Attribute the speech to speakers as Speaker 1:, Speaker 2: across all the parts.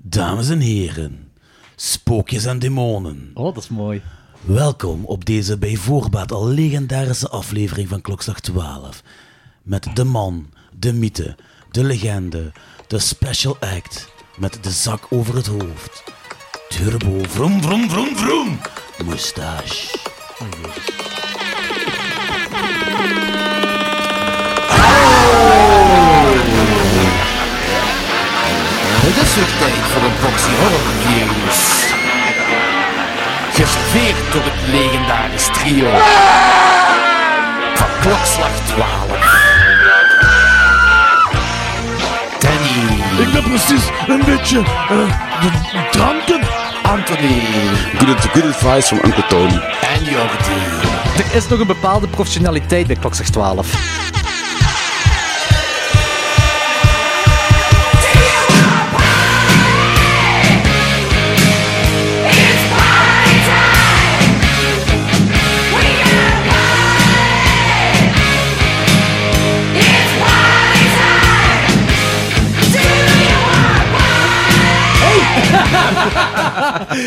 Speaker 1: Dames en heren, spookjes en demonen,
Speaker 2: Oh, dat is mooi.
Speaker 1: welkom op deze bij voorbaat al legendarische aflevering van Klokslag 12. Met de man, de mythe, de legende, de special act, met de zak over het hoofd. Turbo, vroom, vroom, vroom, vroom, moustache.
Speaker 3: Het is weer tijd voor een boxy horror reviews. Geserveerd door het legendarisch trio van klokslag 12. Danny,
Speaker 4: Ik ben precies een beetje eh, de dranken.
Speaker 3: Anthony
Speaker 5: Good, good advice from Uncle Tony.
Speaker 3: en Jordi.
Speaker 2: Er is nog een bepaalde professionaliteit bij Klokzeg 12.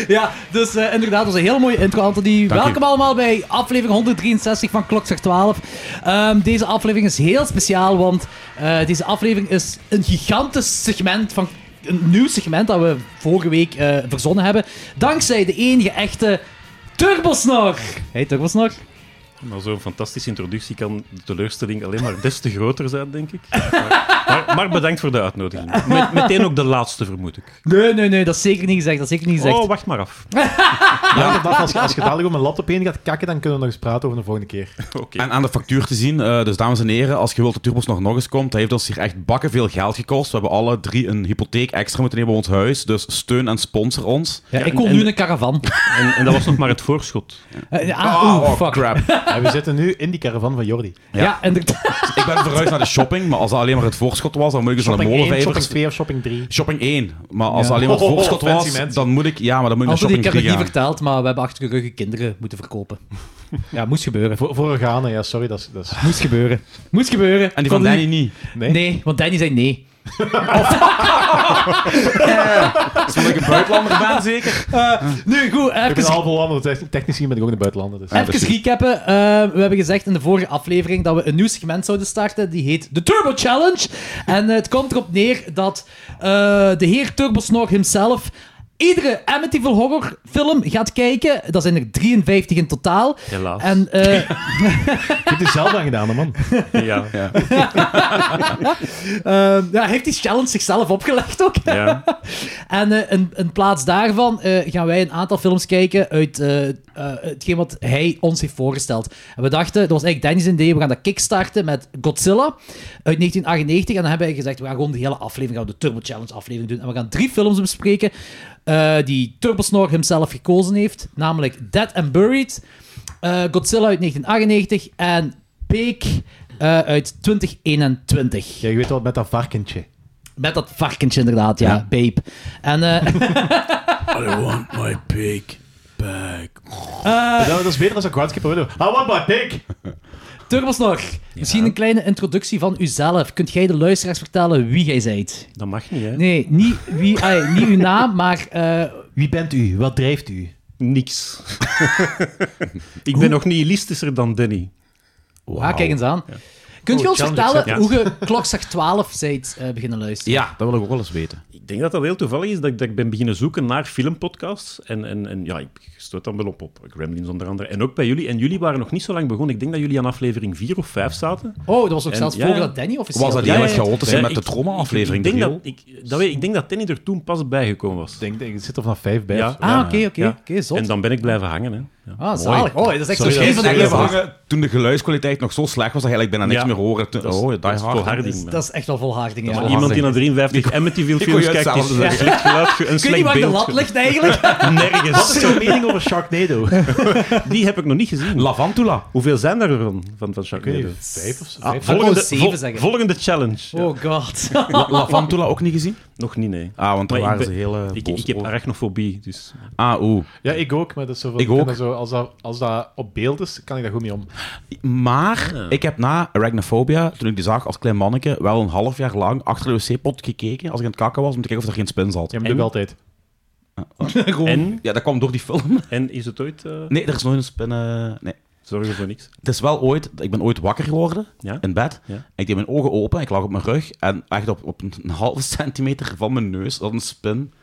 Speaker 2: Ja, dus eh, inderdaad, dat was een heel mooie intro, Anthony. Welkom allemaal bij aflevering 163 van Klokzeg 12. Ehm, deze aflevering is heel speciaal, want eh, deze aflevering is een gigantisch segment van... Een nieuw segment dat we vorige week eh, verzonnen hebben. Dankzij de enige echte Turbosnor. Hey, Turbosnor.
Speaker 6: Nou, zo'n fantastische introductie kan de teleurstelling alleen maar des te groter zijn, denk ik. Maar, maar, maar bedankt voor de uitnodiging. Met, meteen ook de laatste, vermoed ik.
Speaker 2: Nee, nee, nee, dat is zeker niet gezegd. Dat is zeker niet gezegd.
Speaker 6: Oh, wacht maar af.
Speaker 4: Ja, dat, als, als je dadelijk op mijn laptop heen gaat kakken, dan kunnen we nog eens praten over de volgende keer.
Speaker 6: Oké.
Speaker 5: En aan de factuur te zien, eh, dus dames en heren, als je wilt dat Turbos nog, nog eens komt, dat heeft ons hier echt bakken veel geld gekost. We hebben alle drie een hypotheek extra moeten nemen op ons huis, dus steun en sponsor ons.
Speaker 2: ja, ik kom
Speaker 6: en-
Speaker 2: nu
Speaker 6: en-
Speaker 2: in een caravan.
Speaker 6: En, en dat was nog maar het voorschot.
Speaker 2: Eh, ah, oeh,
Speaker 5: oh,
Speaker 2: fuck.
Speaker 5: crap.
Speaker 4: En we zitten nu in die caravan van Jordi.
Speaker 2: Ja, inderdaad.
Speaker 5: Ik ben verhuisd naar de shopping, maar als dat alleen maar het voorschot was, dan moet ik dus naar de
Speaker 4: Shopping 1, shopping
Speaker 5: molenvijvers.
Speaker 4: 2 of shopping 3.
Speaker 5: Shopping 1. Maar als
Speaker 2: Ja.
Speaker 5: dat alleen maar het
Speaker 4: Oh, oh, oh,
Speaker 5: voorschot
Speaker 4: fancy
Speaker 5: was,
Speaker 4: mensen.
Speaker 5: dan moet ik, ja, maar dan moet ik naar
Speaker 2: Anthony, ik
Speaker 5: shopping
Speaker 2: heb het niet
Speaker 5: 3 gaan.
Speaker 2: verteld, maar we hebben achter de rug kinderen moeten verkopen. ja, moest gebeuren.
Speaker 4: Voor, voor organen, ja, sorry. Dat is, dat is...
Speaker 2: Moest gebeuren. Moest gebeuren.
Speaker 5: En die van
Speaker 2: Kon
Speaker 5: Danny
Speaker 2: niet-
Speaker 5: niet.
Speaker 4: Nee?
Speaker 2: Nee, want Danny zei nee.
Speaker 5: Dat Eh. is omdat ik een buitenlander ben, zeker.
Speaker 2: Eh, Nu, goed,
Speaker 4: Ik ben
Speaker 2: even,
Speaker 4: al volwander, dus technisch gezien ben ik ook in de buitenlanden. Dus.
Speaker 5: Ja,
Speaker 2: even
Speaker 5: precies.
Speaker 2: recappen. Eh, we hebben gezegd in de vorige aflevering dat we een nieuw segment zouden starten. Die heet de Turbo Challenge. En eh, het komt erop neer dat eh, de heer Turbosnog himself iedere Amityville horror film gaat kijken. Dat zijn er 53 in totaal.
Speaker 6: Helaas.
Speaker 2: En... eh,
Speaker 4: Ik heb het zelf aan gedaan, hè, man.
Speaker 6: Ja, ja.
Speaker 2: Ehm, ja, heeft die challenge zichzelf opgelegd ook. En eh, in, in plaats daarvan eh, gaan wij een aantal films kijken uit eh, eh, hetgeen wat hij ons heeft voorgesteld. En we dachten, dat was eigenlijk Danny's idee, we gaan dat kickstarten met Godzilla uit 1998. En dan hebben wij gezegd, we gaan gewoon de hele aflevering, gaan we de Turbo Challenge aflevering doen. En we gaan drie films bespreken eh, die Turbosnor hemzelf gekozen heeft. Namelijk Dead and Buried, eh, Godzilla uit 1998 en Peek eh, uit 2021.
Speaker 4: Ja, je weet wat met dat varkentje.
Speaker 2: Met dat varkentje inderdaad, ja, babe. En eh,
Speaker 1: I want my pig back.
Speaker 4: dat, dat is beter dan zo'n kwartskip. I want my pig!
Speaker 2: Turbosnor, misschien een kleine introductie van uzelf. Kunt jij de luisteraars vertellen wie jij zijt?
Speaker 6: dat mag niet, hè?
Speaker 2: Nee, niet, wie, ah, niet uw naam, maar eh,
Speaker 4: Wie bent u? Wat drijft u?
Speaker 6: Niks. ik ben nog nihilistischer dan Danny.
Speaker 2: ah, kijk eens aan. Kunt je
Speaker 4: Oh,
Speaker 2: ons
Speaker 4: challenge
Speaker 2: vertellen
Speaker 6: accepted.
Speaker 2: hoe je klokslag 12 zijt eh, beginnen luisteren?
Speaker 5: Ja, dat wil ik ook wel eens weten.
Speaker 6: Ik denk dat dat heel toevallig is dat ik, dat ik ben beginnen zoeken naar filmpodcasts. En, en, en ja, ik stoot dan wel op, op Gremlins onder andere. En ook bij jullie. En jullie waren nog niet zo lang begonnen. Ik denk dat jullie aan aflevering 4 of 5 zaten.
Speaker 2: Oh, dat was ook
Speaker 6: En-
Speaker 2: zelfs
Speaker 6: ja,
Speaker 2: voor
Speaker 6: ja.
Speaker 2: dat Danny officieel...
Speaker 5: Was dat
Speaker 2: deed.
Speaker 5: heel erg chaotisch hè,
Speaker 6: Ja,
Speaker 5: met de
Speaker 6: ik-
Speaker 5: trauma-aflevering?
Speaker 6: Ik, ik, denk
Speaker 5: Giel?
Speaker 6: dat, ik, dat weet, ik denk dat Danny er toen pas bijgekomen was.
Speaker 4: Ik denk, ik zit er vanaf vijf bij.
Speaker 6: Ja.
Speaker 4: of zo.
Speaker 2: Ah, oké, oké,
Speaker 6: Ja.
Speaker 2: oké,
Speaker 6: En
Speaker 2: zot.
Speaker 6: dan ben ik blijven hangen. Hè. Ja.
Speaker 2: Ah, zalig. Oh, dat is echt
Speaker 4: Sorry,
Speaker 2: zo
Speaker 4: dat
Speaker 2: schijn
Speaker 4: is
Speaker 2: van
Speaker 5: Ik
Speaker 2: de
Speaker 4: echt
Speaker 5: bleef
Speaker 4: heel
Speaker 2: wereld.
Speaker 5: hangen toen de geluidskwaliteit nog zo slecht was dat je eigenlijk bijna niks
Speaker 6: Ja.
Speaker 5: meer hoorde. Toen-
Speaker 6: Dat is-
Speaker 5: oh, die
Speaker 6: dat is
Speaker 5: hard.
Speaker 6: volharding.
Speaker 2: Dat is echt wel volharding, ja.
Speaker 5: is wel
Speaker 2: Ik
Speaker 6: Iemand die naar
Speaker 5: Waanzinnig.
Speaker 6: 53 Amityville
Speaker 5: Ik kon
Speaker 6: films
Speaker 5: juist
Speaker 6: kijkt, is
Speaker 5: hetzelfde
Speaker 6: een slecht geluid, een
Speaker 2: weet niet
Speaker 6: slecht
Speaker 2: waar de
Speaker 6: beeld.
Speaker 2: lat ligt eigenlijk.
Speaker 4: Wat is
Speaker 6: Nergens.
Speaker 4: jouw mening over Sharknado?
Speaker 6: Die heb ik nog niet gezien.
Speaker 5: Lavantula.
Speaker 6: Hoeveel zijn er van, van, van Sharknado?
Speaker 4: Vijf of zo.
Speaker 6: Ah,
Speaker 4: Vijf.
Speaker 2: Ik wou
Speaker 6: volgende,
Speaker 2: zeven
Speaker 6: vol-
Speaker 2: zeggen.
Speaker 6: volgende challenge. Ja.
Speaker 2: Oh god.
Speaker 5: La- Lavantula ook niet gezien?
Speaker 6: Nog niet, nee.
Speaker 7: Ah, want daar
Speaker 6: Maar ik
Speaker 7: waren ze
Speaker 6: ben-
Speaker 7: hele...
Speaker 6: Ik,
Speaker 7: boos
Speaker 6: ik heb
Speaker 7: over.
Speaker 6: arachnofobie, dus...
Speaker 7: Ah, oeh.
Speaker 4: Ja, ik ook, maar dat is zo van,
Speaker 7: Ik
Speaker 4: ik kan
Speaker 7: ook.
Speaker 4: dat Zo, als, dat, als dat op beeld is, kan ik daar goed mee om.
Speaker 7: Maar ik heb na Arachnophobia, toen ik die zag als klein manneke, wel een half jaar lang achter de wc-pot gekeken als ik aan het kakken was, om te kijken of er geen spin zat.
Speaker 4: Ja,
Speaker 7: Ja,
Speaker 4: maar doe
Speaker 6: En?
Speaker 4: ik altijd.
Speaker 6: En,
Speaker 7: dat kwam door die film.
Speaker 6: en is het ooit... eh
Speaker 7: Nee, er is nooit een spin. eh, nee.
Speaker 6: Zorgen voor niks.
Speaker 7: Het is wel ooit, ik ben ooit wakker geworden
Speaker 6: Ja?
Speaker 7: in bed.
Speaker 6: Ja.
Speaker 7: En ik deed mijn ogen open, ik lag op mijn rug en echt op, op een halve centimeter van mijn neus zat een spin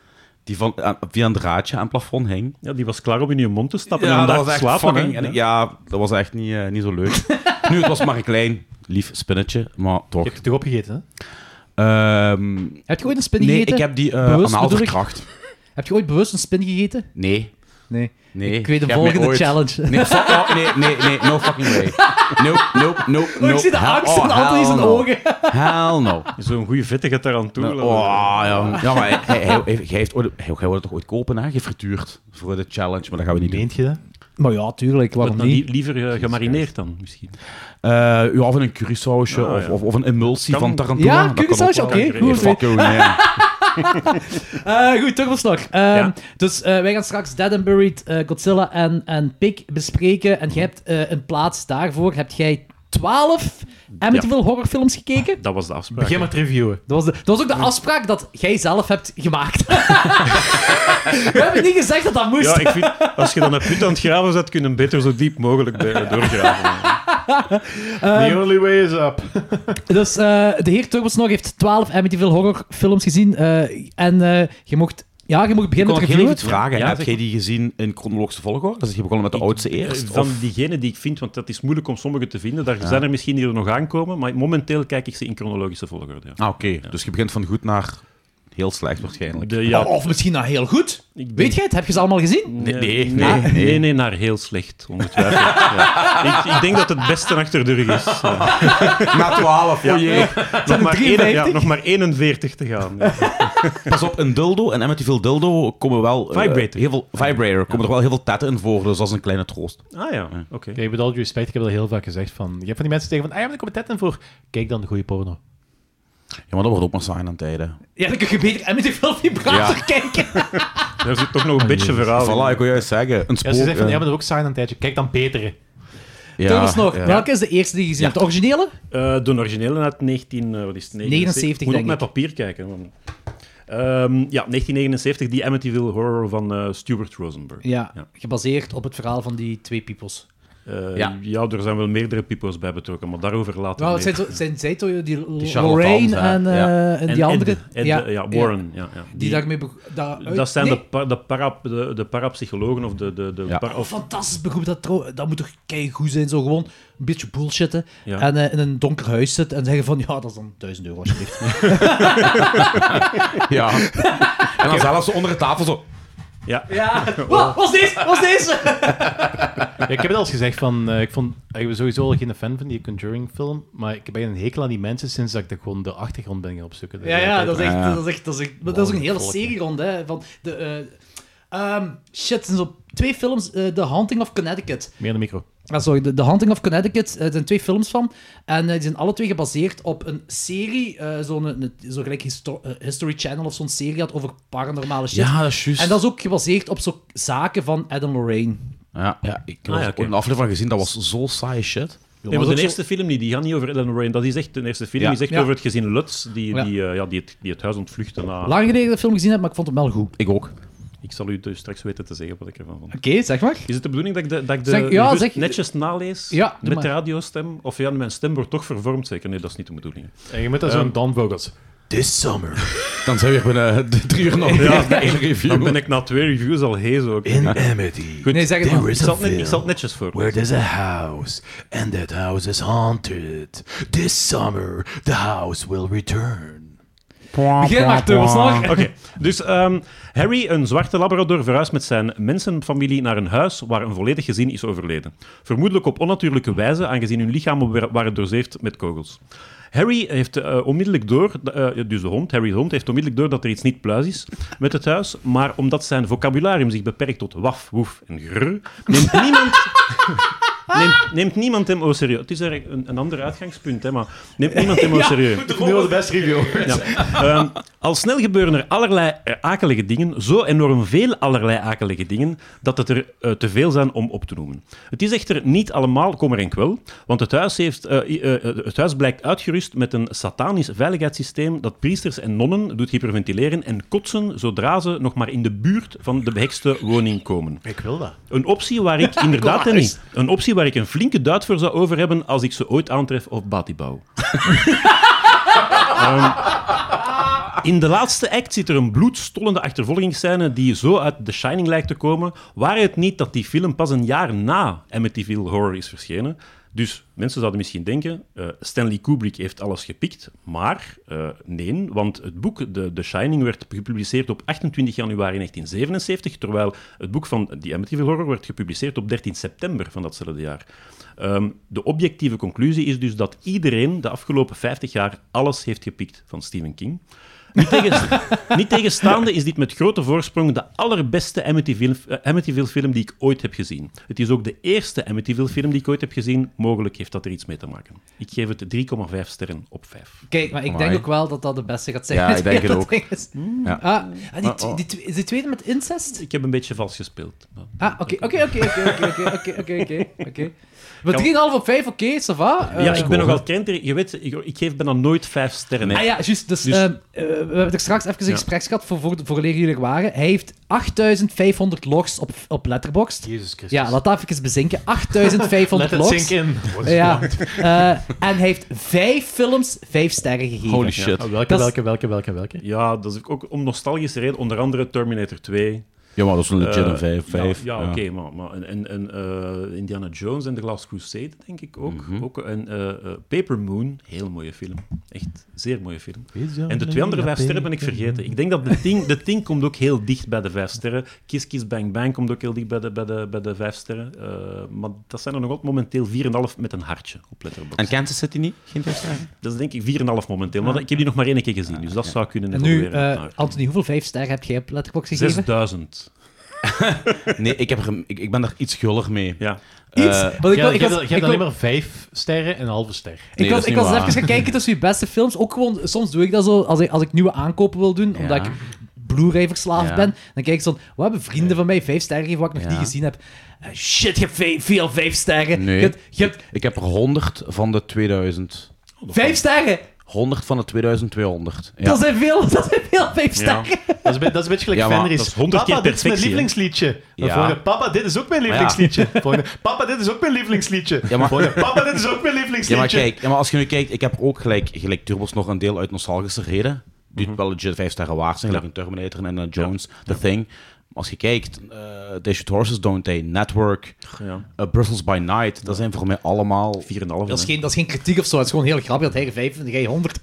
Speaker 7: die van, aan- via een draadje aan het plafond hing.
Speaker 6: Ja, die was klaar om in je mond te stappen en
Speaker 7: dat
Speaker 6: daar
Speaker 7: was
Speaker 6: te
Speaker 7: echt
Speaker 6: slapen.
Speaker 7: fucking...
Speaker 6: hè.
Speaker 7: en ik-
Speaker 6: ja.
Speaker 7: ja, dat was echt niet, eh, niet zo leuk. nu, het was maar een klein, lief spinnetje, maar
Speaker 4: Je
Speaker 7: toch.
Speaker 4: hebt het toch opgegeten, hè?
Speaker 7: Ehm,
Speaker 2: Heb je ooit een spin
Speaker 7: nee,
Speaker 2: gegeten?
Speaker 7: ik heb die eh
Speaker 2: Bewust
Speaker 7: anaal
Speaker 2: bedoel ik?
Speaker 7: verkracht.
Speaker 2: Heb je ooit bewust een spin gegeten?
Speaker 7: Nee.
Speaker 2: Nee.
Speaker 7: Nee.
Speaker 2: Ik weet de
Speaker 7: Jij hebt mij
Speaker 2: volgende
Speaker 7: ooit-
Speaker 2: challenge.
Speaker 7: Nee, fuck off. Nee, nee, nee. No fucking way. Nope, nope, nope, nope.
Speaker 2: ik zie de
Speaker 7: Hell-
Speaker 2: angst in
Speaker 7: oh,
Speaker 2: Anthony's
Speaker 7: hell
Speaker 2: zijn
Speaker 7: no.
Speaker 2: ogen.
Speaker 7: Hell no.
Speaker 6: Zo'n goede vette gaat daar aan toe.
Speaker 7: Oh, ja. ja, maar hij, hij, hij, hij heeft ooit, hij, hij wil het toch ooit kopen, hè? Gefrituurd voor de challenge, maar dat gaan we niet doen.
Speaker 4: Meent je dat?
Speaker 2: Maar ja, tuurlijk,
Speaker 6: Wordt
Speaker 2: waarom
Speaker 6: dan
Speaker 2: niet?
Speaker 6: li- liever eh, gemarineerd dan, misschien.
Speaker 7: Eh, ja, of in een currysausje,
Speaker 6: Ah,
Speaker 7: of,
Speaker 6: ja.
Speaker 7: of, of een emulsie
Speaker 6: Kan-
Speaker 7: van Tarantula.
Speaker 2: Ja,
Speaker 7: dat kan
Speaker 2: currysausje,
Speaker 7: ook wel.
Speaker 6: oké,
Speaker 7: Nee,
Speaker 6: goed,
Speaker 7: fuck you, nee.
Speaker 2: Eh, goed, Turboslag. nog.
Speaker 6: Ja.
Speaker 2: Dus eh, wij gaan straks Dead and Buried, eh, Godzilla en, en Pig bespreken. En jij hebt eh, in plaats daarvoor, hebt jij 12 Amityville horrorfilms gekeken?
Speaker 6: Dat was de afspraak.
Speaker 4: Begin met reviewen.
Speaker 2: Dat was, de- dat was ook de afspraak dat jij zelf hebt gemaakt. We hebben niet gezegd dat dat moest.
Speaker 6: Ja, ik vind, als je dan een put aan het graven zet, kun je hem beter zo diep mogelijk bij- doorgraven.
Speaker 4: The only way is up.
Speaker 2: Dus eh, de heer Turbosnog heeft 12 Amityville horrorfilms gezien. eh, en eh, je mocht... Ja, je mocht
Speaker 7: Ik
Speaker 2: beginnen
Speaker 7: kon
Speaker 2: met
Speaker 7: nog heel even
Speaker 2: reviewen.
Speaker 7: iets vragen.
Speaker 6: Ja,
Speaker 7: heb
Speaker 6: zeg
Speaker 7: jij die gezien in chronologische volgorde? Dus je begonnen met de oudste eerst?
Speaker 6: Dus Van
Speaker 7: of-
Speaker 6: diegenen die ik vind, want dat is moeilijk om sommige te vinden. Daar zijn er misschien die er nog aankomen, maar momenteel kijk ik ze in chronologische volgorde. Ja.
Speaker 7: Ah, oké. Dus je begint van goed naar heel slecht waarschijnlijk.
Speaker 6: De- ja,
Speaker 2: Oh, of misschien nou heel goed.
Speaker 6: ik ben-
Speaker 2: Weet jij het? Heb je ze allemaal gezien?
Speaker 7: Nee, nee,
Speaker 6: Ah,
Speaker 7: nee,
Speaker 6: nee,
Speaker 7: nee.
Speaker 6: nee, naar heel slecht, ongetwijfeld. ja. ik, ik denk dat het beste achter de rug is. Ja.
Speaker 7: Na 12, ja.
Speaker 6: Nog, maar
Speaker 2: 53?
Speaker 6: één- ja, nog maar 41 te gaan. Ja.
Speaker 7: Pas op, een dildo en Amityville dildo komen wel... eh,
Speaker 6: Vibrator.
Speaker 7: heel veel, vibrator. Komen er wel heel veel tetten in voor, dus dat is een kleine troost.
Speaker 6: Ah ja, oké.
Speaker 4: Kijk, met al due respect, ik heb dat heel vaak gezegd. Van, je hebt van die mensen tegen van, ah ja, maar er komt tetten voor. Kijk dan de goede porno.
Speaker 7: Ja, maar dat wordt ook maar saai aan tijden.
Speaker 2: Ja, dan kun je beter Amityville Vibrator
Speaker 7: Ja.
Speaker 2: kijken.
Speaker 6: Daar zit toch nog een beetje verhaal in.
Speaker 7: Voilà, ik wil juist zeggen. Een
Speaker 4: Ja,
Speaker 7: spook...
Speaker 4: ze zegt van,
Speaker 7: eh,
Speaker 4: ja, maar dat is ook saai aan een tijdje. Kijk dan betere.
Speaker 7: ja,
Speaker 2: Turbosnog,
Speaker 7: ja.
Speaker 2: welke is de eerste die je gezien hebt? De originele?
Speaker 6: Eh, de originele uit 19... eh, wat is het?
Speaker 2: 79,
Speaker 6: Moet
Speaker 2: denk
Speaker 6: op mijn
Speaker 2: ik.
Speaker 6: papier kijken. want- Ehm, ja, 1979, die Amityville Horror van eh, Stuart Rosenberg.
Speaker 2: Ja,
Speaker 6: Ja.
Speaker 2: gebaseerd op het verhaal van die twee peoples.
Speaker 6: Eh,
Speaker 7: Ja.
Speaker 6: ja. er zijn wel meerdere pipo's bij betrokken, maar daarover later
Speaker 2: Nou,
Speaker 6: meer.
Speaker 2: het zijn, zo- het zijn zij toch, die,
Speaker 7: charlatans,
Speaker 2: Lorraine
Speaker 7: hè.
Speaker 2: en, eh,
Speaker 7: Ja.
Speaker 2: en
Speaker 6: En
Speaker 2: die andere?
Speaker 6: Ed- Ed- ja, Warren. Ja, ja.
Speaker 2: Die daarmee... beg- daaruit-
Speaker 6: dat zijn
Speaker 2: Nee,
Speaker 6: de, pa- de, para, de, de parapsychologen of de... de, de
Speaker 7: Ja.
Speaker 6: para-
Speaker 2: Oh,
Speaker 6: of-
Speaker 2: fantastisch beroep. Dat, trouw- dat moet toch goed zijn, zo gewoon een beetje bullshitten.
Speaker 6: Ja.
Speaker 2: En eh, in een donker huis zitten en zeggen van, ja, dat is dan 1000 euro alsjeblieft.
Speaker 7: Ja. En dan zelfs onder de tafel zo...
Speaker 6: ja.
Speaker 2: ja, wat was deze? was deze?
Speaker 4: Ja, ik heb het al eens gezegd van, eh, ik vond, ik ben sowieso al geen fan van die Conjuring film, maar ik ben een hekel aan die mensen sinds dat ik de, gewoon de achtergrond ben gaan opzoeken.
Speaker 2: ja, ja, dat is echt...
Speaker 7: Ja.
Speaker 2: Dat is, echt, dat is, echt- maar dat is ook een hele
Speaker 4: Volk, hè.
Speaker 2: serie rond, hè. Van de, eh, ehm, shit, er zijn zo twee films. eh, The Haunting of Connecticut.
Speaker 4: Meer de micro.
Speaker 2: Ah, sorry, The, The Haunting of Connecticut. Er zijn twee films van. En eh, die zijn alle twee gebaseerd op een serie. eh, zo'n een- zo gelijk histo- eh, History Channel of zo'n serie had over paranormale shit.
Speaker 7: Ja, dat is juist.
Speaker 2: En dat is ook gebaseerd op zo'n zaken van Adam Lorraine.
Speaker 7: Ja, ja, ik heb
Speaker 6: Ah, ja,
Speaker 7: er
Speaker 6: oké.
Speaker 7: een aflevering van gezien, dat was zo saai shit.
Speaker 6: Nee,
Speaker 2: dat
Speaker 6: maar de
Speaker 2: is ook
Speaker 6: eerste film niet, die gaat niet over Ellen Lorraine. Dat is echt de eerste film.
Speaker 7: Ja.
Speaker 6: Die is echt
Speaker 2: Ja.
Speaker 6: over het gezin Lutz, die,
Speaker 2: Ja.
Speaker 6: die, eh, ja, die, het, die het huis ontvluchtte. Na...
Speaker 2: Lang geleden dat ik de film gezien heb, maar ik vond hem wel goed.
Speaker 7: Ik ook.
Speaker 6: Ik zal u dus straks weten te zeggen wat ik ervan vond.
Speaker 2: Oké, zeg maar.
Speaker 6: Is het de bedoeling dat ik de, dat ik de
Speaker 2: Zeg- ja,
Speaker 6: reviews
Speaker 2: zeg-
Speaker 6: netjes nalees
Speaker 2: Ja, doe
Speaker 6: met
Speaker 2: maar.
Speaker 6: de radiostem? Of ja, mijn stem wordt toch vervormd zeker? Nee, dat is niet de bedoeling.
Speaker 4: En je moet dat zo'n Don Vogels.
Speaker 7: This summer. Dan zijn we weer binnen
Speaker 5: eh,
Speaker 7: de drie uur nog
Speaker 6: Ja.
Speaker 7: bij één review.
Speaker 6: Dan ben ik na twee reviews al hees ook.
Speaker 1: In Amity,
Speaker 6: Goed,
Speaker 2: Nee, zeg het maar.
Speaker 1: there
Speaker 6: ik,
Speaker 1: is a
Speaker 6: zal het net, ik zal
Speaker 1: film
Speaker 6: het netjes
Speaker 1: where
Speaker 6: voorlezen.
Speaker 1: there's a house, and that house is haunted. This summer, the house will return.
Speaker 2: Begin maar, Turbosnog.
Speaker 6: Oké, dus ehm, Harry, een zwarte labrador, verhuist met zijn mensenfamilie naar een huis waar een volledig gezin is overleden. Vermoedelijk op onnatuurlijke wijze, aangezien hun lichamen wa- waren doorzeefd met kogels. Harry heeft eh, onmiddellijk door, eh, dus de hond, Harry's hond, heeft onmiddellijk door dat er iets niet pluis is met het huis. Maar omdat zijn vocabularium zich beperkt tot waf, woef en grr, neemt niemand Neemt, neemt niemand hem au serieus. Het is er een, een ander uitgangspunt, hè, maar neemt niemand hem au serieus.
Speaker 5: Nu was de beste review.
Speaker 6: Ja. Ehm, al snel gebeuren er allerlei eh, akelige dingen, zo enorm veel allerlei akelige dingen, dat het er eh, te veel zijn om op te noemen. Het is echter niet allemaal kommer en kwel, want het huis, heeft, eh, i- eh, eh, het huis blijkt uitgerust met een satanisch veiligheidssysteem dat priesters en nonnen doet hyperventileren en kotsen zodra ze nog maar in de buurt van de behekste woning komen.
Speaker 4: Ik wil dat.
Speaker 6: Een optie waar ik inderdaad en niet, een optie waar ik een flinke duit voor zou over hebben als ik ze ooit aantref op Batibouw. Ehm, in de laatste act zit er een bloedstollende achtervolgingsscène die zo uit The Shining lijkt te komen. Waar het niet dat die film pas een jaar na Amityville Horror is verschenen. Dus mensen zouden misschien denken, eh, Stanley Kubrick heeft alles gepikt. Maar eh, nee, want het boek The, The Shining werd gepubliceerd op 28 januari 1977, terwijl het boek van The Amityville Horror werd gepubliceerd op 13 september van datzelfde jaar. Ehm, de objectieve conclusie is dus dat iedereen de afgelopen 50 jaar alles heeft gepikt van Stephen King. Niet, tegen, niet tegenstaande is dit met grote voorsprong de allerbeste Amityville, eh, Amityville-film die ik ooit heb gezien. Het is ook de eerste Amityville-film die ik ooit heb gezien. Mogelijk heeft dat er iets mee te maken. Ik geef het 3,5 sterren op 5.
Speaker 2: Kijk, maar ik denk
Speaker 5: Amai.
Speaker 2: ook wel dat dat de beste gaat zijn.
Speaker 5: Ja, ik denk het
Speaker 2: Dat
Speaker 5: ook.
Speaker 2: ding is-
Speaker 4: Mm.
Speaker 5: Ja. oh.
Speaker 2: Ah, ah, die, tw- die, tw- is die tweede met incest?
Speaker 6: Ik heb een beetje vals gespeeld. Maar-
Speaker 2: Ah, oké, oké, oké, oké, oké, oké, oké, oké, oké, oké. Maar 3,5 op 5, oké, ça va. Eh,
Speaker 6: ja, ik ben nogal krenter. Je weet, ik, ik geef bijna nooit 5 sterren.
Speaker 2: Ah ja, juist. Dus,
Speaker 6: Dus-
Speaker 2: ehm, eh, we hebben er straks even een gesprek gehad voor, voor, voor jullie er waren. Hij heeft 8500 logs op, op Letterboxd.
Speaker 4: Jezus Christus.
Speaker 2: Ja, laat dat even bezinken. 8500
Speaker 4: Let het
Speaker 2: logs.
Speaker 4: zink in.
Speaker 2: Ja. Eh, en hij heeft vijf films vijf sterren gegeven.
Speaker 5: Holy shit.
Speaker 4: Ah, welke,
Speaker 2: Dat is-
Speaker 4: welke, welke, welke, welke?
Speaker 6: Ja, dat is ook om nostalgische reden. Onder andere Terminator 2.
Speaker 5: Ja, maar dat is een legit
Speaker 6: Eh,
Speaker 5: een 5.
Speaker 6: Ja, ja, oké, maar, maar en, en, en, eh, Indiana Jones en The Last Crusade, denk ik ook. ook en eh, eh, Paper Moon, heel mooie film. Echt, zeer mooie film. En de twee andere vijf sterren ben ik vergeten. Ik denk dat de Ting, de Ting komt ook heel dicht bij de vijf sterren. Kiss Kiss Bang Bang komt ook heel dicht bij de, bij de, bij de vijf sterren. Eh, maar dat zijn er nog altijd momenteel 4,5 met een hartje op Letterboxd.
Speaker 5: En Kansas City niet? Geen 5 sterren?
Speaker 6: Dat is denk ik 4,5 momenteel. Maar ik heb die nog maar één keer gezien, dus dat zou kunnen
Speaker 2: En nu,
Speaker 6: evolueren
Speaker 2: eh,
Speaker 6: naar
Speaker 2: Anthony, hoeveel vijf sterren heb jij op Letterboxd gegeven?
Speaker 6: 6000.
Speaker 5: Nee, ik, heb er, ik, ik ben daar iets gullig mee.
Speaker 6: Ja.
Speaker 2: Iets?
Speaker 5: Eh,
Speaker 2: Want ik
Speaker 4: Jij
Speaker 2: wil- ik wil-
Speaker 4: jij hebt
Speaker 2: ik
Speaker 4: jij hebt
Speaker 2: wil-
Speaker 4: alleen maar vijf sterren en een halve ster.
Speaker 5: Nee,
Speaker 2: ik was,
Speaker 5: dat is
Speaker 2: ik
Speaker 5: niet
Speaker 2: was
Speaker 5: waar.
Speaker 2: even gaan kijken tussen je beste films. Ook gewoon, soms doe ik dat zo als ik, als ik nieuwe aankopen wil doen, omdat
Speaker 5: Ja.
Speaker 2: ik Blu-ray verslaafd
Speaker 5: Ja.
Speaker 2: ben. Dan kijk ik zo, wat hebben vrienden van mij vijf sterren gegeven wat ik nog
Speaker 5: Ja.
Speaker 2: niet gezien heb? Eh, Shit, je hebt ve- veel vijf sterren.
Speaker 5: Nee.
Speaker 2: Je hebt, je hebt
Speaker 5: Ik heb er 100 van de 2000.
Speaker 2: vijf sterren.
Speaker 5: 100 van de 2200. Ja.
Speaker 2: Dat zijn veel, dat zijn veel vijf sterren.
Speaker 4: Dat is, een be- dat is een beetje gelijk
Speaker 5: Ja, maar
Speaker 4: Fenris.
Speaker 6: dat is honderd
Speaker 4: papa,
Speaker 6: keer
Speaker 4: dit is mijn
Speaker 6: perfectie, hè?
Speaker 4: lievelingsliedje. Dan
Speaker 5: Ja.
Speaker 4: volgende, papa, dit is ook mijn lievelingsliedje. Volgende, papa, dit is ook mijn lievelingsliedje.
Speaker 5: Ja, maar-
Speaker 4: Volgende, papa, dit is
Speaker 5: Ja,
Speaker 4: ook mijn
Speaker 5: maar
Speaker 4: lievelingsliedje.
Speaker 5: kijk, ja, maar als je nu kijkt, ik heb ook gelijk, gelijk Turbos nog een deel uit nostalgische reden. Die
Speaker 6: Mhm.
Speaker 5: wel legit vijf sterren waard zijn, gelijk een Terminator en Indiana Jones, The Thing. Maar Als je kijkt, eh They Shoot Horses, Don't They, Network,
Speaker 6: ja.
Speaker 5: eh, Brussels by Night, dat zijn voor mij allemaal...
Speaker 6: 4,5.
Speaker 2: Dat is,
Speaker 6: hè.
Speaker 2: geen, dat is geen kritiek of zo, het is gewoon heel grappig dat hij er vijf en jij honderd.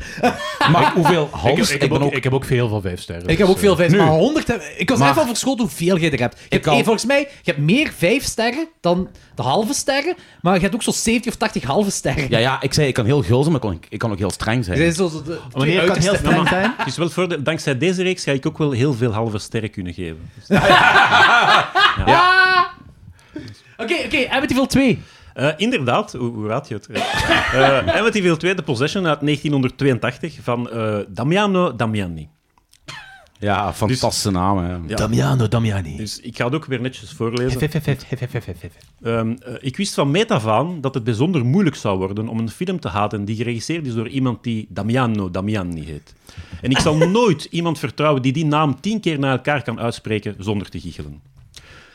Speaker 5: Maar hoeveel
Speaker 4: Ik, heb-
Speaker 5: Hans,
Speaker 4: ik, heb
Speaker 5: ben
Speaker 4: ook,
Speaker 5: ook...
Speaker 4: ik heb ook veel van vijf sterren.
Speaker 2: Ik heb
Speaker 4: dus,
Speaker 2: ook veel vijf,
Speaker 5: nu.
Speaker 2: maar honderd heb- Ik was
Speaker 5: Maar-
Speaker 2: even van verschoten hoeveel je er hebt. Je hebt
Speaker 5: kan-
Speaker 2: eh, volgens mij, je hebt meer vijf sterren dan de halve sterren, maar je hebt ook zo'n 70 of 80 halve sterren.
Speaker 5: Ja, ja, ik zei, ik kan heel gul zijn, maar ik kan, ik kan ook heel streng zijn.
Speaker 2: Dit is zo zo de
Speaker 4: eh, Wanneer
Speaker 2: twee
Speaker 4: kan heel
Speaker 2: uiterste
Speaker 4: streng
Speaker 2: sterren.
Speaker 4: zijn?
Speaker 6: Het is wel voor de- dankzij deze reeks ga ik ook wel heel veel halve sterren kunnen geven.
Speaker 2: Oké, oké, Amityville 2.
Speaker 6: Eh, inderdaad, hoe, hoe raad je het? Eh Amityville 2, The Possession uit 1982 van eh, Damiano Damiani. Dus-
Speaker 5: Ja, fantastische naam, hè.
Speaker 6: Ja.
Speaker 4: Damiano, Damiani.
Speaker 6: Dus ik ga het ook weer netjes voorlezen.
Speaker 4: Vijf, vijf, vijf, vijf, vijf, vijf, vijf.
Speaker 6: Ehm, eh, ik wist van meet af aan dat het bijzonder moeilijk zou worden om een film te haten die geregisseerd is door iemand die Damiano Damiani heet. En ik zal nooit iemand vertrouwen die die naam tien keer na elkaar kan uitspreken zonder te giechelen.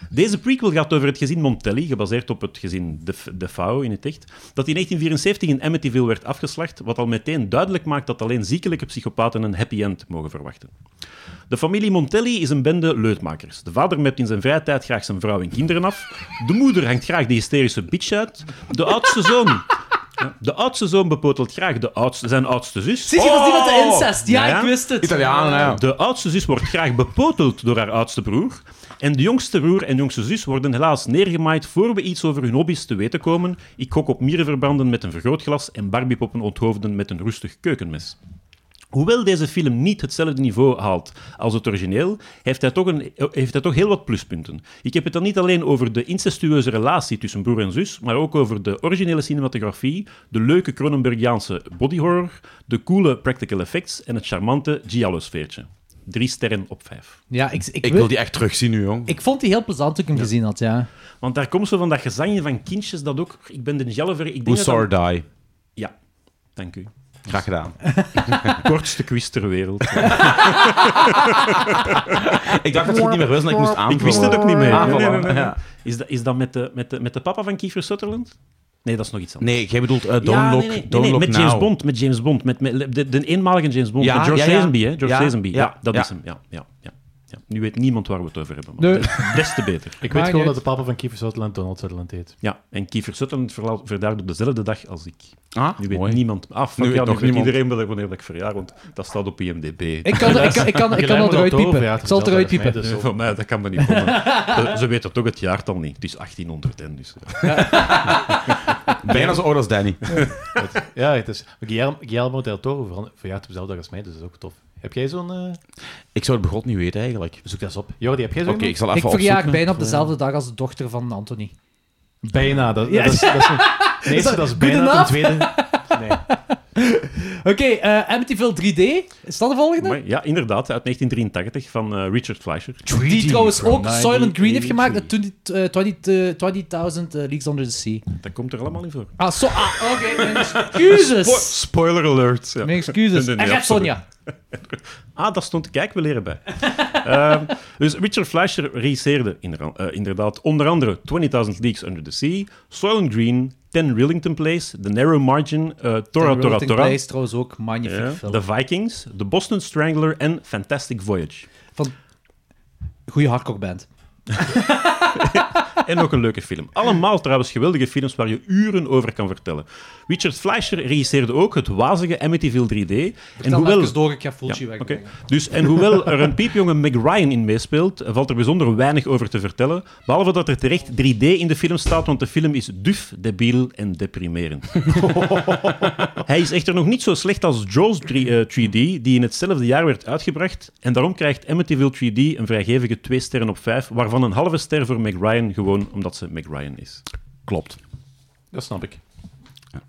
Speaker 6: Deze prequel gaat over het gezin Montelli, gebaseerd op het gezin De, de Fao in het echt, dat in 1974 in Amityville werd afgeslacht, wat al meteen duidelijk maakt dat alleen ziekelijke psychopaten een happy end mogen verwachten. De familie Montelli is een bende leutmakers. De vader mept in zijn vrije tijd graag zijn vrouw en kinderen af. De moeder hangt graag de hysterische bitch uit. De oudste zoon... De oudste zoon bepotelt graag de oudste, zijn oudste zus.
Speaker 2: Zie je, dat is die met de
Speaker 5: Oh!
Speaker 2: incest. Ja,
Speaker 6: Ja, ja.
Speaker 2: ik wist het.
Speaker 5: Italianen, hè.
Speaker 6: De oudste zus wordt graag bepoteld door haar oudste broer. En de jongste broer en jongste zus worden helaas neergemaaid voor we iets over hun hobby's te weten komen. Ik gok op mierenverbranden met een vergrootglas en barbiepoppen onthoofden met een rustig keukenmes. Hoewel deze film niet hetzelfde niveau haalt als het origineel, heeft hij, toch een, heeft hij toch heel wat pluspunten. Ik heb het dan niet alleen over de incestueuze relatie tussen broer en zus, maar ook over de originele cinematografie, de leuke Cronenbergiaanse bodyhorror, de coole practical effects en het charmante giallo-sfeertje. Drie sterren op vijf.
Speaker 2: Ja, ik, ik,
Speaker 5: Ik wil die echt terugzien nu, jong.
Speaker 2: ik vond die heel plezant toen ik hem gezien had, ja.
Speaker 6: Want daar komt zo van dat gezangje van kindjes dat ook... Ik ben de giallover... Ik denk
Speaker 5: Who
Speaker 6: dat dat-
Speaker 5: Saw Die.
Speaker 6: Ja, dank u.
Speaker 5: Graag gedaan.
Speaker 6: Kortste quiz ter wereld.
Speaker 5: ik dacht dat ik het niet meer wist en ik moest aanvullen.
Speaker 6: Ik wist het ook niet meer.
Speaker 5: Ah, voilà.
Speaker 6: Nee, nee, nee, nee.
Speaker 5: Ja.
Speaker 6: Is, dat, is dat met de, met, de, met de papa van Kiefer Sutherland? Nee, dat is nog iets anders.
Speaker 5: Nee, jij bedoelt eh, Don't
Speaker 6: Ja,
Speaker 5: Look,
Speaker 6: nee, nee, nee,
Speaker 5: don't
Speaker 6: nee,
Speaker 5: look
Speaker 6: met
Speaker 5: Now.
Speaker 6: James Bond, met James Bond, met, met de, de eenmalige James Bond,
Speaker 5: Ja,
Speaker 6: met George
Speaker 5: ja, ja.
Speaker 6: Lazenby, hè? George
Speaker 5: Ja,
Speaker 6: Lazenby, ja,
Speaker 5: ja,
Speaker 6: dat
Speaker 5: ja.
Speaker 6: is hem, ja, ja, ja, ja. Nu weet niemand waar we het over hebben, maar
Speaker 2: Nee.
Speaker 6: des- des te beter.
Speaker 4: Ik
Speaker 2: Maar
Speaker 4: weet gewoon
Speaker 2: niet.
Speaker 4: dat de papa van Kiefer Sutherland Donald Sutherland heet.
Speaker 6: Ja, en Kiefer Sutherland verla- verjaarde op dezelfde dag als ik.
Speaker 5: Ah,
Speaker 6: Nu weet
Speaker 5: mooi.
Speaker 6: niemand, ah, fuck,
Speaker 5: Nu
Speaker 6: ja,
Speaker 5: weet
Speaker 6: nu
Speaker 5: nog
Speaker 6: weet
Speaker 5: niemand.
Speaker 6: iedereen wel wanneer dat ik verjaar, want dat staat op IMDb.
Speaker 2: Ik kan, ik kan, ik kan, ik kan
Speaker 4: Guillermo
Speaker 2: dat eruit
Speaker 4: del Toro
Speaker 2: piepen.
Speaker 4: verjaart
Speaker 2: Ik zal het eruit
Speaker 4: dezelfde
Speaker 2: piepen.
Speaker 4: dag als mij, dus
Speaker 6: Nee,
Speaker 4: zo.
Speaker 6: van mij, dat kan me niet van. Ze- Ze weten toch het jaartal niet. Het is 1810, dus... ja.
Speaker 5: Bijna zo oud als Danny.
Speaker 4: Ja, het is Guillermo, Guillermo del Toro ver- verjaart op dezelfde dag als mij, dus dat is ook tof. Heb jij zo'n... eh,
Speaker 5: Ik zou het begrot niet weten, eigenlijk.
Speaker 4: Zoek dat eens op. Jordi, heb jij zo'n...
Speaker 5: Oké, ik
Speaker 7: dus
Speaker 5: zal even
Speaker 2: Ik verjaag
Speaker 5: opzoeken.
Speaker 2: bijna op dezelfde dag als de dochter van Anthony.
Speaker 4: Bijna. Dat,
Speaker 2: Ja.
Speaker 4: dat is, dat is een, de eerste, dat is
Speaker 2: Good
Speaker 4: bijna ten
Speaker 2: enough?
Speaker 4: tweede. Nee.
Speaker 2: Oké, eh, Amityville 3D. Is dat de volgende?
Speaker 6: Mooi. Ja, inderdaad, uit 1983 van eh, Richard Fleischer.
Speaker 2: Die trouwens ook Silent Green heeft gemaakt. en
Speaker 4: 1983.
Speaker 2: 20 eh, 20, eh, 20.000 eh, Leagues Under the Sea.
Speaker 6: Dat komt er allemaal in voor.
Speaker 2: Ah, zo. Ah, oké. mijn excuses.
Speaker 6: Spoiler alert. Ja.
Speaker 2: Mijn excuses.
Speaker 6: Nee, nee,
Speaker 2: En
Speaker 6: nee,
Speaker 2: Red
Speaker 6: absoluut.
Speaker 2: Sonja.
Speaker 6: Ah, daar stond kijk wel leren bij. Ehm, dus Richard Fleischer regisseerde inderda- eh, inderdaad onder andere 20.000 Leagues Under the Sea, Soylent Green, Ten Rillington Place, The Narrow Margin, eh, Tora Tora
Speaker 2: Rotten
Speaker 6: Tora,
Speaker 2: Place is trouwens ook magnifiek
Speaker 6: ja,
Speaker 2: film.
Speaker 6: The Vikings, The Boston Strangler en Fantastic Voyage.
Speaker 2: Van... Goeie hardcore band.
Speaker 6: En ook een leuke film. Allemaal trouwens geweldige films waar je uren over kan vertellen. Richard Fleischer regisseerde ook het wazige Amityville 3D. En
Speaker 2: Dan
Speaker 6: hoewel,
Speaker 2: even door, ik ga Fulci
Speaker 6: Ja,
Speaker 2: wegbrengen.
Speaker 6: oké. Dus, en hoewel er een piepjonge Meg Ryan in meespeelt, eh, valt er bijzonder weinig over te vertellen. Behalve dat er terecht 3D in de film staat, want de film is duf, debiel en deprimerend. Hij is echter nog niet zo slecht als Jaws 3, eh, 3D, die in hetzelfde jaar werd uitgebracht. En daarom krijgt Amityville 3D een vrijgevige 2 sterren op 5, waarvan een halve ster voor Meg Ryan, gewoon omdat ze Meg Ryan is.
Speaker 5: Klopt.
Speaker 4: Dat snap ik. Oké,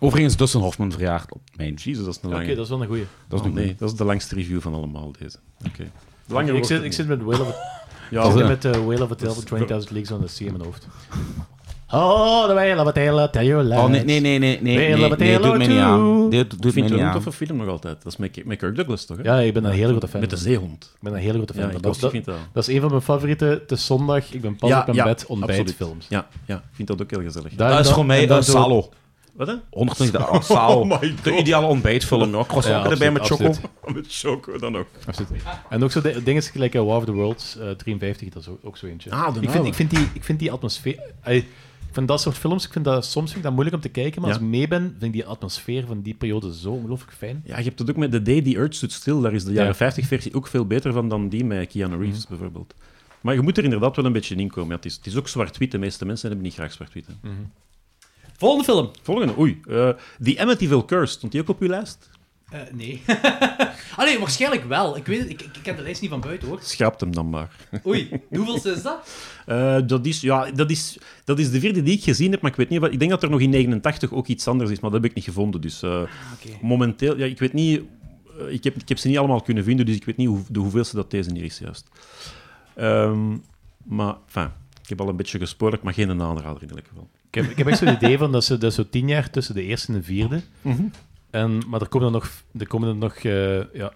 Speaker 5: Overigens, Dustin Hoffman verjaagt op mijn...
Speaker 6: Jezus, dat is een lange.
Speaker 4: dat is wel een goeie.
Speaker 5: Dat is
Speaker 6: Oh,
Speaker 5: nog
Speaker 6: nee, dat is de langste review van allemaal, deze. Oké.
Speaker 4: Langer ik,
Speaker 6: wordt het
Speaker 4: zit, ik
Speaker 6: niet.
Speaker 4: zit met Whale of a,
Speaker 5: Dat
Speaker 6: Ja,
Speaker 4: ik
Speaker 5: is
Speaker 4: zit
Speaker 5: een-
Speaker 4: met, eh, Whale of a Tale van 20.000 Leagues on the Sea in mijn hoofd. Oh, the Whale of a Tale, tell your lies.
Speaker 5: Oh, nee, nee, nee, nee, nee, nee,
Speaker 4: Taylor,
Speaker 5: nee, nee doet mij niet
Speaker 4: Taylor
Speaker 5: aan.
Speaker 4: too.
Speaker 5: Dit doet
Speaker 6: Ik
Speaker 5: mij
Speaker 6: vind het
Speaker 5: niet
Speaker 6: een
Speaker 5: aan.
Speaker 6: toffe film nog altijd. Dat is met, met Kirk Douglas, toch? hè?
Speaker 4: Ja, ik ben een hele grote fan.
Speaker 6: Met de
Speaker 4: van.
Speaker 6: zeehond.
Speaker 4: Ik ben een hele grote fan.
Speaker 6: Ja,
Speaker 4: van.
Speaker 6: ik
Speaker 4: dat,
Speaker 6: ook,
Speaker 4: dat-
Speaker 6: vind dat.
Speaker 4: dat is een van mijn favoriete. Het is zondag, ik ben pas op mijn bed, ontbijtfilms.
Speaker 6: Ja, ja, ik vind dat ook heel gezellig.
Speaker 4: Daar-
Speaker 5: Dat is
Speaker 4: dan-
Speaker 5: voor
Speaker 4: en
Speaker 5: mij
Speaker 4: dan
Speaker 5: een
Speaker 4: zo-
Speaker 5: Salo.
Speaker 6: Wat hè?
Speaker 5: 120 oh, Salo.
Speaker 6: Oh my God.
Speaker 5: de ideale ontbijtfilm. Ja,
Speaker 4: Ja,
Speaker 5: croissant erbij
Speaker 4: absoluut,
Speaker 5: met choco.
Speaker 4: absoluut.
Speaker 6: Met Choco dan ook.
Speaker 4: Absoluut. En ook zo de- dingen gelijk eh, War of the Worlds eh, 53, dat is ook, ook zo eentje.
Speaker 6: Ah, de
Speaker 4: ik, vind,
Speaker 6: oude.
Speaker 4: ik, vind die, ik vind die atmosfeer... ey, ik vind dat soort films, ik vind dat, soms vind ik dat moeilijk om te kijken, maar
Speaker 6: Ja.
Speaker 4: als ik mee ben, vind ik die atmosfeer van die periode zo ongelooflijk fijn.
Speaker 6: Ja, je hebt het ook met The Day The Earth Stood Still. Daar is de jaren
Speaker 4: Ja. Mhm.
Speaker 6: 50 versie ook veel beter van dan die met Keanu Reeves bijvoorbeeld. Maar je moet er inderdaad wel een beetje in komen. Ja, het, is, het is ook zwart-wit. De meeste mensen hebben niet graag zwart-wit. hè.
Speaker 4: Mhm.
Speaker 2: Volgende film.
Speaker 6: Volgende, oei. eh The Amityville Curse. Stond die ook op uw lijst?
Speaker 2: Eh, nee. Allee, waarschijnlijk wel. Ik weet het, ik, ik ik ken de lijst niet van buiten hoor.
Speaker 6: Schraap hem dan maar.
Speaker 2: Oei, hoeveelste is dat?
Speaker 6: Eh, dat, is, ja, dat, is, dat is de vierde die ik gezien heb, maar ik weet niet. wat- Ik denk dat er nog in 89 ook iets anders is, maar dat heb ik niet gevonden. Dus eh, momenteel, ja, ik weet niet. eh, ik, heb, ik heb ze niet allemaal kunnen vinden, dus ik weet niet hoe, de hoeveelste dat deze hier is juist. Ehm, maar, enfin, ik heb al een beetje gespoord, maar geen aanrader in elk geval.
Speaker 4: Ik heb, ik heb echt zo'n idee van dat ze dat is zo tien jaar tussen de eerste en de vierde. En, maar er komen er nog, er komen er nog eh, ja,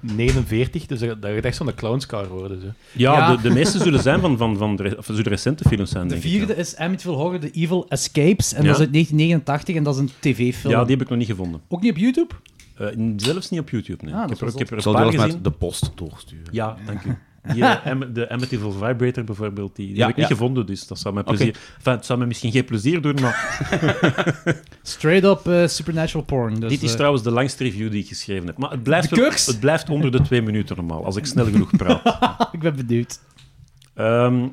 Speaker 4: 49, dus dat dat gaat echt zo'n clownscar worden. Zo.
Speaker 6: Ja,
Speaker 2: Ja.
Speaker 6: De, de meeste zullen zijn van, van, van de, re- of zullen recente films zijn,
Speaker 2: De
Speaker 6: denk ik.
Speaker 2: vierde
Speaker 6: ja.
Speaker 2: is Amityville Horror, The Evil Escapes. En
Speaker 6: Ja.
Speaker 2: dat is uit 1989 en dat is een tv-film.
Speaker 6: Ja, die heb ik nog niet gevonden.
Speaker 2: Ook niet op YouTube?
Speaker 6: Eh, zelfs niet op YouTube, nee.
Speaker 2: Ah, dat
Speaker 6: ik heb er,
Speaker 2: was
Speaker 6: ik heb er
Speaker 5: Ik zal
Speaker 6: een
Speaker 5: die
Speaker 6: paar
Speaker 5: wel eens
Speaker 6: gezien.
Speaker 5: met de post doorsturen.
Speaker 6: Ja, dank u. Die, eh, Am- de Amityville Vibrator bijvoorbeeld, die, die
Speaker 5: Ja,
Speaker 6: heb ik niet
Speaker 5: ja.
Speaker 6: gevonden, dus dat zou mij plezier... Enfin, het zou mij misschien geen plezier doen, maar
Speaker 2: Straight up eh, supernatural porn. Dus,
Speaker 6: dit is
Speaker 2: eh,
Speaker 6: trouwens de langste review die ik geschreven heb. Maar het blijft,
Speaker 2: De
Speaker 6: wel-
Speaker 2: curse?
Speaker 6: het blijft onder de twee minuten normaal, als ik snel genoeg praat.
Speaker 2: ik ben benieuwd.
Speaker 6: Ehm,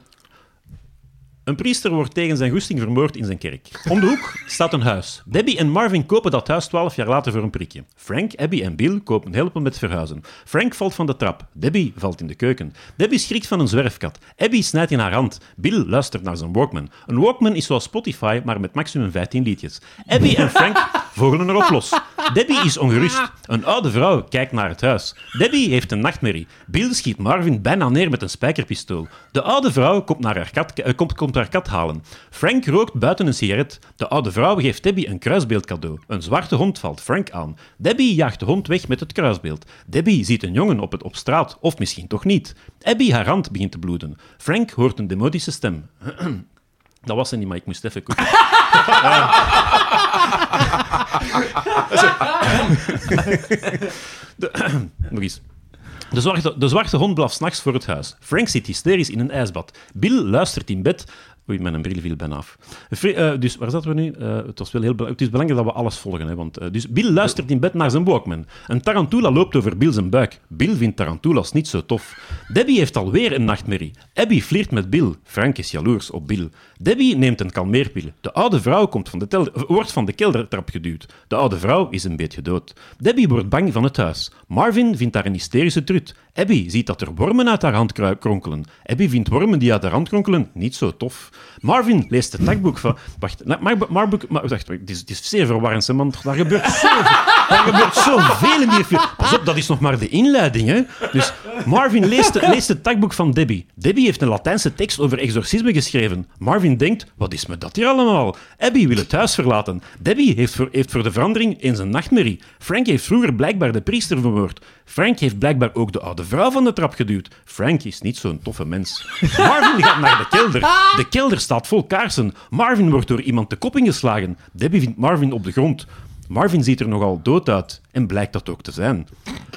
Speaker 6: Een priester wordt tegen zijn goesting vermoord in zijn kerk. Om de hoek staat een huis. Debbie en Marvin kopen dat huis twaalf jaar later voor een prikje. Frank, Abby en Bill kopen helpen met verhuizen. Frank valt van de trap. Debbie valt in de keuken. Debbie schrikt van een zwerfkat. Abby snijdt in haar hand. Bill luistert naar zijn Walkman. Een Walkman is zoals Spotify, maar met maximum 15 liedjes. Abby en Frank vogelen erop los. Debbie is ongerust. Een oude vrouw kijkt naar het huis. Debbie heeft een nachtmerrie. Bill schiet Marvin bijna neer met een spijkerpistool. De oude vrouw komt, naar haar kat, eh, komt, komt haar kat halen. Frank rookt buiten een sigaret. De oude vrouw geeft Debbie een kruisbeeld cadeau. Een zwarte hond valt Frank aan. Debbie jaagt de hond weg met het kruisbeeld. Debbie ziet een jongen op, het, op straat, of misschien toch niet. Abby, haar hand begint te bloeden. Frank hoort een demonische stem. Dat was er niet, maar ik moest even koeken. Nog eens. De zwarte, de zwarte hond blaft s'nachts voor het huis. Frank zit hysterisch in een ijsbad. Bill luistert in bed. Oei, mijn bril viel bijna af. Fri- eh, dus waar zaten we nu? Eh, het, was wel heel bela- het is belangrijk dat we alles volgen. Hè, want, eh, dus Bill luistert in bed naar zijn Walkman. Een tarantula loopt over Bill zijn buik. Bill vindt tarantulas niet zo tof. Debbie heeft alweer een nachtmerrie. Abby flirt met Bill. Frank is jaloers op Bill. Debbie neemt een kalmeerpil. De oude vrouw komt van de tel- wordt van de keldertrap geduwd. De oude vrouw is een beetje dood. Debbie wordt bang van het huis. Marvin vindt daar een hysterische trut. Abby ziet dat er wormen uit haar hand kru- kronkelen. Abby vindt wormen die uit haar hand kronkelen niet zo tof. Marvin leest het dagboek van... Wacht, na- maar, maar, boek- maar, wacht het, is, het is zeer verwarrend, hè, man. Daar gebeurt zoveel. Er gebeurt zoveel in die film. Pas op, dat is nog maar de inleiding. Hè? Dus Marvin leest, leest het dagboek van Debbie. Debbie heeft een Latijnse tekst over exorcisme geschreven. Marvin denkt, wat is me dat hier allemaal? Abby wil het huis verlaten. Debbie heeft voor, heeft voor de verandering eens een nachtmerrie. Frank heeft vroeger blijkbaar de priester vermoord. Frank heeft blijkbaar ook de oude vrouw van de trap geduwd. Frank is niet zo'n toffe mens. Marvin gaat naar de kelder. De kelder staat vol kaarsen. Marvin wordt door iemand de kop ingeslagen. Debbie vindt Marvin op de grond. Marvin ziet er nogal dood uit en blijkt dat ook te zijn.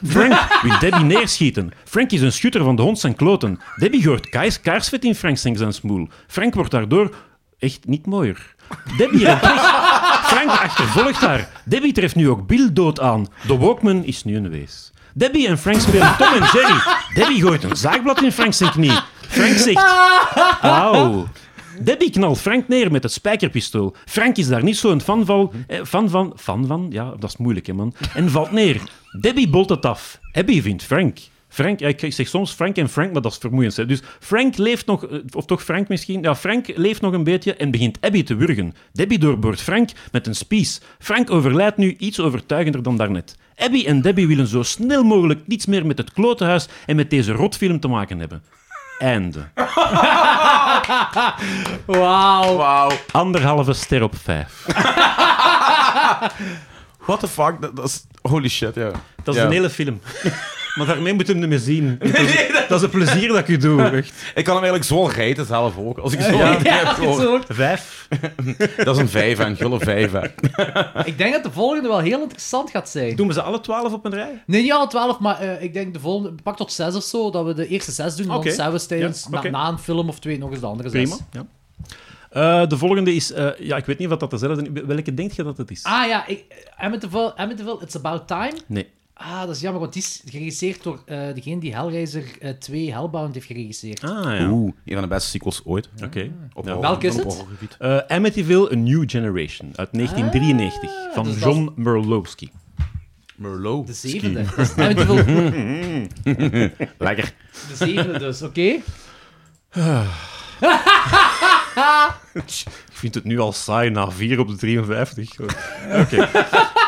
Speaker 6: Frank wil Debbie neerschieten. Frank is een schutter van de hond zijn kloten. Debbie hoort kaars, kaarsvet in Frank zijn smoel. Frank wordt daardoor echt niet mooier. Debbie rent weg. Frank achtervolgt haar. Debbie treft nu ook Bill dood aan. De Walkman is nu een wees. Debbie en Frank spelen Tom en Jerry. Debbie gooit een zaagblad in Frank zijn knie. Frank zegt... Auw. Debbie knalt Frank neer met het spijkerpistool. Frank is daar niet zo'n fan van. eh, Fan van? Fan van? Ja, dat is moeilijk, hè, man. En valt neer. Debbie bolt het af. Abby vindt Frank. Frank, ja, ik zeg soms Frank en Frank, maar dat is vermoeiend. Hè. Dus Frank leeft nog, eh, of toch Frank misschien? Ja, Frank leeft nog een beetje en begint Abby te wurgen. Debbie doorboort Frank met een spies. Frank overlijdt nu iets overtuigender dan daarnet. Abby en Debbie willen zo snel mogelijk niets meer met het klotenhuis en met deze rotfilm te maken hebben. Einde.
Speaker 2: Wauw.
Speaker 5: Wauw.
Speaker 6: Anderhalve ster op vijf.
Speaker 5: What the fuck? Dat, dat is... Holy shit, ja.
Speaker 6: Dat is
Speaker 5: Ja.
Speaker 6: een hele film. maar daarmee moet je hem niet meer zien. Dat is, dat is een plezier dat ik u doe. Echt.
Speaker 5: Ik kan hem eigenlijk zo rijden zelf ook. Als ik zo
Speaker 2: Ja,
Speaker 5: niet heb,
Speaker 2: het is
Speaker 5: gewoon.
Speaker 2: ook.
Speaker 6: Vijf.
Speaker 5: Dat is een vijf, een gulle vijf. hè.
Speaker 2: Ik denk dat de volgende wel heel interessant gaat zijn.
Speaker 6: Doen we ze alle twaalf op een rij?
Speaker 2: Nee, niet alle twaalf, maar eh, ik denk de volgende... Pak tot zes of zo, dat we de eerste zes doen. En
Speaker 6: Oké.
Speaker 2: dan zijn we tijdens,
Speaker 6: Ja,
Speaker 2: na-
Speaker 6: oké.
Speaker 2: na, een film of twee, nog eens de andere
Speaker 6: Prima.
Speaker 2: zes.
Speaker 6: Ja. Eh, de volgende is... eh, ja, ik weet niet wat dat dezelfde... Welke denk je dat het is?
Speaker 2: Ah ja, ik, Amityville, Amityville, It's About Time.
Speaker 6: Nee.
Speaker 2: Ah, dat is jammer, want die is geregisseerd door eh, degene die Hellraiser eh, 2 Hellbound heeft geregisseerd.
Speaker 6: Ah, ja. Oké.
Speaker 5: Oeh, een van de beste sequels ooit. Op horror-
Speaker 2: Welke is
Speaker 5: op
Speaker 2: het?
Speaker 5: horrorgebied.
Speaker 6: Eh, Amityville, A New Generation, uit 1993, van
Speaker 2: dus dat
Speaker 6: John Merlowski.
Speaker 5: Merlot.
Speaker 2: De zevende. Dat is Amityville,
Speaker 5: Lekker.
Speaker 2: de zevende dus, oké?
Speaker 6: Ik vind het nu al saai na 4 op de 53. Oké.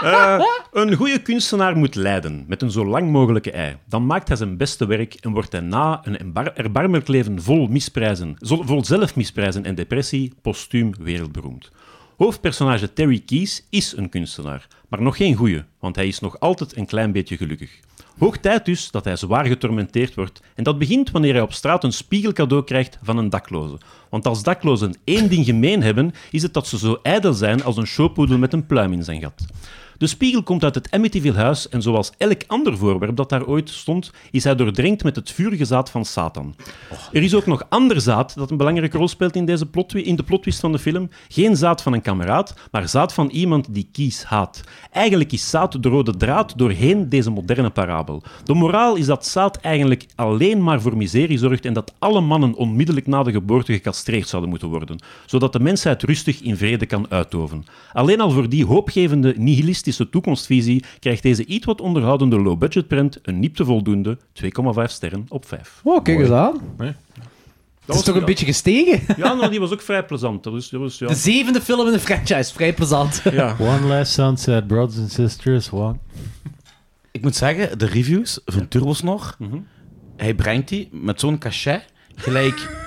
Speaker 6: Eh, een goede kunstenaar moet lijden met een zo lang mogelijke ei. Dan maakt hij zijn beste werk en wordt hij na een embar- erbarmelijk leven vol, misprijzen, zo- vol zelfmisprijzen en depressie postuum wereldberoemd. Hoofdpersonage Terry Keys is een kunstenaar, maar nog geen goeie, want hij is nog altijd een klein beetje gelukkig. Hoog tijd dus dat hij zwaar getormenteerd wordt. En dat begint wanneer hij op straat een spiegel cadeau krijgt van een dakloze. Want als daklozen één ding gemeen hebben, is het dat ze zo ijdel zijn als een showpoedel met een pluim in zijn gat. De spiegel komt uit het Amityville-huis en zoals elk ander voorwerp dat daar ooit stond, is hij doordrenkt met het vurige zaad van Satan. Er is ook nog ander zaad dat een belangrijke rol speelt in, deze plotwi- in de plotwist van de film. Geen zaad van een kameraad, maar zaad van iemand die Kies haat. Eigenlijk is zaad de rode draad doorheen deze moderne parabel. De moraal is dat zaad eigenlijk alleen maar voor miserie zorgt en dat alle mannen onmiddellijk na de geboorte gecastreerd zouden moeten worden, zodat de mensheid rustig in vrede kan uitoven. Alleen al voor die hoopgevende nihilistische toekomstvisie krijgt deze iets wat onderhoudende low-budget print een niet te voldoende 2,5 sterren op 5.
Speaker 2: Oh, kijk eens aan. Het
Speaker 6: was
Speaker 2: is toch
Speaker 6: een-
Speaker 2: een beetje gestegen?
Speaker 6: Ja, nou, die was ook vrij plezant. Dat was, dat was, ja.
Speaker 2: De zevende film in de franchise, vrij plezant.
Speaker 6: Ja.
Speaker 4: One last sunset, brothers and sisters. One.
Speaker 5: Ik moet zeggen, de reviews van Turbosnor,
Speaker 6: Mhm.
Speaker 5: hij brengt die met zo'n cachet gelijk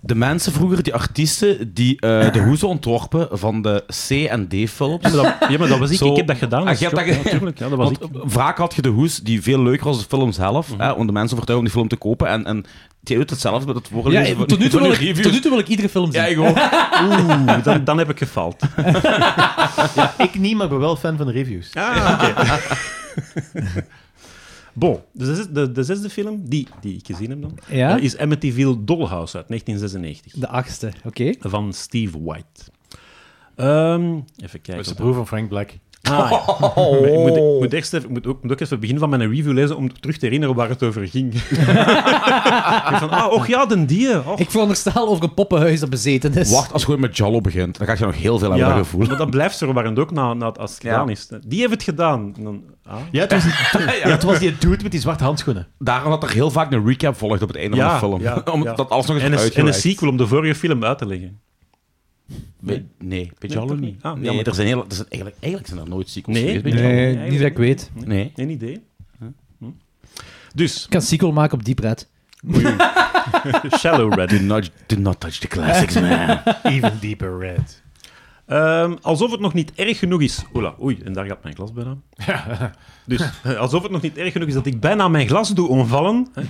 Speaker 5: de mensen vroeger, die artiesten, die eh, de hoezen ontworpen van de C- en D-films.
Speaker 6: Ja, maar dat, ja, maar dat was ik.
Speaker 5: Zo-
Speaker 6: ik heb dat gedaan.
Speaker 5: Ah,
Speaker 6: Dat is
Speaker 5: je hebt dat
Speaker 6: job,
Speaker 5: ge-
Speaker 6: natuurlijk. Ja, dat was ik.
Speaker 5: Want vaak had je de hoes die veel leuker was als de film zelf, hè, om de mensen te overtuigen om die film te kopen. En, en die doet hetzelfde met het
Speaker 2: Ja,
Speaker 5: voorlezen van,
Speaker 2: tot, nu toe
Speaker 5: van
Speaker 2: wil
Speaker 5: die
Speaker 2: ik,
Speaker 5: reviews.
Speaker 2: tot nu toe wil ik iedere film zien.
Speaker 5: Ja, ik ook.
Speaker 6: Oeh, dan, dan heb ik gefaald.
Speaker 4: Ik niet, maar ik ben wel fan van de reviews.
Speaker 5: Ah.
Speaker 6: Bon, de zesde, de, de zesde film die, die ik gezien heb dan,
Speaker 2: Ja?
Speaker 6: eh, is Amityville Dollhouse uit 1996
Speaker 2: De achtste, oké.
Speaker 6: van Steve White. Ehm, even kijken.
Speaker 4: Dat is de broer van Frank Black.
Speaker 6: Ah, ja.
Speaker 5: Oh.
Speaker 6: Maar ik, moet, ik moet eerst even, ik moet ook, moet ook even het begin van mijn review lezen om terug te herinneren waar het over ging. ik van, ah, och ja, den die. Och.
Speaker 2: Ik veronderstel over een poppenhuis dat bezeten is.
Speaker 5: Wacht, als je gewoon met Jallo begint, dan ga je nog heel veel aan
Speaker 6: Ja,
Speaker 5: hebben gevoel.
Speaker 6: maar dat blijft verwarrend ook na, na het, als het
Speaker 5: Ja.
Speaker 6: gedaan is. Die heeft het gedaan. En dan, ah.
Speaker 4: Ja, het was, die, ja, het was die dude met die zwarte handschoenen.
Speaker 5: Daarom dat er heel vaak een recap volgt op het einde
Speaker 6: Ja,
Speaker 5: van de film.
Speaker 6: ja,
Speaker 5: om
Speaker 6: ja.
Speaker 5: dat alles nog eens
Speaker 6: En, een, en een
Speaker 5: uitgewerkt.
Speaker 6: sequel om de vorige film uit te leggen.
Speaker 5: Nee, nee, bij Jallo
Speaker 6: toch niet?
Speaker 5: niet.
Speaker 6: Ah,
Speaker 5: nee,
Speaker 6: jammer.
Speaker 5: er zijn heel, er zijn eigenlijk, eigenlijk zijn er nooit sequels
Speaker 6: Nee.
Speaker 5: geweest bij Jallo.
Speaker 2: Nee, niet dat ik weet. Ik
Speaker 5: Nee.
Speaker 6: Geen idee. Hm? Dus,
Speaker 2: kan een sequel maken op Deep Red.
Speaker 6: Shallow Red.
Speaker 5: Ah, Do not, do not touch the classics, man.
Speaker 4: Even deeper red.
Speaker 6: Ehm, alsof het nog niet erg genoeg is. Ola, oei, en daar gaat mijn glas bijna. Dus eh, alsof het nog niet erg genoeg is dat ik bijna mijn glas doe omvallen. hè.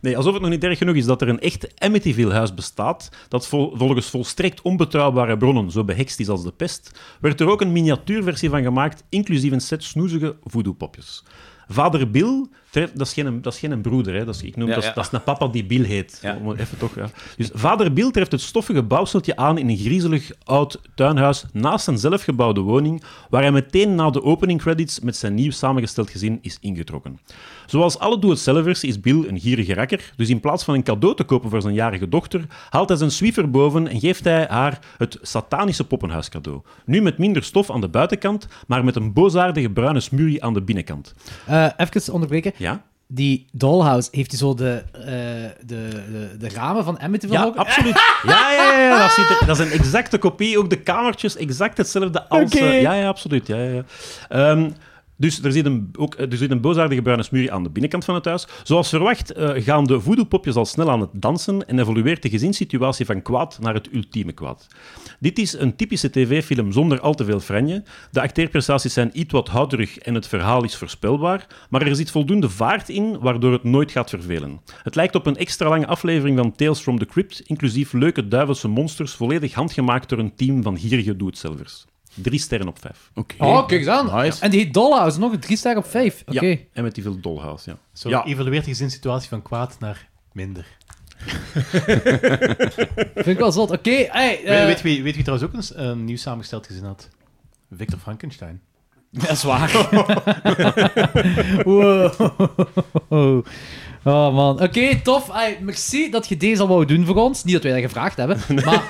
Speaker 6: Nee, alsof het nog niet erg genoeg is dat er een echt Amityville-huis bestaat. dat vol- volgens volstrekt onbetrouwbare bronnen zo behekst is als de pest. werd er ook een miniatuurversie van gemaakt, inclusief een set snoezige voodoo-popjes. Vader Bill, treft- dat is geen, dat is geen broeder, hè. Dat, is, ik noem,
Speaker 5: Ja,
Speaker 6: dat, is,
Speaker 5: ja.
Speaker 6: dat is een papa die Bill heet.
Speaker 5: Ja.
Speaker 6: Om even toch, ja. Dus vader Bill treft het stoffige bouwseltje aan in een griezelig oud tuinhuis naast een zelfgebouwde woning, waar hij meteen na de opening credits met zijn nieuw samengesteld gezin is ingetrokken. Zoals alle doe-het-zelvers is Bill een gierige rakker, dus in plaats van een cadeau te kopen voor zijn jarige dochter, haalt hij zijn zwiever boven en geeft hij haar het satanische poppenhuis cadeau. Nu met minder stof aan de buitenkant, maar met een boosaardige bruine smurrie aan de binnenkant.
Speaker 2: Eh even onderbreken.
Speaker 6: Ja?
Speaker 2: Die dollhouse, heeft hij zo de, eh, de, de, de ramen van Amityville
Speaker 6: Ja,
Speaker 2: ook?
Speaker 6: absoluut. Ja, ja, ja, ja, dat, ziet er- dat is een exacte kopie. Ook de kamertjes, exact hetzelfde als...
Speaker 2: Oké.
Speaker 6: eh, ja, ja, absoluut. Ja, ja, ja. Ehm, dus er zit, een, ook, er zit een boosaardige bruine smuur aan de binnenkant van het huis. Zoals verwacht eh, gaan de voodoo-popjes al snel aan het dansen en evolueert de gezinssituatie van kwaad naar het ultieme kwaad. Dit is een typische tv-film zonder al te veel franje. De acteerprestaties zijn iets wat houterig en het verhaal is voorspelbaar, maar er zit voldoende vaart in waardoor het nooit gaat vervelen. Het lijkt op een extra lange aflevering van Tales from the Crypt, inclusief leuke duivelse monsters, volledig handgemaakt door een team van gierige doe-het-zelvers. Drie sterren op vijf.
Speaker 5: Oké.
Speaker 2: Oh, kijk eens aan.
Speaker 5: Nice.
Speaker 2: En die dollhouse, nog een drie sterren op vijf. Oké.
Speaker 6: Ja, en met die veel dollhouse, ja.
Speaker 4: Zo
Speaker 6: Ja.
Speaker 4: evalueert je situatie van kwaad naar minder.
Speaker 2: Vind ik wel zot. Oké, hey, eh,
Speaker 4: weet, weet, wie, weet wie trouwens ook een, s- een nieuw samengesteld gezin had? Victor Frankenstein.
Speaker 2: Dat is waar. wow. Oh man. Oké, tof. Ai, merci dat je deze al wou doen voor ons. Niet dat wij dat gevraagd hebben. Maar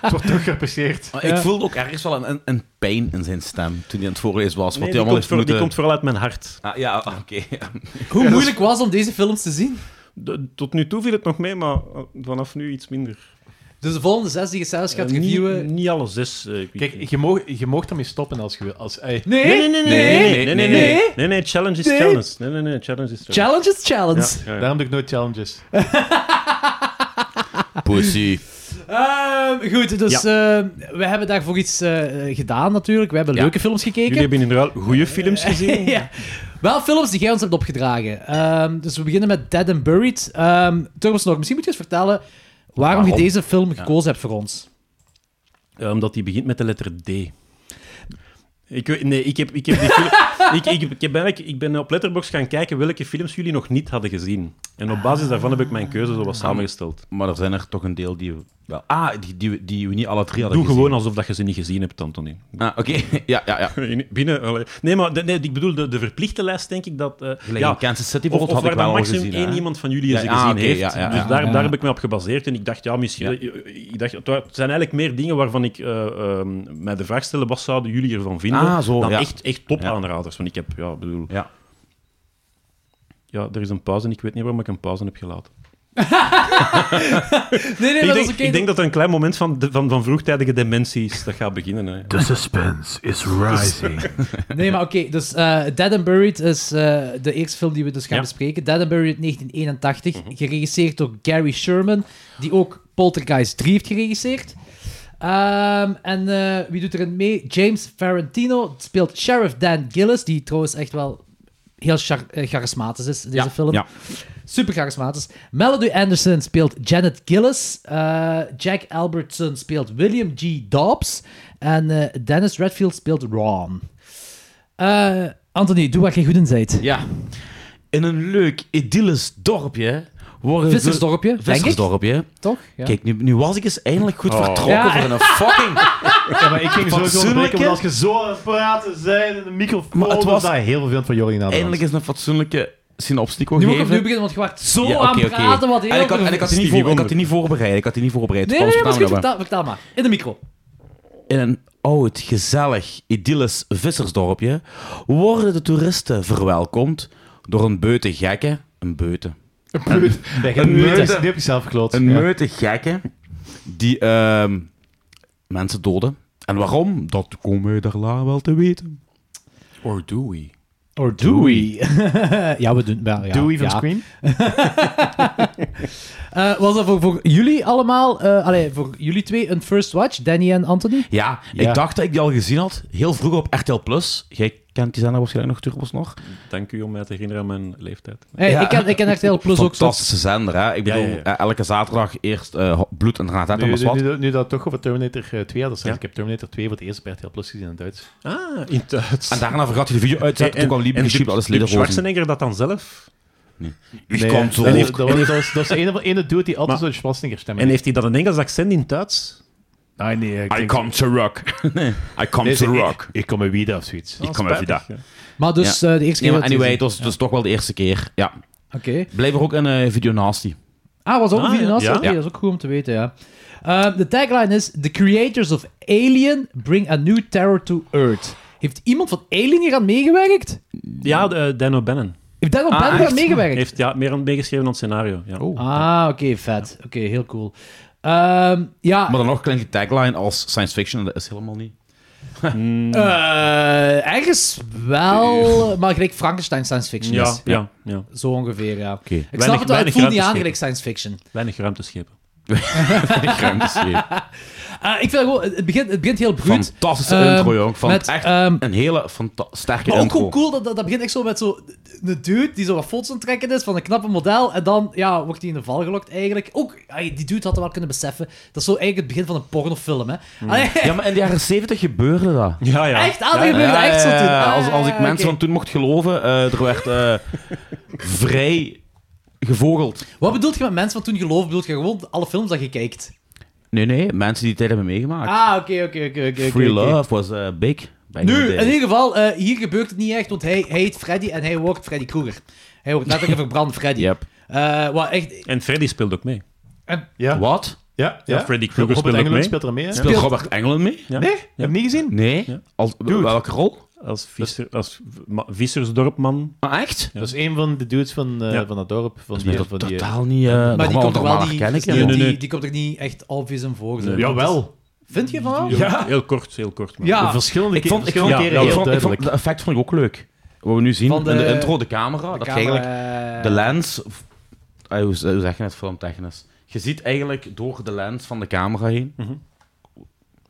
Speaker 4: Het wordt toch gepasseerd.
Speaker 5: Maar
Speaker 2: Ja.
Speaker 5: ik voelde ook ergens wel een, een, een pijn in zijn stem toen hij aan het voorlezen was. Wat
Speaker 6: Nee,
Speaker 5: hij
Speaker 6: die,
Speaker 5: allemaal
Speaker 6: komt
Speaker 5: heeft
Speaker 6: voor- die
Speaker 5: moeten...
Speaker 6: komt vooral uit mijn hart.
Speaker 5: Ah, ja, ah, oké.
Speaker 2: hoe moeilijk was om deze films te zien?
Speaker 6: De- tot nu toe viel het nog mee, maar eh, vanaf nu iets minder.
Speaker 2: Dus de volgende zes die je zelfs gaat
Speaker 6: Eh, niet-
Speaker 2: reviewen.
Speaker 6: Niet, alle zes. eh, ik-
Speaker 4: Kijk, je mag, je mag daarmee stoppen als je wil. Als, ey,
Speaker 2: Nee,
Speaker 6: Nee, nee, nee, nee, nee, nee, nee, nee,
Speaker 2: nee.
Speaker 6: nee, nee, nee, challenge is
Speaker 2: Nee.
Speaker 6: challenge. Nee, nee, nee, challenge is challenge.
Speaker 2: Challenge is challenge.
Speaker 6: Ja, ja, ja.
Speaker 4: Daarom doe ik nooit challenges.
Speaker 5: Pussy.
Speaker 2: Ehm, goed, dus eh, we hebben daarvoor iets eh, gedaan natuurlijk. We hebben
Speaker 5: Ja.
Speaker 2: leuke films gekeken.
Speaker 6: Jullie hebben inderdaad goede films gezien.
Speaker 2: ja. Wel films die jij ons hebt opgedragen. Ehm, dus we beginnen met Dead and Buried. Ehm Turbos nog, misschien moet je eens vertellen waarom, je
Speaker 5: Waarom?
Speaker 2: deze film gekozen hebt voor ons.
Speaker 6: Eh, omdat die begint met de letter D. Ik, weet- nee, ik heb, ik heb die film... ik, ik, ik, heb eigenlijk, ik ben op Letterboxd gaan kijken welke films jullie nog niet hadden gezien. En op basis daarvan heb ik mijn keuze zo wat samengesteld.
Speaker 7: Maar er zijn er toch een deel die we... Wel, ah, die, die, we- die we niet alle drie hadden
Speaker 6: Doe
Speaker 7: gezien.
Speaker 6: gewoon alsof dat je ze niet gezien hebt, Anthony.
Speaker 7: Ah, oké. ja, ja, ja.
Speaker 6: Binnen... allee. Nee, maar de- nee, ik bedoel, de, de verplichte lijst denk ik dat... eh,
Speaker 7: Gelijk in Kansas City
Speaker 6: of, of
Speaker 7: bijvoorbeeld had
Speaker 6: waar
Speaker 7: ik wel
Speaker 6: dan
Speaker 7: al
Speaker 6: maximum
Speaker 7: gezien.
Speaker 6: één
Speaker 7: hè.
Speaker 6: iemand van jullie eens
Speaker 7: Ja,
Speaker 6: gezien
Speaker 7: ah, oké,
Speaker 6: heeft.
Speaker 7: ja, ja,
Speaker 6: dus
Speaker 7: ja.
Speaker 6: daar,
Speaker 2: Ja.
Speaker 6: daar heb ik me op gebaseerd. En ik dacht, ja, misschien... eh, Ik dacht, het wa- het zijn eigenlijk meer dingen waarvan ik eh, ehm, mij de vraag stelde, wat zouden jullie ervan vinden?
Speaker 7: Ah, zo,
Speaker 6: dan
Speaker 7: ja.
Speaker 6: echt, echt top aanraders. Want ik heb, ja, ik bedoel...
Speaker 7: Ja.
Speaker 6: Ja, er is een pauze en ik weet niet waarom ik een pauze heb gelaten.
Speaker 2: Nee, nee,
Speaker 6: ik,
Speaker 2: dat
Speaker 6: denk,
Speaker 2: is oké.
Speaker 6: ik denk dat er een klein moment van, de- van, van vroegtijdige dementie is. Dat gaat beginnen. Hè.
Speaker 8: The suspense is rising.
Speaker 2: Nee, maar oké. dus eh, Dead and Buried is eh, de eerste film die we dus gaan
Speaker 6: Ja.
Speaker 2: bespreken. Dead and Buried 1981,
Speaker 7: Mhm.
Speaker 2: geregisseerd door Gary Sherman, die ook Poltergeist 3 heeft geregisseerd. Ehm, en eh, wie doet erin mee? James Ferrantino speelt Sheriff Dan Gillis, die trouwens echt wel heel char- eh, charismatisch is in deze film.
Speaker 7: ja.
Speaker 2: Super charismatisch. Melody Anderson speelt Janet Gillis. Eh, Jack Albertson speelt William G. Dobbs. En eh, Dennis Redfield speelt Ron. Eh, Anthony, doe waar jij goed in bent.
Speaker 7: Ja. In een leuk, idyllisch dorpje worden ze-
Speaker 2: Vissersdorpje, denk ik.
Speaker 7: Vissersdorpje.
Speaker 2: Toch? Ja.
Speaker 7: Kijk, nu, nu was ik eens eindelijk goed vertrokken
Speaker 2: Ja.
Speaker 7: voor een fucking...
Speaker 4: Ja, maar ik ging sowieso
Speaker 7: Fatsoenlijke?
Speaker 4: onderbreken, want als je zo aan het praten bent in de microfoon,
Speaker 7: Maar het
Speaker 4: dan
Speaker 7: was-
Speaker 4: is dat heel vervelend voor Jordi na de hand.
Speaker 7: eindelijk eens een fatsoenlijke synopstico
Speaker 2: Nu moet ik
Speaker 7: geven.
Speaker 2: opnieuw beginnen, want je wacht zo
Speaker 7: Ja, oké,
Speaker 2: aan het
Speaker 7: oké.
Speaker 2: praten. Wat heel
Speaker 7: en ik had, en ik had die niet
Speaker 6: Stevie
Speaker 7: voor, ik had die niet voorbereid. Ik had die niet voorbereid.
Speaker 2: Nee,
Speaker 7: Ik
Speaker 2: nee,
Speaker 7: kon
Speaker 2: nee, maar is
Speaker 7: het
Speaker 2: goed,
Speaker 7: staan hebben.
Speaker 2: vertel, vertel maar. In de micro.
Speaker 7: In een oud, gezellig, idyllisch vissersdorpje worden de toeristen verwelkomd door een beute gekken. Een beute.
Speaker 4: Nee, je
Speaker 7: Een
Speaker 4: hebt-
Speaker 7: meute.
Speaker 4: Die heb je zelf gekloot.
Speaker 7: Een
Speaker 4: Ja.
Speaker 7: meute gekken die ehm, mensen doden. En waarom? Dat komen we daar later wel te weten.
Speaker 6: Or do we?
Speaker 2: Or do we? Oh, ja, we doen... wel. ja,
Speaker 4: Dewey van
Speaker 2: ja.
Speaker 4: Scream.
Speaker 2: Eh, was dat voor, voor jullie allemaal, eh allee, voor jullie twee, een first watch, Danny en Anthony?
Speaker 7: Ja,
Speaker 4: Ja.
Speaker 7: ik dacht dat ik die al gezien had. Heel vroeg op RTL+. Plus. Jij kent die zender waarschijnlijk nog, Turbos nog.
Speaker 6: Dank u om mij te herinneren aan mijn leeftijd.
Speaker 2: Hey,
Speaker 7: Ja.
Speaker 2: Ik ken, ik ken RTL Plus ook zo.
Speaker 7: Fantastische zender, hè. Ik bedoel,
Speaker 6: ja, ja.
Speaker 7: eh, elke zaterdag eerst eh, bloed en daarna dat en
Speaker 4: Nu,
Speaker 7: dat is
Speaker 4: nu, nu,
Speaker 7: wat.
Speaker 4: nu dat we toch over Terminator eh, 2 hadden, zijn. ik heb Terminator 2 voor het eerst bij RTL Plus gezien in het Duits.
Speaker 6: Ah, in Duits.
Speaker 7: En daarna vergat hij de video uitzetten. Toen kwam Liebe Geschiep, alles
Speaker 6: Doet
Speaker 7: lederhozen.
Speaker 6: Schwarzenegger dat dan zelf?
Speaker 7: Ik
Speaker 4: Nee,
Speaker 7: kom zo.
Speaker 4: Dat, dat, dat, dat, was- dat is de ene, ene dude die altijd
Speaker 6: Maar-
Speaker 4: zo'n Schwarzenegger stem
Speaker 6: En heeft hij dat een Engels accent in Duits?
Speaker 4: Nee, nee. Ik
Speaker 7: I
Speaker 4: denk-
Speaker 7: come to rock. Nee, I come
Speaker 4: Nee,
Speaker 7: to
Speaker 4: ze-
Speaker 7: rock.
Speaker 4: Ik, ik kom er weer of zoiets.
Speaker 7: Ik kom even daar.
Speaker 2: Maar dus eh, de eerste
Speaker 7: Nee,
Speaker 2: keer...
Speaker 7: maar
Speaker 2: dat je-
Speaker 7: anyway, het was dus toch wel de eerste keer. Ja.
Speaker 2: Oké.
Speaker 7: Blijf er ook een eh, video naast die.
Speaker 2: Ah, was ook een
Speaker 6: Ah,
Speaker 2: video
Speaker 6: ja.
Speaker 2: naast?
Speaker 6: Ja.
Speaker 2: Oké, dat is ook goed om te weten, ja. Ehm, de tagline is... The creators of Alien bring a new terror to Earth. Heeft iemand van Alien hier aan meegewerkt?
Speaker 6: Ja, de- eh, Dan O'Bannon.
Speaker 2: Heeft Daniel ah, aan meegewerkt?
Speaker 6: Heeft ja, meer aan meegeschreven aan het scenario. Ja.
Speaker 2: Ah, oké, vet. Oké, heel cool. Ehm, ja,
Speaker 7: Maar dan nog klinkt die tagline als science fiction. en Dat is helemaal niet.
Speaker 2: eh, ergens wel, maar gelijk Frankenstein science fiction
Speaker 6: Ja,
Speaker 2: is.
Speaker 6: ja, ja.
Speaker 2: Zo ongeveer, ja.
Speaker 7: Oké.
Speaker 2: Ik snap
Speaker 6: Weinig-
Speaker 2: het wel, het
Speaker 6: weinig
Speaker 2: voelt niet aan
Speaker 6: ruimteschepen.
Speaker 2: gelijk science fiction.
Speaker 6: Weinig ruimteschepen.
Speaker 2: Eh, ik vind dat gewoon, het begint, het begint heel bruut.
Speaker 7: Fantastische
Speaker 2: Ehm,
Speaker 7: intro, jong. Van
Speaker 2: met,
Speaker 7: echt
Speaker 2: ehm,
Speaker 7: een hele fanta- sterke
Speaker 2: Maar ook
Speaker 7: intro.
Speaker 2: gewoon cool, dat, dat, dat begint echt zo met zo een dude die zo wat foto's aan het trekken is van een knappe model. En dan ja, wordt hij in de val gelokt eigenlijk. Ook, ay, die dude had dat wel kunnen beseffen. Dat is zo eigenlijk het begin van een pornofilm, hè. Allee,
Speaker 7: Hmm. Ja, maar in de jaren 70 gebeurde dat.
Speaker 6: Ja, ja.
Speaker 2: Echt, ah, dat gebeurde echt zo
Speaker 7: ja,
Speaker 2: toen.
Speaker 7: ja,
Speaker 2: Ah,
Speaker 7: Als, als ik
Speaker 2: oké.
Speaker 7: mensen van toen mocht geloven, eh, er werd eh, vrij gevogeld.
Speaker 2: Wat bedoelt je met mensen van toen geloven? Bedoelt je gewoon alle films dat je kijkt?
Speaker 7: Nee, nee, mensen die tijd hebben meegemaakt.
Speaker 2: Ah, oké, oké, oké, oké. oké,
Speaker 7: Free
Speaker 2: oké.
Speaker 7: Love was eh, big. back in the
Speaker 2: Nu,
Speaker 7: day.
Speaker 2: in ieder geval, eh, hier gebeurt het niet echt, want hij, hij heet Freddy en hij wordt Freddy Krueger. Hij wordt letterlijk een verbrand Freddy.
Speaker 7: Yep.
Speaker 2: Eh, wat echt...
Speaker 6: En Freddy speelt ook mee.
Speaker 4: Ja.
Speaker 7: Wat?
Speaker 4: Ja,
Speaker 6: Ja, Freddy Krueger
Speaker 4: Robert
Speaker 6: speelt ook
Speaker 4: Englund
Speaker 6: mee.
Speaker 4: speelt er mee. hè?
Speaker 7: Speelt Robert Englund mee?
Speaker 6: Ja.
Speaker 4: Nee? Heb je niet gezien?
Speaker 7: Nee. Als, welke rol?
Speaker 6: Als, visser, als v- ma- vissersdorpman.
Speaker 7: Ah, echt?
Speaker 4: Dat is een van de dudes van, eh,
Speaker 6: Ja.
Speaker 4: van dat dorp. Van
Speaker 7: Nee,
Speaker 4: die,
Speaker 7: dat
Speaker 4: van die,
Speaker 7: totaal niet. eh
Speaker 2: Maar die
Speaker 7: normaal,
Speaker 2: komt er wel
Speaker 7: normaal
Speaker 2: niet...
Speaker 7: ken ik
Speaker 2: die,
Speaker 7: hem.
Speaker 6: nee, nee.
Speaker 2: Die, die komt er niet echt obvious in voor. zo.
Speaker 6: Nee.
Speaker 4: Jawel.
Speaker 2: Vind je van?
Speaker 6: Heel, heel kort, heel kort. Maar.
Speaker 2: Ja.
Speaker 4: Verschillende
Speaker 7: Ik vond, ik vond,
Speaker 4: verschillende
Speaker 7: ik
Speaker 4: keren heel
Speaker 7: vond, ik vond
Speaker 4: duidelijk.
Speaker 7: de effect vond ik ook leuk. Wat we nu zien
Speaker 2: Van de-
Speaker 7: in de intro, de camera, dat je eigenlijk
Speaker 2: eigenlijk
Speaker 7: de lens, of- ah, hoe, hoe zeg je het filmtechnisch? Je ziet eigenlijk door de lens van de camera heen.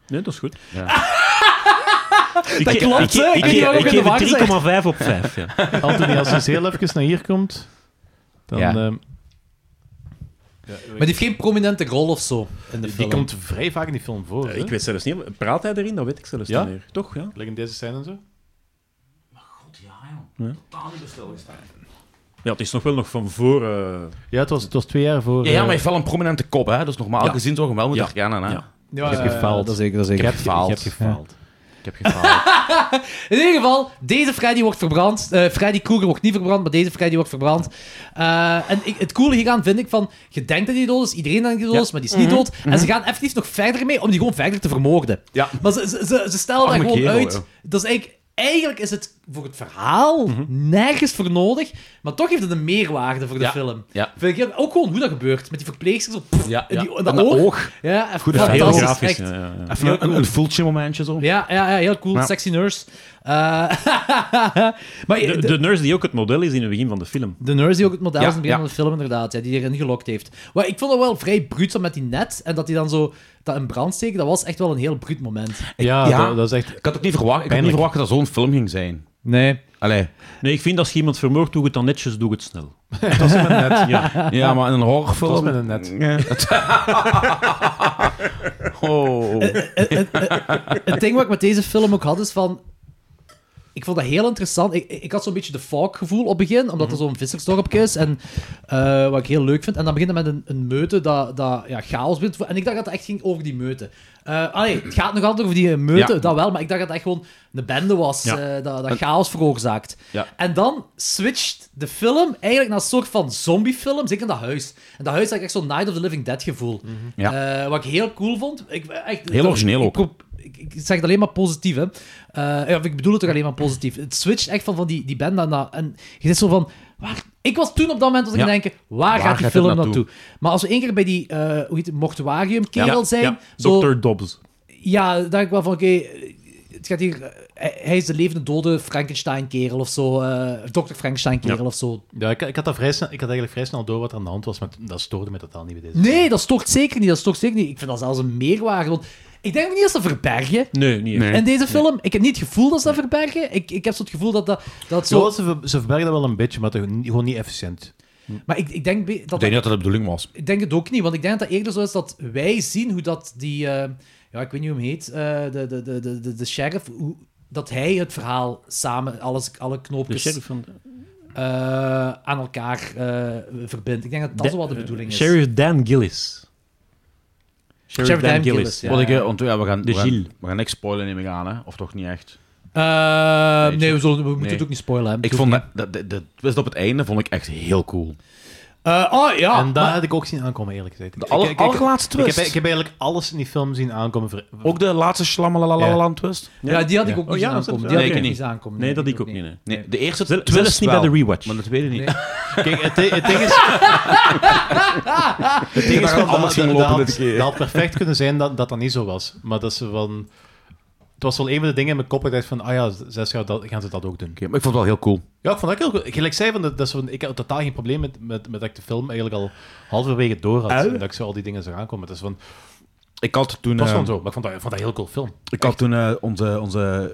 Speaker 6: Nee, dat is goed.
Speaker 2: Dat klopt, hè?
Speaker 6: Ik,
Speaker 2: Ik
Speaker 6: ik,
Speaker 2: wou ook in de
Speaker 6: ik geef
Speaker 2: war zijn.
Speaker 6: het 3,5 op 5. Ja.
Speaker 4: dus ehm, Anthony, als je eens heel even naar hier komt, dan...
Speaker 7: Ja.
Speaker 4: ehm,
Speaker 2: Maar die heeft geen prominente rol of zo in de
Speaker 4: Die
Speaker 2: film.
Speaker 4: komt vrij vaak in die film voor. hè?
Speaker 6: Eh, Ik weet zelfs niet, praat hij erin? Dat weet ik zelfs
Speaker 4: Ja?
Speaker 6: niet meer. Toch, ja?
Speaker 4: Liggen deze scène en zo?
Speaker 6: Ja, het is nog wel nog van voor... eh,
Speaker 4: Ja, het was, het was twee jaar voor.
Speaker 5: Ja, ja, maar hij
Speaker 4: eh,
Speaker 5: heeft wel een prominente kop, hè? Dus normaal gezien zou je hem wel moeten herkennen, hè?
Speaker 6: Ja.
Speaker 2: ja,
Speaker 4: Ik heb gefaald.
Speaker 2: Dat is zeker, dat is
Speaker 5: Ik
Speaker 2: zeker.
Speaker 5: heb gefaald.
Speaker 4: Ik heb gefaald.
Speaker 5: Ik heb gefaald.
Speaker 2: In ieder geval, deze Freddy wordt verbrand. Eh, Freddy Krueger wordt niet verbrand, maar deze Freddy wordt verbrand. Eh, en ik- het coole hieraan vind ik van, je denkt dat hij dood is, iedereen denkt dat hij dood is, maar die is
Speaker 5: Mhm.
Speaker 2: niet dood. En ze gaan effectief nog verder mee om die gewoon verder te vermoorden.
Speaker 5: Ja.
Speaker 2: Maar ze, ze, ze, ze stellen daar
Speaker 5: Arme
Speaker 2: gewoon
Speaker 5: kerel,
Speaker 2: uit.
Speaker 5: ja. Mhm.
Speaker 2: Dat is eigenlijk, eigenlijk is het voor het verhaal nergens voor nodig, maar toch heeft het een meerwaarde voor de
Speaker 5: Ja.
Speaker 2: film.
Speaker 5: Ja.
Speaker 2: Vind ik ook gewoon hoe dat gebeurt, met die verpleegster zo... pff,
Speaker 5: Ja,
Speaker 2: in
Speaker 5: ja.
Speaker 2: die- in
Speaker 5: En
Speaker 2: dat
Speaker 5: dat
Speaker 2: oog.
Speaker 5: oog.
Speaker 2: Ja, echt
Speaker 5: dat is heel
Speaker 2: fantastisch,
Speaker 6: grafisch.
Speaker 2: echt.
Speaker 6: ja, ja,
Speaker 7: Ah,
Speaker 6: ja.
Speaker 5: Even een, een, een voeltje momentje zo.
Speaker 2: Ja, ja, ja, heel cool.
Speaker 5: Ja.
Speaker 2: Sexy nurse. Eh, maar
Speaker 6: De,
Speaker 2: de,
Speaker 6: de nurse die ook het model is in het begin van de film.
Speaker 2: de nurse die ook het model is in het begin
Speaker 5: ja.
Speaker 2: van de film, inderdaad. Ja, die erin gelokt heeft. Maar ik vond het wel vrij bruut zo met die net. En dat hij dan zo dat in brand steken, dat was echt wel een heel bruut moment.
Speaker 4: Ja,
Speaker 5: Ja.
Speaker 4: Dat, dat is echt...
Speaker 5: Ik had ook niet verwacht, ik had niet
Speaker 4: Pijnlijk.
Speaker 5: verwacht dat zo'n film ging zijn.
Speaker 2: Nee.
Speaker 5: Allee.
Speaker 6: Nee, ik vind als je iemand vermoordt, doe het dan netjes, doe het snel.
Speaker 5: Ja, maar in een horrorfilm...
Speaker 4: Dat was met een net.
Speaker 5: oh.
Speaker 2: Het ding wat ik met deze film ook had, is van... Ik vond dat heel interessant. Ik, ik had zo'n beetje de Falk gevoel op het begin, omdat er zo'n vissersdorpje is. En eh, wat ik heel leuk vind. En dan begint het met een, een meute dat, dat ja, chaos begint. te vo- En ik dacht dat het echt ging over die meute. Eh allee, het gaat nog altijd over die meute,
Speaker 5: Ja.
Speaker 2: dat wel. Maar ik dacht dat het echt gewoon een bende was
Speaker 6: Ja.
Speaker 2: eh, dat, dat chaos veroorzaakt.
Speaker 5: Ja.
Speaker 2: En dan switcht de film eigenlijk naar een soort van zombiefilm, zeker in dat huis. En dat huis had ik echt zo'n Night of the Living Dead gevoel.
Speaker 5: Ja.
Speaker 2: Eh, wat ik heel cool vond. Ik, echt,
Speaker 5: Mhm. Heel origineel
Speaker 2: ik
Speaker 5: ook.
Speaker 2: pro- Ik, ik zeg het alleen maar positief, hè. Eh, ja, of ik bedoel het ook alleen maar positief. Het switcht echt van, van die, die band daarna. En je zit zo van... Waar, ik was toen op dat moment was ik
Speaker 5: Ja.
Speaker 2: aan het denken, waar, gaat die
Speaker 5: gaat
Speaker 2: film
Speaker 5: het
Speaker 2: naartoe?
Speaker 5: naartoe?
Speaker 2: Maar als we één keer bij die, eh, hoe heet het, mortuarium-kerel
Speaker 6: Ja,
Speaker 2: zijn...
Speaker 6: ja.
Speaker 2: zo-
Speaker 6: Dr. Dobbs.
Speaker 2: ja, dan dacht ik wel van, oké, het gaat hier... Hij hij is de levende dode Frankenstein-kerel of zo. eh Dr. Frankenstein-kerel of zo.
Speaker 4: Ja, ik, ik, had dat vrij snel, ik had eigenlijk vrij snel door wat er aan de hand was, maar dat stoorde me totaal niet bij deze.
Speaker 2: Nee, dat stort zeker niet. Dat stort zeker niet. Ik vind dat zelfs een meerwaarde. Want ik denk ook niet dat ze dat verbergen.
Speaker 6: Nee, niet echt.
Speaker 2: In deze film, ik heb niet het gevoel dat ze dat verbergen. Ik, ik heb zo het gevoel dat dat, dat het zo...
Speaker 4: Zo, ze, ver- ze verbergen dat wel een beetje, maar toch niet- gewoon niet efficiënt.
Speaker 2: Maar ik, ik denk be- dat...
Speaker 5: Ik denk niet dat dat de bedoeling was.
Speaker 2: Ik denk het ook niet, want ik denk dat dat eerder zo is dat wij zien hoe dat die... eh, ja, ik weet niet hoe hem heet. eh, de, de, de, de, de, de sheriff... Hoe, dat hij het verhaal samen, alles, alle
Speaker 6: De
Speaker 2: knoopjes...
Speaker 6: sheriff van...
Speaker 2: eh, aan elkaar eh, verbindt. Ik denk dat dat
Speaker 6: Da-
Speaker 2: zo wel de bedoeling is.
Speaker 6: Sheriff Dan Gillis. Sheriff,
Speaker 2: Sheriff
Speaker 6: Dan,
Speaker 2: Dan
Speaker 6: Gillis.
Speaker 2: Gillis, ja.
Speaker 5: Wat ik, eh, want ja, we gaan,
Speaker 6: De
Speaker 5: we, gaan,
Speaker 6: Gilles.
Speaker 5: we gaan niks spoilen, neem ik aan, hè? Of toch niet echt?
Speaker 2: Eh,
Speaker 5: Weet
Speaker 2: nee,
Speaker 5: je.
Speaker 2: we, zullen, we moeten
Speaker 5: Nee.
Speaker 2: het ook niet spoilen. hè.
Speaker 5: Ik vond dat, dat, dat, dat twist op het einde vond ik echt heel cool.
Speaker 2: Eh, oh ja,
Speaker 4: en dat
Speaker 2: maar-
Speaker 4: had ik ook zien aankomen, eerlijk gezegd. Ik-
Speaker 5: De
Speaker 4: ik-
Speaker 5: aller,
Speaker 4: ik- ik-
Speaker 5: allerlaatste
Speaker 4: ik,
Speaker 5: twist.
Speaker 4: heb, ik heb eigenlijk alles in die film zien aankomen. ver-
Speaker 5: ook de laatste slammelalalalan twist?
Speaker 2: ja, die had ik
Speaker 4: Ja.
Speaker 5: Oh
Speaker 2: ook niet
Speaker 6: ja,
Speaker 2: zien
Speaker 6: dat is-
Speaker 2: aankomen. Die
Speaker 6: nee,
Speaker 2: had ik
Speaker 5: ik
Speaker 2: ook
Speaker 5: niet.
Speaker 2: niet zien aankomen.
Speaker 6: Nee, dat ik ook niet. nee.
Speaker 5: Nee, de eerste
Speaker 6: Zel-
Speaker 5: twist
Speaker 6: Zelfs niet bij
Speaker 5: wel,
Speaker 6: de rewatch.
Speaker 5: Maar dat weet ik niet.
Speaker 4: Kijk, het, ding- het ding is... het ding is
Speaker 5: Daar
Speaker 4: gewoon,
Speaker 5: had alles
Speaker 4: dat,
Speaker 5: ging
Speaker 4: dat,
Speaker 5: lopen
Speaker 4: dat had,
Speaker 5: dit keer.
Speaker 4: dat had perfect kunnen zijn dat dat, dat niet zo was. Maar dat ze van... Het was wel een van de dingen in mijn kop. dat Ik dacht van, ah ja, zes jaar dat, gaan ze dat ook doen.
Speaker 5: Oké, maar ik vond het wel heel cool.
Speaker 4: Ja, ik vond dat ook heel goed. Gelijk zei van, dat, dat is van, ik had totaal geen probleem met, met, met dat ik de film eigenlijk al halverwege door
Speaker 5: Eh?
Speaker 4: had. En dat ik zo al die dingen zag aankomen. Het is van, het
Speaker 5: Ik had toen,
Speaker 4: was
Speaker 5: eh,
Speaker 4: gewoon zo. Maar ik vond dat, ik vond dat een heel cool film.
Speaker 5: ik had toen eh, onze, onze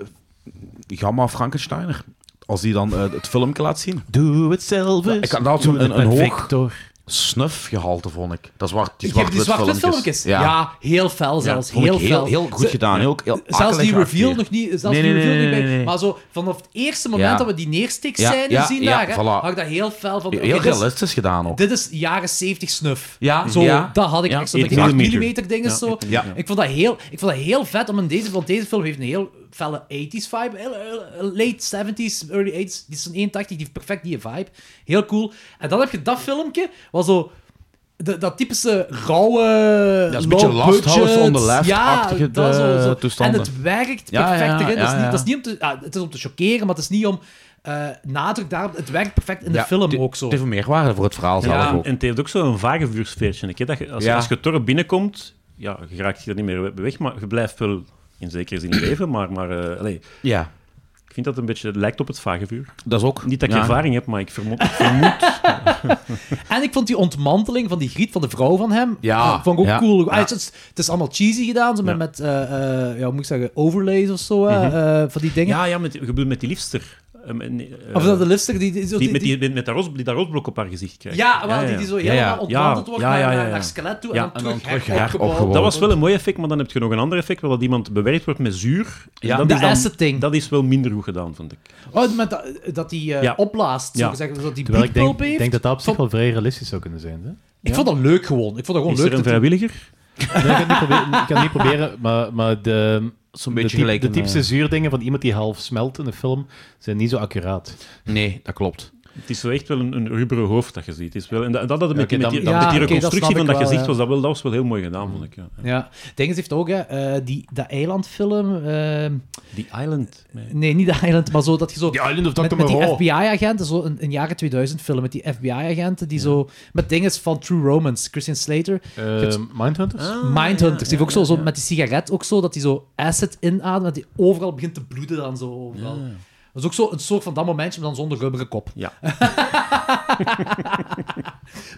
Speaker 5: Gamma Frankensteiner. Als die dan eh, het filmpje laat zien.
Speaker 4: Doe het zelf
Speaker 5: Ik had daar toen een, een hoog
Speaker 4: Victor.
Speaker 5: snufgehalte, vond ik. Dat zwart, die
Speaker 2: Ik heb die
Speaker 5: zwart-wit
Speaker 2: zwart-wit filmpjes.
Speaker 5: filmpjes.
Speaker 2: Ja. heel fel zelfs.
Speaker 5: vond ik
Speaker 2: heel,
Speaker 5: heel,
Speaker 2: fel.
Speaker 5: heel goed
Speaker 2: Ze-
Speaker 5: gedaan. Heel, heel
Speaker 2: Zelfs die
Speaker 5: akelig
Speaker 2: reveal
Speaker 5: geacteerd.
Speaker 2: nog niet, zelfs die
Speaker 5: Nee, nee,
Speaker 2: reveal
Speaker 5: nee,
Speaker 2: niet
Speaker 5: nee,
Speaker 2: bij.
Speaker 5: nee.
Speaker 2: Maar zo vanaf het eerste moment
Speaker 5: Ja.
Speaker 2: dat we die neerstikscène
Speaker 5: Ja, ja,
Speaker 2: zien
Speaker 5: ja,
Speaker 2: daar, hè,
Speaker 5: voilà.
Speaker 2: had ik dat heel fel van.
Speaker 5: Heel
Speaker 2: oké, dus- dit is-
Speaker 5: realistisch gedaan ook.
Speaker 2: Dit is jaren 70 snuf.
Speaker 5: Ja,
Speaker 2: zo,
Speaker 5: ja.
Speaker 2: dat had ik
Speaker 5: Ja,
Speaker 2: echt zo met
Speaker 6: 8
Speaker 2: die 8
Speaker 6: millimeter.
Speaker 2: mm dingen zo.
Speaker 5: ja.
Speaker 2: Ik vond dat heel, ik vond dat heel vet om in deze, want deze film heeft een heel felle 80s vibe, heel- heel- late 70s, early 80s, die is een 81, die heeft perfect die vibe, heel cool. En dan heb je dat filmpje, was zo de- dat typische rauwe,
Speaker 5: dat is een beetje
Speaker 2: low
Speaker 5: Last House
Speaker 2: budget,
Speaker 5: on the Left
Speaker 2: ja,
Speaker 5: achtige,
Speaker 2: dat
Speaker 5: eh,
Speaker 2: zo, zo. En
Speaker 5: toestanden.
Speaker 2: het werkt perfect
Speaker 5: Ja, ja,
Speaker 2: erin. Dat is
Speaker 5: ja,
Speaker 2: niet,
Speaker 5: ja.
Speaker 2: dat is niet om te, ah, het is om te chockeren, maar het is niet om eh, nadruk daarop. Het werkt perfect in de
Speaker 5: Ja,
Speaker 2: film
Speaker 5: het-
Speaker 2: ook zo.
Speaker 5: Het heeft een meerwaarde voor het verhaal zelf ook.
Speaker 6: En het heeft ook zo'n vage vuursfeertje. hè, Dat je, als,
Speaker 5: Ja.
Speaker 6: als je torp binnenkomt, ja, je raakt je er niet meer weg, maar je blijft wel in zekere zin leven. Maar, maar eh, allee,
Speaker 5: Ja,
Speaker 6: ik vind dat een beetje, het lijkt op het vage vuur.
Speaker 5: dat is ook.
Speaker 6: Niet dat ik
Speaker 5: ja.
Speaker 6: ervaring heb, maar ik vermoed... ik vermoed
Speaker 2: En ik vond die ontmanteling van die griet van de vrouw van hem,
Speaker 5: Ja,
Speaker 2: eh, vond ik ook
Speaker 5: ja,
Speaker 2: cool. Ah,
Speaker 5: ja.
Speaker 2: het, is, het is allemaal cheesy gedaan, zo met,
Speaker 6: Ja.
Speaker 2: met eh, eh, ja, hoe moet ik zeggen, overlays of zo, hè, eh, van die dingen.
Speaker 6: ja, ja met, je bedoelt met die liefster. ehm, en, eh,
Speaker 2: Of dat de lipstick die... die,
Speaker 6: die, met, die, met, met dat roos, die dat roosblok op haar gezicht krijgt.
Speaker 2: Ja, wel, die, die zo helemaal
Speaker 5: ja.
Speaker 2: ontwanteld wordt
Speaker 6: Ja,
Speaker 2: naar,
Speaker 6: ja, ja,
Speaker 2: naar-
Speaker 6: ja.
Speaker 2: naar skelet toe
Speaker 6: Ja,
Speaker 2: en dan terug,
Speaker 5: terug
Speaker 2: her
Speaker 5: her
Speaker 2: opgebouwd.
Speaker 5: opgebouwd.
Speaker 6: Dat was wel een mooi effect, maar dan heb je nog een ander effect, wel dat iemand bewerkt wordt met zuur. En
Speaker 5: Ja.
Speaker 6: dat
Speaker 2: De
Speaker 6: is dan-
Speaker 2: acid thing.
Speaker 6: Dat is wel minder goed gedaan, vond ik.
Speaker 2: Oh, maar dat, dat die eh,
Speaker 6: Ja.
Speaker 2: opblaast, zo
Speaker 6: Ja.
Speaker 2: gezegd. Dus dat die
Speaker 4: Terwijl ik
Speaker 2: big
Speaker 4: denk,
Speaker 2: pulp heeft.
Speaker 4: denk dat dat op zich
Speaker 2: Vond-
Speaker 4: wel vrij realistisch zou kunnen zijn. Hè?
Speaker 2: Ik vond dat leuk gewoon. Ik vond dat gewoon
Speaker 6: Is er
Speaker 2: leuk.
Speaker 6: een
Speaker 2: dat die-
Speaker 6: vrijwilliger?
Speaker 4: Nee, ik, kan het niet proberen, ik kan het niet proberen, maar, maar de,
Speaker 5: Zo'n
Speaker 4: de,
Speaker 5: beetje
Speaker 4: typ-
Speaker 5: gelijk.
Speaker 4: de
Speaker 5: een, eh,
Speaker 4: typische zuurdingen van iemand die half smelt in een film zijn niet zo accuraat.
Speaker 5: eh, Nee, dat klopt.
Speaker 6: Het is zo echt wel een, een rubberen hoofd dat je ziet. Het is wel, en dat, dat, hadden we met,
Speaker 4: Ja, oké,
Speaker 6: met die,
Speaker 2: dan-
Speaker 6: met die
Speaker 2: ja, oké, dat
Speaker 6: reconstructie
Speaker 2: snap
Speaker 6: van
Speaker 2: ik
Speaker 6: dat
Speaker 2: wel,
Speaker 6: gezicht
Speaker 2: ja.
Speaker 6: was, dat, wel, dat was wel heel mooi gedaan, vond ik. Ja.
Speaker 2: Ja. Dingens heeft ook, hè, eh, die, dat eilandfilm... ehm,
Speaker 6: Die Island. eh,
Speaker 2: eh, nee, niet de eiland, maar zo dat je zo...
Speaker 4: Island of
Speaker 2: Met, met die FBI-agenten, zo een, een jaren 2000 film met die FBI-agenten die zo... Met dinges van True Romance, Christian Slater.
Speaker 4: Eh, Ehm, Mindhunters?
Speaker 2: Ah.
Speaker 5: Ah,
Speaker 2: Mindhunters. die heeft ook zo, zo met die sigaret ook zo, dat hij zo acid inademt, dat hij overal begint te bloeden dan zo. Overal. Dat is ook zo een soort van dat momentje, maar dan zonder rubberen kop.
Speaker 6: Ja.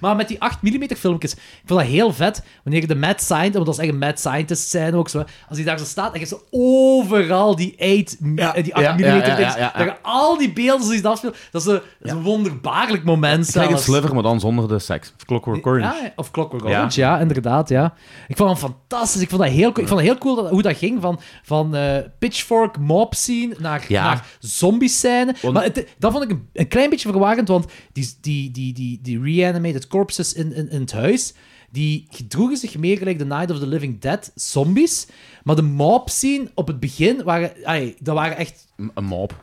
Speaker 2: maar met die 8mm filmpjes, ik vind dat heel vet, wanneer de mad scientist, want dat is echt een mad scientist zijn ook zo, hè, als hij daar zo staat, en je zo overal die 8, eh, die 8mm
Speaker 5: ja, ja,
Speaker 2: filmpjes,
Speaker 5: ja, ja, ja.
Speaker 2: dat je al die beelden die ze afspelen, dat is een, dat is een wonderbaarlijk moment
Speaker 5: Kijk, een
Speaker 2: zelfs.
Speaker 5: sliver, maar dan zonder de seks.
Speaker 6: Clockwork Orange.
Speaker 2: Ja, of Clockwork Orange, ja. inderdaad, ja. Ik vond hem fantastisch. Ik vond dat heel, cool- ik vond dat heel cool dat- hoe dat ging. Van, van eh, pitchfork mob scene naar,
Speaker 5: Ja.
Speaker 2: naar zombie scène.
Speaker 5: Want-
Speaker 2: Maar het- dat vond ik een, een klein beetje verwarrend, want die, die, die, die, die reanimated corpses in, in, in het huis, die gedroegen zich meer gelijk de Night of the Living Dead zombies. Maar de mob scene op het begin, waren, ai, dat waren echt
Speaker 5: M- Een mop.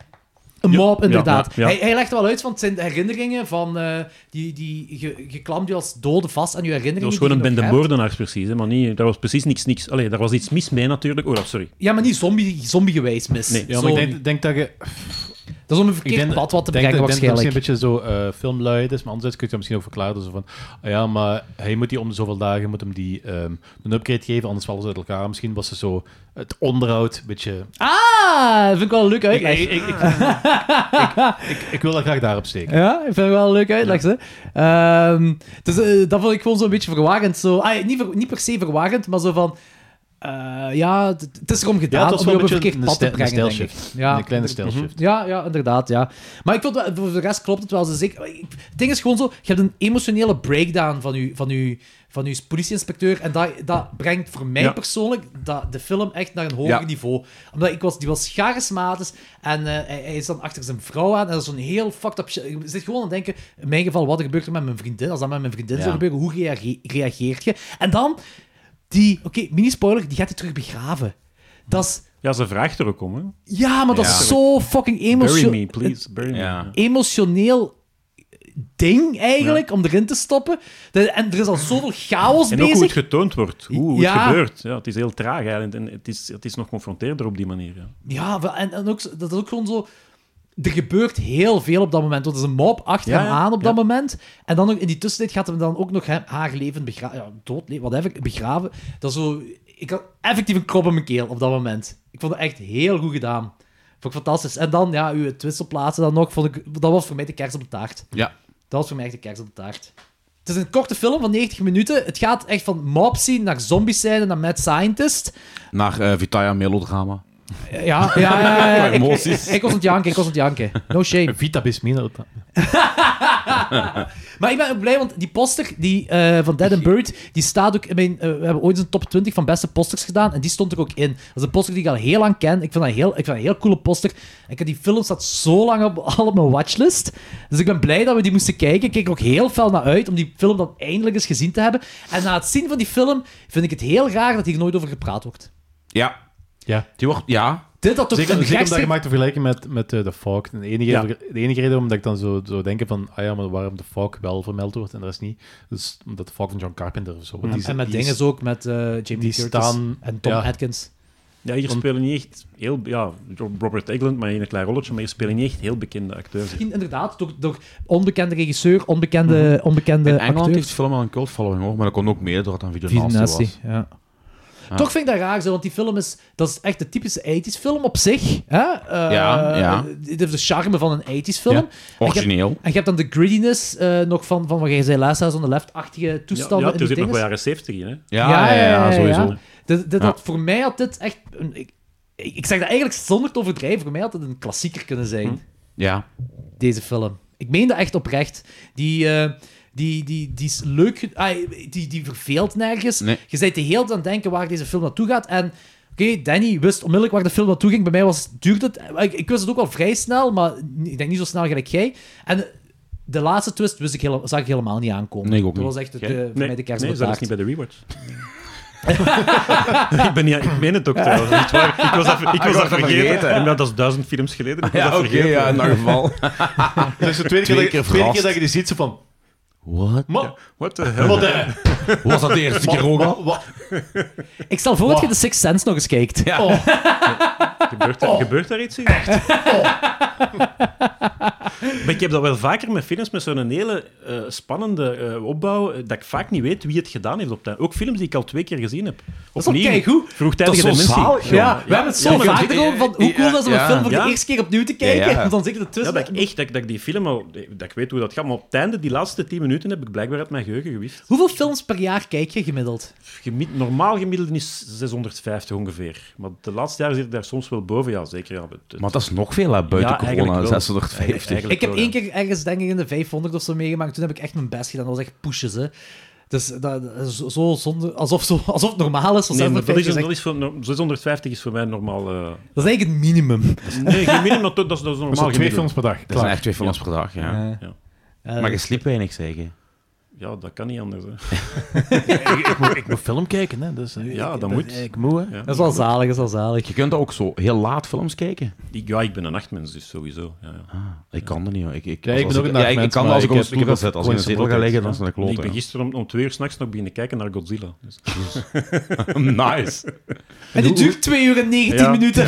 Speaker 2: een mob,
Speaker 6: ja,
Speaker 2: inderdaad.
Speaker 6: ja, ja.
Speaker 2: Hij, hij legt er wel uit, want het zijn de herinneringen van... eh, die, die, je, je klampt je als dode vast aan je herinneringen.
Speaker 6: Dat was gewoon een
Speaker 2: die je nog
Speaker 6: bende
Speaker 2: hebt.
Speaker 6: moordenaars, precies. Hè, maar niet, daar was precies niks, niks. Allee, daar was iets mis mee natuurlijk. Oh, sorry.
Speaker 2: Ja, maar niet zombie, zombie-gewijs mis.
Speaker 6: Nee,
Speaker 4: Ja,
Speaker 2: Zo-
Speaker 4: maar ik denk, denk dat je...
Speaker 2: dat is om een
Speaker 4: Ik
Speaker 2: verkeerd
Speaker 4: denk,
Speaker 2: pad wat te
Speaker 4: ik denk
Speaker 2: brengen,
Speaker 4: dat- ik denk dat
Speaker 2: waarschijnlijk.
Speaker 4: het misschien een beetje zo eh filmlui is, maar anderzijds kun je dat misschien ook verklaren. Zo van, ah ja, maar hij moet die om de zoveel dagen moet hem die, ehm, een upgrade geven, anders vallen ze uit elkaar. Misschien was ze zo het onderhoud een beetje...
Speaker 2: Ah, vind ik wel een leuk
Speaker 4: Ik,
Speaker 2: uitleg.
Speaker 4: ik, ik, ik, ik- ik wil dat graag daarop steken.
Speaker 2: Ja, ik vind het wel een leuk uitleg, hè. Ehm, dus eh, dat vond ik gewoon zo'n beetje verwarrend. Zo. Ah, niet, ver- niet per se verwarrend, maar zo van... eh, ja, het- het is erom gedaan
Speaker 4: dat was
Speaker 2: om je
Speaker 4: wel
Speaker 2: op een
Speaker 4: een beetje
Speaker 2: verkeerd
Speaker 4: een
Speaker 2: pad te
Speaker 4: stijl- een
Speaker 2: brengen, denk ik.
Speaker 4: stijlshift.
Speaker 2: Ja,
Speaker 4: Een kleine
Speaker 5: Mhm.
Speaker 4: stijlshift.
Speaker 2: Ja, ja, inderdaad, ja. Maar ik vond, wel- voor de rest klopt het wel. Dus ik, ik- het ding is gewoon zo, je hebt een emotionele breakdown van je, van je, van je politieinspecteur. En dat, dat brengt voor mij
Speaker 6: Ja.
Speaker 2: persoonlijk dat, de film echt naar een hoger
Speaker 5: Ja.
Speaker 2: niveau. Omdat ik was, die was charismatisch en eh, hij, hij is dan achter zijn vrouw aan. En dat is zo'n heel fucked up shit. Ik zit gewoon aan het denken, in mijn geval, wat er gebeurt er met mijn vriendin? Als dat met mijn vriendin zou gebeuren, hoe reage- reageert je? En dan, die, oké, mini-spoiler, die gaat hij terug begraven. Dat is...
Speaker 6: Ja, ze vraagt er ook om. Hè.
Speaker 2: Ja, maar dat is zo fucking
Speaker 6: Bury
Speaker 2: emotioneel
Speaker 6: me, please. Bury me.
Speaker 5: Ja.
Speaker 2: emotioneel ding eigenlijk om erin te stoppen. De- en er is al zoveel chaos
Speaker 6: En ook hoe het
Speaker 2: bezig.
Speaker 6: getoond wordt, hoe, hoe
Speaker 2: Ja.
Speaker 6: het gebeurt. Ja, het is heel traag eigenlijk en het is, het is nog confronteerder op die manier. Ja.
Speaker 2: Ja, wel, en, en ook, zo- dat is ook gewoon zo. Er gebeurt heel veel op dat moment. Want er is een mob achter
Speaker 6: Ja,
Speaker 2: hem
Speaker 6: ja,
Speaker 2: aan op dat
Speaker 6: ja.
Speaker 2: moment. En dan ook, in die tussentijd gaat hem dan ook nog hem- haar leven begraven. Ja, dood, nee, wat even, begraven. Dat is zo, ik had effectief een krop in mijn keel op dat moment. Ik vond het echt heel goed gedaan. Vond ik fantastisch. En dan, ja, uw twist op plaatsen dan nog. Vond ik, dat was voor mij de kerst op de taart.
Speaker 5: Ja.
Speaker 2: Dat was voor mij echt de kerst op de taart. Het is een korte film van 90 minuten. Het gaat echt van mob scene naar zombie scene naar mad scientist.
Speaker 5: Naar eh Vitaya melodrama.
Speaker 2: Eh, Ja, ja, ja. ja, ja. Ik,
Speaker 5: Emoties.
Speaker 2: ik was aan het janken, ik was aan het janken. No shame.
Speaker 4: Vita Bismina.
Speaker 2: Maar ik ben ook blij, want die poster die, eh, van Dead and Buried, die staat ook in mijn... eh, we hebben ooit eens een top 20 van beste posters gedaan en die stond er ook in. Dat is een poster die ik al heel lang ken. Ik vind dat een heel, ik vind dat een heel coole poster. Ik heb die film staat zo lang op, al op mijn watchlist. Dus ik ben blij dat we die moesten kijken. Ik keek er ook heel fel naar uit om die film dan eindelijk eens gezien te hebben. En na het zien van die film vind ik het heel raar dat hier nooit over gepraat wordt.
Speaker 5: Ja.
Speaker 4: Ja.
Speaker 5: Die wordt... Ja.
Speaker 2: Dit had toch
Speaker 4: Zeker,
Speaker 2: een
Speaker 4: zeker omdat je
Speaker 2: gekste...
Speaker 4: maakt te vergelijken met, met eh, The Fog. De enige,
Speaker 6: Ja.
Speaker 4: de enige reden omdat ik dan zo, zo denk van, ah ja, maar waarom The Fog wel vermeld wordt en de rest niet, is omdat The Fog van John Carpenter of zo. Want die,
Speaker 2: En met
Speaker 4: die
Speaker 2: dingen
Speaker 4: is-
Speaker 2: ook, met eh, Jamie
Speaker 4: die
Speaker 2: Curtis
Speaker 4: staan-
Speaker 2: en Tom
Speaker 4: ja.
Speaker 2: Atkins.
Speaker 6: Ja, hier spelen niet echt heel... Ja, Robert Englund, maar in een klein rolletje, maar hier spelen niet echt heel bekende acteurs.
Speaker 2: Misschien inderdaad door, door onbekende regisseur, onbekende, onbekende
Speaker 5: Mhm. In Engeland
Speaker 2: acteur.
Speaker 5: heeft de film wel een cult following hoor, maar dat kon ook mede doordat het een videonatie
Speaker 2: Visionatie,
Speaker 5: was.
Speaker 2: ja. Toch vind ik dat raar, zo, want die film is, dat is echt de typische 80s film op zich. Hè? Eh,
Speaker 5: Ja, ja.
Speaker 2: Dit heeft de charme van een 80s film.
Speaker 4: Ja,
Speaker 2: En je hebt-
Speaker 5: Origineel.
Speaker 2: En je hebt dan de greediness eh, nog van, van wat jij zei, Last House on the Left-achtige
Speaker 6: Ja,
Speaker 2: toestanden.
Speaker 6: ja,
Speaker 2: in
Speaker 6: er
Speaker 2: die
Speaker 6: zit nog wel
Speaker 2: dinges.
Speaker 6: jaren 70 in, hè.
Speaker 5: Ja, ja, ja, sowieso.
Speaker 2: Dit, dit
Speaker 5: Ja.
Speaker 2: had voor
Speaker 5: Mhm.
Speaker 2: mij had dit echt... een- ik, ik zeg dat eigenlijk zonder te overdrijven. Voor mij had het een klassieker kunnen zijn.
Speaker 7: Ja.
Speaker 2: deze film. Ik meen dat echt oprecht. Die, eh, die, die, die is leuk. ge- ah, die, die verveelt nergens.
Speaker 7: Nee.
Speaker 2: Je bent de hele tijd aan het denken waar deze film naartoe gaat. En oké, Danny wist onmiddellijk waar de film naartoe ging. Bij mij was, duurde het... Ik, ik wist het ook al vrij snel, maar ik denk niet zo snel gelijk jij. En de laatste twist wist ik hele- zag ik helemaal niet aankomen.
Speaker 7: Nee, ik ook
Speaker 2: dat
Speaker 7: niet.
Speaker 2: was echt de,
Speaker 7: Jij?
Speaker 2: de- voor mij de kerst
Speaker 6: nee
Speaker 2: op de taart.
Speaker 6: zelfs niet bij de rewards. ik, ben niet, ik meen het ook trouwens, niet waar. Ik was
Speaker 2: Ah,
Speaker 6: dat, ik was dat vergeten. En dat is duizend films geleden. Ik was dat vergeten.
Speaker 7: in dat geval.
Speaker 4: Dat is de tweede, keer,
Speaker 7: Twee
Speaker 4: dat,
Speaker 7: keer
Speaker 4: tweede keer
Speaker 7: verrast.
Speaker 4: dat je die ziet, zo van...
Speaker 7: What?
Speaker 4: Man,
Speaker 6: What the hell?
Speaker 4: wat, eh,
Speaker 7: Was dat de eerste keer ook
Speaker 4: wat,
Speaker 7: al?
Speaker 4: wat,
Speaker 2: Ik stel voor dat je de Sixth Sense nog eens kijkt.
Speaker 7: Ja.
Speaker 2: Oh.
Speaker 6: Gebeurt, er- gebeurt daar iets in? Oh. Maar ik heb dat wel vaker met films met zo'n hele eh, spannende eh, opbouw, eh, dat ik vaak niet weet wie het gedaan heeft op tijd. Ook films die ik al twee keer gezien heb.
Speaker 2: is toch keigoed?
Speaker 6: Vroegtijdige
Speaker 7: Dat is zo
Speaker 6: dementie.
Speaker 7: zalig,
Speaker 2: Ja, we hebben het zo
Speaker 7: ja, ik-
Speaker 2: vaak erover van hoe cool dat is om
Speaker 7: ja,
Speaker 2: een film voor
Speaker 6: ja.
Speaker 2: de eerste keer opnieuw te kijken.
Speaker 7: Ja, ja.
Speaker 2: Want dan zit je ertussen.
Speaker 6: Ja, dat ik echt, dat ik, dat ik die film al, dat ik weet hoe dat gaat, maar op het einde, die laatste tien minuten, heb ik blijkbaar uit mijn geheugen gewist.
Speaker 2: Hoeveel films per jaar kijk je gemiddeld?
Speaker 6: Gemi- normaal gemiddelde is 650 ongeveer, maar de laatste jaren zit ik daar soms wel boven, ja, zeker. Ja, het-
Speaker 7: Maar dat is nog veel hè, buiten
Speaker 6: Ja, eigenlijk
Speaker 7: corona,
Speaker 6: wel.
Speaker 7: 650.
Speaker 6: Eigenlijk
Speaker 2: Ik heb
Speaker 6: wel,
Speaker 2: één
Speaker 6: ja.
Speaker 2: keer ergens, denk ik, in de 500 of zo meegemaakt. Toen heb ik echt mijn best gedaan. Dat was echt pushes, hè. Dus dat, dat is zo- zo zonder, alsof, zo, alsof het normaal is.
Speaker 6: Nee, maar dat is,
Speaker 2: 650
Speaker 6: dat is voor, no- 650 is voor mij normaal... eh,
Speaker 2: dat is eigenlijk het minimum.
Speaker 6: Nee, gemiddeld, maar dat, dat is dat is
Speaker 4: dat is
Speaker 6: normaal
Speaker 4: al twee
Speaker 6: gemiddeld.
Speaker 4: films per dag.
Speaker 7: Dat zijn
Speaker 4: Klaar.
Speaker 7: echt twee films per dag, ja.
Speaker 2: Eh,
Speaker 6: ja.
Speaker 2: eh,
Speaker 7: Maar je sliep weinig, zeggen.
Speaker 6: Ja, dat kan niet anders. Hè.
Speaker 4: ik, moet, ik moet film kijken, hè. Dus, eh,
Speaker 6: Ja,
Speaker 4: ik-
Speaker 6: dat moet.
Speaker 4: Ik moet, hè.
Speaker 6: Ja.
Speaker 2: dat is wel zalig, dat is wel zalig.
Speaker 7: Je kunt ook zo heel laat films kijken.
Speaker 6: Ik, ja, ik ben een nachtmens, dus sowieso. Ja, ja.
Speaker 7: Ik kan er niet, hoor. Ik, ik,
Speaker 4: Ja, ik ben ook een
Speaker 7: ja, ik,
Speaker 4: nachtmens,
Speaker 7: kan
Speaker 4: maar
Speaker 7: als
Speaker 4: ik
Speaker 7: ik op een
Speaker 4: heb- ik
Speaker 7: stoel
Speaker 4: heb
Speaker 7: ga zitten. Als ik
Speaker 4: gewoon
Speaker 7: in een zetel ga liggen, dan is
Speaker 4: zo'n
Speaker 7: dat een
Speaker 6: ik ben
Speaker 7: klote.
Speaker 6: gisteren om, om twee uur s'nachts nog beginnen kijken naar Godzilla. Dus.
Speaker 7: ja. Nice.
Speaker 2: En die duurt 2 uur en 19
Speaker 6: Ja.
Speaker 2: minuten.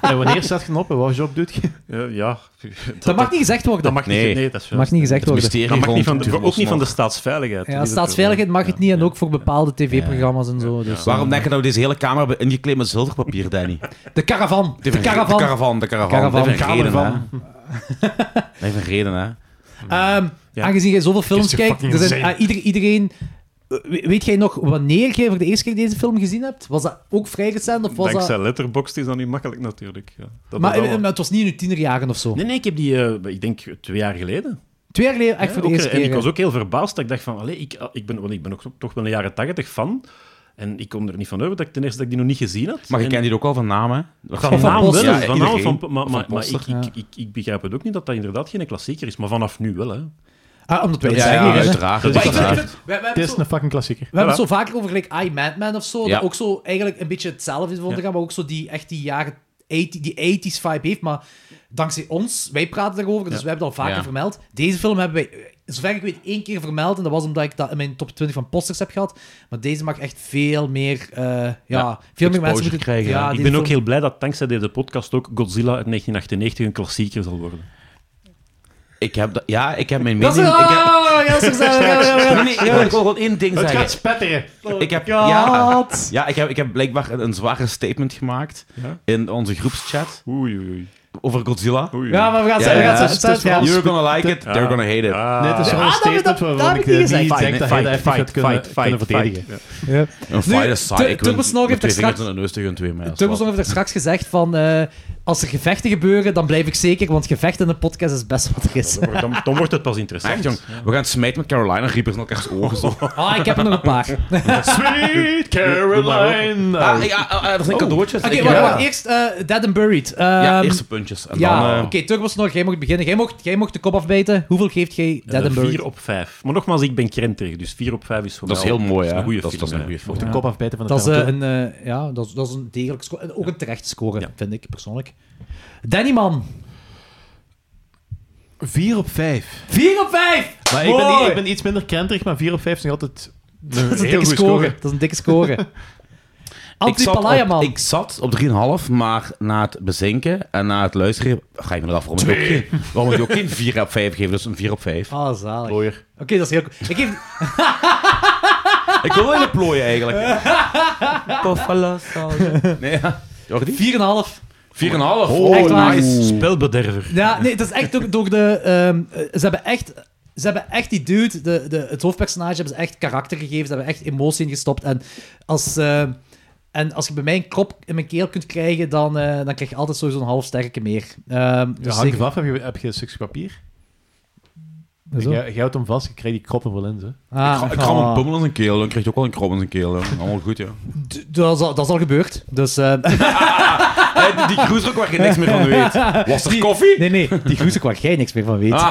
Speaker 4: En wanneer staat je op en wat job doet je?
Speaker 6: Ja, ja.
Speaker 2: Dat mag niet gezegd worden.
Speaker 6: Dat mag niet.
Speaker 7: Nee.
Speaker 6: Nee, dat is
Speaker 2: mag niet gezegd worden.
Speaker 7: Mysterie
Speaker 6: Dat mag niet van
Speaker 7: rond
Speaker 6: de,
Speaker 7: Turbo's
Speaker 6: ook niet van de
Speaker 7: nog.
Speaker 6: staatsveiligheid.
Speaker 2: Ja, staatsveiligheid mag het niet. En ook voor bepaalde tv-programma's en zo. Dus.
Speaker 7: Waarom denk je dat we deze hele kamer hebben ingekleed met zilverpapier, Danny?
Speaker 2: De caravan. De
Speaker 7: De
Speaker 2: caravan.
Speaker 7: caravan, de caravan.
Speaker 2: Caravan.
Speaker 7: Dat heeft een reden, hè.
Speaker 2: Caravan.
Speaker 7: Dat heeft een reden, hè.
Speaker 2: Ehm,
Speaker 6: Ja.
Speaker 2: Aangezien jij zoveel films
Speaker 4: Is er
Speaker 2: kijkt,
Speaker 4: fucking
Speaker 2: er zijn,
Speaker 4: zin?
Speaker 2: ah, ieder- iedereen... eh, we- Weet jij nog wanneer jij voor de eerste keer deze film gezien hebt? Was dat ook vrij recent? Of was dat...
Speaker 6: Dankzij Letterboxd is dat niet makkelijk natuurlijk. Ja, dat
Speaker 2: Maar,
Speaker 6: dat wel.
Speaker 2: eh, maar het was niet in je tienerjaren of zo.
Speaker 6: Nee, nee, ik heb die, eh, ik denk, twee jaar geleden.
Speaker 2: Twee jaar geleden, echt voor de
Speaker 6: ook, eh,
Speaker 2: eerste
Speaker 6: en
Speaker 2: keer.
Speaker 6: ik was ook heel verbaasd. Dat ik dacht van, allee, ik, ah, ik ben, want ik ben ook toch wel een jaren tachtig fan. En ik kom er niet van over dat ik ten eerste dat ik die nog niet gezien had.
Speaker 7: Maar je
Speaker 6: En-
Speaker 7: kent die ook al van naam, hè? Dat
Speaker 6: Van
Speaker 7: is-
Speaker 2: van
Speaker 6: naam wel,
Speaker 2: Poster.
Speaker 7: Ja,
Speaker 6: van naam,
Speaker 7: iedereen.
Speaker 6: van, maar maar,
Speaker 7: Van
Speaker 6: maar ik,
Speaker 7: Poster,
Speaker 6: ik, ik, ik begrijp het ook niet dat dat inderdaad geen klassieker is. Maar vanaf nu wel, hè.
Speaker 2: Ah, omdat wij het
Speaker 7: Ja,
Speaker 2: zeggen.
Speaker 7: ja,
Speaker 2: hè.
Speaker 7: uiteraard.
Speaker 6: Dat is
Speaker 2: Maar ik vind- ik
Speaker 7: uiteraard.
Speaker 2: vind- we, we hebben
Speaker 4: Het
Speaker 2: het
Speaker 4: is
Speaker 2: zo-
Speaker 4: een fucking klassieker.
Speaker 2: we hebben het zo vaak over gelijk I, Madman of zo.
Speaker 7: Ja.
Speaker 2: Dat ook zo eigenlijk een beetje hetzelfde is voor gaan, maar ook zo die, echt die jaren... 80, die 80s vibe heeft, maar dankzij ons, wij praten daarover, dus we hebben het al vaker
Speaker 7: Ja.
Speaker 2: vermeld. Deze film hebben wij, eh, zover ik weet, één keer vermeld en dat was omdat ik dat in mijn top 20 van posters heb gehad. Maar deze mag echt veel meer, eh, ja, veel meer mensen moeten
Speaker 7: krijgen, ja.
Speaker 6: ik
Speaker 2: deze
Speaker 6: ben ook
Speaker 2: film-
Speaker 6: heel blij dat dankzij deze podcast ook Godzilla uit 1998 een klassieker zal worden.
Speaker 7: Ik heb dat- Ja, ik heb mijn
Speaker 2: Dat
Speaker 7: mening...
Speaker 2: is
Speaker 7: ik heb-
Speaker 2: oh, ja, zo zijn we, ja, ja, ja.
Speaker 7: Nee, nee, ik wil gewoon één ding
Speaker 4: Het gaat
Speaker 7: zeggen.
Speaker 4: spetteren.
Speaker 7: Ik heb, ja,
Speaker 2: God.
Speaker 7: ja ik, heb, ik heb blijkbaar een, een zware statement gemaakt in onze groepschat
Speaker 6: Oei, oei, oei.
Speaker 7: over Godzilla.
Speaker 2: Ja, maar we gaan
Speaker 7: Ja,
Speaker 2: we gaan
Speaker 7: ja,
Speaker 2: zo-
Speaker 7: het is- het is
Speaker 2: zo- ja.
Speaker 7: vooral You're gonna like it, they're gonna hate it.
Speaker 4: Nee, het is wel
Speaker 2: Ah, dat
Speaker 4: een
Speaker 2: heb ik- dat-
Speaker 4: statement
Speaker 2: dat
Speaker 4: waarvan
Speaker 2: heb
Speaker 4: ik
Speaker 2: ik niet
Speaker 4: eh,
Speaker 2: gezegd.
Speaker 4: niet denk
Speaker 7: Fight,
Speaker 4: dat hij dat
Speaker 7: fight,
Speaker 4: echt gaat kunnen
Speaker 6: fight,
Speaker 4: kunnen
Speaker 6: fight,
Speaker 4: verdedigen.
Speaker 7: Een
Speaker 2: Nu,
Speaker 7: fire side.
Speaker 2: Tur-
Speaker 7: Ik wil
Speaker 2: Turbosnor
Speaker 7: met
Speaker 2: heeft
Speaker 7: twee
Speaker 2: er
Speaker 7: vingers
Speaker 2: straks-
Speaker 7: in de neus tegen twee mijl.
Speaker 2: Turbos heeft er straks gezegd van, eh, als er gevechten gebeuren, dan blijf ik zeker, want gevecht in een podcast is best wat er is.
Speaker 6: Dan, dan wordt het pas
Speaker 7: Echt,
Speaker 6: interessant.
Speaker 7: jong. We gaan smijten met Carolina Reapers in elkaars ogen. Zo.
Speaker 2: Ah, ik heb er nog een paar. Oké,
Speaker 4: Sweet Caroline.
Speaker 7: Ah, ja,
Speaker 2: eh,
Speaker 7: ah, ah, dat zijn cadeautjes. Ik-
Speaker 2: wacht,
Speaker 7: ja.
Speaker 2: wacht. Eerst eh, Dead and Buried. Ehm,
Speaker 7: Ja, eerste puntjes. En
Speaker 2: ja,
Speaker 7: dan... eh,
Speaker 2: oké, Turbosnor, jij mocht beginnen. Jij mocht, jij mocht de kop afbijten. Hoeveel geeft jij Dead
Speaker 6: Eh,
Speaker 2: and Buried?
Speaker 6: vier op vijf. Maar nogmaals, ik ben krenterig, dus vier op vijf is voor
Speaker 7: Dat is
Speaker 6: mij
Speaker 7: heel
Speaker 6: al-
Speaker 7: mooi,
Speaker 6: dat
Speaker 7: hè.
Speaker 6: is een goede
Speaker 7: Dat is-
Speaker 6: film.
Speaker 7: dat is
Speaker 6: hè.
Speaker 7: een goede film.
Speaker 4: Mocht de kop afbijten van de
Speaker 2: Dat is, eh,
Speaker 4: film, toch?
Speaker 2: een, eh, ja, dat, is, dat is een degelijk score. En ook een terecht score,
Speaker 6: Ja.
Speaker 2: vind ik persoonlijk. Danny, man.
Speaker 4: Vier op vijf.
Speaker 2: 4 op 5!
Speaker 4: Maar ik ben,
Speaker 2: Mooi.
Speaker 4: niet- ik ben iets minder krenterig, maar vier op vijf is nog altijd...
Speaker 2: Dat is een
Speaker 4: heel
Speaker 2: dikke
Speaker 4: goede
Speaker 2: score.
Speaker 4: score.
Speaker 2: Dat is een dikke score.
Speaker 7: Ik zat,
Speaker 2: Antipalaya,
Speaker 7: op-
Speaker 2: man.
Speaker 7: ik zat op 3,5, maar na het bezinken en na het luisteren ga ik me eraf waarom ik ook geen, waarom ik ook geen 4 op 5 geef. Dus een 4 op 5.
Speaker 2: Ah, zalig. Oké,
Speaker 4: Mooier.
Speaker 2: dat is heel goed. Ik geef...
Speaker 7: Ik wil wel in de plooien eigenlijk. Buffalo soldier. Nee, ja. Jordi?
Speaker 2: 4,5.
Speaker 7: 4,5.
Speaker 5: Oh,
Speaker 2: Echt waar.
Speaker 6: Spelbederver.
Speaker 2: Ja, nee, dat is echt ook door de... ehm, eh, ze hebben echt... Ze hebben echt die dude, de, de, het hoofdpersonage, hebben ze echt karakter gegeven. Ze hebben echt emotie ingestopt. En als... ehm, En als je bij mij een krop in mijn keel kunt krijgen, dan, eh, dan krijg je altijd sowieso een half sterke meer. Ehm, dus
Speaker 4: Ja,
Speaker 2: zeker-
Speaker 4: hangt af, heb je, heb je een stukje papier?
Speaker 2: Zo.
Speaker 4: Jij jij houdt hem vast, je krijgt die kroppen wel in. Zo.
Speaker 2: Ah,
Speaker 5: Ik kram
Speaker 2: ah.
Speaker 5: een pummel in zijn keel, dan krijg je ook wel een krom in zijn keel. hè. Allemaal goed, ja.
Speaker 2: D- Dat is al, dat is al gebeurd. Dus, eh,
Speaker 5: Hey, die cruiser waar je niks meer van weet. Was er
Speaker 2: Die-
Speaker 5: koffie?
Speaker 2: nee, nee, die groezen waar jij niks meer van weet.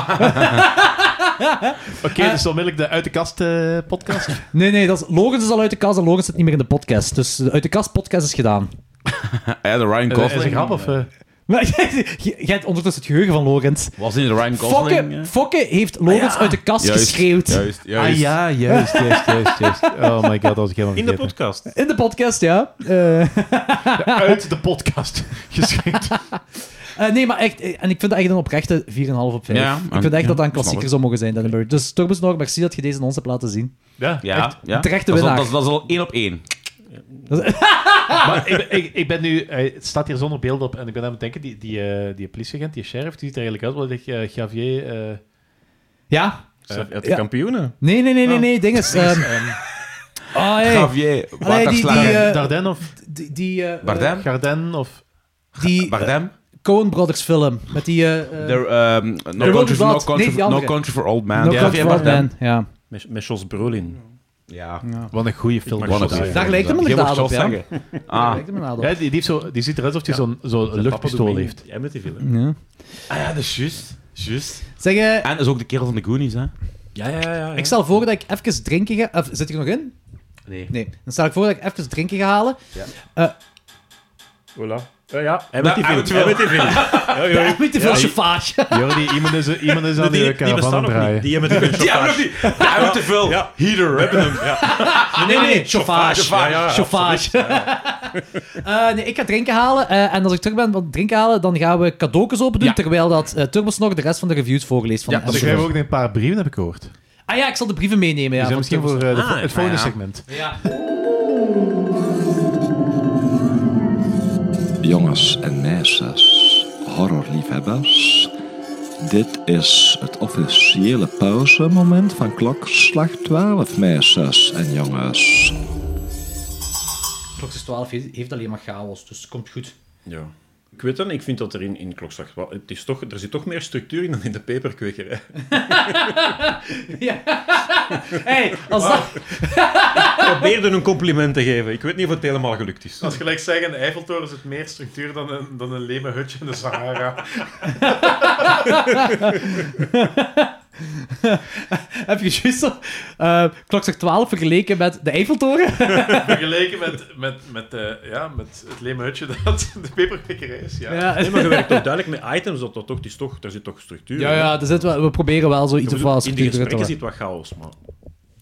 Speaker 4: Oké, dus onmiddellijk de uit de kast eh, podcast.
Speaker 2: Nee, nee, dat is, Logans is al uit de kast en Logans zit niet meer in de podcast. Dus de uit de kast podcast is gedaan.
Speaker 5: Ja, de Ryan
Speaker 4: Eh, is een
Speaker 5: Gosling.
Speaker 4: grap of... eh?
Speaker 2: Maar jij- jij hebt ondertussen het geheugen van Logans.
Speaker 5: Was niet de Ryan Gosling?
Speaker 2: Fokke,
Speaker 5: hè?
Speaker 2: Fokke heeft Logans uit de kast
Speaker 5: Juist,
Speaker 2: geschreeuwd.
Speaker 5: Juist, juist.
Speaker 4: Ah ja, juist, juist, juist, juist. Oh my god, dat was ik helemaal
Speaker 6: In de
Speaker 4: vergeten.
Speaker 6: podcast.
Speaker 2: In de podcast, ja. Eh, eh,
Speaker 4: Uit de podcast geschikt.
Speaker 2: nee, maar echt. eh, En ik vind dat echt een oprechte 4,5 op 5.
Speaker 5: Ja,
Speaker 2: ik
Speaker 5: en-
Speaker 2: vind echt dat dat een
Speaker 5: ja,
Speaker 2: klassieker
Speaker 5: snap
Speaker 2: zou mogen zijn, Denenburg. Dus Torbus nog, merci dat je deze aan ons hebt laten zien.
Speaker 4: Ja,
Speaker 5: Ja, ja.
Speaker 2: terechte
Speaker 5: dat is, al,
Speaker 2: winnaar.
Speaker 5: dat, is, dat is al één op één.
Speaker 4: Maar ik, ben- ik, ik ben nu... eh, het staat hier zonder beeld op en ik ben aan het denken, die, die, eh, die politieagent, die sheriff, die ziet er eigenlijk uit wat ik eh, Javier... eh,
Speaker 2: Ja?
Speaker 6: Uit de
Speaker 2: ja.
Speaker 6: kampioenen.
Speaker 2: Nee, nee,
Speaker 5: Ah.
Speaker 2: nee, nee, nee. Ding is. ehm, oh, hey.
Speaker 5: Javier,
Speaker 2: Allee, die, die,
Speaker 5: Waterslager.
Speaker 2: eh,
Speaker 4: Dardenne of
Speaker 2: die, die, eh,
Speaker 5: Bardem?
Speaker 4: Garden of...
Speaker 2: die
Speaker 5: Bardem?
Speaker 2: Coen Brothers film. Met die... eh, eh,
Speaker 5: De, ehm, no,
Speaker 2: Will
Speaker 5: country,
Speaker 2: Be
Speaker 5: no,
Speaker 2: Blood.
Speaker 5: country,
Speaker 2: Nee, die
Speaker 5: no
Speaker 2: andere.
Speaker 5: Country for Old Man.
Speaker 2: No
Speaker 5: Ja,
Speaker 2: Country
Speaker 5: Javier
Speaker 2: for Old
Speaker 5: Bardem.
Speaker 2: Man. Ja.
Speaker 6: Met, met Jos Brolin.
Speaker 5: Ja.
Speaker 4: Wat een goede film.
Speaker 6: Ik
Speaker 5: One
Speaker 6: mag
Speaker 5: of
Speaker 6: Daar
Speaker 5: the-
Speaker 2: lijkt hem
Speaker 5: Jij moest
Speaker 2: inderdaad
Speaker 5: zelf
Speaker 2: op, ja.
Speaker 5: zeggen. Ah,
Speaker 2: Kijk er maar naar,
Speaker 4: Ja,
Speaker 2: dan.
Speaker 4: die, die, heeft zo, die ziet eruit alsof hij zo'n zo'n luchtpistool heeft.
Speaker 6: Jij bent die film.
Speaker 2: Ja.
Speaker 5: Ah ja, dat is juist. Juist.
Speaker 2: Zeg, eh,
Speaker 5: En dat is ook de kerel van de Goonies, hè?
Speaker 6: Ja, ja, ja. ja.
Speaker 2: ik stel voor dat ik even drinken ga... of, zit ik er nog in?
Speaker 5: Nee.
Speaker 2: Nee. Dan stel ik voor dat ik even drinken ga halen.
Speaker 6: Voilà. Ja, ja. Hij
Speaker 5: Nou,
Speaker 6: bent die
Speaker 5: hij
Speaker 6: film.
Speaker 5: moet wel.
Speaker 6: Hij bent die film. Ja, ja, ja.
Speaker 2: Met die
Speaker 6: Ja,
Speaker 2: flesje
Speaker 6: die-
Speaker 2: vaasje.
Speaker 4: Jordi, iemand is, iemand is
Speaker 6: Die,
Speaker 4: aan de
Speaker 6: die, die
Speaker 4: caravan
Speaker 6: bestaan
Speaker 4: aan
Speaker 6: nog niet.
Speaker 4: het draaien.
Speaker 6: Die hebben die film.
Speaker 5: Ja, maar die. Hij te veel.
Speaker 6: Ja.
Speaker 5: Heater, hè?
Speaker 2: Nee, nee, nee. Chauffage.
Speaker 6: Ja, ja, ja,
Speaker 2: Chauffage. Eh, nee, ik ga drinken halen. eh, en als ik terug ben van drinken halen, dan gaan we cadeautjes open doen. Terwijl dat eh Turbos nog de rest van de reviews voorleest. Van
Speaker 5: Ja,
Speaker 2: de
Speaker 4: Dus ik
Speaker 2: episode.
Speaker 4: heb ook een paar brieven, heb ik gehoord. Die
Speaker 2: Ah ja, ik zal de brieven meenemen. Ja,
Speaker 4: zijn
Speaker 2: van
Speaker 4: misschien
Speaker 2: Turbos.
Speaker 4: voor eh, de vo-
Speaker 6: Ah,
Speaker 4: het volgende
Speaker 6: ja.
Speaker 4: segment.
Speaker 2: Ja.
Speaker 9: Jongens en meisjes, horrorliefhebbers. Dit is het officiële pauzemoment van klokslag 12, meisjes en jongens.
Speaker 2: Klok is 12, heeft heeft alleen maar chaos, dus het komt goed.
Speaker 6: Ja. Ik weet dan, ik vind dat er in, in Klokslag... wel- Het is toch, er zit toch meer structuur in dan in de peperkwekerij.
Speaker 2: hey, als dat...
Speaker 6: probeerde een compliment te geven. Ik weet niet of het helemaal gelukt is.
Speaker 4: Als gelijk zeggen, de Eiffeltoren zit meer structuur dan een, dan een leme hutje in de Sahara.
Speaker 2: Heb je juist zo... eh, klok zegt 12 vergeleken met de Eiffeltoren?
Speaker 4: Vergeleken met, met, met, eh, ja, met het leme hutje dat de peperkwekerij is.
Speaker 2: Ja,
Speaker 6: Nee, maar je werkt toch duidelijk met items, dat, dat toch, het is toch, er zit toch structuur
Speaker 2: ja, ja er zit wel- we proberen wel
Speaker 6: Ik
Speaker 2: zoiets of
Speaker 6: bedoel,
Speaker 2: wat
Speaker 6: in die
Speaker 2: structuur erin te
Speaker 6: gesprekken
Speaker 2: houden.
Speaker 6: zit wat chaos, maar...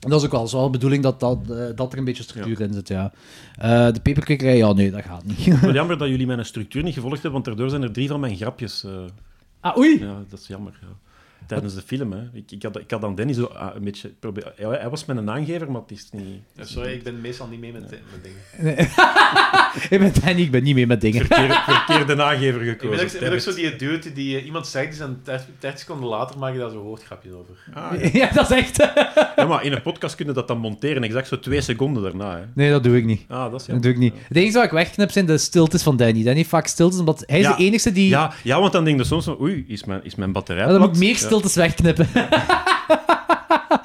Speaker 2: Dat is ook wel zo de bedoeling dat, dat, eh, dat er een beetje structuur in zit, ja. Eh, de peperkikkerij, ja, nee, dat gaat niet.
Speaker 6: Wel jammer dat jullie mijn structuur niet gevolgd hebben, want daardoor zijn er drie van mijn grapjes. eh,
Speaker 2: ah, oei!
Speaker 6: ja, dat is jammer. ja. Tijdens de film, hè. Ik, ik, had, ik had aan Danny zo ah, een beetje... Probeer, ja, hij was mijn aangever, maar het is niet...
Speaker 4: Eh, Sorry, ik ben meestal niet mee met, met dingen.
Speaker 2: Ik ben Danny, ik ben niet mee met dingen.
Speaker 6: Verkeer, verkeerde aangever
Speaker 4: Ik ben
Speaker 6: gekozen.
Speaker 4: ook, ik ben ook zo die dude die eh, iemand zegt, die zijn 30 30 seconden later maak je daar zo'n woordgrapje over.
Speaker 2: Ja, dat is echt... eh,
Speaker 6: Ja, maar in een podcast kunnen dat dan monteren, exact zo twee seconden daarna. Hè.
Speaker 2: Nee, dat doe ik niet.
Speaker 6: Ah, dat is
Speaker 2: Dat
Speaker 6: jammer.
Speaker 2: doe ik niet. Het enige wat ik wegknip zijn de stiltes van Danny. Danny heeft vaak stiltes, omdat hij is
Speaker 6: Ja.
Speaker 2: de enige die...
Speaker 6: Ja, ja, want dan denk je soms van, oei, is mijn, is mijn batterij
Speaker 2: Ja, dan moet
Speaker 6: plat?
Speaker 2: ik meer
Speaker 6: Ja.
Speaker 2: stiltes wegknippen.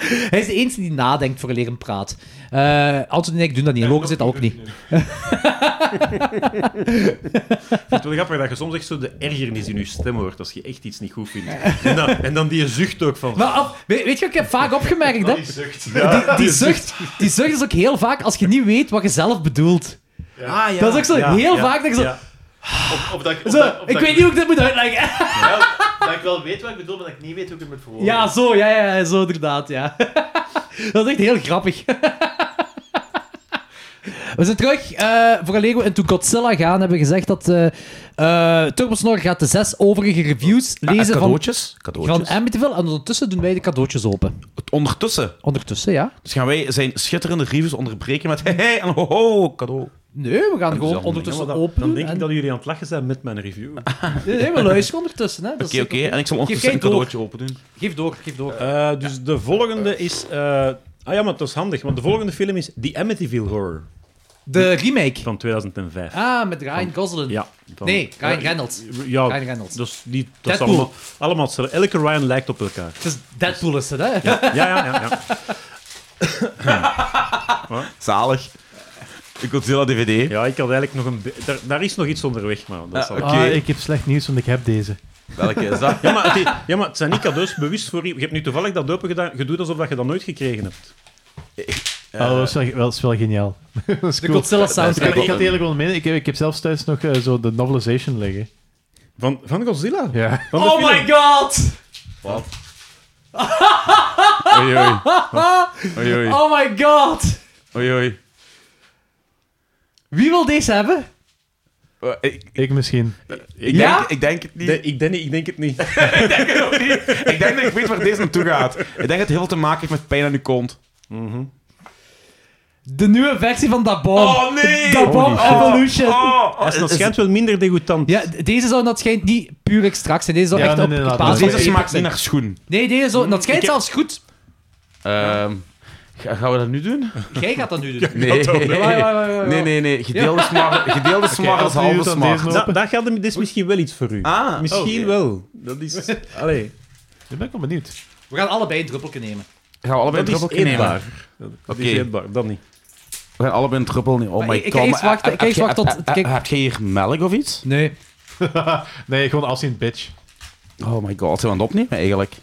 Speaker 2: Hij is de enige die nadenkt voor een praat. Eh Anthony en ik doen dat niet. Logan zit dat ook niet.
Speaker 6: Ik vind het wel grappig dat je soms echt zo de ergernis in je stem hoort als je echt iets niet goed vindt. En dan, en dan die zucht ook van...
Speaker 2: Maar af- weet, weet je wat ik heb vaak opgemerkt? Hè?
Speaker 4: Die zucht.
Speaker 2: Die, die, zucht, die zucht is ook heel vaak als je niet weet wat je zelf bedoelt.
Speaker 6: Ah, ja,
Speaker 2: dat is ook zo heel vaak dat je zo-
Speaker 4: Of, of dat ik, of
Speaker 2: Zo,
Speaker 4: dat- of dat
Speaker 2: ik weet niet hoe ik dit moet uitleggen.
Speaker 4: Ja, dat ik wel weet wat ik bedoel, maar dat ik niet weet hoe ik het moet verwoorden.
Speaker 2: Ja, zo, ja, ja, ja, zo inderdaad, ja. Dat is echt heel grappig. We zijn terug. eh vooraleer we into Godzilla gaan, hebben we gezegd dat eh eh, Turbosnor gaat de zes overige reviews lezen van,
Speaker 5: Ah, cadeautjes.
Speaker 2: van
Speaker 5: cadeautjes.
Speaker 2: Amityville. En ondertussen doen wij de cadeautjes open.
Speaker 5: Ondertussen.
Speaker 2: Ondertussen, ja.
Speaker 5: Dus gaan wij zijn schitterende reviews onderbreken met hey, hey en ho, ho cadeau.
Speaker 2: Nee, we gaan gewoon
Speaker 5: zal
Speaker 2: ondertussen
Speaker 6: Dan,
Speaker 2: open
Speaker 6: dan
Speaker 2: doen
Speaker 6: denk
Speaker 2: en-
Speaker 6: ik dat jullie aan het lachen zijn met mijn review.
Speaker 2: Nee, nee, we luisteren ondertussen. hè. Dat is
Speaker 5: Oké, oké.
Speaker 2: zeker
Speaker 5: En ik zal ondertussen een
Speaker 2: Geef geen
Speaker 5: cadeautje open doen.
Speaker 2: Geef door, geef door.
Speaker 6: Eh, dus de volgende is... eh, ah ja, maar dat is handig, want de volgende film is The Amityville Horror.
Speaker 2: De remake.
Speaker 6: van 2005.
Speaker 2: Ah, met Ryan Gosling.
Speaker 6: Ja, van-
Speaker 2: Nee, Ryan
Speaker 6: Ja,
Speaker 2: Reynolds.
Speaker 6: Ja,
Speaker 2: Ryan Reynolds.
Speaker 6: Dus die, dat is
Speaker 2: Deadpool.
Speaker 6: allemaal, allemaal hetzelfde. Elke Ryan lijkt op elkaar.
Speaker 2: Het is Deadpool is het, hè?
Speaker 6: Ja, ja, ja. ja.
Speaker 5: Zalig. Ik Godzilla DVD.
Speaker 6: Ja, ik had eigenlijk nog een... be- Daar, daar is nog iets onderweg, maar dat is
Speaker 5: Ja,
Speaker 6: al-
Speaker 5: Oké.
Speaker 4: Ah, ik heb slecht nieuws, want ik heb deze.
Speaker 5: Welke is dat?
Speaker 6: Ja, maar het, i- ja, maar het zijn niet cadeaus bewust voor je. Je hebt nu toevallig dat open gedaan. Je doet alsof dat je dat nooit gekregen hebt.
Speaker 4: oh, dat is wel, wel- is wel geniaal. dat is
Speaker 2: De
Speaker 4: cool.
Speaker 2: Godzilla
Speaker 4: Ik had,
Speaker 2: soundtrack.
Speaker 4: ik had eerlijk wel mee. Ik heb, ik heb zelfs thuis nog eh, zo de novelization liggen.
Speaker 6: Van, van Godzilla?
Speaker 4: Ja.
Speaker 6: Van de
Speaker 2: Oh
Speaker 6: film?
Speaker 2: my god!
Speaker 5: Oei, oei. Oei, oei.
Speaker 2: Oh my god!
Speaker 5: Oei, oei.
Speaker 2: Wie wil deze hebben?
Speaker 5: Eh, Ik,
Speaker 4: Ik misschien.
Speaker 5: ik,
Speaker 2: Ja?
Speaker 5: denk, ik denk het niet.
Speaker 6: Nee, ik, denk, niet- ik denk het
Speaker 2: Oh,
Speaker 6: niet.
Speaker 5: Ik denk dat ik weet waar deze naartoe gaat. Ik denk dat het heel veel te maken heeft met pijn aan uw kont.
Speaker 2: De nieuwe versie van Da Bomb.
Speaker 5: nee!
Speaker 2: Da Bomb Evolution.
Speaker 6: Dat is nog schijnt wel minder degoutant.
Speaker 2: Ja, d- deze zou dat schijnt niet puur extract zijn. Deze zou
Speaker 4: Ja,
Speaker 2: echt
Speaker 4: nee,
Speaker 2: op
Speaker 4: nee,
Speaker 2: op
Speaker 4: laat
Speaker 2: basis
Speaker 4: maar.
Speaker 2: van
Speaker 5: Deze
Speaker 2: paper
Speaker 5: smaakt
Speaker 2: zijn.
Speaker 5: niet naar schoen.
Speaker 2: Nee, deze zou... Dat schijnt zelfs goed.
Speaker 5: Ehm, ga- gaan we dat nu doen?
Speaker 2: Jij gaat dat nu doen.
Speaker 5: Nee.
Speaker 2: Ja, ja, ja, ja, ja.
Speaker 5: Nee, nee, nee. Gedeelde smart, gedeelde smart
Speaker 4: als
Speaker 5: is
Speaker 4: u
Speaker 5: halve
Speaker 4: het aan deze
Speaker 5: smart.
Speaker 4: nog-
Speaker 6: Dat, dat gaat hem, dit is misschien wel iets voor u.
Speaker 5: Ah,
Speaker 6: misschien
Speaker 5: oké.
Speaker 6: wel. Dat is... Allee.
Speaker 4: Ik ben ik wel benieuwd.
Speaker 2: We gaan allebei een druppelje nemen.
Speaker 5: Gaan we allebei
Speaker 6: Dat
Speaker 5: een
Speaker 6: is
Speaker 5: druppelje nemen?
Speaker 6: eetbaar. Dat dat is
Speaker 5: Oké.
Speaker 6: eetbaar, dat niet.
Speaker 5: We gaan allebei een druppel nemen. Oh
Speaker 2: Maar
Speaker 5: my
Speaker 2: ik- ik
Speaker 5: god.
Speaker 2: ga eerst
Speaker 5: maar-
Speaker 2: Eh, wachten- ik ga
Speaker 5: heb
Speaker 2: eerst
Speaker 5: je-
Speaker 2: wachten tot-
Speaker 5: heb- heb-
Speaker 7: eh,
Speaker 2: kijk.
Speaker 5: Heb je hier melk of iets?
Speaker 2: Nee.
Speaker 4: nee, gewoon als een bitch.
Speaker 5: Oh my god, zijn we aan het opnemen eigenlijk?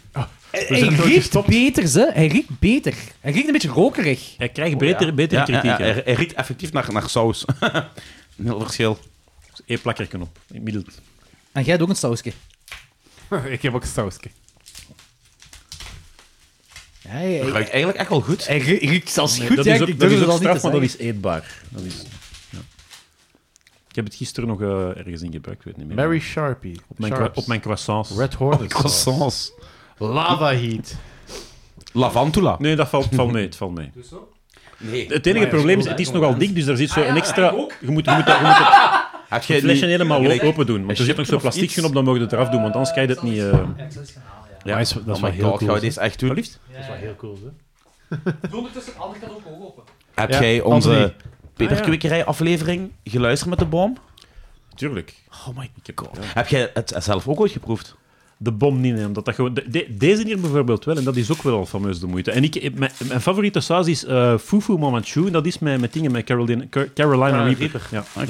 Speaker 2: Hij
Speaker 4: zijn nooit
Speaker 2: riekt
Speaker 4: gestopt.
Speaker 2: beter, ze. Hij riekt beter. Hij riekt een beetje rokerig.
Speaker 6: Hij krijgt betere, betere
Speaker 5: Oh Ja,
Speaker 6: kritiek.
Speaker 5: ja,
Speaker 6: hè.
Speaker 5: hij, hij riekt effectief naar, naar saus. Een heel verschil.
Speaker 6: Eén plakkerken op. Inmiddels.
Speaker 2: En jij hebt ook een sausje.
Speaker 4: ik heb ook een sausje.
Speaker 2: Ja, hij, hij-
Speaker 5: Ruikt eigenlijk echt wel goed.
Speaker 2: hij rie- riekt zelfs goed.
Speaker 6: dat
Speaker 2: ja,
Speaker 6: is ook,
Speaker 2: ik
Speaker 6: dat
Speaker 2: durf
Speaker 6: is
Speaker 2: het
Speaker 6: ook
Speaker 2: al niet
Speaker 6: straf,
Speaker 2: te
Speaker 6: maar dat
Speaker 2: zeggen.
Speaker 6: is eetbaar. Dat is, ja. Ik heb het gisteren nog eh, ergens in gebruikt, ik weet niet meer.
Speaker 4: Mary Sharpie.
Speaker 6: op, mijn
Speaker 4: Sharps. Oh,
Speaker 6: cro- op mijn croissants.
Speaker 4: Red Hornet.
Speaker 5: Croissants.
Speaker 4: Lava Heat.
Speaker 5: Lavantula.
Speaker 6: Nee, dat valt, valt mee. Het, valt mee.
Speaker 5: Nee. Ah,
Speaker 6: het enige probleem is, het is nogal dik, dus daar zit zo een extra... Je moet, je moet, dat- je moet het
Speaker 5: Heb jij
Speaker 6: flesje
Speaker 5: niet-
Speaker 6: helemaal
Speaker 5: gelijk-
Speaker 6: open doen. Want er zit nog zo'n
Speaker 5: of iets?
Speaker 6: plasticje op, dan mogen we het eraf doen, want anders krijg je het niet... eh,
Speaker 4: Ja, dat is, dat is
Speaker 5: Oh
Speaker 4: wel
Speaker 5: my
Speaker 4: heel
Speaker 5: god,
Speaker 4: cool.
Speaker 5: gaan we deze echt doen?
Speaker 4: Ah, Heel cool, hè?
Speaker 2: Doe ondertussen, anders kan ook open.
Speaker 5: Heb
Speaker 4: Ja,
Speaker 5: jij onze
Speaker 4: Anthony.
Speaker 5: Peterkwekerij-aflevering geluisterd met de boom?
Speaker 6: Tuurlijk.
Speaker 5: Oh my god. Heb jij het zelf ook ooit geproefd?
Speaker 6: De bom niet nemen. Dat dat gewoon, de- de- deze hier bijvoorbeeld wel, en dat is ook wel al fameus de moeite. En ik, ik- mijn, mijn favoriete saus is eh Fufu Mamanchu, en dat is met, met dingen met Caroline, Car- Carolina
Speaker 5: Ah,
Speaker 6: Reaper. Ja, ja.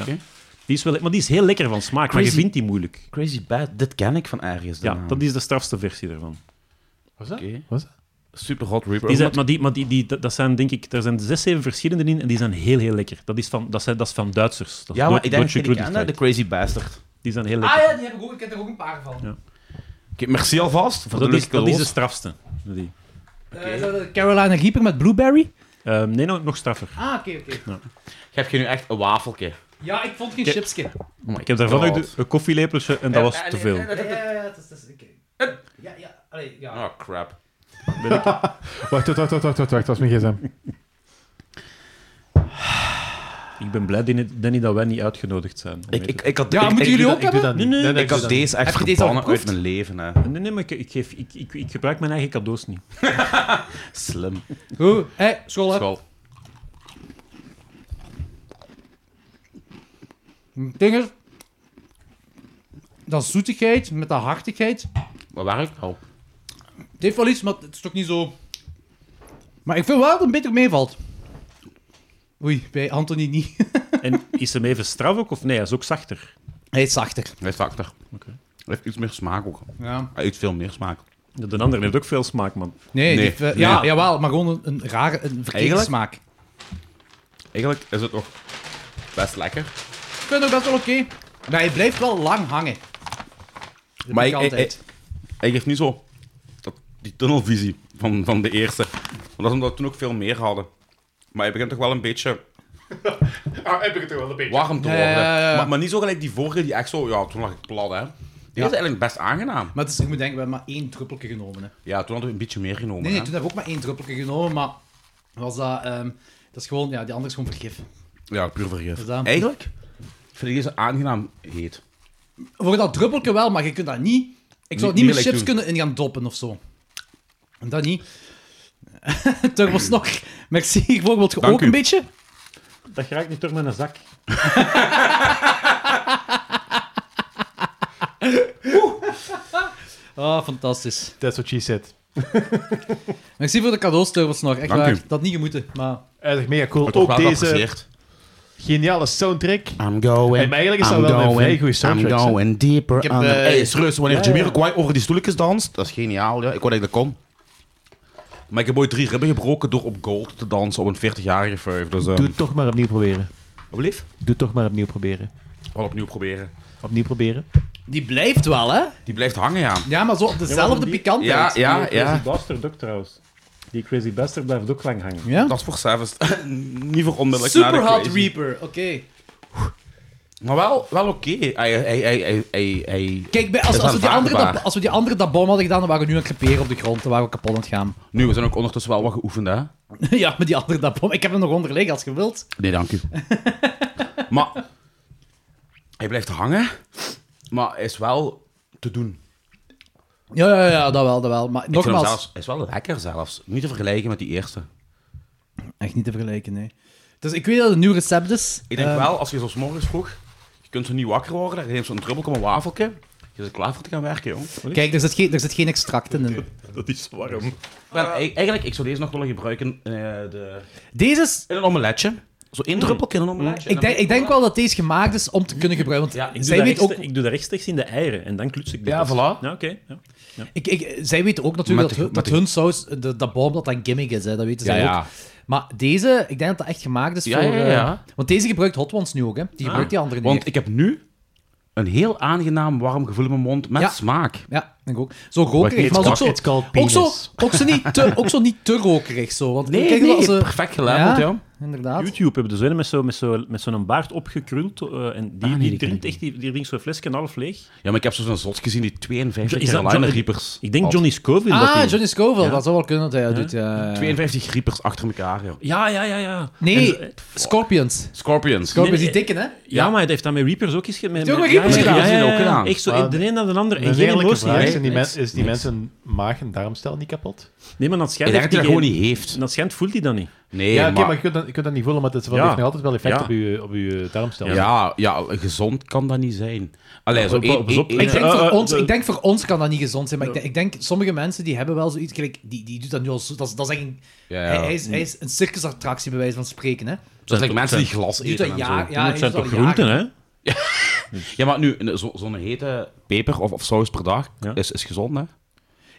Speaker 6: Die is wel, maar die is heel lekker van smaak, maar
Speaker 5: Crazy.
Speaker 6: je vindt die moeilijk.
Speaker 5: Crazy Bad, dit ken ik van ergens. de
Speaker 6: Ja,
Speaker 5: naam.
Speaker 6: dat is de strafste versie daarvan.
Speaker 4: Was dat?
Speaker 5: Oké.
Speaker 4: Was dat?
Speaker 5: Super hot Reaper.
Speaker 6: Die zijn, maar die, maar die, die, dat dat zijn, denk ik, daar zijn zes, zeven verschillende in, en die zijn heel, heel lekker. Dat is van, dat zijn, dat is van Duitsers. Dat
Speaker 5: ja,
Speaker 6: is
Speaker 5: maar
Speaker 6: Duit-
Speaker 5: ik denk
Speaker 6: Duitse
Speaker 5: dat ik die ken, hè, de
Speaker 6: Kruidigheid.
Speaker 5: Crazy Bastard.
Speaker 6: Die zijn
Speaker 2: Ah
Speaker 6: heel lekker.
Speaker 2: ja, die heb ik ook. Ik heb er ook een paar van.
Speaker 5: Oké, merci alvast voor
Speaker 6: dat,
Speaker 5: de
Speaker 6: is,
Speaker 5: leuke
Speaker 6: dat is de
Speaker 5: los.
Speaker 6: strafste. Die.
Speaker 2: Eh, is dat de Carolina Reaper met Blueberry?
Speaker 6: Ehm, nee, nog, nog straffer.
Speaker 2: Ah, oké, oké.
Speaker 5: Heb je nu echt een wafelke?
Speaker 2: Ja, ik vond geen
Speaker 6: Oké.
Speaker 2: chipsje.
Speaker 6: Ik heb daarvan ook
Speaker 5: God.
Speaker 6: de- een koffielepeltje en dat was te veel.
Speaker 2: Ja, ja, ja. het is- het is- oké. Ja, ja. Allee, ja.
Speaker 7: Ah.
Speaker 5: Oh, crap.
Speaker 4: Wacht, wacht, wacht, wacht, wacht, wacht, dat was mijn gsm.
Speaker 6: Ik ben blij, Danny, Danny, dat wij niet uitgenodigd zijn. om
Speaker 5: Ik,
Speaker 6: mee te-
Speaker 5: ik, ik had,
Speaker 2: Ja,
Speaker 5: ik,
Speaker 2: moeten
Speaker 5: ik-
Speaker 2: jullie
Speaker 5: ik-
Speaker 2: ook hebben?
Speaker 6: Nee, nee,
Speaker 5: Ik had deze echt
Speaker 2: Heb je deze al
Speaker 5: verbannen uit
Speaker 2: geproefd?
Speaker 5: mijn leven. Hè.
Speaker 6: Nee, nee, maar ik, ik, geef, ik, ik, ik gebruik mijn eigen cadeaus niet.
Speaker 5: Slim.
Speaker 2: Goed. Hé, school, hè.
Speaker 5: School.
Speaker 2: Dingen. Dat zoetigheid met dat hartigheid.
Speaker 5: Maar waar ik al.
Speaker 2: Het heeft wel iets, maar het is toch niet zo... Maar ik vind wel dat het beter meevalt. Oei, bij Anthony niet.
Speaker 6: En is hem even straf ook? Of nee, hij is ook zachter.
Speaker 2: Hij is zachter.
Speaker 5: Hij is zachter. Hij heeft iets meer smaak ook.
Speaker 2: Ja.
Speaker 5: Hij heeft veel meer smaak.
Speaker 6: De andere heeft ook veel smaak, man.
Speaker 2: Nee,
Speaker 5: Nee.
Speaker 2: die heeft, eh, ja,
Speaker 5: Nee.
Speaker 2: jawel, maar gewoon een, een rare, een verkeerde
Speaker 5: Eigenlijk?
Speaker 2: smaak.
Speaker 5: Eigenlijk is het toch best lekker.
Speaker 2: Ik vind het ook best wel oké. Maar hij blijft wel lang hangen. Dat
Speaker 5: Maar
Speaker 2: heb
Speaker 5: ik-
Speaker 2: altijd.
Speaker 5: Hij geeft niet zo dat, die tunnelvisie van, van de eerste. Want dat is omdat we toen ook veel meer hadden. Maar hij begint toch wel een beetje
Speaker 4: Ah, heb ik het toch wel een beetje.
Speaker 5: warm te
Speaker 2: Ja,
Speaker 5: worden.
Speaker 2: ja, ja, ja.
Speaker 5: Maar, maar niet zo gelijk die vorige, die echt zo... Ja, toen lag ik plat, hè. Die was eigenlijk best aangenaam.
Speaker 2: Maar het is, ik moet denken, we hebben maar één druppeltje genomen. Hè.
Speaker 5: Ja, toen hadden we een beetje meer genomen,
Speaker 2: Nee, nee,
Speaker 5: hè.
Speaker 2: toen hebben we ook maar één druppeltje genomen, maar was dat, ehm, dat is gewoon, ja, die andere is gewoon vergif.
Speaker 5: Ja, puur vergif.
Speaker 2: dat-
Speaker 5: Eigenlijk vind ik deze aangenaam heet.
Speaker 2: Voor dat druppeltje wel, maar je kunt dat niet. Ik zou het
Speaker 5: niet
Speaker 2: niet met
Speaker 5: gelijk
Speaker 2: chips
Speaker 5: doen.
Speaker 2: kunnen in gaan doppen of zo. Dat niet. Turbos nog. Merci. Ik bijvoorbeeld je
Speaker 5: Dank
Speaker 2: ook
Speaker 5: u.
Speaker 2: een beetje.
Speaker 6: Dat geraakt niet door mijn zak.
Speaker 2: Ah, fantastisch.
Speaker 4: That's what she said.
Speaker 2: Merci voor de cadeausturbels nog. Echt
Speaker 5: Dank
Speaker 2: waar.
Speaker 5: u.
Speaker 2: Dat had niet gemoeten, maar...
Speaker 4: Eigenlijk mega cool.
Speaker 5: Toch
Speaker 4: Ook
Speaker 5: wel
Speaker 4: deze
Speaker 5: geapprecieerd.
Speaker 4: geniale soundtrack.
Speaker 1: I'm going.
Speaker 4: Hey, maar eigenlijk is dat
Speaker 1: I'm
Speaker 4: wel een
Speaker 1: going,
Speaker 4: vrij goede soundtrack,
Speaker 1: I'm
Speaker 4: hè?
Speaker 1: going deeper.
Speaker 5: Ik heb,
Speaker 1: under-
Speaker 5: eh,
Speaker 1: Hey,
Speaker 5: hey, serieus, wanneer
Speaker 4: ja, ja.
Speaker 5: Jamiroquai over die stoeltjes danst, dat is geniaal. Ja. Ik wou dat ik dat kon. Maar ik heb ooit drie ribben gebroken door op gold te dansen op een 40-jarige vijf. Dus, eh,
Speaker 4: Doe het toch maar opnieuw proberen.
Speaker 5: wat lief?
Speaker 4: Doe het toch maar opnieuw proberen.
Speaker 5: Wel opnieuw proberen.
Speaker 4: Opnieuw proberen.
Speaker 2: Die blijft wel, hè?
Speaker 5: Die blijft hangen, ja.
Speaker 2: Ja, maar zo op dezelfde pikant.
Speaker 5: Ja, ja,
Speaker 6: Die
Speaker 5: Ah, ja.
Speaker 6: Crazy Bastard ook trouwens. Die Crazy Bastard blijft ook lang hangen.
Speaker 2: ja?
Speaker 5: Dat is voor service. Niet voor onmiddellijk na de
Speaker 2: Super Hot
Speaker 5: crazy.
Speaker 2: Reaper, oké.
Speaker 5: Maar wel, wel oké. Hij, hij, hij, hij, hij, hij-
Speaker 2: Kijk, bij- als,
Speaker 5: Is
Speaker 2: als, we die andere,
Speaker 5: aanvaardbaar.
Speaker 2: dat- als we die andere dat bom hadden gedaan, dan waren we nu aan het creperen op de grond. Dan waren we kapot aan het gaan.
Speaker 5: Nu, we zijn ook ondertussen wel wat geoefend, hè?
Speaker 2: ja, met die andere dat bom. Ik heb hem nog onder liggen, als je wilt.
Speaker 5: Nee, dank u. maar hij blijft hangen, maar hij is wel te doen.
Speaker 2: Ja, ja, ja, dat wel, dat wel. Maar
Speaker 5: Ik vind hem
Speaker 2: nogmaals,
Speaker 5: zelfs- hij is wel lekker zelfs. Niet te vergelijken met die eerste.
Speaker 2: echt niet te vergelijken, nee. Dus ik weet dat het een nieuw recept is.
Speaker 5: Ik denk
Speaker 2: Ehm,
Speaker 5: wel, als je zo'n 's morgens vroeg, je kunt zo niet wakker worden, dan neemt zo'n druppelke met een wafeltje. Je zit klaar voor te gaan werken, jong.
Speaker 2: Kijk, er zit geen, er zit geen extract in.
Speaker 6: Dat is warm.
Speaker 5: Maar e- eigenlijk, ik zou deze nog willen gebruiken eh, de,
Speaker 2: Deze is...
Speaker 5: in een omeletje. Zo één druppeltje in een omeletje.
Speaker 2: Ik denk, ik denk wel dat deze gemaakt is om te kunnen gebruiken. Want
Speaker 5: Ja, ik
Speaker 6: Ik doe,
Speaker 2: zij,
Speaker 6: dat
Speaker 2: weet ook,
Speaker 6: rechtstreeks- ik doe dat rechtstreeks in de eieren en dan kluts ik die
Speaker 5: Ja,
Speaker 6: vast.
Speaker 5: voilà.
Speaker 6: Ja, oké. ja.
Speaker 2: ik, ik, zij weten ook natuurlijk dat,
Speaker 5: Met de-
Speaker 2: hun-
Speaker 5: met
Speaker 2: dat
Speaker 5: de-
Speaker 2: hun saus, de, dat boom, dat dat een gimmick is. Hè, dat weten
Speaker 5: Ja,
Speaker 2: zij ook.
Speaker 5: ja.
Speaker 2: Maar deze, ik denk dat dat echt gemaakt is
Speaker 5: Ja,
Speaker 2: voor...
Speaker 5: ja,
Speaker 2: eh,
Speaker 5: ja. Ah.
Speaker 2: want deze gebruikt Hot Ones nu ook, hè. Die gebruikt die andere niet.
Speaker 5: Want ik heb nu een heel aangenaam warm gevoel in mijn mond met
Speaker 2: Ja.
Speaker 5: smaak.
Speaker 2: Ja, denk ik ook. Zo rokerig, maar ook zo...
Speaker 4: It's called
Speaker 2: Ook
Speaker 4: penis.
Speaker 2: zo, ook, zo niet te, ook zo niet te rokerig, zo. Want
Speaker 5: Nee,
Speaker 2: kijk,
Speaker 5: nee,
Speaker 2: als ze-
Speaker 5: perfect
Speaker 2: Ja.
Speaker 5: gelabeld, eh, ja.
Speaker 2: Inderdaad.
Speaker 6: YouTube hebben dus een met zo'n met zo, met zo'n baard opgekruld. eh, en die,
Speaker 5: Ah, nee, die
Speaker 6: die
Speaker 5: ken ik
Speaker 6: drinkt echt die, die drinkt zo'n flesje en half leeg.
Speaker 5: Ja, maar ik heb zo'n zot gezien die 52
Speaker 6: Is dat
Speaker 5: Carolina
Speaker 6: Johnny-
Speaker 5: Reapers.
Speaker 6: Ik denk
Speaker 5: had.
Speaker 6: Johnny Scoville. dat
Speaker 2: Ah,
Speaker 6: die-
Speaker 2: Johnny Scoville, dat zou wel kunnen dat hij eh, dat doet. ja.
Speaker 5: 52 Reapers achter elkaar, joh.
Speaker 6: Ja, ja, ja, ja.
Speaker 2: Nee,
Speaker 6: En-
Speaker 2: Scorpions.
Speaker 5: Scorpions.
Speaker 2: Scorpions,
Speaker 6: Nee,
Speaker 2: die dikken, hè?
Speaker 6: Ja, maar hij heeft dat met Reapers ook eens gedaan.
Speaker 2: Heeft hij ook met Reapers gedaan?
Speaker 5: Ja, ja, ja.
Speaker 6: Echt zo,
Speaker 4: Maar-
Speaker 6: de een naar de ander.
Speaker 4: Een
Speaker 6: En geen
Speaker 4: eerlijke
Speaker 6: emotie.
Speaker 4: vraag.
Speaker 5: hè?
Speaker 4: Zijn die
Speaker 5: Niks.
Speaker 4: men- is die
Speaker 5: Niks.
Speaker 4: mensen maag- en darmstel niet kapot?
Speaker 6: Nee, maar dat schijnt
Speaker 5: Ik denk dat hij dat gewoon niet heeft.
Speaker 6: Dat schijnt voelt hij dat niet.
Speaker 5: Nee,
Speaker 4: ja, oké,
Speaker 5: maar...
Speaker 4: maar je kunt, dat, je kunt dat niet voelen, maar het is wel,
Speaker 6: Ja.
Speaker 4: het heeft nog altijd wel effect
Speaker 6: Ja.
Speaker 4: op je, op je darmstel.
Speaker 5: Ja, ja, gezond kan dat niet zijn. Allee, zo
Speaker 6: Pas
Speaker 5: één-
Speaker 6: op, pas op.
Speaker 5: één-
Speaker 2: Ik denk,
Speaker 6: eh,
Speaker 2: voor
Speaker 6: eh,
Speaker 2: ons,
Speaker 6: eh,
Speaker 2: ik denk voor ons kan dat niet gezond zijn, maar ik, denk, ik denk sommige mensen die hebben wel zoiets. Kijk, die, die doet dat nu al zo. Dat is, dat is echt een,
Speaker 5: Ja, ja.
Speaker 2: hij, hij is, hij is een circusattractie, bij wijze van spreken. Hè? Die
Speaker 5: Dat zijn like mensen die glas
Speaker 2: doet
Speaker 5: eten
Speaker 2: dat
Speaker 5: en
Speaker 2: jaar.
Speaker 5: zo.
Speaker 2: Ja,
Speaker 6: het zijn
Speaker 2: hij
Speaker 6: toch
Speaker 2: doet dat al
Speaker 6: groenten,
Speaker 2: jaren.
Speaker 6: hè?
Speaker 5: Ja, maar nu, een- zo- zo'n hete peper of, of saus per dag
Speaker 6: Ja.
Speaker 5: is, is gezond, hè?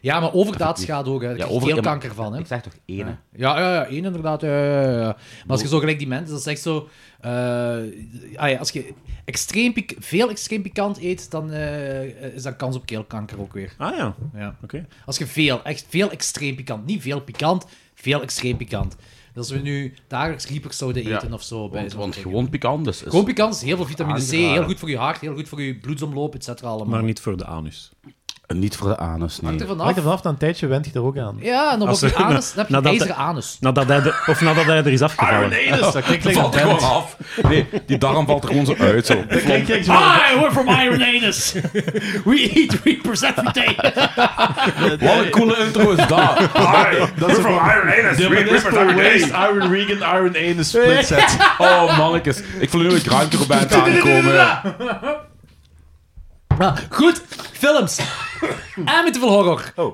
Speaker 2: Ja, maar overdaad schaadt ook. Hè. Daar
Speaker 5: Ja,
Speaker 2: krijg je
Speaker 5: over-
Speaker 2: veel
Speaker 5: ja, maar-
Speaker 2: kanker van. Hè?
Speaker 5: Ik zeg toch ene.
Speaker 2: Ja, ja, ja, één inderdaad. Ja, ja, ja, ja. Maar als je zo gelijk die mensen, dat is echt zo. eh, ah ja, als je extreem pik- veel extreem pikant eet, dan eh, is dat kans op keelkanker ook weer.
Speaker 6: Ah ja,
Speaker 2: Ja.
Speaker 6: oké.
Speaker 2: Als je veel, echt veel extreem pikant, niet veel pikant, veel extreem pikant. Dus als we nu dagelijks riepers zouden
Speaker 5: Ja,
Speaker 2: eten of zo. Bij
Speaker 5: Want,
Speaker 2: zo'n
Speaker 5: want
Speaker 2: ding.
Speaker 5: gewoon pikant is... is-
Speaker 2: Gewoon pikant is heel veel vitamine C,
Speaker 5: Aangeraden.
Speaker 2: heel goed voor je hart, heel goed voor je bloedsomloop, et cetera. Allemaal.
Speaker 6: Maar niet voor de anus.
Speaker 5: Niet voor de anus, nee.
Speaker 2: Hangt er
Speaker 4: Hangt
Speaker 2: vanaf.
Speaker 4: er vanaf, na een tijdje wend je er ook aan.
Speaker 2: Ja, en dan op
Speaker 6: Als
Speaker 2: je
Speaker 6: er-
Speaker 2: anus, dan heb je
Speaker 6: nadat-
Speaker 2: een ijzeren anus.
Speaker 6: Nadat hij er- of nadat hij er is afgevallen.
Speaker 4: Dus dat klinkt like
Speaker 5: valt
Speaker 4: een
Speaker 5: er gewoon
Speaker 4: band.
Speaker 5: af. Nee, die darm valt er gewoon zo uit, zo.
Speaker 4: Klinkt like zo'n-
Speaker 2: I we're from Iron Anus. We eat reapers every day.
Speaker 5: Wat een coole intro is dat.
Speaker 10: Dat is voor Iron Anus.
Speaker 4: De Municipal Waste Iron Regan Iron Anus split set.
Speaker 5: Oh, mannetjes. Ik voel nu een ruimte op bij aankomen.
Speaker 2: Ah, goed, films. Amityville Horror.
Speaker 6: Oh.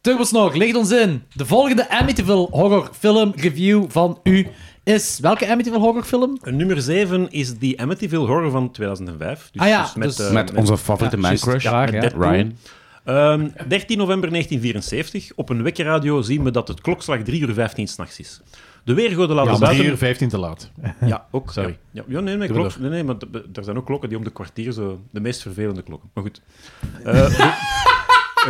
Speaker 2: Turbosnog, ligt ons in. De volgende Amityville Horror film review van u is... Welke Amityville Horror film?
Speaker 6: En Eh, Nummer 7 is The Amityville Horror van 2005. Dus,
Speaker 2: Ah ja,
Speaker 6: dus met,
Speaker 2: dus-
Speaker 6: eh,
Speaker 5: Met onze favoriete
Speaker 2: Ja,
Speaker 5: man
Speaker 2: juist.
Speaker 5: crush,
Speaker 2: Ja, ja.
Speaker 6: Deadpool.
Speaker 5: Ryan.
Speaker 6: Ehm, 13 november 1974. Op een wekkerradio zien we dat het klokslag 3 uur 15 s'nachts is. De weergoden laten
Speaker 4: Ja, maar
Speaker 6: buiten...
Speaker 4: 3 uur 15 te laat.
Speaker 6: Ja, ook.
Speaker 4: Sorry.
Speaker 6: Ja, ja nee, nee,
Speaker 4: Doe
Speaker 6: klopt. Nee,
Speaker 4: maar.
Speaker 6: nee, maar d- d- er zijn ook klokken die om de kwartier zo... De meest vervelende klokken. Maar goed. Eh, de-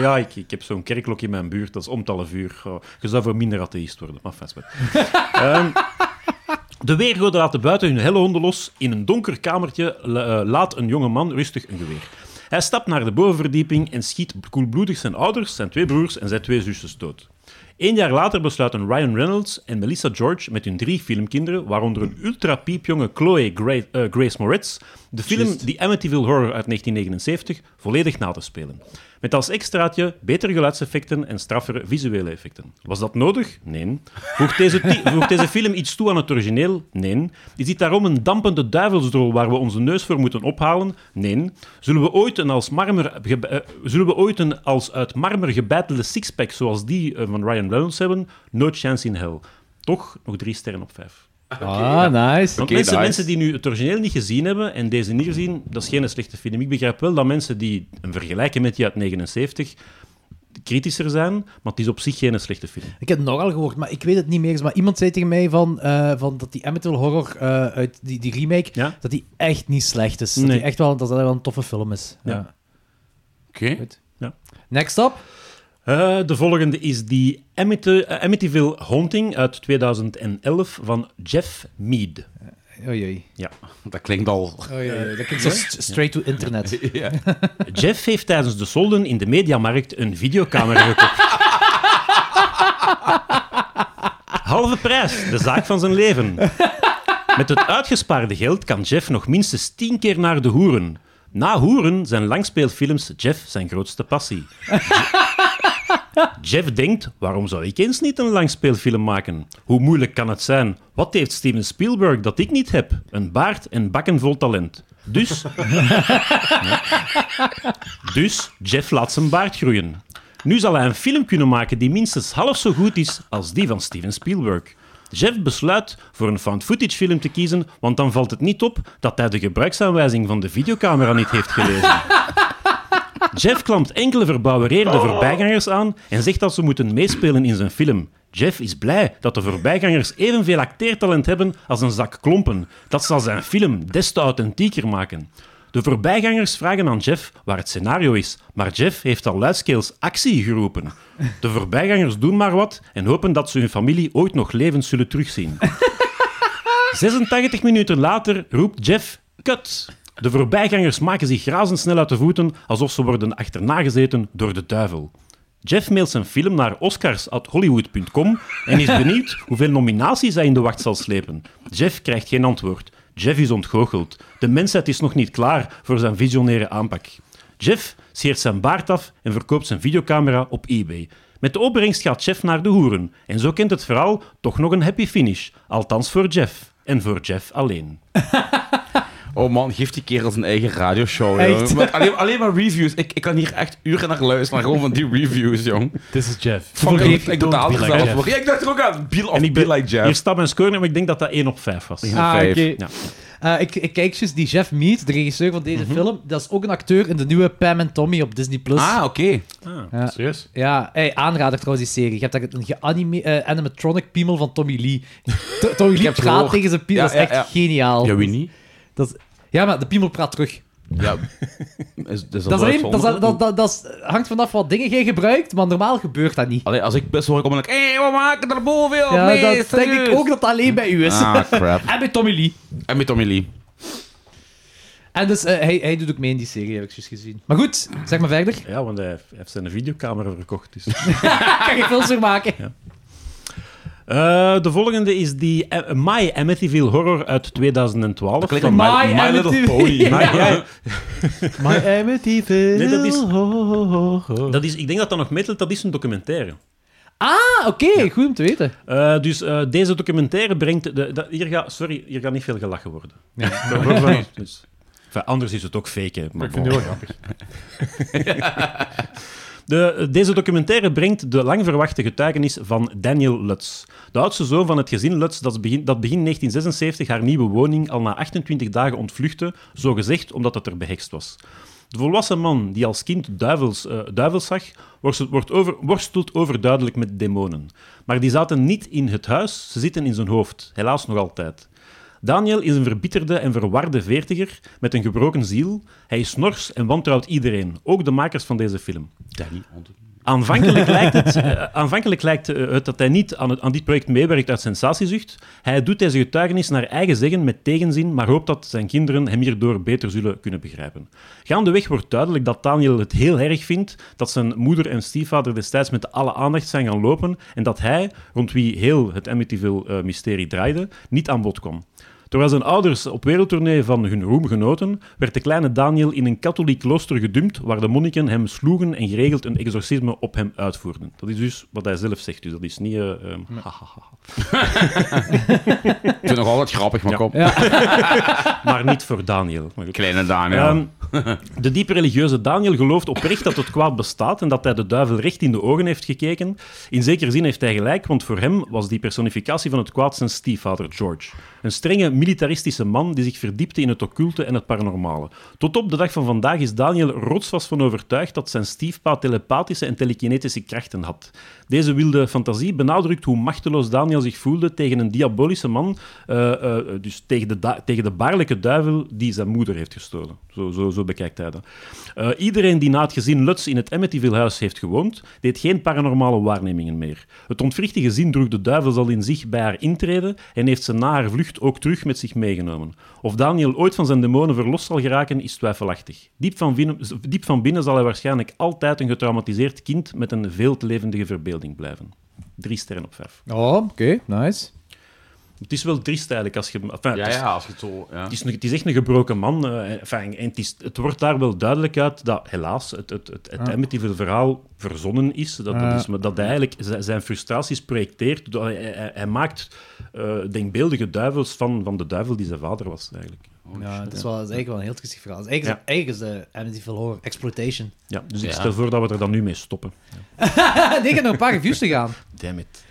Speaker 6: ja, ik, ik heb zo'n kerkklok in mijn buurt. Dat is om het half uur. Oh, je zou voor minder atheïst worden. Maar vast Ehm de weergoden laten buiten hun helle honden los. In een donker kamertje la- eh, laat een jonge man rustig een geweer. Hij stapt naar de bovenverdieping en schiet koelbloedig zijn ouders, zijn twee broers en zijn twee zusjes dood. Eén jaar later besluiten Ryan Reynolds en Melissa George met hun drie filmkinderen, waaronder een ultra-piepjonge Chloe Gra- eh, Grace Moretz, de film die Amityville Horror uit 1979 volledig na te spelen. Met als extraatje betere geluidseffecten en straffere visuele effecten. Was dat nodig? Nee. Voegt deze, ti- voegt deze film iets toe aan het origineel? Nee. Is dit daarom een dampende duivelsdrol waar we onze neus voor moeten ophalen? Nee. Zullen we ooit een als, marmer ge- eh, zullen we ooit een als uit marmer gebeitelde sixpack zoals die eh, van Ryan Reynolds hebben? No chance in hell. Toch nog drie sterren op vijf.
Speaker 2: ah, nice.
Speaker 6: Want mensen,
Speaker 5: nice.
Speaker 6: mensen die nu het origineel niet gezien hebben en deze niet gezien, dat is geen slechte film. Ik begrijp wel dat mensen die hem vergelijken met die uit 79 kritischer zijn, maar het is op zich geen slechte film.
Speaker 2: Ik heb het nogal gehoord, maar ik weet het niet meer. eens. Maar iemand zei tegen mij van, eh, van dat die Amityville Horror eh, uit die, die remake,
Speaker 6: Ja.
Speaker 2: dat die echt niet slecht is. Dat,
Speaker 6: Nee.
Speaker 2: die echt wel, dat dat wel een toffe film is. Ja.
Speaker 6: Ja.
Speaker 5: Oké.
Speaker 2: Next up.
Speaker 6: Eh, de volgende is die Amity- eh, Amityville Haunting uit 2011 van Jeff Mead.
Speaker 2: Oei, oei.
Speaker 5: Dat klinkt al...
Speaker 2: Oei, oei, oei. Dat klinkt zo st- straight to internet.
Speaker 6: Jeff heeft tijdens de solden in de mediamarkt een videocamera gekocht. Halve prijs, de zaak van zijn leven. Met het uitgespaarde geld kan Jeff nog minstens tien keer naar de hoeren. Na hoeren zijn langspeelfilms Jeff zijn grootste passie. Jeff denkt, waarom zou ik eens niet een langspeelfilm maken? Hoe moeilijk kan het zijn? Wat heeft Steven Spielberg dat ik niet heb? Een baard en bakken vol talent. Dus dus Jeff laat zijn baard groeien. Nu zal hij een film kunnen maken die minstens half zo goed is als die van Steven Spielberg. Jeff besluit voor een found footage film te kiezen, want dan valt het niet op dat hij de gebruiksaanwijzing van de videocamera niet heeft gelezen. Jeff klampt enkele verbouwereerde voorbijgangers aan en zegt dat ze moeten meespelen in zijn film. Jeff is blij dat de voorbijgangers evenveel acteertalent hebben als een zak klompen. Dat zal zijn film des te authentieker maken. De voorbijgangers vragen aan Jeff waar het scenario is, maar Jeff heeft al luidskeels actie geroepen. De voorbijgangers doen maar wat en hopen dat ze hun familie ooit nog levend zullen terugzien. 86 minuten later roept Jeff kut. De voorbijgangers maken zich razendsnel uit de voeten, alsof ze worden achternagezeten door de duivel. Jeff mailt zijn film naar oscars.hollywood.com en is benieuwd hoeveel nominaties hij in de wacht zal slepen. Jeff krijgt geen antwoord. Jeff is ontgoocheld. De mensheid is nog niet klaar voor zijn visionaire aanpak. Jeff scheert zijn baard af en verkoopt zijn videocamera op eBay. Met de opbrengst gaat Jeff naar de hoeren. En zo kent het verhaal toch nog een happy finish. Althans voor Jeff. En voor Jeff alleen.
Speaker 5: Oh man, geef die kerel zijn eigen radioshow.
Speaker 2: Echt?
Speaker 5: jongen. Met alleen, alleen maar reviews. Ik, ik kan hier echt uren naar luisteren. Gewoon van die reviews, jong.
Speaker 4: This is Jeff.
Speaker 5: Fucking
Speaker 4: don't
Speaker 5: totaal
Speaker 4: be like
Speaker 5: gezellig.
Speaker 4: Jeff.
Speaker 5: worden. Ja, ik dacht er ook aan. Be, of
Speaker 6: En ik
Speaker 5: be like Jeff.
Speaker 6: Hier staat mijn score in, maar ik denk dat dat 1 op 5 was.
Speaker 5: Ah,
Speaker 2: oké.
Speaker 5: oké.
Speaker 6: Ja.
Speaker 2: Eh, ik, ik kijk juist die Jeff Mead, de regisseur van
Speaker 5: Mhm.
Speaker 2: deze film. Dat is ook een acteur in de nieuwe Pam en Tommy op Disney+. Plus.
Speaker 5: Ah, oké.
Speaker 4: Serieus?
Speaker 2: Ja, hey, aanrader trouwens die serie. Je hebt daar een geanime- eh, animatronic piemel van Tommy Lee. To- Tommy Lee
Speaker 5: heb het
Speaker 2: praat
Speaker 5: gehoord.
Speaker 2: tegen zijn piemel.
Speaker 5: Ja,
Speaker 2: dat is echt
Speaker 5: ja, ja.
Speaker 2: geniaal.
Speaker 5: Ja, wie niet?
Speaker 2: Dat is- ja, maar de piemel praat terug.
Speaker 5: Ja. Is,
Speaker 2: Dat,
Speaker 5: is
Speaker 2: is alleen, dat, is-
Speaker 5: uitzonderlijk?
Speaker 2: dat, dat, dat is- hangt vanaf wat dingen jij gebruikt, maar normaal gebeurt dat niet.
Speaker 5: Allee, als ik best hoor, kom ik... Hé, hey, we maken er boven, joh.
Speaker 2: Ja,
Speaker 5: nee,
Speaker 2: dat denk
Speaker 5: serieus.
Speaker 2: ik ook dat dat alleen bij u is.
Speaker 5: Ah, crap.
Speaker 2: en bij Tommy Lee.
Speaker 5: En met Tommy Lee.
Speaker 2: En dus eh, hij, hij doet ook mee in die serie, heb ik juist gezien. Maar goed, zeg maar verder.
Speaker 6: ja, want hij heeft- hij heeft zijn videocamera verkocht. Dus.
Speaker 2: Kan je films weer maken?
Speaker 6: Eh, de volgende is die eh, My Amityville Horror uit 2012.
Speaker 5: Klik
Speaker 6: van-
Speaker 5: op My, My,
Speaker 2: Amityville.
Speaker 5: Little Pony.
Speaker 6: Maar ja,
Speaker 4: My Amityville.
Speaker 6: Nee, dat is-
Speaker 4: is...
Speaker 6: dat is, ik denk dat dat nog meetelt, dat is een documentaire.
Speaker 2: Ah, oké, goed om te weten.
Speaker 6: Eh, dus eh, deze documentaire brengt... De, dat- hier ga, sorry, hier gaat niet veel gelachen worden. Dat wordt wel- dus- enfin, anders is het ook fake, hè, maar
Speaker 4: Ik vind
Speaker 6: bon.
Speaker 4: het heel grappig.
Speaker 6: De, deze documentaire brengt de lang verwachte getuigenis van Daniel Lutz. De oudste zoon van het gezin Lutz dat begin, dat begin 1976 haar nieuwe woning al na 28 dagen ontvluchtte, zogezegd omdat het er behekst was. De volwassen man die als kind duivels, eh, duivels zag, worstelt, wordt over, worstelt overduidelijk met demonen. Maar die zaten niet in het huis, ze zitten in zijn hoofd, helaas nog altijd. Daniel is een verbitterde en verwarde veertiger met een gebroken ziel. Hij is nors en wantrouwt iedereen, ook de makers van deze film. Danny. Aanvankelijk lijkt het, eh, aanvankelijk lijkt eh, het dat hij niet aan, het, aan dit project meewerkt uit sensatiezucht. Hij doet deze getuigenis naar eigen zeggen met tegenzin, maar hoopt dat zijn kinderen hem hierdoor beter zullen kunnen begrijpen. Gaandeweg wordt duidelijk dat Daniel het heel erg vindt dat zijn moeder en stiefvader destijds met alle aandacht zijn gaan lopen en dat hij, rond wie heel het Amityville-mysterie draaide, niet aan bod kwam. Terwijl zijn ouders op wereldtournee van hun roem genoten, werd de kleine Daniel in een katholiek klooster gedumpt waar de monniken hem sloegen en geregeld een exorcisme op hem uitvoerden. Dat is dus wat hij zelf zegt, dus dat is niet... eh, ehm, hahaha.
Speaker 5: Ik vind nog altijd grappig, maar
Speaker 6: Ja.
Speaker 5: kom.
Speaker 6: maar niet voor Daniel. Maar goed.
Speaker 5: Kleine Daniel.
Speaker 6: Ehm, de diep religieuze Daniel gelooft oprecht dat het kwaad bestaat en dat hij de duivel recht in de ogen heeft gekeken. In zekere zin heeft hij gelijk, want voor hem was die personificatie van het kwaad zijn stiefvader George. Een strenge, militaristische man die zich verdiepte in het occulte en het paranormale. Tot op de dag van vandaag is Daniel rotsvast van overtuigd dat zijn stiefpa telepathische en telekinetische krachten had. Deze wilde fantasie benadrukt hoe machteloos Daniel zich voelde tegen een diabolische man, eh, eh, dus tegen de, da- tegen de baarlijke duivel die zijn moeder heeft gestolen. Zo, zo, zo bekijkt hij dat. Eh, iedereen die na het gezin Lutz in het Amityville-huis heeft gewoond, deed geen paranormale waarnemingen meer. Het ontwrichte gezin droeg de duivel al in zich bij haar intreden en heeft ze na haar vlucht ook terug met zich meegenomen. Of Daniel ooit van zijn demonen verlost zal geraken, is twijfelachtig. Diep van, binnen, diep van binnen zal hij waarschijnlijk altijd een getraumatiseerd kind met een veel te levendige verbeelding blijven. Drie sterren op vijf.
Speaker 2: Oh, oké, nice.
Speaker 6: Het is wel driest eigenlijk als je... Enfin, het
Speaker 5: Ja,
Speaker 6: is-
Speaker 5: ja, als je het zo... Ja.
Speaker 6: het is, een- het is echt een gebroken man. eh, enfin, en het, is, het wordt daar wel duidelijk uit dat helaas het, het, het, het Amityville verhaal verzonnen is. Dat, dat, is, maar dat hij eigenlijk z- zijn frustraties projecteert. Dat Hij, hij- hij maakt eh, denkbeeldige duivels van, van de duivel die zijn vader was eigenlijk.
Speaker 2: ja, dat is, wel, dat is eigenlijk wel een heel triestig verhaal. Dat is Eigenlijk, is- eigenlijk is de Amityville Horror Exploitation.
Speaker 6: Ja, dus ik
Speaker 5: Ja.
Speaker 6: stel voor dat we er dan nu mee stoppen.
Speaker 2: Ah, nee, ik heb nog een paar reviews te gaan.
Speaker 6: Damn it.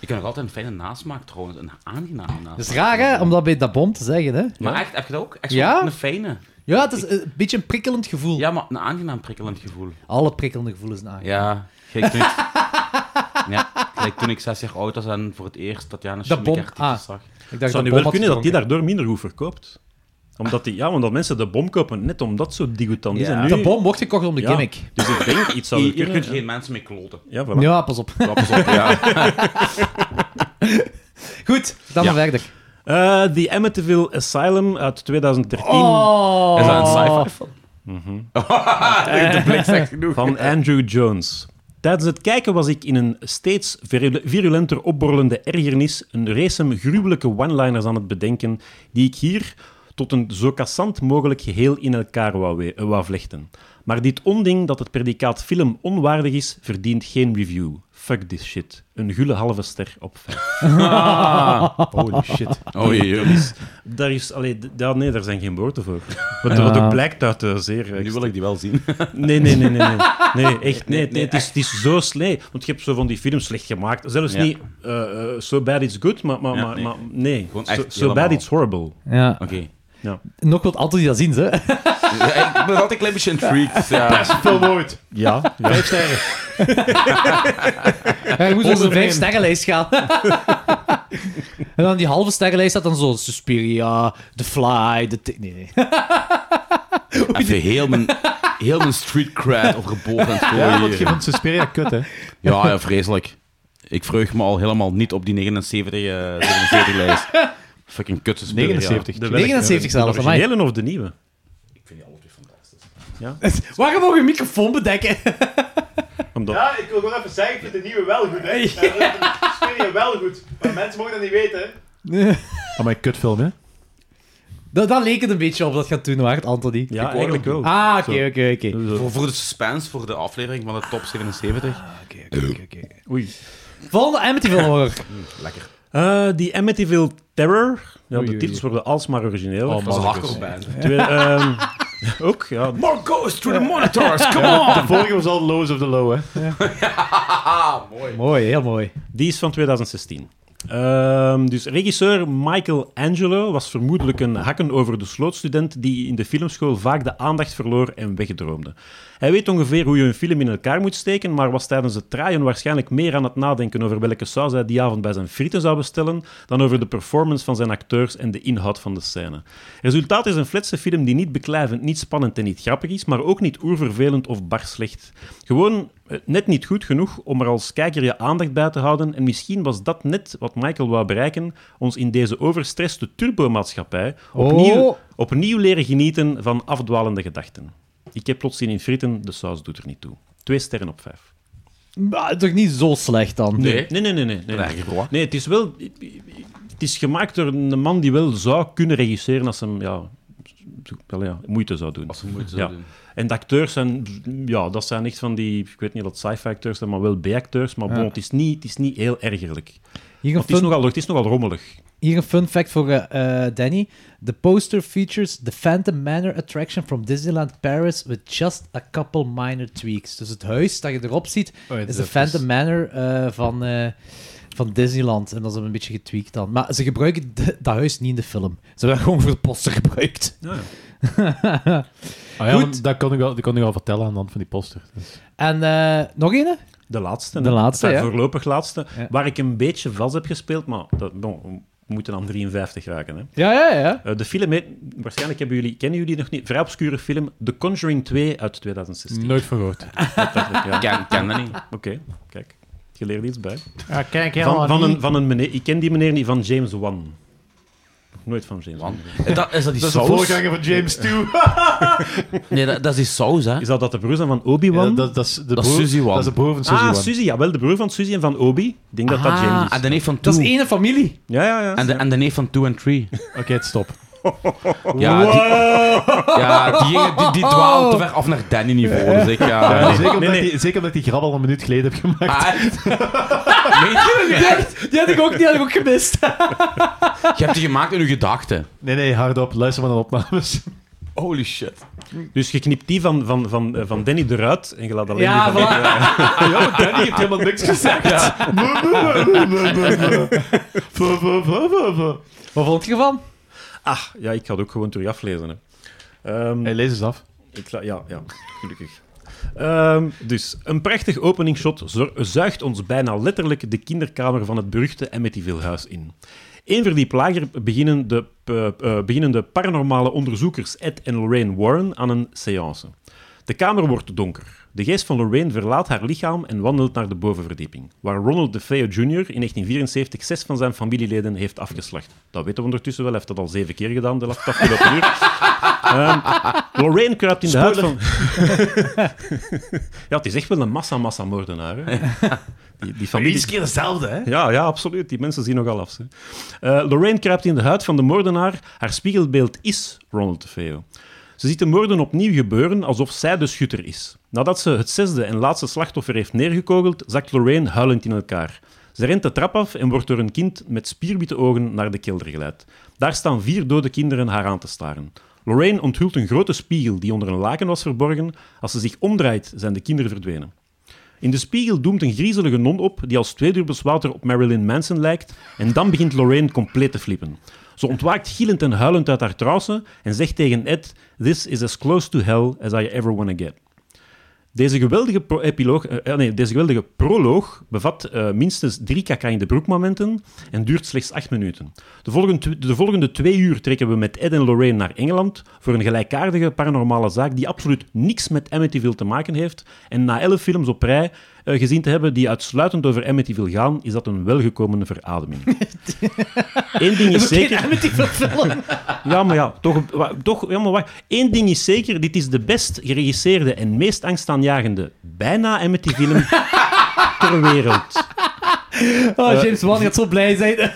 Speaker 5: Ik heb nog altijd een fijne nasmaak trouwens. Een aangename nasmaak.
Speaker 2: Dat is Dus raar, hè, om dat bij dat bom te zeggen, hè?
Speaker 5: Maar echt, heb je dat ook? Echt
Speaker 2: Ja?
Speaker 5: zo'n een fijne.
Speaker 2: Ja, het is een beetje een prikkelend gevoel.
Speaker 5: Ja, maar een aangenaam prikkelend gevoel.
Speaker 2: Alle prikkelende gevoelens na.
Speaker 5: Ja, gelijk toen ik, ja, gelijk toen ik zes jaar oud was en voor het eerst dat Janus
Speaker 2: Dat bom-
Speaker 5: artikel
Speaker 2: ah.
Speaker 5: zag.
Speaker 2: Ik dacht
Speaker 6: Zou nu
Speaker 2: Bob had
Speaker 6: wel kunnen dat die
Speaker 2: gedronken.
Speaker 6: daardoor minder goed verkoopt? Omdat die, ja, want dat mensen de bom kopen net omdat zo digotant is.
Speaker 5: Ja.
Speaker 6: En nu,
Speaker 2: De bom wordt gekocht om de
Speaker 6: Ja.
Speaker 2: gimmick.
Speaker 6: Dus ik denk, iets zou er
Speaker 5: Hier, hier kun
Speaker 6: kunnen.
Speaker 5: je geen mensen mee kloten.
Speaker 6: Ja, voilà.
Speaker 2: Ja. pas op.
Speaker 5: Ja, pas op, ja.
Speaker 2: Goed, dan maar verder.
Speaker 6: Eh, The Amityville Asylum uit 2013
Speaker 2: Oh.
Speaker 5: Is dat een sci-fi film? de blik zegt genoeg.
Speaker 6: van Andrew Jones. Tijdens het kijken was ik in een steeds virul- virulenter opborrelende ergernis een race gruwelijke one-liners aan het bedenken die ik hier tot een zo kassant mogelijk geheel in elkaar wou, we- eh, wou vlechten. Maar dit onding dat het predicaat film onwaardig is, verdient geen review. Fuck this shit. Een gulle halve ster op vijf.
Speaker 5: Holy shit. Oh jee, jongens.
Speaker 6: Daar is, allee, d- ja, nee, daar zijn geen woorden voor. Wat wat ook blijkt uit de zeer... eh,
Speaker 5: Nu wil ik die wel zien.
Speaker 6: Nee, nee, nee, nee. Nee, nee echt, nee. nee, het, is, het is zo slecht. Want je hebt zo van die films slecht gemaakt. Zelfs
Speaker 5: Ja.
Speaker 6: niet eh, eh, So Bad It's Good, maar, maar,
Speaker 5: Ja,
Speaker 6: maar,
Speaker 5: nee.
Speaker 6: maar nee.
Speaker 5: Gewoon
Speaker 6: So,
Speaker 5: echt
Speaker 6: So Bad
Speaker 5: helemaal.
Speaker 6: It's Horrible.
Speaker 2: Ja.
Speaker 5: Oké.
Speaker 2: Nog wat altijd die dat zien, hè?
Speaker 5: Ja, ik ben altijd een klein beetje intrigued. Ja.
Speaker 6: Ja. Vijf sterren.
Speaker 2: Ja, je moet over een
Speaker 6: Onder één.
Speaker 2: vijf sterrenlijst gaan. dus en dan die halve sterrenlijst staat dan zo Suspiria, The Fly, The... Ti- Nee, nee.
Speaker 5: Even heel mijn, heel mijn street cred overboord en zo.
Speaker 4: Ja, want
Speaker 5: hier.
Speaker 4: je vindt Suspiria kut, hè?
Speaker 5: Ja, ja, vreselijk. Ik vreug me al helemaal niet op die 79, eh 77 lijst. Fucking kutse speler,
Speaker 4: 79.
Speaker 6: De
Speaker 2: 79 zelfs,
Speaker 6: De
Speaker 2: amai.
Speaker 6: originele of de nieuwe?
Speaker 2: Waarom mogen we een microfoon bedekken?
Speaker 6: Omdat...
Speaker 7: Ja, ik wil gewoon even zeggen, ik vind de nieuwe wel
Speaker 6: Oh,
Speaker 7: goed, hè. Ja. de Xperia wel goed. Maar mensen mogen dat niet weten, hè.
Speaker 4: Oh, mijn kutfilm, hè?
Speaker 2: dat, dat leek het een beetje op dat gaat toen, waard, Anthony?
Speaker 6: Ja, eigenlijk wel.
Speaker 2: Ah, oké, oké, oké.
Speaker 5: ja. Voor, voor de suspense, voor de aflevering van de top 77. Ah.
Speaker 6: Oei.
Speaker 2: Volgende Amityville Horror.
Speaker 6: Eh, die Amityville Terror. Ja, de titels worden alsmaar origineel.
Speaker 5: Dat is een hardcore band.
Speaker 6: Twee- ehm, ook, ja.
Speaker 5: More ghosts through the monitors, come on!
Speaker 4: Vorige was al Lows of the Low, hè?
Speaker 2: Mooi, heel mooi.
Speaker 6: Die is van 2016. Ehm, dus regisseur Michael Angelo was vermoedelijk een hakken over de sloot student die in de filmschool vaak de aandacht verloor en wegdroomde. Hij weet ongeveer hoe je een film in elkaar moet steken, maar was tijdens het draaien waarschijnlijk meer aan het nadenken over welke saus hij die avond bij zijn frieten zou bestellen, dan over de performance van zijn acteurs en de inhoud van de scène. Resultaat is een fletse film die niet beklijvend, niet spannend en niet grappig is, maar ook niet oervervelend of bar slecht. Gewoon eh, net niet goed genoeg om er als kijker je aandacht bij te houden. En misschien was dat net wat Michael wou bereiken: ons in deze overstresste turbomaatschappij opnieuw,
Speaker 2: Oh.
Speaker 6: opnieuw leren genieten van afdwalende gedachten. Ik heb plots zin in frieten, de saus doet er niet toe. Twee sterren op vijf.
Speaker 2: Maar toch niet zo slecht dan?
Speaker 6: Nee, nee, nee, nee. Nee, nee. nee het is wel. Het is gemaakt door een man die wel zou kunnen regisseren als hem ja, wel, ja, moeite zou doen.
Speaker 5: ze moeite
Speaker 6: Ja. En de acteurs zijn, ja, dat zijn echt van die, ik weet niet wat sci-fi acteurs zijn, maar wel B-acteurs. Maar bon, het, is niet, het is niet heel ergerlijk.
Speaker 2: Hier een,
Speaker 6: Want het, is
Speaker 2: fun,
Speaker 6: nogal, het is nogal rommelig.
Speaker 2: hier een fun fact voor eh, eh, Danny. The poster features the Phantom Manor attraction from Disneyland Paris with just a couple minor tweaks. Dus het huis dat je erop ziet,
Speaker 4: Oh, ja,
Speaker 2: is
Speaker 4: dat
Speaker 2: de
Speaker 4: is- dus-
Speaker 2: Phantom Manor eh, van, eh, van Disneyland. En dat is een beetje getweakt dan. Maar ze gebruiken de- dat huis niet in de film. Ze hebben dat gewoon voor de poster gebruikt.
Speaker 4: Ah, Oh, ja, want dat kon, ik al, dat kon ik al vertellen aan de hand van die poster. Dus-
Speaker 2: En eh, nog een?
Speaker 6: De laatste.
Speaker 2: De
Speaker 6: hè.
Speaker 2: laatste,
Speaker 6: Enfin,
Speaker 2: ja.
Speaker 6: Voorlopig laatste.
Speaker 2: Ja.
Speaker 6: Waar ik een beetje vals heb gespeeld, maar dat, bon, we moeten aan 53 raken. Hè.
Speaker 2: Ja, ja, ja.
Speaker 6: Eh, de film heet, waarschijnlijk hebben jullie, kennen jullie die nog niet, vrij obscure film The Conjuring 2 uit 2016.
Speaker 4: Nooit van gehoord.
Speaker 6: Dacht ik, ja.
Speaker 5: Ken, ken dat niet.
Speaker 6: Oké, kijk. Je leert iets bij.
Speaker 4: Ja, kijk,
Speaker 6: Van, van, een, van een meneer, ik ken die meneer niet, van James Wan. Nog nooit van James Wan.
Speaker 5: Dat, is dat die
Speaker 7: Dat is de
Speaker 5: saus?
Speaker 7: voorganger van James 2.
Speaker 5: Nee, dat, dat is die saus, hè?
Speaker 6: Is dat, dat de broer zijn van Obi-Wan?
Speaker 4: dat, dat is de
Speaker 5: Dat is
Speaker 4: broer-
Speaker 5: Suzy Wan.
Speaker 4: Dat is de broer van Suzy
Speaker 6: ah,
Speaker 4: Wan.
Speaker 6: Suzy, ja, wel de broer van Suzy en van Obi. Ik denk dat dat
Speaker 5: Ah,
Speaker 6: James
Speaker 5: en
Speaker 6: is.
Speaker 5: de neef van
Speaker 2: Dat is
Speaker 5: 2.
Speaker 2: ene familie.
Speaker 6: Ja, ja, ja.
Speaker 5: En de, en de neef van 2 en 3.
Speaker 4: Oké, het stop.
Speaker 5: Ja, die, ja, die, gingen- die, die dwaalden te ver af naar Danny-niveau. Dus ik, ja.
Speaker 4: Ja, zeker, omdat
Speaker 6: nee.
Speaker 4: Die, zeker omdat ik die grabbel al een minuut geleden heb gemaakt.
Speaker 5: Ah, echt? Meen je
Speaker 2: Die
Speaker 5: dat niet?
Speaker 2: had, die had ik ook, die had ik ook gemist.
Speaker 4: Oh,
Speaker 5: Je hebt die gemaakt in uw gedachten.
Speaker 4: Nee, nee, hardop. Luister maar naar de opnames.
Speaker 5: Holy shit.
Speaker 6: Dus je knipt die van, van, van, eh, van Danny eruit en je laat alleen
Speaker 2: Ja,
Speaker 6: die van...
Speaker 2: voilà.
Speaker 4: ja, maar Danny heeft helemaal niks gezegd.
Speaker 2: Wat vond je ervan?
Speaker 6: Ah, ja, ik ga het ook gewoon terug aflezen. Hè. Ehm,
Speaker 4: Hey, lees eens af.
Speaker 6: ik la- ja, ja, gelukkig. Ehm, dus, een prachtig openingsshot zo- zuigt ons bijna letterlijk de kinderkamer van het beruchte Amityville huis in. Eén verdiep lager beginnen de, p- eh, beginnen de paranormale onderzoekers Ed en Lorraine Warren aan een séance. De kamer wordt donker. De geest van Lorraine verlaat haar lichaam en wandelt naar de bovenverdieping, waar Ronald DeFeo Jr. in 1974 zes van zijn familieleden heeft afgeslacht. Dat weten we ondertussen wel, hij heeft dat al zeven keer gedaan de laf- afgelopen uur. Ehm, Lorraine kruipt in de huid van... ja, het is echt wel een massa-massa-moordenaar. hè. Die, die familie...
Speaker 7: keer hetzelfde, hè?
Speaker 6: Ja, ja, absoluut. Die mensen zien nogal af. Hè. Eh, Lorraine kruipt in de huid van de moordenaar. Haar spiegelbeeld is Ronald DeFeo. Ze ziet de moorden opnieuw gebeuren alsof zij de schutter is. Nadat ze het zesde en laatste slachtoffer heeft neergekogeld, zakt Lorraine huilend in elkaar. Ze rent de trap af en wordt door een kind met spierwitte ogen naar de kelder geleid. Daar staan vier dode kinderen haar aan te staren. Lorraine onthult een grote spiegel die onder een laken was verborgen. Als ze zich omdraait, zijn de kinderen verdwenen. In de spiegel doemt een griezelige non op die als tweedubbels water op Marilyn Manson lijkt en dan begint Lorraine compleet te flippen. Ze ontwaakt gillend en huilend uit haar trousen en zegt tegen Ed, this is as close to hell as I ever wanna get. Deze geweldige, pro- epiloog, eh, eh, nee, deze geweldige proloog bevat eh, minstens drie kaka in de broekmomenten en duurt slechts acht minuten. De volgende, tw- de volgende twee uur trekken we met Ed en Lorraine naar Engeland voor een gelijkaardige paranormale zaak die absoluut niks met Amityville te maken heeft. En na elf films op rij eh, gezien te hebben die uitsluitend over Amityville gaan, is dat een welgekomene verademing. Eén ding is zeker...
Speaker 2: Geen Amity vervullen.
Speaker 6: Ja, maar ja, toch, wa- toch ja, maar wacht. Eén ding is zeker, dit is de best geregisseerde en meest angstaanjagende bijna Amityville ter wereld.
Speaker 2: Oh, James Wan gaat zo blij zijn.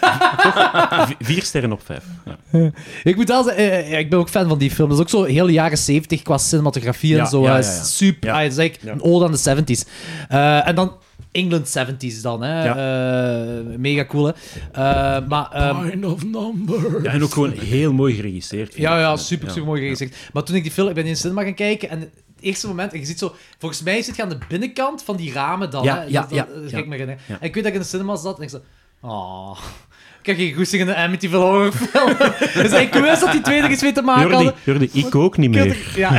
Speaker 6: V- vier sterren op vijf. Ja.
Speaker 2: ik moet wel zeggen, eh, ja, ik ben ook fan van die film. Dat is ook zo heel jaren 70 qua cinematografie en
Speaker 6: Ja,
Speaker 2: zo.
Speaker 6: ja,
Speaker 2: eh,
Speaker 6: ja, ja.
Speaker 2: Super.
Speaker 6: Ja.
Speaker 2: ah, het is eigenlijk een ode aan de 70s. Eh, en dan England 70s dan, hè.
Speaker 6: Ja.
Speaker 2: Eh, mega cool, hè. Eh, maar... ehm,
Speaker 1: of number.
Speaker 6: Ja, en ook gewoon heel mooi geregisseerd. vind
Speaker 2: Ja,
Speaker 6: ik.
Speaker 2: ja, super, super mooi gezegd. Maar toen ik die film, ik ben in de cinema gaan kijken en het eerste moment, en je ziet zo, volgens mij zit je aan de binnenkant van die ramen dan.
Speaker 6: Ja,
Speaker 2: hè?
Speaker 6: ja,
Speaker 2: dat, dat-
Speaker 6: ja,
Speaker 2: dat ga
Speaker 6: ja.
Speaker 2: ik me herinneren.
Speaker 6: Ja.
Speaker 2: En ik weet dat ik in de cinema zat en ik zei, Oh. Ik heb geen goesting in de Amityville horrorfilm. dus ik wist dat die tweede iets mee te maken
Speaker 6: Jordi,
Speaker 2: hadden.
Speaker 6: Jordi, ik ook niet meer.
Speaker 2: Ja.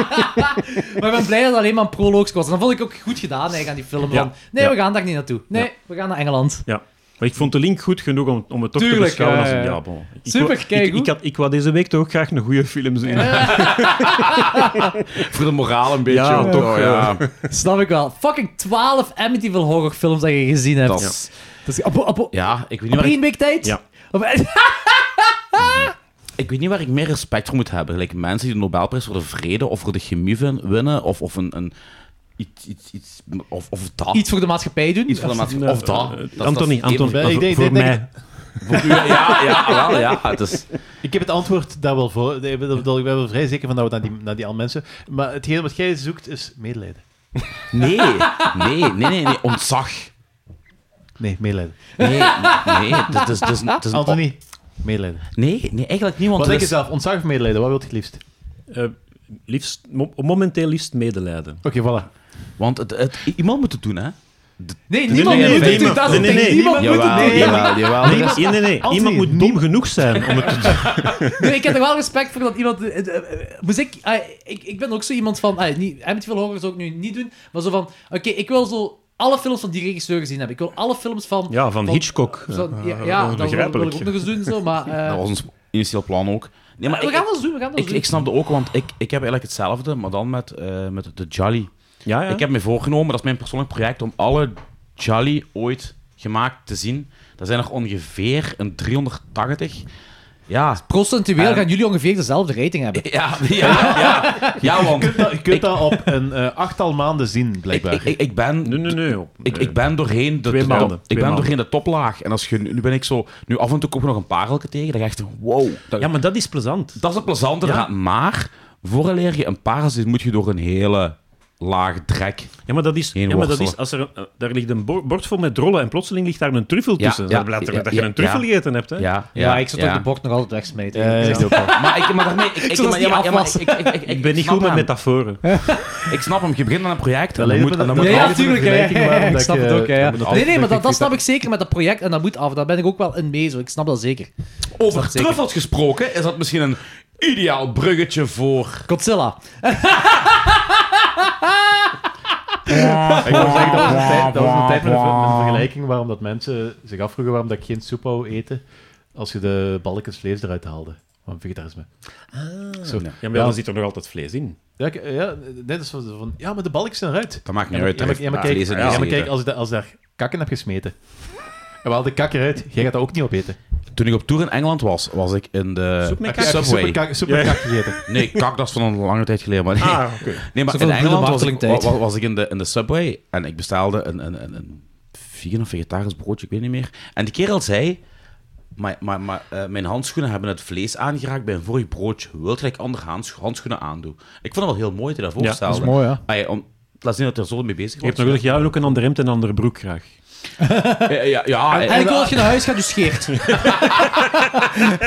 Speaker 2: maar ik ben blij dat het alleen maar een proloog was. Dan vond ik ook goed gedaan eigenlijk aan die film.
Speaker 6: Ja.
Speaker 2: Van, nee,
Speaker 6: Ja.
Speaker 2: we gaan daar niet naartoe. Nee,
Speaker 6: Ja.
Speaker 2: we gaan naar Engeland.
Speaker 6: Ja. Maar ik vond de link goed genoeg om, om het toch
Speaker 2: Tuurlijk,
Speaker 6: te beschouwen
Speaker 2: ja,
Speaker 6: als een
Speaker 2: ja, ja.
Speaker 6: ja, bon. Ik
Speaker 2: Super,
Speaker 6: wou-
Speaker 2: kijk,
Speaker 6: ik, ik,
Speaker 2: goed.
Speaker 6: had, ik wou deze week toch graag een goede film zien.
Speaker 5: Voor de moraal een beetje.
Speaker 6: Ja,
Speaker 5: ook,
Speaker 6: toch,
Speaker 5: oh,
Speaker 6: ja.
Speaker 2: Snap ik wel. Fucking 12 Amityville horrorfilms dat je gezien hebt.
Speaker 5: Dat-
Speaker 2: Dat is op, op, op,
Speaker 5: Ja, ik weet
Speaker 2: op
Speaker 5: niet waar ik,
Speaker 2: één week tijd?
Speaker 6: Ja.
Speaker 2: Op-
Speaker 5: ik weet niet waar ik meer respect voor moet hebben. Gelijk mensen die de Nobelprijs voor de vrede of voor de chemie win- winnen of, of een... een iets, iets, iets, of, of dat.
Speaker 2: iets Eh, voor de maatschappij doen.
Speaker 5: Iets van de maatschappij. Of dat. Dat- dat.
Speaker 6: Anthony,
Speaker 5: dat-
Speaker 6: Anthony,
Speaker 4: Ik
Speaker 6: voor,
Speaker 4: denk-
Speaker 6: voor
Speaker 4: denk-
Speaker 6: mij.
Speaker 5: Ja, ja, ja, wel, ja. Het is,
Speaker 4: Ik heb het antwoord daar wel voor. Nee, Ik ben ik ben wel vrij zeker van dat we naar die, naar die al mensen. Maar hetgeen wat jij zoekt is medelijden.
Speaker 5: nee, nee, nee, nee, nee, ontzag.
Speaker 4: Nee, medelijden.
Speaker 5: Nee, nee, het is, het is, het is een-
Speaker 4: Anthony, medelijden.
Speaker 5: Nee, nee, eigenlijk niet, want
Speaker 4: Wat
Speaker 5: er
Speaker 4: denk je
Speaker 5: is-
Speaker 4: zelf? Ontzag of medelijden? Wat wil je het liefst?
Speaker 6: Eh, liefst, mo- momenteel liefst medelijden.
Speaker 4: Oké, voilà.
Speaker 5: Want het, het, iemand moet het doen, hè?
Speaker 2: Nee, niemand
Speaker 6: nee,
Speaker 2: moet
Speaker 6: nee,
Speaker 2: het doen. Dat is
Speaker 6: nee,
Speaker 2: het ding.
Speaker 6: nee, nee,
Speaker 2: Niemand moet het
Speaker 5: Jawel,
Speaker 2: doen.
Speaker 5: jawel, jawel.
Speaker 6: Nee, nee, nee, nee. Iemand moet dom genoeg zijn om het te doen.
Speaker 2: Nee, ik heb er wel respect voor dat iemand. eh, eh, eh, Moest ik, ah, ik, ik ben ook zo iemand van. ah, niet, Amityville Horror zou ik nu niet doen. Maar zo van. Oké, ik wil zo alle films van die regisseur gezien hebben. Ik wil alle films van.
Speaker 6: Ja, van Hitchcock. eh,
Speaker 2: zo- ja, ja,
Speaker 6: Ja,
Speaker 2: dat wil, wil ik
Speaker 6: begrijpelijk.
Speaker 2: ook nog eens doen. Zo, maar, eh,
Speaker 5: Dat was ons initieel plan ook. Nee, maar
Speaker 2: we
Speaker 5: ik,
Speaker 2: gaan dat doen. We gaan dat
Speaker 5: ik,
Speaker 2: doen.
Speaker 5: ik snapte ook, want ik, ik heb eigenlijk hetzelfde, maar dan met, eh, met de Jolly.
Speaker 6: Ja, ja.
Speaker 5: Ik heb me voorgenomen, dat is mijn persoonlijk project, om alle Jolly ooit gemaakt te zien. Er zijn er ongeveer een 380. Ja,
Speaker 2: Procentueel
Speaker 5: Ehm,
Speaker 2: gaan jullie ongeveer dezelfde rating hebben.
Speaker 5: ja, ja, ja. Ja, want
Speaker 4: Je
Speaker 5: ik,
Speaker 4: kunt dat, Nou, je kunt dat op een eh, achttal maanden zien, blijkbaar.
Speaker 5: ik, ik ben...
Speaker 6: Nee, nee, nee. op-
Speaker 5: Ik,
Speaker 6: nee.
Speaker 5: ik ben doorheen de,
Speaker 6: Twee
Speaker 5: de-
Speaker 6: maanden,
Speaker 5: ik
Speaker 6: twee
Speaker 5: ben
Speaker 6: maanden.
Speaker 5: doorheen de toplaag. En als je, nu ben ik zo... Nu af en toe kom je nog een parelke tegen. Dan ga je echt... Wow. Dat,
Speaker 6: Ja, maar dat is plezant.
Speaker 5: dat is een plezante
Speaker 6: Ja.
Speaker 5: draad. Maar vooraleer je een parel zit, moet je door een hele laag drek.
Speaker 6: Ja, maar dat is...
Speaker 5: Geen
Speaker 6: Ja, maar dat
Speaker 5: worstelen.
Speaker 6: is als er, een- eh, daar ligt een bo- bord vol met rollen en plotseling ligt daar een truffel
Speaker 5: Ja,
Speaker 6: tussen.
Speaker 5: ja,
Speaker 6: dat blijft er
Speaker 5: ja,
Speaker 6: dat je
Speaker 5: ja,
Speaker 6: een truffel
Speaker 5: ja.
Speaker 6: gegeten hebt, hè?
Speaker 5: Ja,
Speaker 2: Ja, ik zou toch de bord nog altijd wegsmeten.
Speaker 4: Ja, ja,
Speaker 2: Ja.
Speaker 4: ja.
Speaker 5: Maar ik... Maar daarmee... Ik, ik,
Speaker 2: Zodat
Speaker 5: maar-
Speaker 2: die
Speaker 5: ja, maar- ja, maar
Speaker 2: afwas.
Speaker 5: ik, ik, ik,
Speaker 6: Ik ben niet
Speaker 5: snap
Speaker 6: goed met
Speaker 5: hem.
Speaker 6: metaforen.
Speaker 5: Ik snap hem. Je begint aan een project en
Speaker 4: Alleen
Speaker 5: dan moet...
Speaker 4: op
Speaker 5: En dan
Speaker 4: een-
Speaker 5: moet
Speaker 2: Nee,
Speaker 4: Ja,
Speaker 5: alles-
Speaker 2: natuurlijk.
Speaker 4: even een vergelijking maken
Speaker 2: ik
Speaker 4: dat
Speaker 2: snap
Speaker 4: je-
Speaker 2: het ook. Ja,
Speaker 4: dat
Speaker 2: ja.
Speaker 4: je
Speaker 5: moet
Speaker 2: Nee, nee, maar
Speaker 5: altijd-
Speaker 2: dat, dat snap ik zeker met dat project. En dat moet af. Daar ben ik ook wel in mee. Zo. Ik snap dat zeker.
Speaker 5: Over
Speaker 2: zeker.
Speaker 5: truffels gesproken is dat misschien een ideaal bruggetje voor...
Speaker 2: Godzilla.
Speaker 4: Ik wil zeggen, dat was een tijd, dat was een tijd met, een, ver- met een vergelijking waarom dat mensen zich afvroegen waarom dat ik geen soep wou eten als je de balkjes vlees eruit haalde. Van vegetarisme. Zo. Ja,
Speaker 6: Ja, maar
Speaker 4: Ja.
Speaker 6: dan zit er nog altijd vlees in.
Speaker 4: ik- ja, net als van, van, ja, maar de balkjes zijn eruit.
Speaker 5: Dat maakt niet
Speaker 4: Ja, maar,
Speaker 5: uit.
Speaker 4: ja, maar, ja, maar kijk,
Speaker 5: Lezen,
Speaker 4: ja, maar
Speaker 5: lezen.
Speaker 4: kijk als, ik da- als daar kakken heb gesmeten. En we hadden kak eruit, jij gaat dat ook niet opeten.
Speaker 5: Toen ik op tour in Engeland was, was ik in de
Speaker 6: Soep met
Speaker 4: Heb je- heb je
Speaker 5: Subway.
Speaker 4: Super kak, super kak gegeten.
Speaker 5: Nee, kak, dat is van een lange tijd geleden. Maar nee,
Speaker 6: Ah, oké.
Speaker 5: nee maar
Speaker 2: Zo
Speaker 5: in
Speaker 2: van de
Speaker 5: Engeland was ik,
Speaker 2: martelingtijd.
Speaker 5: wa- wa- was ik in, de, in de subway en ik bestelde een, een, een, een vegan of vegetarisch broodje, ik weet niet meer. En die kerel zei, maar, maar, maar, eh, mijn handschoenen hebben het vlees aangeraakt bij een vorig broodje. Wilt dat ik andere hands- handschoenen aandoe? Ik vond het wel heel mooi dat hij dat voorstelde.
Speaker 2: dat is mooi, ja.
Speaker 5: Ah, om, laat zien dat hij er zo mee bezig
Speaker 6: Je hebt
Speaker 5: was.
Speaker 6: nog jij wil ook een andere hemd en een andere broek graag.
Speaker 5: Ja, ja, ja,
Speaker 4: Eh,
Speaker 2: En ik wil dat je naar huis gaat, dus scheert.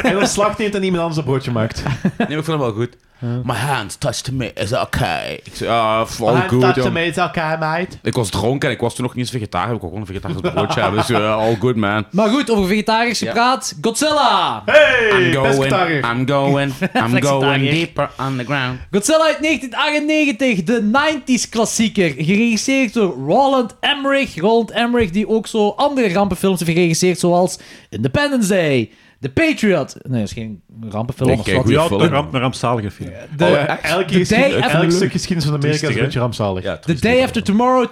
Speaker 4: En dan slacht neemt en iemand anders een broodje maakt.
Speaker 5: nee, maar ik vond het wel goed. My hands touched me, is okay. Ik zei, ah, it's all
Speaker 4: Hij
Speaker 5: good,
Speaker 4: staat
Speaker 5: jong.
Speaker 4: ermee, het is elkaar, meid.
Speaker 5: Ik was dronken en ik was toen nog niet eens vegetariër. Heb ik ook wel een vegetarisch broodje hebben. Dus eh, all good, man.
Speaker 2: Maar goed, over vegetarisch
Speaker 5: Ja.
Speaker 2: gepraat. Godzilla!
Speaker 5: I'm going,
Speaker 4: pescatariër.
Speaker 5: I'm going, I'm going
Speaker 2: Flexitariër.
Speaker 5: deeper underground.
Speaker 2: Godzilla uit 1998, de 90s klassieker. Geregisseerd door Roland Emmerich. Roland Emmerich, die ook zo andere rampenfilms heeft geregisseerd, zoals Independence Day, The Patriot. Nee, dat is geen rampenfilm.
Speaker 5: Ik
Speaker 2: of
Speaker 5: kijk
Speaker 2: wat.
Speaker 5: Goeie
Speaker 6: Ja,
Speaker 5: film.
Speaker 6: een, ramp, een rampzalige film.
Speaker 2: de,
Speaker 4: Oh, elk,
Speaker 2: The Day
Speaker 4: elk
Speaker 2: After-
Speaker 4: stuk geschiedenis van Amerika is
Speaker 6: Triestig,
Speaker 4: een
Speaker 6: hè?
Speaker 4: beetje rampzalig.
Speaker 5: Ja,
Speaker 2: The Day After Tomorrow,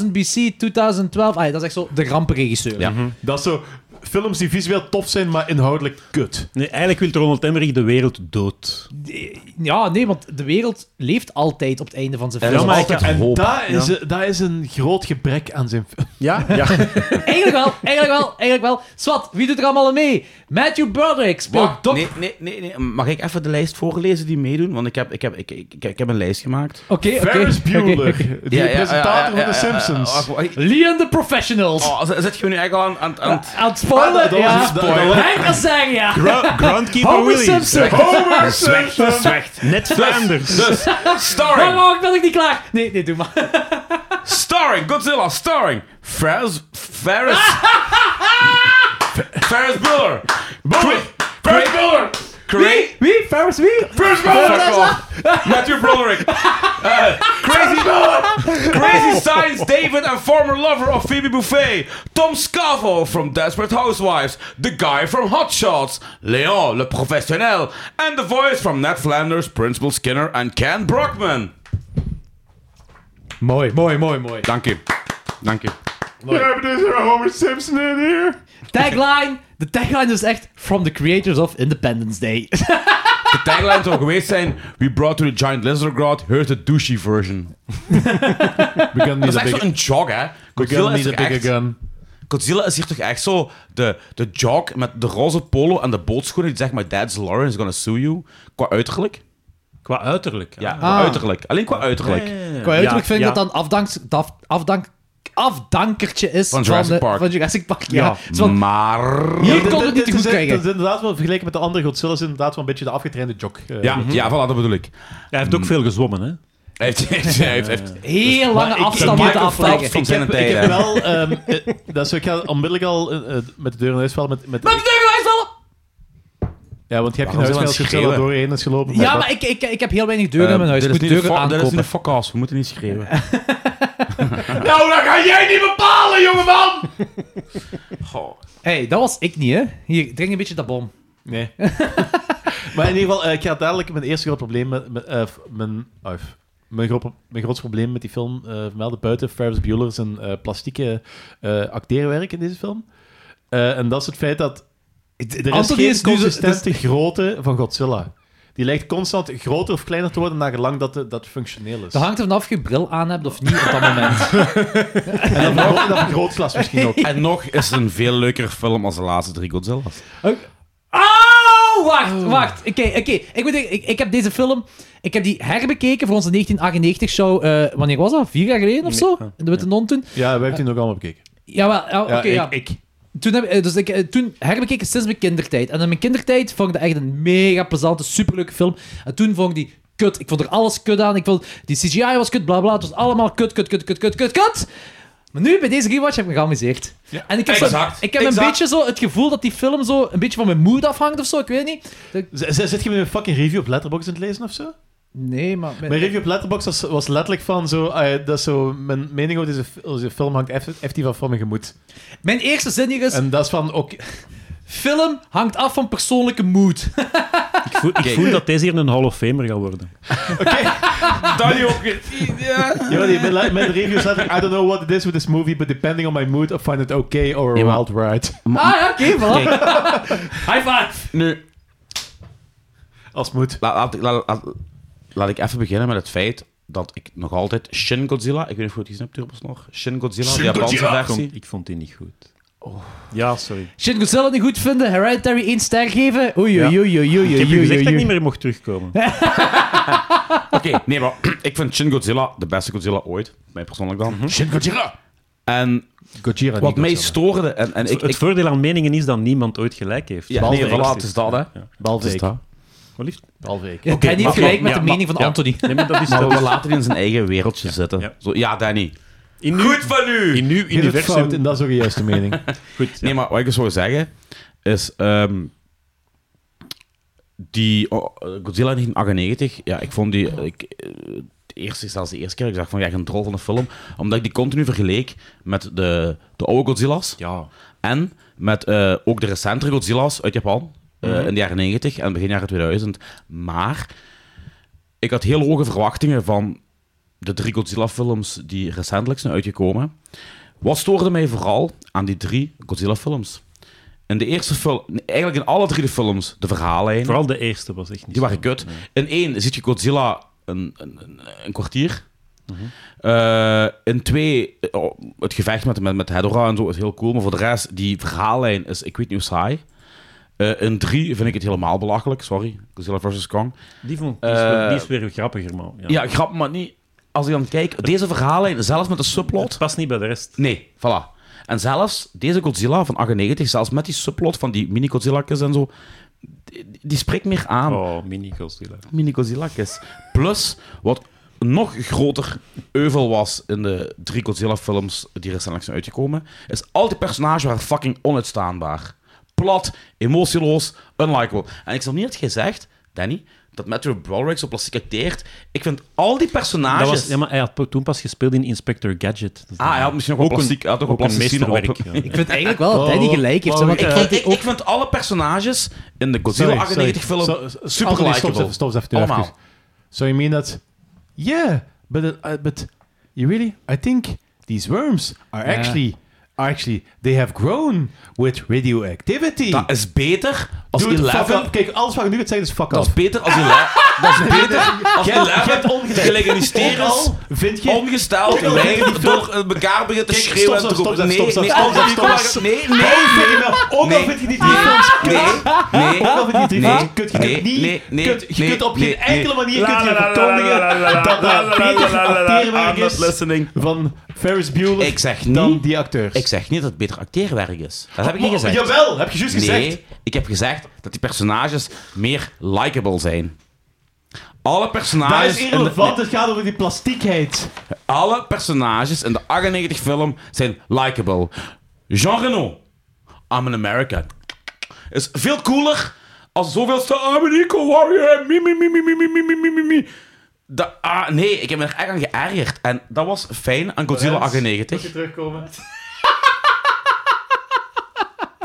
Speaker 2: 10.000 BC, 2012. Ah, ja, dat is echt zo de rampenregisseur.
Speaker 5: Ja.
Speaker 4: Dat is zo films die visueel tof zijn, maar inhoudelijk kut.
Speaker 6: Nee, eigenlijk wil Ronald Emmerich de wereld dood.
Speaker 2: Ja, nee, want de wereld leeft altijd op het einde van zijn
Speaker 5: Er
Speaker 2: film.
Speaker 5: is
Speaker 6: maar ik-
Speaker 5: altijd
Speaker 4: En
Speaker 5: hoop.
Speaker 4: dat is, dat is een groot gebrek aan zijn film.
Speaker 6: Ja? Ja.
Speaker 2: Eigenlijk wel, eigenlijk wel, eigenlijk wel. Swat, wie doet er allemaal aan mee? Matthew Broderick speelt
Speaker 5: Wacht,
Speaker 2: Doc...
Speaker 5: nee, nee, nee, nee. Mag ik even de lijst voorlezen die meedoen? Want ik heb, ik heb, ik, ik, ik- ik heb een lijst gemaakt.
Speaker 2: Oké, oké.
Speaker 4: Ferris
Speaker 2: oké,
Speaker 4: Bueller,
Speaker 2: oké.
Speaker 4: die presentator van The Simpsons.
Speaker 2: Leon the Professionals.
Speaker 5: Oh, zet- zet je nu eigenlijk al aan, aan, aan het...
Speaker 2: Aan het spoilen,
Speaker 4: Ah, dat-
Speaker 2: ja.
Speaker 4: dat- dat- dat-
Speaker 2: Hank Azaria.
Speaker 6: Groundkeeper
Speaker 2: Homer
Speaker 6: Williams.
Speaker 2: Simpson.
Speaker 6: Zwijgt, zwijgt. Net Vlaanders.
Speaker 5: Dus, starring
Speaker 2: Oh, ik ben nog niet klaar. Nee, nee, doe maar.
Speaker 5: Starring Godzilla, starring Ferris. Ferris. Ferris Bueller. Bueller. Ferris Bueller. Crazy.
Speaker 2: Wie? Ferris wie?
Speaker 5: Ferris Bueller. Matthew Broderick. Uh, crazy. crazy Science David and former lover of Phoebe Buffet. Tom Scavo from Desperate Housewives. The guy from Hot Shots. Leon, Le Professionnel. And the voice from Ned Flanders, Principal Skinner and Ken Brockman.
Speaker 2: Mooi, mooi, mooi, mooi.
Speaker 5: Dank je. Dank je.
Speaker 10: Ja, maar er is er Homer Simpson in hier.
Speaker 2: Tagline. De tagline is echt From the Creators of Independence Day.
Speaker 5: De tagline zou geweest zijn: We brought to the giant lizard god, here's the douchey version.
Speaker 4: We kunnen
Speaker 5: Dat
Speaker 4: niet
Speaker 5: is echt
Speaker 4: de
Speaker 5: zo'n jog, hè? Godzilla is,
Speaker 4: big-
Speaker 5: toch
Speaker 4: bigger
Speaker 5: echt,
Speaker 4: gun.
Speaker 5: Godzilla is hier toch echt zo de, de jog met de roze polo en de bootschoenen die zegt: My dad's Lauren is gonna sue you. Qua uiterlijk?
Speaker 6: Qua uiterlijk.
Speaker 5: Ja, qua uiterlijk. Alleen qua uiterlijk.
Speaker 2: Qua uiterlijk vind ik
Speaker 6: ja.
Speaker 2: dat dan afdank, daf- afdank, afdankertje is van
Speaker 5: Jurassic
Speaker 2: de-
Speaker 5: Park.
Speaker 2: van Jurassic Park. Ja.
Speaker 4: Ja,
Speaker 2: Zo van,
Speaker 5: Maar.
Speaker 2: hier
Speaker 4: Dit-
Speaker 2: kon
Speaker 4: dit-
Speaker 2: het niet te
Speaker 4: dit
Speaker 2: goed
Speaker 4: is-
Speaker 2: krijgen.
Speaker 4: Dat is inderdaad wel vergeleken met de andere Godzilla, is inderdaad wel een beetje de afgetrainde jock. eh.
Speaker 5: Ja, ja, voilà, dat bedoel ik.
Speaker 6: Mhm.
Speaker 5: Mm.
Speaker 6: Hij heeft ook veel gezwommen, hè?
Speaker 5: Hij heeft, hij heeft, hij heeft, hij heeft
Speaker 2: Heel
Speaker 4: Maar
Speaker 2: lange
Speaker 4: ik-
Speaker 2: afstand
Speaker 4: ik-
Speaker 2: moeten
Speaker 4: ik-
Speaker 2: afleggen.
Speaker 5: van zijn
Speaker 4: Ik heb
Speaker 5: tijd. hè.
Speaker 4: wel... ehm, eh, dat is, ik ga onmiddellijk al eh, eh, met de deur in huis vallen. Met, met, ja, want je hebt geen
Speaker 5: Waarom
Speaker 4: huis
Speaker 5: zijn we
Speaker 4: als
Speaker 5: aan het
Speaker 4: Godzilla
Speaker 5: schreeuwen?
Speaker 4: doorheen is gelopen.
Speaker 2: Ja, maar ik, ik, ik heb heel weinig deuren in
Speaker 6: Nou,
Speaker 2: mijn huis.
Speaker 5: Eh, Dit
Speaker 2: Ik
Speaker 5: is
Speaker 2: moet
Speaker 5: niet de
Speaker 2: deuren
Speaker 5: fo- dit is niet de
Speaker 2: aankopen.
Speaker 5: fuck-ass, we moeten niet schreeuwen.
Speaker 10: Nou, dat ga jij niet bepalen, jongeman!
Speaker 2: Hé, hey, dat was ik niet, hè. Hier, drink een beetje dat bom.
Speaker 4: Nee. maar in ieder geval, eh, ik ga dadelijk mijn eerste groot probleem... Met, met, eh, f- mijn, oh, f- mijn, groot, pro- mijn grootste probleem met die film eh vermelden buiten Ferris Bueller zijn eh, plastieke eh acteerwerk in deze film. Eh, en dat is het feit dat... Er is
Speaker 2: Anthony
Speaker 4: geen
Speaker 2: is nu zo-
Speaker 4: consistente grootte van Godzilla. Die lijkt constant groter of kleiner te worden naar gelang dat de- dat functioneel is.
Speaker 2: Dat hangt ervan af of je bril aan hebt of niet op dat moment.
Speaker 4: En dat vergroot- dat vergrootglas misschien ook.
Speaker 5: En nog is het een veel leukere film als de laatste drie Godzilla's.
Speaker 2: Oh, wacht, wacht. Oké, oké. Ik, moet zeggen, ik, ik heb deze film... Ik heb die herbekeken voor onze 1998-show... eh, wanneer was dat? Vier jaar geleden of zo? In de Witte Non toen?
Speaker 4: Ja, we hebben die nog allemaal bekeken.
Speaker 2: Jawel, ja, oké, ja.
Speaker 4: ik, ik.
Speaker 2: Toen, heb, eh, dus ik, eh, toen herbekeken sinds mijn kindertijd. En in mijn kindertijd vond ik dat echt een mega plezante, superleuke film. En toen vond ik die kut. Ik vond er alles kut aan. Ik vond, die CGI was kut, bla bla. Het was allemaal kut, kut, kut, kut, kut, kut, kut. Maar nu, bij deze rewatch, heb ik me geamuseerd. en ik heb, zo-
Speaker 5: exact.
Speaker 2: ik heb een
Speaker 5: Exact.
Speaker 2: beetje zo het gevoel dat die film zo een beetje van mijn mood afhangt of zo. Ik weet niet. Dat-
Speaker 4: Z- z- Zit je met een fucking review op Letterboxd aan het lezen of zo?
Speaker 2: Nee, maar...
Speaker 4: Mijn review op Letterboxd was, was letterlijk van zo... eh, dat is zo mijn mening over deze, fi- over deze film hangt eff- effectief af van mijn gemoed.
Speaker 2: Mijn eerste zin hier is...
Speaker 4: En dat is van... Ook,
Speaker 2: Film hangt af van persoonlijke mood.
Speaker 6: Ik voel, ik voel dat deze hier een Hall of Famer gaat worden.
Speaker 4: ja, maar die- mijn, le- mijn review is letterlijk... I don't know what it is with this movie, but depending on my mood, I find it okay or a
Speaker 5: Ja, maar-
Speaker 4: wild ride.
Speaker 2: Ah, ja, oké, voilà. High five.
Speaker 5: Nu,
Speaker 4: Als het moet.
Speaker 5: laat, laat, laat, laat, laat ik even beginnen met het feit dat ik nog altijd Shin Godzilla, ik weet niet of je het gezien hebt, Turbos nog, Shin Godzilla, de Japanse
Speaker 6: Ik
Speaker 5: versie.
Speaker 6: vond, ik vond die niet goed. Ja, sorry.
Speaker 2: Shin Godzilla niet goed vinden, Hereditary 1 ster geven. Oei, oei, oei,
Speaker 6: Ja.
Speaker 2: oei, oei,
Speaker 6: Ik heb
Speaker 2: oei,
Speaker 6: je gezegd
Speaker 2: oei,
Speaker 6: dat ik
Speaker 2: oei.
Speaker 6: niet meer mocht terugkomen.
Speaker 5: Oké, nee, maar ik vind Shin Godzilla de beste Godzilla ooit, mij persoonlijk dan. Shin Godzilla! En
Speaker 4: Gojira
Speaker 5: wat mij stoorde, en, en ik...
Speaker 6: het
Speaker 5: ik
Speaker 6: voordeel aan meningen is dat niemand ooit gelijk heeft.
Speaker 5: ja,
Speaker 6: Behalve
Speaker 5: nee, voilà,
Speaker 6: Alexis.
Speaker 5: het is dat, hè.
Speaker 6: Ja.
Speaker 4: Behalve
Speaker 5: Het is
Speaker 4: ik.
Speaker 5: dat.
Speaker 6: Wat liefst?
Speaker 4: Behalve ik.
Speaker 2: Ja, Danny heeft
Speaker 5: maar-
Speaker 2: gelijk met
Speaker 6: ja,
Speaker 2: de mening van
Speaker 6: ja.
Speaker 2: Anthony.
Speaker 6: Nee, maar dat is
Speaker 5: Maar
Speaker 6: dat
Speaker 5: we
Speaker 6: is-
Speaker 5: laten die in zijn eigen wereldje zitten.
Speaker 6: ja.
Speaker 5: Zo, ja, Danny.
Speaker 6: in nu, Goed van u! In uw
Speaker 4: Geen het fout, en
Speaker 6: universum.
Speaker 4: dat is ook een juiste mening.
Speaker 6: Goed, ja.
Speaker 5: Nee, maar wat ik dus wil zeggen is. ehm, die oh, eh, Godzilla 1998, ja, ik vond die. Ik, eh, de eerste, zelfs de eerste keer, ik dacht van ja, een drol van de film. Omdat ik die continu vergeleek met de, de oude Godzilla's.
Speaker 6: Ja.
Speaker 5: En met eh, ook de recentere Godzilla's uit Japan. eh, In de jaren 90 en begin jaren 2000. Maar ik had heel hoge verwachtingen van de drie Godzilla-films die recentelijk zijn uitgekomen. Wat stoorde mij vooral aan die drie Godzilla-films? In de eerste film, eigenlijk in alle drie de films, de verhalen.
Speaker 6: Vooral de eerste was echt niet
Speaker 5: Die waren
Speaker 6: zo.
Speaker 5: kut. In één zit je Godzilla een, een, een, een kwartier. Eh, in twee, eh, oh, het gevecht met, met, met Hedora en zo is heel cool. Maar voor de rest, die verhaallijn is, ik weet niet hoe saai. Eh, in drie vind ik het helemaal belachelijk. Sorry, Godzilla vs. Kong.
Speaker 6: Die, vond, die, is, wel-
Speaker 5: Eh,
Speaker 6: die is weer grappiger, man. Ja.
Speaker 5: Ja, grap, maar niet. Als je dan kijkt, deze verhaallijn, zelfs met de subplot.
Speaker 6: Het past niet bij de rest.
Speaker 5: Nee, voilà. En zelfs deze Godzilla van 98, zelfs met die subplot van die mini-Godzilla'kjes en zo, die, die spreekt meer aan.
Speaker 6: Oh, mini Godzilla.
Speaker 5: mini Godzilla'kjes. Plus, wat nog groter euvel was in de drie Godzilla-films die recentelijk zijn uitgekomen, is al die personages waren fucking onuitstaanbaar. Plat, emotieloos, unlikable. En ik snap niet dat jij zegt, Danny, dat Matthew Broderick zo plastic acteert. Ik vind al die personages...
Speaker 6: Dat was, ja, maar hij had toen pas gespeeld in Inspector Gadget. Dus
Speaker 5: Ah, hij had misschien ook wel
Speaker 6: Ook een-
Speaker 5: plastic, hij had ook wel
Speaker 6: ook een
Speaker 5: plastic scene op.
Speaker 6: meesterwerk, ja.
Speaker 2: Ik vind eigenlijk wel dat Danny gelijk heeft.
Speaker 4: Oh,
Speaker 2: want ik
Speaker 4: oh,
Speaker 5: Ik
Speaker 2: vond
Speaker 5: vind,
Speaker 2: die
Speaker 5: ik,
Speaker 2: ook...
Speaker 5: ik vind alle personages in de Godzilla
Speaker 4: Sorry,
Speaker 5: 98
Speaker 4: sorry.
Speaker 5: film
Speaker 4: So-
Speaker 5: super
Speaker 4: Anthony, Stop
Speaker 5: likable.
Speaker 4: eens even, stop eens even. nu
Speaker 5: Allemaal.
Speaker 4: even. So you mean that... Yeah, but, it- uh, but you really... I think these worms are
Speaker 2: Ja.
Speaker 4: actually... Are actually, they have grown with radioactivity.
Speaker 5: Dat is beter als
Speaker 4: Dude, fuck
Speaker 5: Eleven...
Speaker 4: up. Kijk, alles wat ik nu het zeggen is fuck
Speaker 5: Dat
Speaker 4: off.
Speaker 5: is beter als Eleven... Dat is beter als
Speaker 4: hebt
Speaker 5: Eleven
Speaker 4: ongelijk.
Speaker 5: gelijkenisteris
Speaker 4: Overal vind je...
Speaker 5: ongesteld lijden door eh, elkaar begint te
Speaker 4: Kijk,
Speaker 5: schreeuwen en
Speaker 4: stop,
Speaker 5: te
Speaker 4: stop,
Speaker 5: roepen.
Speaker 4: stop,
Speaker 5: Nee,
Speaker 4: stop,
Speaker 5: nee,
Speaker 4: stop,
Speaker 5: nee,
Speaker 4: stop, stop, stop,
Speaker 5: nee,
Speaker 4: stop.
Speaker 5: nee, Oh, nee,
Speaker 4: Nee, wel, ook al
Speaker 5: Nee. Ah.
Speaker 4: vind je die drie films kut.
Speaker 5: nee, nee,
Speaker 4: Ook al vind je die drie
Speaker 5: Nee.
Speaker 4: films kut. Je
Speaker 5: Nee.
Speaker 4: kunt niet...
Speaker 5: Nee. Nee.
Speaker 4: kut, je
Speaker 5: Nee.
Speaker 4: kunt op
Speaker 5: Nee.
Speaker 4: geen enkele manier kunt je
Speaker 6: la,
Speaker 4: verkondigen
Speaker 6: la, la, la,
Speaker 4: dat dat beter acteerwerk
Speaker 5: I'm not
Speaker 4: is
Speaker 5: listening.
Speaker 4: van Ferris Bueller
Speaker 5: Ik zeg
Speaker 4: dan
Speaker 5: niet...
Speaker 4: die acteurs.
Speaker 5: Ik zeg niet dat het beter acteerwerk is. Dat heb ik niet
Speaker 4: Maar-
Speaker 5: gezegd.
Speaker 4: Oh, Jawel, heb je juist gezegd.
Speaker 5: Nee, ik heb gezegd dat die personages meer likable zijn. Alle
Speaker 4: Dat
Speaker 7: dus
Speaker 5: personages,
Speaker 4: is
Speaker 5: in de,
Speaker 4: irrelevant, het gaat over die plastiekheid.
Speaker 5: alle personages in de 98 film zijn likable. Jean Reno, I'm an American, is veel cooler als zoveelste I'm an equal warrior, me, me, me, me, me, me, me, me, me, me. Da- ah, nee, ik heb me er echt aan geërgerd. En dat was fijn aan Godzilla
Speaker 4: Lorenz,
Speaker 5: 98.
Speaker 4: Moet je terugkomen.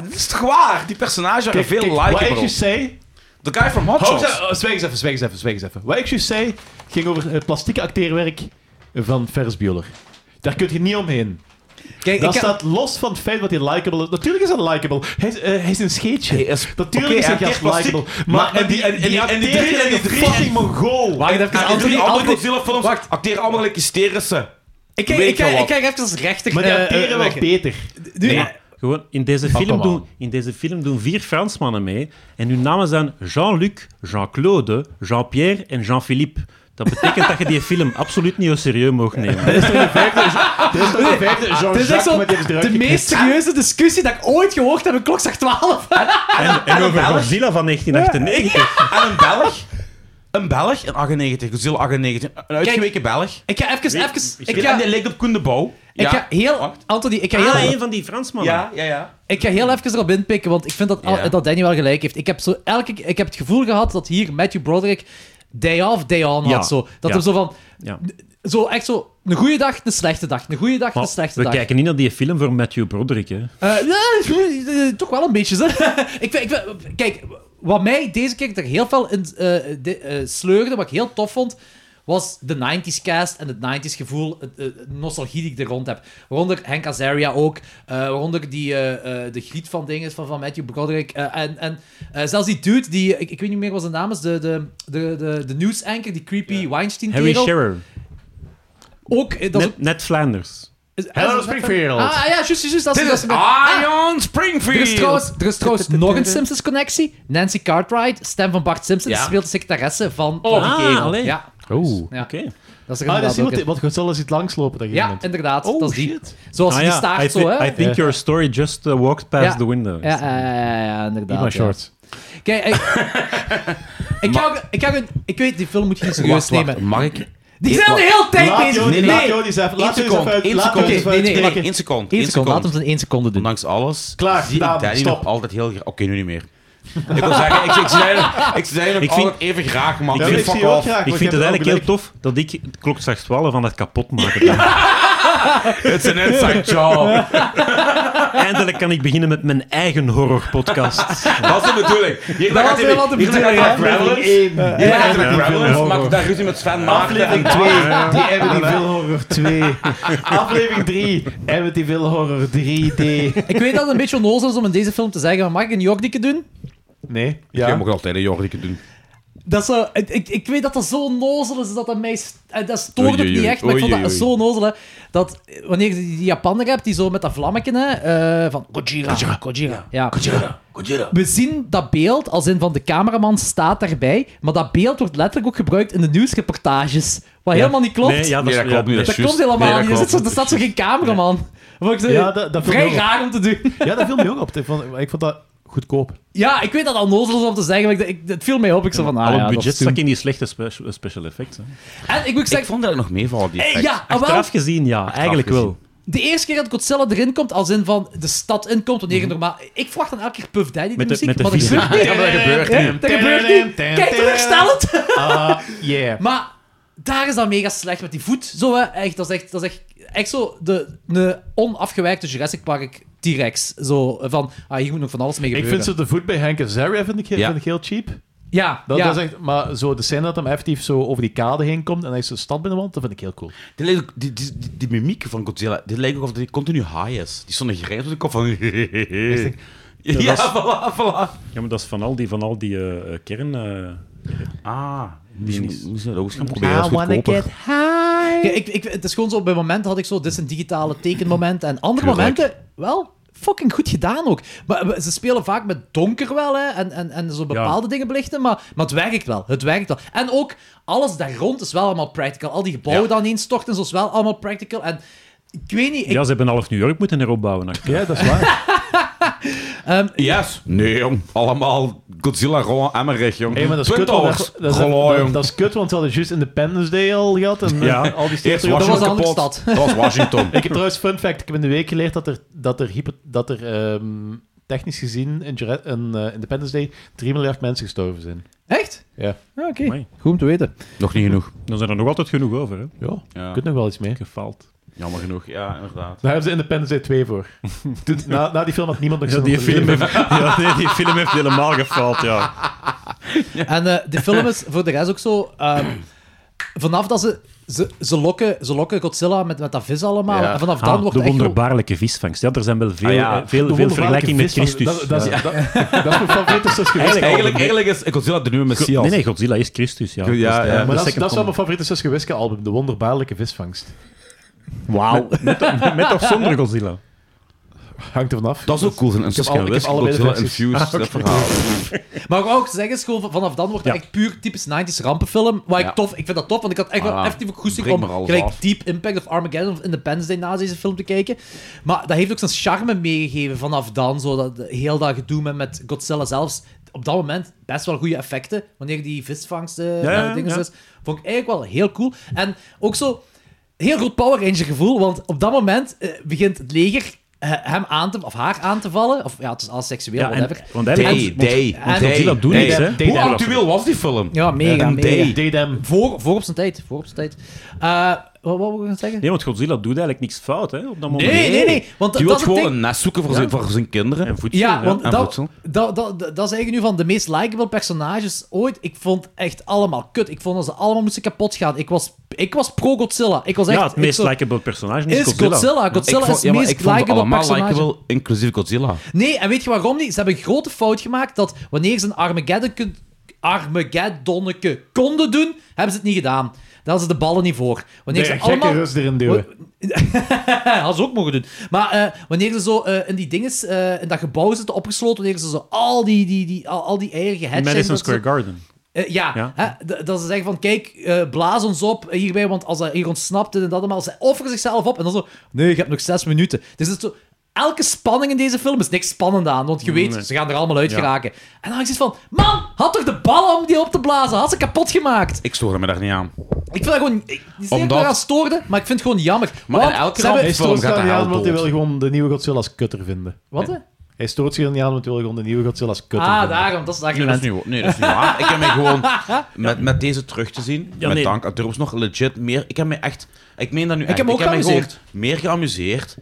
Speaker 5: Dat is toch waar? Die personages waren veel
Speaker 4: Wat ik
Speaker 5: likable.
Speaker 4: juist zei...
Speaker 5: The guy from Hot
Speaker 4: Hou
Speaker 5: Shots.
Speaker 4: ze- oh, Zwijg eens even, zwijg eens even, zwijg eens even. Wat ik juist zei, ging over het plastieke acteerwerk van Ferris Bueller. Daar kun je niet omheen.
Speaker 2: Kijk,
Speaker 4: Dat
Speaker 2: ik heb-
Speaker 4: staat los van het feit dat hij likable is. Natuurlijk is hij likable. Hij is, eh, hij is een scheetje.
Speaker 5: Hij is-
Speaker 4: Natuurlijk
Speaker 5: oké,
Speaker 4: is hij
Speaker 5: hij
Speaker 4: gast
Speaker 5: acteert
Speaker 4: likable.
Speaker 5: plastiek,
Speaker 4: Maar
Speaker 5: maar
Speaker 4: en die, en, en, die, en die drie, en die
Speaker 5: drie-
Speaker 4: fucking mongool.
Speaker 2: Wacht even,
Speaker 5: En die
Speaker 2: Anthony,
Speaker 5: drie andere
Speaker 2: Anthony-
Speaker 5: Godzilla-films
Speaker 2: Wacht.
Speaker 5: acteren allemaal like hysterische.
Speaker 2: Ik kijk-
Speaker 5: Weet
Speaker 2: ik
Speaker 5: je
Speaker 2: kijk-
Speaker 5: wat?
Speaker 2: ik kijk even als rechter.
Speaker 4: Maar die
Speaker 2: eh,
Speaker 4: acteren
Speaker 2: eh,
Speaker 4: wel
Speaker 2: weg.
Speaker 4: beter.
Speaker 2: Nu-
Speaker 6: Nee, gewoon in deze, film
Speaker 4: come
Speaker 6: doen,
Speaker 4: on.
Speaker 6: in deze film doen vier Fransmannen mee. En hun namen zijn Jean-Luc, Jean-Claude, Jean-Pierre en Jean-Philippe. Dat betekent dat je die film absoluut niet serieus mag nemen.
Speaker 4: Er is toch een vijfde
Speaker 2: Dit is echt
Speaker 4: Jean-Jacques
Speaker 2: zo
Speaker 4: met die is eruit
Speaker 2: de
Speaker 4: geknipt.
Speaker 2: meest serieuze discussie dat ik ooit gehoord heb in Klokzak 12.
Speaker 6: En, en over Godzilla van 1998.
Speaker 5: En een Belg. Een Belg in 98, Godzilla 98. Een uitgeweken Belg.
Speaker 2: Ik ga even... even ik
Speaker 5: Ik ga...
Speaker 2: ga,
Speaker 5: En die lijkt op Koen de Bouw.
Speaker 2: ik ga heel...
Speaker 5: Wacht.
Speaker 2: Anthony, ik ga heel...
Speaker 6: Ah, Ja, een van die Fransmannen.
Speaker 5: Ja, ja, ja.
Speaker 2: Ik ga heel even erop inpikken, want ik vind dat, al-
Speaker 5: Ja.
Speaker 2: dat Danny wel gelijk heeft. Ik heb, zo elke, ik heb het gevoel gehad dat hier Matthew Broderick day off, day on
Speaker 6: Ja.
Speaker 2: had. Zo. Dat
Speaker 6: Ja.
Speaker 2: hem zo van...
Speaker 6: Ja.
Speaker 2: Zo echt zo... Een goede dag, een slechte dag. Een goede dag,
Speaker 6: Maar
Speaker 2: een slechte
Speaker 6: we
Speaker 2: dag.
Speaker 6: kijken niet naar die film voor Matthew Broderick. Hè.
Speaker 2: Eh, ja, eh, toch wel een beetje. Zo. ik, vind- ik, vind- kijk, wat mij deze keer er heel veel in eh, de- eh, sleurde, wat ik heel tof vond, was de 90s cast en het 90s gevoel, het, eh, nostalgie die ik er rond heb. Waaronder Henk Azaria ook, eh, waaronder die, eh, eh, de griet van dingen van, van Matthew Broderick. eh, en en eh, zelfs die dude, die, ik, ik weet niet meer wat zijn naam is, de, de, de, de, de nieuwsanker, die creepy
Speaker 6: Harry
Speaker 2: Weinstein-kerel.
Speaker 6: Shearer.
Speaker 2: Ook, eh, dat is
Speaker 6: Net, Ned Flanders.
Speaker 2: ook-
Speaker 4: Hello Springfield.
Speaker 2: Ah ja, juist, juist, juist, dat is...
Speaker 5: Dit
Speaker 2: dat
Speaker 5: is
Speaker 2: is- Ah,
Speaker 5: Ion Springfield.
Speaker 2: er is trouwens, er is trouwens nog een Simpsons-connectie. Nancy Cartwright, stem van Bart Simpson,
Speaker 5: Ja.
Speaker 2: speelt de secretaresse van...
Speaker 6: Oh,
Speaker 2: die
Speaker 6: ah,
Speaker 2: kerel.
Speaker 6: allee.
Speaker 2: Ja,
Speaker 4: Oeh.
Speaker 2: ja.
Speaker 6: Oké.
Speaker 2: dat is er
Speaker 4: Ah, dat
Speaker 2: inderdaad
Speaker 4: is iemand
Speaker 2: ook
Speaker 4: die-
Speaker 2: in.
Speaker 4: wat Godzilla ziet langslopen. Dat
Speaker 2: Ja, inderdaad, dat is die. Zoals
Speaker 6: Ah,
Speaker 2: die
Speaker 6: ja. I,
Speaker 2: staart
Speaker 6: thi-
Speaker 2: zo, hè.
Speaker 6: I think your story just uh, walked past
Speaker 2: Ja.
Speaker 6: the window.
Speaker 2: Ja, ja, ja, ja, ja, inderdaad.
Speaker 4: Ima
Speaker 2: ja.
Speaker 4: shorts.
Speaker 2: Kijk, ik... ik, ga, ook- ik, ga, ook- ik weet, die film moet je niet serieus
Speaker 5: Wacht, wacht,
Speaker 2: nemen.
Speaker 5: Oh, mag ik?
Speaker 2: Die zijn al de hele tijd
Speaker 4: Laat
Speaker 2: bezig.
Speaker 4: Jody,
Speaker 2: Nee,
Speaker 4: laat
Speaker 2: nee.
Speaker 4: Jody eens even. Laat
Speaker 5: Eén
Speaker 4: Jody
Speaker 5: seconde,
Speaker 4: eens even.
Speaker 5: één
Speaker 4: laat
Speaker 5: seconde.
Speaker 4: Jody eens even
Speaker 2: Nee, nee,
Speaker 4: uitspreken.
Speaker 5: Eén seconde,
Speaker 2: Eén
Speaker 5: één
Speaker 2: seconde, laat hem zijn één seconde doen.
Speaker 5: Ondanks alles
Speaker 4: Klaar,
Speaker 5: zie ik
Speaker 4: Daan,
Speaker 5: Danny
Speaker 4: stop.
Speaker 5: nog altijd heel graag... Oké, nu niet meer. Ik wil zeggen, ik, ik, zei, nog- ik zei nog
Speaker 6: Ik vind-
Speaker 5: altijd even graag, man.
Speaker 6: Ik
Speaker 4: Ja,
Speaker 6: vind-
Speaker 4: ik zie
Speaker 5: fuck
Speaker 4: je ook
Speaker 5: off.
Speaker 4: graag.
Speaker 6: Ik
Speaker 4: want
Speaker 6: vind
Speaker 4: je
Speaker 6: het
Speaker 4: hebt
Speaker 6: eigenlijk heel
Speaker 4: ook
Speaker 6: tof dat ik klok straks 12 van dat kapot maken. ben.
Speaker 5: It's an inside job.
Speaker 6: Eindelijk kan ik beginnen met mijn eigen horrorpodcast.
Speaker 5: Dat is de bedoeling. Hier daar
Speaker 2: was
Speaker 5: gaat hij
Speaker 2: helemaal de
Speaker 5: weer- hier daar
Speaker 2: bedoeling,
Speaker 5: gaat hij naar
Speaker 4: gelijk.
Speaker 5: Gremlins.
Speaker 4: Aflevering één.
Speaker 2: eh,
Speaker 5: Hier daar gaat hij naar
Speaker 6: Ja.
Speaker 5: Gremlins. Maakt daar ruzie met Sven Maarten.
Speaker 4: Aflevering 2, die hebben die veel horror 2. Aflevering 3, hebben die veel horror 3D.
Speaker 2: Ik weet dat het een beetje onnozel is om in deze film te zeggen, maar mag ik een jokdikke doen?
Speaker 4: Nee,
Speaker 5: Ja.
Speaker 4: ja.
Speaker 5: mag altijd een jordieke doen.
Speaker 2: Dat is zo, ik, ik, ik weet dat dat zo nozel is, dat dat mij... st- eh, Dat stoort ook
Speaker 5: Oei, oei,
Speaker 2: niet echt, maar ik
Speaker 5: oei,
Speaker 2: vond dat
Speaker 5: oei,
Speaker 2: zo
Speaker 5: oei.
Speaker 2: nozel, hè, Dat wanneer je die Japaner hebt, die zo met dat vlammetje, hè, eh, van... Gojira, Gojira, Ja. We zien dat beeld, als in van de cameraman staat daarbij, maar dat beeld wordt letterlijk ook gebruikt in de nieuwsreportages. Wat helemaal niet klopt.
Speaker 6: Nee, ja, dat,
Speaker 5: Nee,
Speaker 6: is-
Speaker 5: dat
Speaker 6: ja,
Speaker 5: klopt niet.
Speaker 6: nee.
Speaker 2: dat
Speaker 5: is
Speaker 2: klopt
Speaker 5: juist.
Speaker 2: helemaal
Speaker 5: Nee, dat
Speaker 2: niet. Er, zit zo,
Speaker 5: klopt.
Speaker 2: er staat zo geen cameraman. Vond ik zo-
Speaker 4: Ja, dat- dat
Speaker 2: vrij
Speaker 4: vond ik ook.
Speaker 2: raar om te doen.
Speaker 4: ja, dat viel me ook op. Ik vond, ik vond dat goedkoop.
Speaker 2: Ja, ik weet dat al nozel is om te zeggen, maar ik, ik- het viel mij op. Ik zei van, ah,
Speaker 6: Al
Speaker 2: ja,
Speaker 6: het
Speaker 2: dat
Speaker 6: budget
Speaker 2: is toen.
Speaker 6: stak in die slechte spe- special effects. Hè.
Speaker 2: En ik moet zeggen,
Speaker 5: Ik vond dat nog meevallen, die
Speaker 2: Eh,
Speaker 5: effects.
Speaker 2: ja, ah, wel,
Speaker 6: Achteraf gezien, ja. eigenlijk
Speaker 5: gezien.
Speaker 6: wel.
Speaker 2: de eerste keer dat Godzilla erin komt, als in van de stad inkomt, wanneer je normaal... Ik verwacht dan elke keer Puff Daddy die
Speaker 6: Mhm. Met de-
Speaker 2: muziek,
Speaker 6: met de
Speaker 2: maar dat gebeurt
Speaker 6: vieze-
Speaker 2: niet.
Speaker 4: maar dat gebeurt
Speaker 2: Ja,
Speaker 4: niet.
Speaker 2: Dat gebeurt niet. Kijk, teleurstellend.
Speaker 4: Ah, yeah.
Speaker 2: Maar daar is dat mega slecht met die voet. Zo, hè. Echt, dat is echt, dat is echt, echt zo de, de onafgewijkte Jurassic Park T-Rex. Zo eh, van, ah, hier moet nog van alles mee
Speaker 4: Ik
Speaker 2: gebeuren.
Speaker 4: vind zo de voet bij Hank Azaria vind ik, heel-
Speaker 5: Ja.
Speaker 4: vind ik heel cheap.
Speaker 2: Ja,
Speaker 4: Dat,
Speaker 2: ja.
Speaker 4: dat is echt, maar zo de scène dat hem effectief zo over die kade heen komt en hij is zo stad binnenwand, dat vind ik heel cool.
Speaker 5: Die, lijkt ook- die, die, die, die mimiek van Godzilla, die lijkt ook of die continu high is. Die stond een grijns
Speaker 7: Ah,
Speaker 5: op de kop van... Ja,
Speaker 6: dat is-
Speaker 5: voilà, voilà.
Speaker 6: Ja, maar dat is van al die, van al die eh, eh, kern... eh,
Speaker 5: Ah,
Speaker 6: Die
Speaker 5: die Ah,
Speaker 6: is-
Speaker 5: moest dat ook eens gaan proberen. Dat is goedkoper.
Speaker 2: Ja, ik, ik, het is gewoon zo, op een moment had ik zo, dit is een digitale tekenmoment. En andere
Speaker 5: Tuurlijk.
Speaker 2: momenten, wel, fucking goed gedaan ook. Maar we- ze spelen vaak met donker wel, hè. En, en, en zo bepaalde dingen belichten, maar, maar het werkt wel. Het werkt wel. En ook, alles daar rond is wel allemaal practical. Al die gebouwen
Speaker 5: Ja.
Speaker 2: dan instorten, zo is wel allemaal practical. En ik weet niet, ik,
Speaker 6: Ja, ze hebben half New York moeten heropbouwen. achteraf.
Speaker 4: Ja, dat is waar.
Speaker 5: Yes. Nee, jong. Allemaal Godzilla, Roland, Emmerich, jong.
Speaker 4: hey, maar dat is
Speaker 5: Twin
Speaker 4: kut, want
Speaker 5: Towers.
Speaker 4: dat, dat, is,
Speaker 5: Rollo,
Speaker 4: dat,
Speaker 5: jong.
Speaker 4: dat is kut, want ze hadden juist Independence Day al gehad en eh,
Speaker 6: Ja.
Speaker 4: al die
Speaker 5: Eerst
Speaker 4: steden.
Speaker 5: Washington
Speaker 2: was een andere
Speaker 5: kapot.
Speaker 2: stad.
Speaker 5: Dat was Washington.
Speaker 4: Ik heb trouwens fun fact. Ik heb in de week geleerd dat er, dat er, hypo- dat er ehm, technisch gezien in, Jura- in, eh, Independence Day 3 miljard mensen gestorven zijn.
Speaker 2: echt?
Speaker 4: Ja.
Speaker 2: Ja, Oké,
Speaker 6: Amai.
Speaker 2: goed om te weten.
Speaker 5: Nog niet genoeg.
Speaker 6: Dan zijn er nog altijd genoeg over. Hè.
Speaker 4: Ja,
Speaker 5: Ja.
Speaker 4: kunt nog wel iets mee.
Speaker 6: Gefaald.
Speaker 5: Jammer genoeg, ja, inderdaad.
Speaker 4: Daar hebben ze Independence Day 2 voor. Toen- na, na die film had niemand nog
Speaker 6: Ja,
Speaker 4: zin
Speaker 6: die
Speaker 4: om te
Speaker 6: film,
Speaker 4: leven.
Speaker 6: heeft, ja, nee, die film heeft helemaal gefaald, ja.
Speaker 2: En eh, de film is voor de rest ook zo. ehm, vanaf dat ze. Ze, ze, lokken, ze lokken Godzilla met, met dat vis allemaal.
Speaker 4: Ja.
Speaker 2: En vanaf dan
Speaker 6: Ah,
Speaker 2: wordt
Speaker 6: de
Speaker 2: echt gewoon-
Speaker 6: wonderbaarlijke visvangst. Ja, er zijn wel veel,
Speaker 5: Ah, ja.
Speaker 6: eh, veel,
Speaker 4: De
Speaker 6: veel
Speaker 4: wonderbaarlijke
Speaker 6: vergelijking met
Speaker 4: vis van-
Speaker 6: Christus.
Speaker 4: Dat, dat, is- dat, dat is mijn favoriete zus geweest.
Speaker 5: Eigenlijk, eigenlijk is Godzilla de nieuwe
Speaker 6: Go-
Speaker 5: Messias.
Speaker 6: nee, nee, Godzilla is Christus, ja.
Speaker 5: Ja,
Speaker 6: Dus,
Speaker 5: ja,
Speaker 6: eh,
Speaker 5: maar
Speaker 6: de
Speaker 4: Maar dat, is-
Speaker 6: second
Speaker 4: dat is wel
Speaker 6: one.
Speaker 4: mijn favoriete zus geweest album, De Wonderbaarlijke Visvangst.
Speaker 6: Wauw. Met, met, met of zonder Godzilla?
Speaker 4: Hangt er vanaf.
Speaker 5: Dat is ook cool. Een
Speaker 4: heb al-
Speaker 5: Saskia
Speaker 4: ik
Speaker 5: West,
Speaker 4: heb Ah, allebei de
Speaker 5: Godzilla
Speaker 4: versies.
Speaker 5: Infused, dat verhaal.
Speaker 2: Maar wat ik ook zeggen is gewoon van- vanaf dan wordt het
Speaker 6: Ja.
Speaker 2: echt puur typisch 90s rampenfilm. Wat
Speaker 5: Ja.
Speaker 2: ik tof, ik vind dat tof, want ik had echt wel
Speaker 5: Ah,
Speaker 2: effectief ook goesting
Speaker 5: breng
Speaker 2: om
Speaker 5: maar alles
Speaker 2: gelijk
Speaker 5: af.
Speaker 2: Deep Impact of Armageddon of Independence Day na deze film te kijken. Maar dat heeft ook zijn charme meegegeven vanaf dan. Zo dat heel dat gedoe met, met Godzilla zelfs. Op dat moment best wel goede effecten. Wanneer die visvangst eh
Speaker 6: Ja, ja,
Speaker 2: dinges
Speaker 6: ja.
Speaker 2: is. Vond ik eigenlijk wel heel cool. En ook zo heel goed Power Ranger gevoel, want op dat moment eh, begint het leger eh, hem aan te, of haar aan te vallen. Of ja, het is alles seksueel,
Speaker 6: Ja, en-
Speaker 2: whatever.
Speaker 6: want hij
Speaker 5: Day,
Speaker 6: want-
Speaker 5: day,
Speaker 2: want
Speaker 5: day,
Speaker 6: Godzilla doet
Speaker 5: day.
Speaker 6: niks, hè?
Speaker 5: Hoe
Speaker 6: Day.
Speaker 5: actueel was die film?
Speaker 2: Ja, mega,
Speaker 5: En
Speaker 2: mega.
Speaker 5: Day.
Speaker 4: Daydam.
Speaker 2: Voor, voor op zijn tijd. Voor op zijn tijd. Eh, wat, wat wil ik nog zeggen?
Speaker 6: Nee, want Godzilla doet eigenlijk niks fout, hè, op dat moment.
Speaker 2: Nee, nee, nee. want dat-
Speaker 5: Die wil
Speaker 2: dat is het
Speaker 5: gewoon
Speaker 2: ding.
Speaker 5: een nest zoeken voor, zijn, voor zijn kinderen.
Speaker 6: En voedsel,
Speaker 2: Ja, want
Speaker 5: en
Speaker 2: dat,
Speaker 5: voedsel.
Speaker 2: dat, dat, dat, dat is eigenlijk nu van de meest likable personages ooit. Ik vond echt allemaal kut. Ik vond dat ze allemaal moesten kapot gaan. Ik was, ik was pro-Godzilla. Ik was echt...
Speaker 6: ja, het
Speaker 2: ik
Speaker 6: meest
Speaker 2: zo-
Speaker 6: likable personage is,
Speaker 2: Is Godzilla. Godzilla, is het
Speaker 5: ja, maar
Speaker 2: meest
Speaker 5: ik vond ze
Speaker 2: likable
Speaker 5: allemaal
Speaker 2: personage.
Speaker 5: likable, inclusief Godzilla.
Speaker 2: Nee, en weet je waarom niet? Ze hebben een grote fout gemaakt dat wanneer ze een Armageddon Armageddonneke konden doen, hebben ze het niet gedaan. Daar hadden ze de ballen niet voor. Wanneer
Speaker 4: Nee,
Speaker 2: ze
Speaker 4: gekke
Speaker 2: allemaal...
Speaker 4: rust erin duwen.
Speaker 2: Ja, had ze ook mogen doen. Maar eh, wanneer ze zo eh, in die dinges, eh, in dat gebouw zitten opgesloten, wanneer ze zo al die, die, die, al, al die eieren gehatcht
Speaker 6: in Madison
Speaker 2: dat ze-
Speaker 6: Square Garden.
Speaker 2: eh, ja,
Speaker 6: Ja.
Speaker 2: hè, d- dat ze zeggen van, kijk, eh, blaas ons op hierbij, want als hij hier ontsnapt dit en dat allemaal, ze offeren zichzelf op. En dan zo, nee, je hebt nog zes minuten. Dus het is zo, elke spanning in deze film is niks spannend aan, want je weet, ze gaan er allemaal uit
Speaker 6: Ja.
Speaker 2: geraken. En dan had ik zoiets van, man, had toch de ballen om die op te blazen? Had ze kapot gemaakt?
Speaker 5: Ik stoorde me daar niet aan.
Speaker 2: Ik vind dat gewoon, ik, die zeer
Speaker 5: Omdat-
Speaker 2: eraan stoorde, maar ik vind het gewoon jammer.
Speaker 5: Maar
Speaker 2: want
Speaker 5: in elke
Speaker 2: ze hebben-
Speaker 5: ramp-
Speaker 4: Hij
Speaker 5: Film
Speaker 4: stoort zich
Speaker 5: gaat
Speaker 4: daar
Speaker 5: de
Speaker 4: niet
Speaker 5: hel
Speaker 4: aan, want hij
Speaker 5: dood.
Speaker 4: wil gewoon de nieuwe Godzilla als kutter vinden.
Speaker 2: Wat, hè?
Speaker 4: Hij stoort zich er niet aan, want hij wil gewoon de nieuwe Godzilla als kutter
Speaker 2: Ah,
Speaker 4: vinden.
Speaker 2: daarom, dat is het
Speaker 5: Nee, dat is
Speaker 2: argument.
Speaker 5: niet, wa- nee, dat is niet waar. Ik heb mij gewoon met, met deze terug te zien.
Speaker 6: Ja,
Speaker 5: met
Speaker 6: nee.
Speaker 5: dank aan Turbos nog legit meer. Ik heb mij echt. Ik meen dat nu. echt,
Speaker 2: heb me ook
Speaker 5: ik heb mij
Speaker 2: geamuseerd.
Speaker 5: gewoon meer geamuseerd.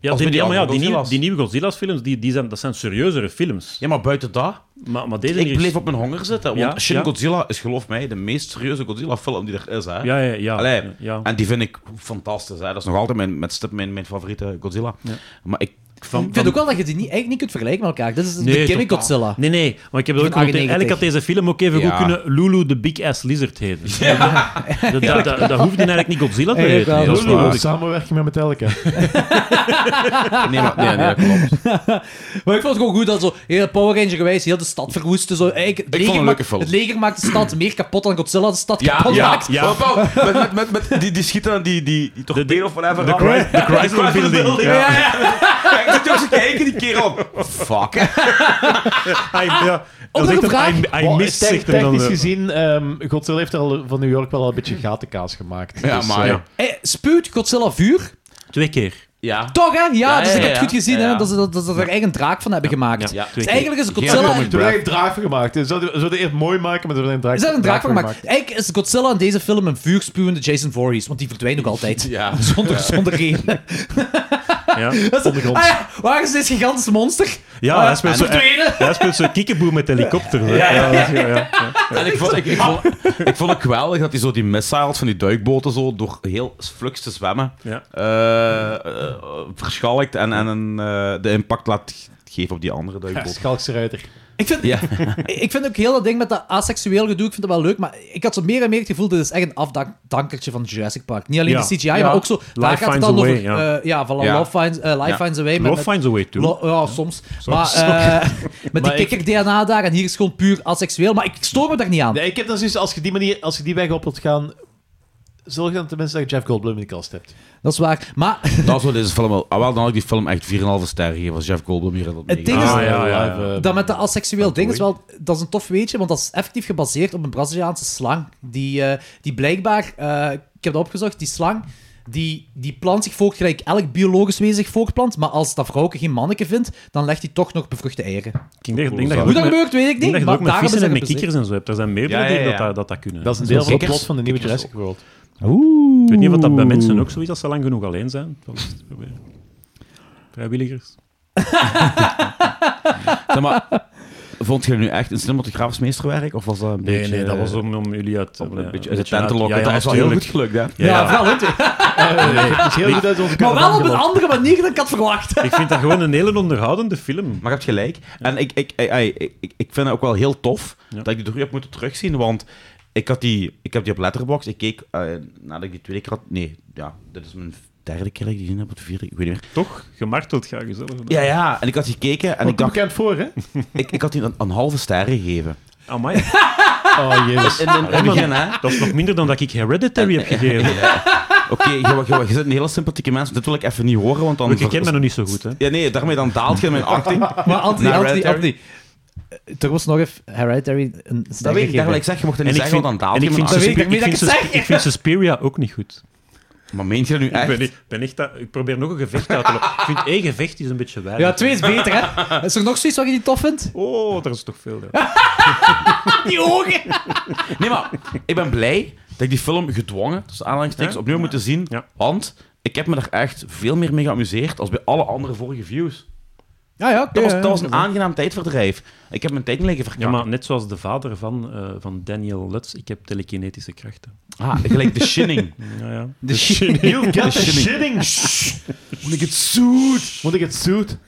Speaker 6: Ja,
Speaker 5: Als
Speaker 6: die,
Speaker 5: met die
Speaker 6: ja, maar ja,
Speaker 5: andere
Speaker 6: die, nieuwe,
Speaker 5: Godzilla's.
Speaker 6: die nieuwe Godzilla's-films, die, die zijn, dat zijn serieuzere films.
Speaker 5: Ja, maar buiten dat.
Speaker 6: Maar, maar deze
Speaker 5: Ik
Speaker 6: hier is-
Speaker 5: bleef op mijn honger zitten. Want
Speaker 6: Ja,
Speaker 5: Shin
Speaker 6: ja.
Speaker 5: Godzilla is, geloof mij, de meest serieuze Godzilla-film die er is. Hè?
Speaker 6: Ja, ja, ja.
Speaker 5: Allee,
Speaker 6: ja.
Speaker 5: En die vind ik fantastisch. Hè? Dat is nog altijd mijn, met stip mijn, mijn favoriete Godzilla. Maar ik,
Speaker 2: Ik vind ook wel dat je die niet, eigenlijk niet kunt vergelijken met elkaar. Dit is de gimmick
Speaker 6: totaal.
Speaker 2: Godzilla.
Speaker 6: Nee, nee, maar ik heb dat ook
Speaker 2: Van
Speaker 6: genoteerd.
Speaker 2: 98.
Speaker 6: Eigenlijk had deze film ook even
Speaker 5: Ja.
Speaker 6: goed kunnen Lulu the Big Ass Lizard heten. Dat, dat, dat, dat hoefde eigenlijk niet Godzilla te
Speaker 2: Eigenlijk
Speaker 6: heten.
Speaker 2: wel.
Speaker 6: Nee, dat is
Speaker 4: Lulu,
Speaker 6: waar.
Speaker 4: Dus samenwerking met Metallica.
Speaker 5: nee, maar, nee, nee, dat klopt.
Speaker 2: Maar ik vond het gewoon goed dat zo heel Power Ranger gewijs heel de stad verwoestte. Zo. Eigenlijk, het, leger
Speaker 5: vond het een
Speaker 2: maakt-
Speaker 5: leuke film.
Speaker 2: het leger maakt de stad meer kapot dan Godzilla de stad
Speaker 5: Ja,
Speaker 2: kapot
Speaker 5: ja,
Speaker 2: maakt.
Speaker 5: ja.
Speaker 6: Ja.
Speaker 5: Wauw, wauw. Met, met, met, met die, die schieten aan die, die, die torpedo of whatever.
Speaker 6: de Chrysler Building.
Speaker 5: Ja.
Speaker 6: Ja.
Speaker 5: Ja, ja. ik zit ook te kijken, die kerel. Fuck.
Speaker 6: Hij- ja, dan
Speaker 2: Andere
Speaker 6: zegt hij,
Speaker 2: vraag.
Speaker 6: hij- hij
Speaker 4: Wel,
Speaker 6: mist
Speaker 4: tech-
Speaker 6: zich er dan.
Speaker 4: Technisch
Speaker 6: eh,
Speaker 4: gezien, ehm Godzilla heeft al van New York wel al een beetje gatenkaas gemaakt.
Speaker 5: Ja, maar...
Speaker 6: dus, ja.
Speaker 2: Hey, spuwt Godzilla vuur?
Speaker 6: Twee keer.
Speaker 5: Ja.
Speaker 2: Toch, hè? Ja, dus
Speaker 5: Ah. ja,
Speaker 2: ik heb
Speaker 5: ja.
Speaker 2: het goed gezien,
Speaker 5: Ja, ja.
Speaker 2: hè? Dat ze, dat, dat ze er eigen draak van hebben gemaakt.
Speaker 6: Ja, twee
Speaker 2: Dus
Speaker 6: keer.
Speaker 2: eigenlijk is
Speaker 5: Geen
Speaker 2: Godzilla...
Speaker 5: comic
Speaker 4: Toen heb ik draak van gemaakt. Ze zouden ze zouden eerst mooi maken, maar ze hebben er een draak,
Speaker 2: Is daar een draak van gemaakt? Eigenlijk is Godzilla in deze film een vuurspuwende Jason Voorhees, want die verdwijnt ook altijd.
Speaker 5: Ja.
Speaker 2: Zonder, zonder reden.
Speaker 6: Ja,
Speaker 2: Ah ja, waar is dit gigantische monster?
Speaker 6: ja
Speaker 2: Ah,
Speaker 6: hij speelt zo-
Speaker 2: verdwenen.
Speaker 6: hij speelt zo'n kiekeboer met helikopter. hè. Ja, dat is- ja, ja.
Speaker 5: En ik vond, ik, ik, vond, ik vond het geweldig dat hij zo die missa had van die duikboten zo door heel flux te zwemmen.
Speaker 6: Ja.
Speaker 5: eh, eh, verschalkt en, en een, eh, de impact laat ge- geven op die andere duikboten.
Speaker 4: Schalkse ruiter.
Speaker 2: Ik vind,
Speaker 5: Ja.
Speaker 2: ik vind ook heel dat ding met dat asexueel gedoe, ik vind het wel leuk, maar ik had zo meer en meer het gevoel, dit is echt een afdankertje van Jurassic Park. Niet alleen
Speaker 6: Ja.
Speaker 2: de CGI, maar ook zo... daar gaat het
Speaker 6: finds
Speaker 2: dan
Speaker 6: a way,
Speaker 2: over,
Speaker 6: ja.
Speaker 2: eh, ja, voilà,
Speaker 5: Ja.
Speaker 2: Love Finds, eh, Life
Speaker 5: Ja.
Speaker 2: Finds Away.
Speaker 6: Love finds a way too.
Speaker 2: Lo- ja, soms. Maar eh, met
Speaker 4: Maar
Speaker 2: die
Speaker 4: ik-
Speaker 2: kikker-DNA daar, en hier is gewoon puur asexueel. Maar ik stoor me daar niet aan.
Speaker 4: Nee, ik heb dan zoiets, als je die manier, als je die weg op wilt gaan, zorg dan tenminste dat je Jeff Goldblum in de kast hebt.
Speaker 2: Dat is waar. Maar
Speaker 5: Dat is wat deze film wel. Ah, wel, dan had ik die film echt 4,5 sterren gegeven als Jeff Goldblum hier had op
Speaker 2: Het
Speaker 5: meegedaan.
Speaker 2: ding is-
Speaker 6: Ah, ja, ja,
Speaker 4: Live,
Speaker 6: ja.
Speaker 4: eh,
Speaker 2: dat met de asexueel ding is wel... Dat is een tof weetje, want dat is effectief gebaseerd op een Braziliaanse slang. Die, eh, die blijkbaar... eh, ik heb dat opgezocht. Die slang, die, die plant zich voort gelijk elk biologisch wezen zich voortplant. Maar als dat vrouwke geen manneke vindt, dan legt hij toch nog bevruchte eieren.
Speaker 6: Ik denk, ik denk dat je
Speaker 2: Hoe
Speaker 6: ook
Speaker 2: dat
Speaker 6: met-
Speaker 2: gebeurt, weet ik
Speaker 6: ik denk
Speaker 2: niet.
Speaker 6: dat je
Speaker 2: maar
Speaker 6: ook met
Speaker 2: daar hebben
Speaker 6: vissen
Speaker 2: ze
Speaker 6: en met
Speaker 2: een bezit.
Speaker 6: kikkers en zo hebt. Er zijn meerdere
Speaker 5: Ja, ja,
Speaker 6: dingen dat
Speaker 5: ja.
Speaker 6: dat, dat dat kunnen.
Speaker 4: dat is een deel van het
Speaker 5: kikkers-
Speaker 4: plot van de nieuwe
Speaker 5: kikkers
Speaker 4: Jurassic World.
Speaker 6: Ik weet niet of dat bij mensen ook zo is als ze lang genoeg alleen zijn. Dat is te proberen. Vrijwilligers.
Speaker 5: Zeg maar, vond je nu echt een cinematografisch meesterwerk? Of was dat een beetje... eh,
Speaker 6: nee, nee, dat was om, om jullie uit,
Speaker 5: om
Speaker 6: ja,
Speaker 5: een beetje uit de
Speaker 6: uit-
Speaker 5: tent te lokken.
Speaker 6: ja, ja,
Speaker 5: dat is wel heel
Speaker 6: natuurlijk.
Speaker 5: goed gelukt, hè?
Speaker 2: Ja,
Speaker 6: Ja,
Speaker 2: vooral hun twee.
Speaker 4: Het is heel goed uit onze
Speaker 2: Ah, Maar wel
Speaker 4: caravan
Speaker 2: op een
Speaker 4: gelopen.
Speaker 2: andere manier dan ik had verwacht.
Speaker 6: Ik vind dat gewoon een hele onderhoudende film.
Speaker 5: Maar je hebt gelijk. En ik, ik, ik, ik, ik- ik vind het ook wel heel tof
Speaker 6: Ja.
Speaker 5: dat ik die terug heb moeten terugzien. Want ik, had die, ik heb die op Letterboxd. Ik keek eh, nadat ik die tweede keer had. Nee, ja, dit is mijn derde keer dat ik die gezien heb. Of de vierde, ik weet niet meer.
Speaker 6: Toch? Gemarteld, ga jezelf.
Speaker 5: Ja, ja. En ik had die gekeken en ik
Speaker 4: Komt
Speaker 5: dacht,
Speaker 4: bekend voor, hè?
Speaker 5: ik, ik had die een, een halve ster gegeven.
Speaker 6: Amai.
Speaker 4: Oh,
Speaker 6: Ah,
Speaker 4: jezus.
Speaker 5: In de- in het begin, hè?
Speaker 6: Dat is nog minder dan dat ik Hereditary heb gegeven.
Speaker 5: Oké, je, je, je zit een hele sympathieke mens. Dit wil ik even niet horen, want dan...
Speaker 6: Want je kent me nog niet zo goed, hè?
Speaker 5: Ja, nee, daarmee dan daalt je in mijn acting.
Speaker 2: Maar Anthony,
Speaker 5: Na
Speaker 2: Anthony,
Speaker 5: Hereditary?
Speaker 2: Anthony. Eh, Toch was nog even Hereditary een
Speaker 5: Dat weet ik, daar wil ik zeggen. Je mocht dat niet zeggen, want dan daalt
Speaker 6: en
Speaker 5: je
Speaker 6: ik
Speaker 5: in mijn
Speaker 6: vind,
Speaker 2: Dat
Speaker 5: acting.
Speaker 2: weet ik
Speaker 6: Suspiria-
Speaker 2: niet dat ik het
Speaker 6: vind Sus-
Speaker 2: zeg.
Speaker 6: ik vind Suspiria ook niet goed.
Speaker 5: Maar meent je dat nu
Speaker 6: Ik, ben,
Speaker 5: echt?
Speaker 6: ik, ben echt dat, ik probeer nog een gevecht uit te lokken. Ik vind één gevecht is een beetje weinig.
Speaker 2: Ja, twee is beter, hè? Is er nog zoiets wat je niet tof vindt?
Speaker 6: Oh, daar is toch veel. hè.
Speaker 2: Die ogen!
Speaker 5: Nee, maar ik ben blij dat ik die film gedwongen, dus aanhalingstekens,
Speaker 6: Ja.
Speaker 5: opnieuw heb moeten zien.
Speaker 6: Ja.
Speaker 5: Want ik heb me daar echt veel meer mee geamuseerd als bij alle andere vorige views.
Speaker 2: Ja, ja, oké.
Speaker 5: Dat was,
Speaker 2: ja,
Speaker 5: dat was
Speaker 2: ja.
Speaker 5: een aangenaam tijdverdrijf. Ik heb mijn tijd niet liggen
Speaker 6: Ja,
Speaker 5: verkakt.
Speaker 6: maar net zoals de vader van, eh, van Daniel Lutz, ik heb telekinetische krachten.
Speaker 5: Ah, gelijk de Shining.
Speaker 6: Ja, ja.
Speaker 2: De shit.
Speaker 4: You get the
Speaker 5: shitting.
Speaker 4: shitting. Moet ik het zoet? Moet ik het zoet?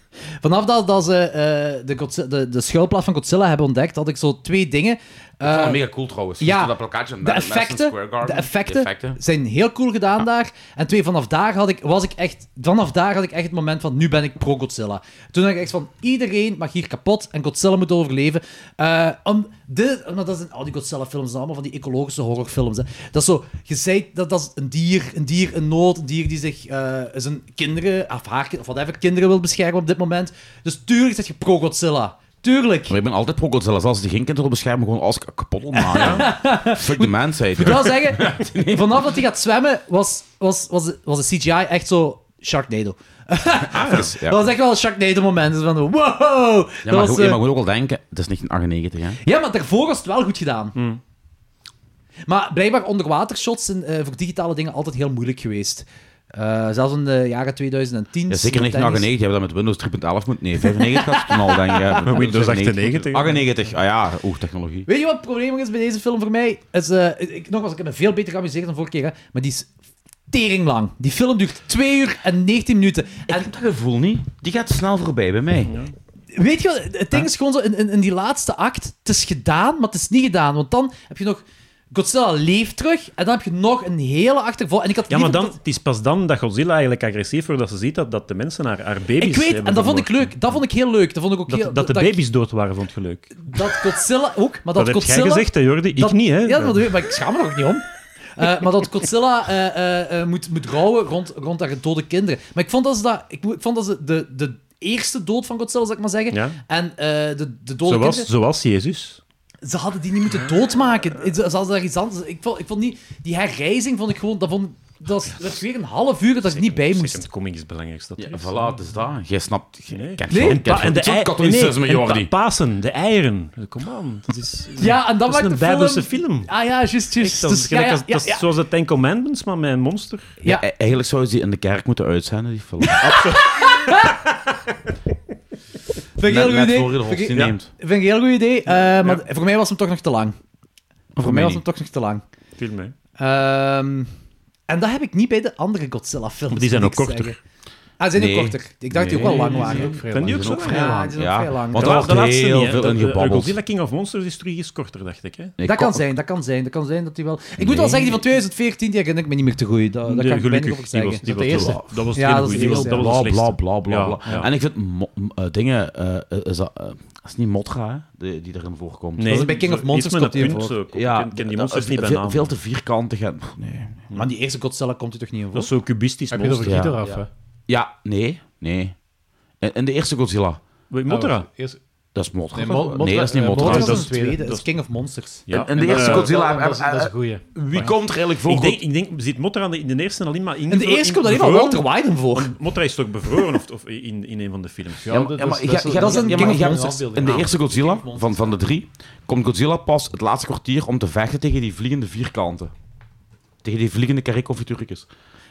Speaker 2: Vanaf dat, dat ze eh, de, Godzi- de, de schuilplaats van Godzilla hebben ontdekt, had ik zo twee dingen.
Speaker 5: dat
Speaker 2: Eh,
Speaker 5: was mega cool trouwens.
Speaker 2: ja,
Speaker 5: Toen dat plakkaatje in
Speaker 2: de
Speaker 5: Madison
Speaker 2: effecten,
Speaker 5: Square Garden.
Speaker 2: de effecten,
Speaker 5: De effecten.
Speaker 2: zijn heel cool gedaan daar. En twee, vanaf daar had ik, was ik echt, vanaf daar had ik echt het moment van, nu ben ik pro-Godzilla. Toen dacht ik echt van, iedereen mag hier kapot en Godzilla moet overleven. Eh, om, dit, omdat dat zijn al die Godzilla-films, dat zijn allemaal van die ecologische horrorfilms. Hè. Dat is zo, je zei, dat, dat is een dier, een dier in nood, een dier die zich, eh, zijn kinderen, of haar, kind- of whatever, kinderen wil beschermen op dit moment. Dus tuurlijk zit je pro-Godzilla. Tuurlijk.
Speaker 5: Maar ik ben altijd pro Godzilla. Zelfs als die geen kinderen beschermen, gewoon als ik kapot wil maken. Fuck de mensheid.
Speaker 2: Ik wil zeggen, vanaf dat hij gaat zwemmen, was, was, was, was de CGI echt zo Sharknado.
Speaker 5: Dus, ja.
Speaker 2: Dat was echt wel een Sharknado-moment. Dus van, wow!
Speaker 5: Ja,
Speaker 2: Dat
Speaker 5: maar,
Speaker 2: was,
Speaker 5: goed, je
Speaker 2: eh,
Speaker 5: mag ook wel denken, het is 1998, hè?
Speaker 2: ja, maar daarvoor was het wel goed gedaan.
Speaker 5: Hmm.
Speaker 2: Maar blijkbaar onderwatershots zijn eh, voor digitale dingen altijd heel moeilijk geweest. Eh, zelfs in de jaren 2010.
Speaker 5: Ja, zeker 1998. Je hebt dat met Windows 3.11 moet... Nee, 95 had het toen al, denk ik. hè.
Speaker 6: Met Windows 98.
Speaker 5: 98, ah ja, oeh, technologie.
Speaker 2: Weet je wat het probleem is bij deze film voor mij? Is, eh, ik, nogmaals, ik heb me veel beter geamuseerd dan vorige keer, hè, maar die is tering lang. Die film duurt 2 uur en 19 minuten. En
Speaker 5: Dat gevoel niet. Die gaat snel voorbij bij mij.
Speaker 2: Weet je wat, het ding is gewoon zo, in, in, in die laatste act, het is gedaan, maar het is niet gedaan. Want dan heb je nog Godzilla leeft terug, en dan heb je nog een hele achtervolg. En ik had
Speaker 6: Ja, maar
Speaker 2: liever
Speaker 6: dan,
Speaker 2: dat-
Speaker 6: het is pas dan dat Godzilla eigenlijk agressief wordt, dat ze ziet dat, dat de mensen haar, haar baby's
Speaker 2: Ik weet,
Speaker 6: hebben
Speaker 2: en dat vond ik
Speaker 6: vermoord.
Speaker 2: leuk. Dat vond ik heel leuk. Dat vond ik ook heel...
Speaker 6: Dat, dat de
Speaker 2: ik-
Speaker 6: baby's dood waren, vond je leuk.
Speaker 2: Dat Godzilla ook, maar dat,
Speaker 6: Dat, heb
Speaker 2: Godzilla...
Speaker 6: jij gezegd, hè, Jordi? Ik
Speaker 2: dat-
Speaker 6: niet, hè?
Speaker 2: Ja, dat weet ik, maar ik schaam me er ook niet om. Eh, maar dat Godzilla eh, eh, eh, moet, moet rouwen rond, rond haar dode kinderen. Maar ik vond dat ze, dat, ik, mo- ik vond dat ze de, de eerste dood van Godzilla, zal ik maar zeggen.
Speaker 6: Ja.
Speaker 2: En eh, de, de dode
Speaker 6: Zoals,
Speaker 2: kinderen-
Speaker 6: zoals Jezus.
Speaker 2: ze hadden die niet moeten doodmaken. Ze, ze hadden daar iets anders... Ik vond, ik vond niet... Die herrijzing vond ik gewoon... Dat, vond, dat, was, dat was weer een half uur dat ik niet bij moest.
Speaker 6: Second coming is het belangrijkste. dat er is.
Speaker 5: Voilà, dus dat. Jij snapt. jij
Speaker 6: Nee.
Speaker 5: kent
Speaker 2: Nee,
Speaker 5: gewoon-
Speaker 2: en
Speaker 5: kent
Speaker 6: Pa-
Speaker 5: gewoon
Speaker 6: en de
Speaker 5: zo'n
Speaker 6: ei-
Speaker 5: katholicisme,
Speaker 6: nee, en
Speaker 5: Jordi.
Speaker 6: pa- Pasen, de eieren. Kom aan. Dat is,
Speaker 2: Ja, en dat,
Speaker 6: dat is
Speaker 2: maakt de
Speaker 6: een Bijbelse
Speaker 2: film...
Speaker 6: film.
Speaker 2: Ah ja, juist, juist.
Speaker 6: Echt, dat is
Speaker 2: Dus, ja,
Speaker 6: gelijk
Speaker 2: ja,
Speaker 6: als-
Speaker 2: ja,
Speaker 6: dat is
Speaker 2: ja.
Speaker 6: zoals de Ten Commandments, maar met een monster.
Speaker 2: Ja.
Speaker 5: Ja, e- eigenlijk zou je die in de kerk moeten uitzenden, die film.
Speaker 2: Vind ik een heel
Speaker 5: Net-
Speaker 2: goed
Speaker 5: net
Speaker 2: idee.
Speaker 5: voor je de
Speaker 2: Vind ik-
Speaker 5: hostie
Speaker 2: ja.
Speaker 5: neemt.
Speaker 2: Vind ik een heel goed idee. eh, maar voor mij was hem toch nog te lang. Voor, mij
Speaker 5: mij
Speaker 2: was
Speaker 5: niet.
Speaker 2: hem toch nog te lang.
Speaker 6: Film, hè.
Speaker 2: Ehm, en dat heb ik niet bij de andere Godzilla-films.
Speaker 6: Maar die zijn
Speaker 2: moet ik
Speaker 6: ook korter.
Speaker 2: zeggen. Ah, zijn die
Speaker 5: Nee.
Speaker 2: korter? Ik dacht die ook wel lang waren.
Speaker 6: Zijn die ook zo?
Speaker 5: vrij
Speaker 2: Ja,
Speaker 5: lang.
Speaker 2: die zijn ook vrij lang.
Speaker 5: Want
Speaker 6: Dat
Speaker 5: er
Speaker 6: was
Speaker 5: wordt
Speaker 6: de laatste
Speaker 5: heel
Speaker 6: niet, hè.
Speaker 5: veel
Speaker 6: De-
Speaker 5: in
Speaker 6: de
Speaker 5: gebabbeld.
Speaker 6: Godzilla King of Monsters is drie is korter, dacht ik. Hè?
Speaker 5: Nee,
Speaker 2: Dat kan
Speaker 5: ko-
Speaker 2: zijn, dat kan zijn. Dat kan zijn dat die wel... Ik moet wel zeggen, die van 2014, die herinner ik me niet meer te goed. Daar, daar kan
Speaker 6: De-
Speaker 2: ik weinig
Speaker 6: gelukkig,
Speaker 2: over
Speaker 6: die
Speaker 2: zeggen.
Speaker 6: was, die
Speaker 2: dat de
Speaker 6: was
Speaker 2: eerste?
Speaker 6: de- Dat was
Speaker 2: Ja,
Speaker 6: geen
Speaker 2: dat is
Speaker 6: goeie,
Speaker 2: de
Speaker 6: die was-
Speaker 2: eerste.
Speaker 6: dat was de
Speaker 5: Bla, bla,
Speaker 6: slechtste.
Speaker 5: bla, bla, bla.
Speaker 6: Ja, ja.
Speaker 5: En ik vind mo- m- eh, dingen... eh, is dat, eh, is het niet Motra, hè, die, die erin voorkomt?
Speaker 6: Nee,
Speaker 2: is bij King
Speaker 6: zo-
Speaker 2: of Monsters
Speaker 6: iets met
Speaker 2: komt
Speaker 6: een
Speaker 2: die
Speaker 6: punt,
Speaker 2: voor.
Speaker 6: zo. Ik ken- ken die monsters niet bij
Speaker 5: veel-
Speaker 6: naam.
Speaker 5: Veel te vierkantig en... pff, Nee.
Speaker 2: Maar die eerste Godzilla komt hij toch niet in voor?
Speaker 6: Dat is zo cubistisch
Speaker 4: Heb je dat
Speaker 6: monster.
Speaker 4: over Guido
Speaker 5: Ja.
Speaker 4: af, hè?
Speaker 5: Ja, nee, nee. En, en de eerste Godzilla,
Speaker 6: Wait, Mothra.
Speaker 4: Eerst-
Speaker 5: dat is Motra.
Speaker 4: Nee,
Speaker 5: Nee,
Speaker 4: Mo- Mothra-
Speaker 5: dat is niet
Speaker 4: eh,
Speaker 5: Motra.
Speaker 2: dat is
Speaker 4: dat
Speaker 2: een
Speaker 4: is
Speaker 2: tweede.
Speaker 4: tweede.
Speaker 2: Dat is King of Monsters.
Speaker 6: Ja.
Speaker 5: en de eerste
Speaker 6: eh,
Speaker 5: Godzilla...
Speaker 4: Dat is-
Speaker 5: eh, eh,
Speaker 4: dat is een goeie.
Speaker 5: Wie komt er eigenlijk voor?
Speaker 6: Ik denk, ik denk, zit Mothra in de- in de eerste alleen maar in.
Speaker 2: En de eerste komt alleen maar Walter White voor.
Speaker 6: Mothra is toch bevroren of, of in, in een van de films?
Speaker 4: Ja,
Speaker 5: Ja,
Speaker 4: dat-
Speaker 5: maar- ja, maar
Speaker 4: dat
Speaker 5: je- je-
Speaker 2: dat is een
Speaker 5: ja,
Speaker 2: King
Speaker 5: maar
Speaker 2: of
Speaker 5: je-
Speaker 2: Monsters.
Speaker 5: In de eerste Godzilla, van, van de drie, komt Godzilla pas het laatste kwartier om te vechten tegen die vliegende vierkanten. Tegen die vliegende karikoffiturkjes.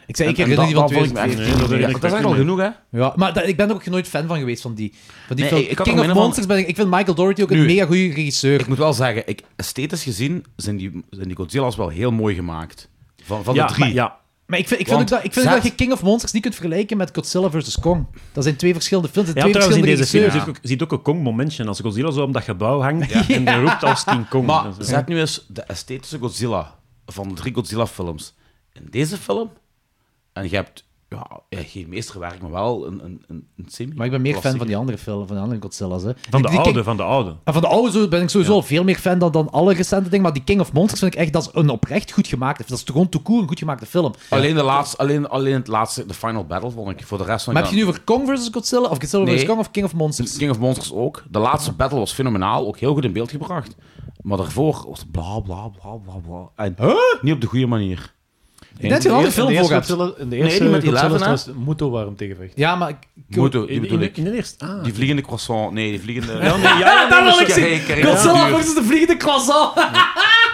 Speaker 2: Ik zei, ik
Speaker 5: En- en
Speaker 2: herinner die van
Speaker 5: dat- dat vond ik me echt
Speaker 2: 2014.
Speaker 6: Nee, dat
Speaker 5: Ja,
Speaker 6: herinner
Speaker 5: dat
Speaker 6: ik
Speaker 5: is
Speaker 6: me
Speaker 5: eigenlijk
Speaker 6: ook
Speaker 5: al
Speaker 6: niet
Speaker 5: genoeg, hè?
Speaker 2: Ja, maar dat- ik ben er ook nooit fan van geweest van die. Van die
Speaker 5: Nee,
Speaker 2: film.
Speaker 5: ik- ik had
Speaker 2: King
Speaker 5: hem
Speaker 2: of
Speaker 5: helemaal-
Speaker 2: Monsters ben ik. Ik vind Michael Doherty ook een
Speaker 5: Nu.
Speaker 2: mega goede regisseur.
Speaker 5: Ik moet wel zeggen, ik, esthetisch gezien zijn die, zijn die Godzilla's wel heel mooi gemaakt. Van, van
Speaker 6: ja,
Speaker 5: de drie.
Speaker 6: maar ja.
Speaker 2: Maar ik vind, ik vind, ook
Speaker 5: Want
Speaker 2: dat, ik vind ook
Speaker 5: zet-
Speaker 2: dat je King of Monsters niet kunt vergelijken met Godzilla vs. Kong. Dat zijn twee verschillende films. Dat
Speaker 6: Ja,
Speaker 2: zijn twee
Speaker 6: trouwens, in deze
Speaker 2: verschillende
Speaker 6: film
Speaker 2: regisseurs.
Speaker 6: zit ook, ziet ook een Kong-momentje. Als Godzilla zo om dat gebouw hangt en die roept als King Kong.
Speaker 5: Maar
Speaker 6: Dat is-
Speaker 5: zet nu eens de esthetische Godzilla van de drie Godzilla-films in deze film. En je hebt ja, eh, geen meesterwerk, maar wel een, een, een, een semi.
Speaker 2: Maar ik ben meer fan van die andere film, van de andere Godzilla's. Hè.
Speaker 6: Van de
Speaker 2: Die- die
Speaker 6: oude,
Speaker 2: King-
Speaker 6: van de oude.
Speaker 2: en van de oude zo ben ik sowieso al veel meer fan dan, dan alle recente dingen. Maar die King of Monsters vind ik echt, dat is een oprecht goed gemaakte Dat is gewoon to cool een goed gemaakte film.
Speaker 5: Alleen, de laatste, alleen, alleen het laatste, de Final Battle, vond ik. Voor de rest van
Speaker 2: Maar heb je nu over Kong vs. Godzilla, of Godzilla vs.
Speaker 5: Nee.
Speaker 2: Kong, of King of Monsters?
Speaker 5: King of Monsters ook. De laatste battle was fenomenaal, ook heel goed in beeld gebracht. Maar daarvoor was het bla bla bla bla bla. En niet op de goede manier.
Speaker 2: Ik denk dat je een andere
Speaker 4: In
Speaker 2: film
Speaker 4: de
Speaker 2: voor
Speaker 4: eerste
Speaker 2: hebt.
Speaker 4: Godzilla- in de
Speaker 5: Nee,
Speaker 4: eerste
Speaker 5: die met die
Speaker 4: Godzilla
Speaker 5: laven, hè?
Speaker 4: was Muto waarom tegenvecht.
Speaker 2: Ja, maar... ik-
Speaker 5: Moeten, die
Speaker 6: In,
Speaker 5: bedoel
Speaker 6: in,
Speaker 5: ik.
Speaker 6: in de eerste. Ah.
Speaker 5: Die vliegende croissant, nee, die vliegende.
Speaker 6: nee, ja, ja,
Speaker 2: dat wil ik
Speaker 5: Ja,
Speaker 2: zien.
Speaker 5: hey, kijk,
Speaker 2: Godzilla
Speaker 5: ja.
Speaker 2: versus de vliegende croissant.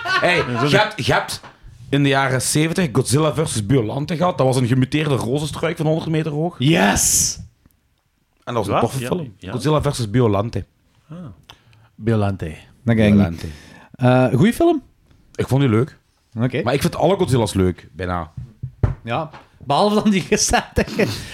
Speaker 5: Hey, je hebt, je hebt in de jaren 70 Godzilla versus Biolante gehad. Dat was een gemuteerde rozenstruik van 100 meter hoog.
Speaker 2: Yes!
Speaker 5: En dat was
Speaker 6: Wat?
Speaker 5: een toffe
Speaker 6: Ja,
Speaker 5: film.
Speaker 6: ja.
Speaker 5: Godzilla versus Biolante.
Speaker 4: Biolante.
Speaker 2: Dan Eh,
Speaker 5: Biolante.
Speaker 2: goeie film?
Speaker 5: Ik vond die leuk.
Speaker 2: Oké.
Speaker 5: Maar ik vind alle Godzilla's leuk, bijna.
Speaker 2: Ja, behalve dan die recente.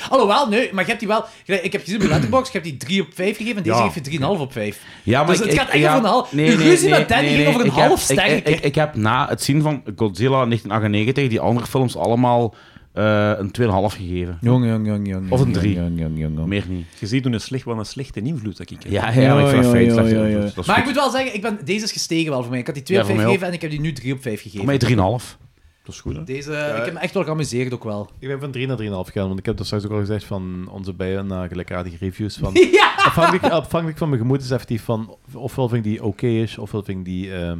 Speaker 2: Alhoewel, nee, maar je hebt die wel... gelijk, Ik heb gezien op je letterbox, je hebt die 3 op 5 gegeven en deze
Speaker 5: Ja.
Speaker 2: geeft je 3,5 op 5.
Speaker 5: Ja, maar
Speaker 2: Dus
Speaker 5: ik-
Speaker 2: het gaat
Speaker 5: ik-
Speaker 2: echt
Speaker 5: ja,
Speaker 2: over een half-
Speaker 5: nee,
Speaker 2: de
Speaker 5: nee,
Speaker 2: ruzie
Speaker 5: nee,
Speaker 2: met Danny
Speaker 5: nee,
Speaker 2: ging
Speaker 5: nee,
Speaker 2: over een
Speaker 5: ik heb-
Speaker 2: half
Speaker 5: ik-
Speaker 2: sterke.
Speaker 5: Ik, ik, heb na het zien van Godzilla 1998 die andere films allemaal eh, een 2,5 gegeven.
Speaker 2: Jong, jong, jong, jong.
Speaker 5: Of een drie.
Speaker 2: Jong, jong, jong, jong.
Speaker 5: Meer niet.
Speaker 6: Je ziet hoe een slecht, wat een slechte invloed dat ik heb.
Speaker 5: Ja, ja, maar ik vind dat feit. slecht, ja, dat is- dat is
Speaker 2: Maar ik
Speaker 5: goed.
Speaker 2: moet wel zeggen, ik ben, deze is gestegen wel voor mij. Ik had die 2
Speaker 5: Ja,
Speaker 2: op
Speaker 5: voor
Speaker 2: 5
Speaker 5: mij
Speaker 2: gegeven en ik heb die nu 3 op 5
Speaker 5: Voor
Speaker 2: gegeven.
Speaker 5: mij 3,5.
Speaker 6: Dat is goed, hè?
Speaker 2: Deze, ik heb me echt wel geamuseerd ook wel.
Speaker 4: Ik ben van 3 naar 3,5 gegaan, want ik heb dat straks ook al gezegd van onze bijna gelijkaardige reviews. Van,
Speaker 2: Ja!
Speaker 4: afhankelijk, afhankelijk van mijn gemoed is effectief van ofwel vind ik die oké is, ofwel vind ik die ehm,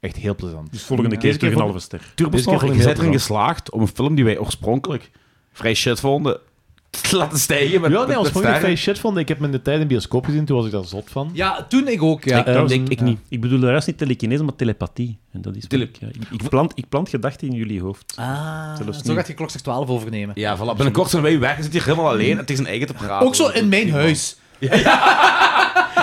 Speaker 4: echt heel plezant.
Speaker 6: Dus volgende
Speaker 5: Deze
Speaker 6: keer
Speaker 5: keer
Speaker 6: terug een
Speaker 5: vond-
Speaker 6: halve ster.
Speaker 5: Turbosnor,
Speaker 4: vond ik
Speaker 5: je
Speaker 4: hem
Speaker 5: bent erin
Speaker 4: heel
Speaker 5: geslaagd om een film die wij oorspronkelijk vrij shit vonden te laten stijgen met
Speaker 4: ja, nee,
Speaker 5: met-
Speaker 4: als
Speaker 5: met
Speaker 4: ik het
Speaker 5: sterren.
Speaker 4: vrij shit vond, ik heb hem in de tijd in bioscoop gezien, toen was ik daar zot van.
Speaker 2: Ja, toen ik ook, ja.
Speaker 5: Ik-
Speaker 4: Ehm,
Speaker 5: ik, ik niet.
Speaker 6: Ik bedoel de rest niet telekinese, maar telepathie. En dat is wat
Speaker 5: Tele-
Speaker 6: ik, ja, ik, ik plant, ik plant gedachten in jullie hoofd.
Speaker 2: Ah,
Speaker 6: Zelfs
Speaker 2: zo
Speaker 6: niet.
Speaker 2: gaat je klokslag 12 overnemen.
Speaker 5: Ja, voilà. Binnenkort zijn wij weg. Je zit hier helemaal alleen en het is zijn eigen te praten.
Speaker 2: Ook zo in mijn huis.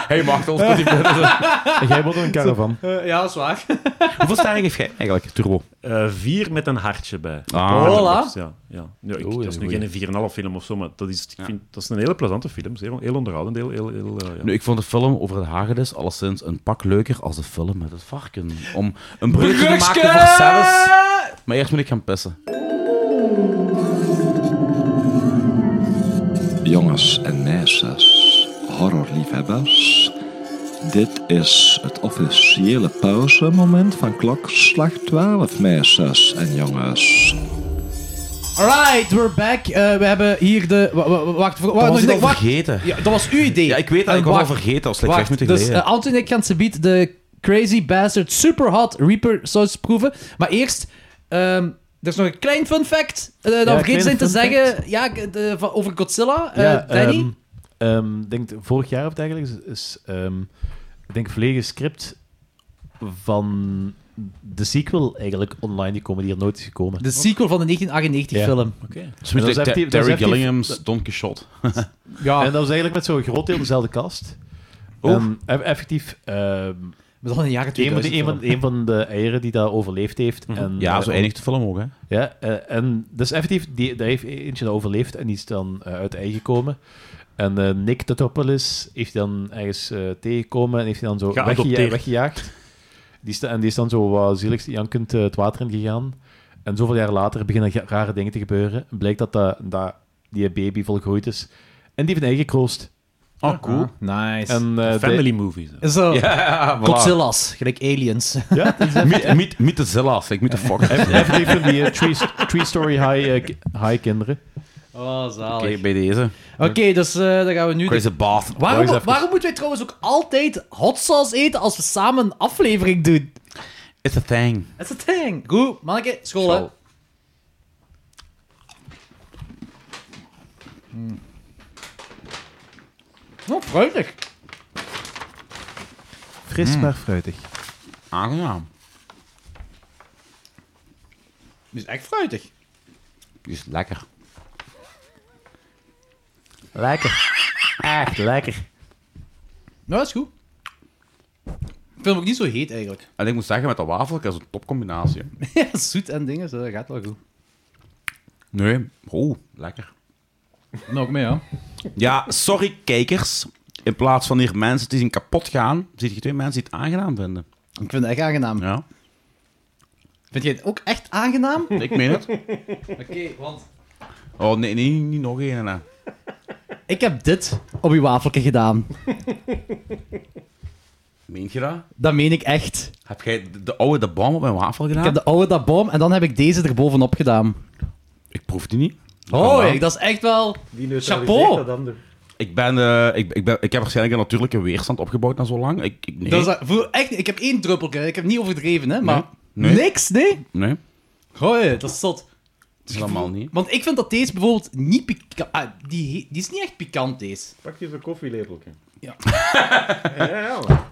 Speaker 5: Hey, mag ons tot die
Speaker 4: En jij wordt er een caravan.
Speaker 2: Eh, ja, dat is waar.
Speaker 5: Hoeveel sterren geef jij eigenlijk, Turbo?
Speaker 6: Eh, vier met een hartje bij.
Speaker 5: Ah.
Speaker 2: Voilà.
Speaker 6: Ja, ja. ja ik,
Speaker 4: Oeh,
Speaker 6: dat is nu
Speaker 4: goeie.
Speaker 6: geen 4,5 film of zo, maar dat is, ik vind, dat is een hele plezante film. Heel, heel onderhoudend. Heel, heel, heel, eh, ja.
Speaker 5: Nu, ik vond de film over de hagedis alleszins een pak leuker als de film met het varken. Om een brugje te maken voor zelfs. Maar eerst moet ik gaan pissen.
Speaker 9: Jongens en meisjes, horrorliefhebbers. Dit is het officiële pauzemoment van klokslag 12, meisjes en jongens.
Speaker 2: Alright, we're back. Eh, we hebben hier de... wa- wa- wa- Wacht, wa-
Speaker 5: was ik
Speaker 2: nog-
Speaker 5: al
Speaker 2: Oh, dus wacht.
Speaker 5: vergeten.
Speaker 2: Ja, dat was uw idee.
Speaker 5: Ja, ik weet dat.
Speaker 2: En
Speaker 5: Ik was al
Speaker 2: wacht.
Speaker 5: vergeten. Als slechts vijf
Speaker 2: Wacht,
Speaker 5: minuten
Speaker 2: dus
Speaker 5: geleden.
Speaker 2: eh, Anton en ik gaan ze biedt de Crazy Bastard Super Hot Reaper Sauce proeven. Maar eerst, ehm, er is nog een klein fun fact. eh dat
Speaker 4: Ja,
Speaker 2: vergeten zijn te
Speaker 4: kleine fun
Speaker 2: zeggen ja, ik- de- van- over Godzilla. eh,
Speaker 4: Ja,
Speaker 2: Danny?
Speaker 4: ehm, ehm, ik denk vorig jaar of dergelijks is, is ehm, ik denk volledig script van de sequel eigenlijk online gekomen die er nooit is gekomen.
Speaker 2: de sequel van de 1998
Speaker 4: Ja.
Speaker 2: film.
Speaker 5: Dus
Speaker 4: dat is
Speaker 5: like
Speaker 4: echt die-
Speaker 5: Ter-
Speaker 4: dat is
Speaker 5: Terry
Speaker 4: echt die-
Speaker 5: Gillingham's Don Quixote.
Speaker 2: Ja,
Speaker 4: En dat was eigenlijk met zo'n groot deel dezelfde cast.
Speaker 5: Oeh.
Speaker 4: Ehm, eff- effectief, ehm,
Speaker 2: maar dan in de jaren
Speaker 4: een, van
Speaker 2: 2000.
Speaker 4: de, een, van, een van de eieren die daar overleefd heeft. en,
Speaker 5: Mhm. Ja,
Speaker 4: eh,
Speaker 5: zo eindigt de film ook, hè.
Speaker 4: Ja, eh, en dus effectief, die, daar heeft eentje dat overleefd en die is dan eh, uit de ei gekomen. En eh Nick Totopoulos heeft hij dan ergens eh, tegengekomen en heeft hij dan zo weggeja-
Speaker 6: Geadopteerd.
Speaker 4: weggejaagd. Die is, da- en die is dan zo wat zielig jankend eh, het water in gegaan. En zoveel jaar later beginnen ge- rare dingen te gebeuren. En blijkt dat, dat, dat die baby volgroeid is. En die heeft een eigen kroost.
Speaker 5: Oh, cool.
Speaker 2: Ah,
Speaker 5: Ehm,
Speaker 2: Nice.
Speaker 4: En, eh, de-
Speaker 6: Family movies. hè.
Speaker 2: Zo,
Speaker 5: Ja,
Speaker 2: Godzilla's, gelijk Aliens.
Speaker 4: ja, dat is
Speaker 5: Meet, meet the Zilla's. Ik moet de fuck. Oké,
Speaker 4: effectief van die eh, three- three-story high, eh, ki- high kinderen.
Speaker 2: Oh, zalig. Oké,
Speaker 5: bij deze.
Speaker 2: dus eh, dan gaan we nu... de-
Speaker 5: Crazy Bath.
Speaker 2: Waarom,
Speaker 4: Wacht eens even.
Speaker 2: waarom moeten wij trouwens ook altijd hot sauce eten als we samen een aflevering doen?
Speaker 5: It's a thing.
Speaker 2: That's a thing. Goed, manneke, school, hè.
Speaker 5: School.
Speaker 2: Hmm. Oh, fruitig.
Speaker 4: Fris maar fruitig.
Speaker 5: Hmm. Aangenaam.
Speaker 2: Die is echt fruitig.
Speaker 5: Die is lekker.
Speaker 4: Lekker. Echt lekker.
Speaker 2: Nou, dat is goed. Ik vind hem ook niet zo heet, eigenlijk.
Speaker 5: En ik moet zeggen, met dat wafelke is een topcombinatie.
Speaker 2: ja, zoet en dingen, zo, dat gaat wel goed.
Speaker 5: Nee. Oh, lekker.
Speaker 2: Nog Nou, mee, ja.
Speaker 5: Ja, sorry kijkers. In plaats van hier mensen die zien kapot gaan, zie je twee mensen die het aangenaam vinden.
Speaker 2: Ik vind het echt aangenaam.
Speaker 5: Ja,
Speaker 2: Vind jij het ook echt aangenaam? Oké,
Speaker 5: ik meen het.
Speaker 2: want...
Speaker 5: Oh nee, nee niet nog één. hè.
Speaker 2: Ik heb dit op uw wafelke gedaan.
Speaker 5: Meent je dat?
Speaker 2: Dat meen ik echt.
Speaker 5: Heb jij de, de oude de bom op mijn wafel gedaan?
Speaker 2: Ik heb de oude dat boom en dan heb ik deze er bovenop gedaan.
Speaker 5: Ik proef die niet.
Speaker 2: Oh,
Speaker 5: Voilà.
Speaker 2: ik- Oh, dat is echt wel...
Speaker 4: Die
Speaker 2: neutraliseert Chapeau. dat
Speaker 5: Ik, ben, eh, ik, ik, ben, ik heb waarschijnlijk een natuurlijke weerstand opgebouwd na zo lang. Ik, ik, nee.
Speaker 2: Dat is, voel, echt, niet- ik heb één druppelke, ik heb niet overdreven, hè, maar...
Speaker 5: Nee.
Speaker 2: Niks, nee?
Speaker 5: Nee,
Speaker 2: Hoi, dat is zot.
Speaker 5: helemaal niet.
Speaker 2: Want ik vind dat deze bijvoorbeeld niet pikant... Ah, die, die is niet echt pikant, deze.
Speaker 10: Pak je zo'n koffielepeltje.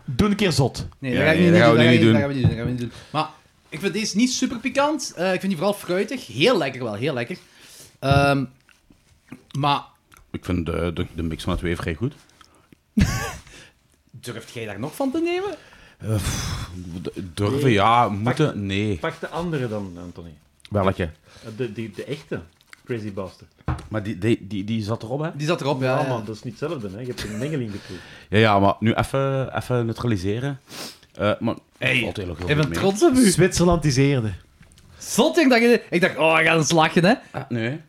Speaker 4: Doe een keer zot.
Speaker 2: Nee,
Speaker 5: Ja,
Speaker 2: dat ga ik
Speaker 5: nee,
Speaker 2: niet
Speaker 5: dat
Speaker 2: doen.
Speaker 5: gaan we niet
Speaker 2: dat ga ik niet doen, dat gaan we niet doen. Maar ik vind deze niet super pikant. Eh, ik vind die vooral fruitig. Heel lekker wel, heel lekker. Ehm, maar
Speaker 5: Ik vind de, de, de mix van de twee vrij goed.
Speaker 2: durft jij daar nog van te nemen?
Speaker 5: D- Durven, ja. Moeten, nee.
Speaker 10: Pak de andere dan, Anthony.
Speaker 5: Welke?
Speaker 10: Eh, De, die, de echte Crazy Bastard.
Speaker 5: Maar die, die, die, die zat erop, hè?
Speaker 2: Die zat erop, Eh, ja.
Speaker 10: Ja,
Speaker 2: ja.
Speaker 10: man, dat is niet hetzelfde, hè. Je hebt een mengeling geproefd.
Speaker 5: Ja, ja, maar nu even even neutraliseren. Eh maar hey, valt heel
Speaker 2: Ik
Speaker 5: erg heel goed
Speaker 2: ben
Speaker 5: mee.
Speaker 2: trots op u.
Speaker 4: Zwitserlandiseerde.
Speaker 2: Zot, ik dacht, ik dacht, oh, ik ga eens lachen, hè.
Speaker 5: Ah, nee.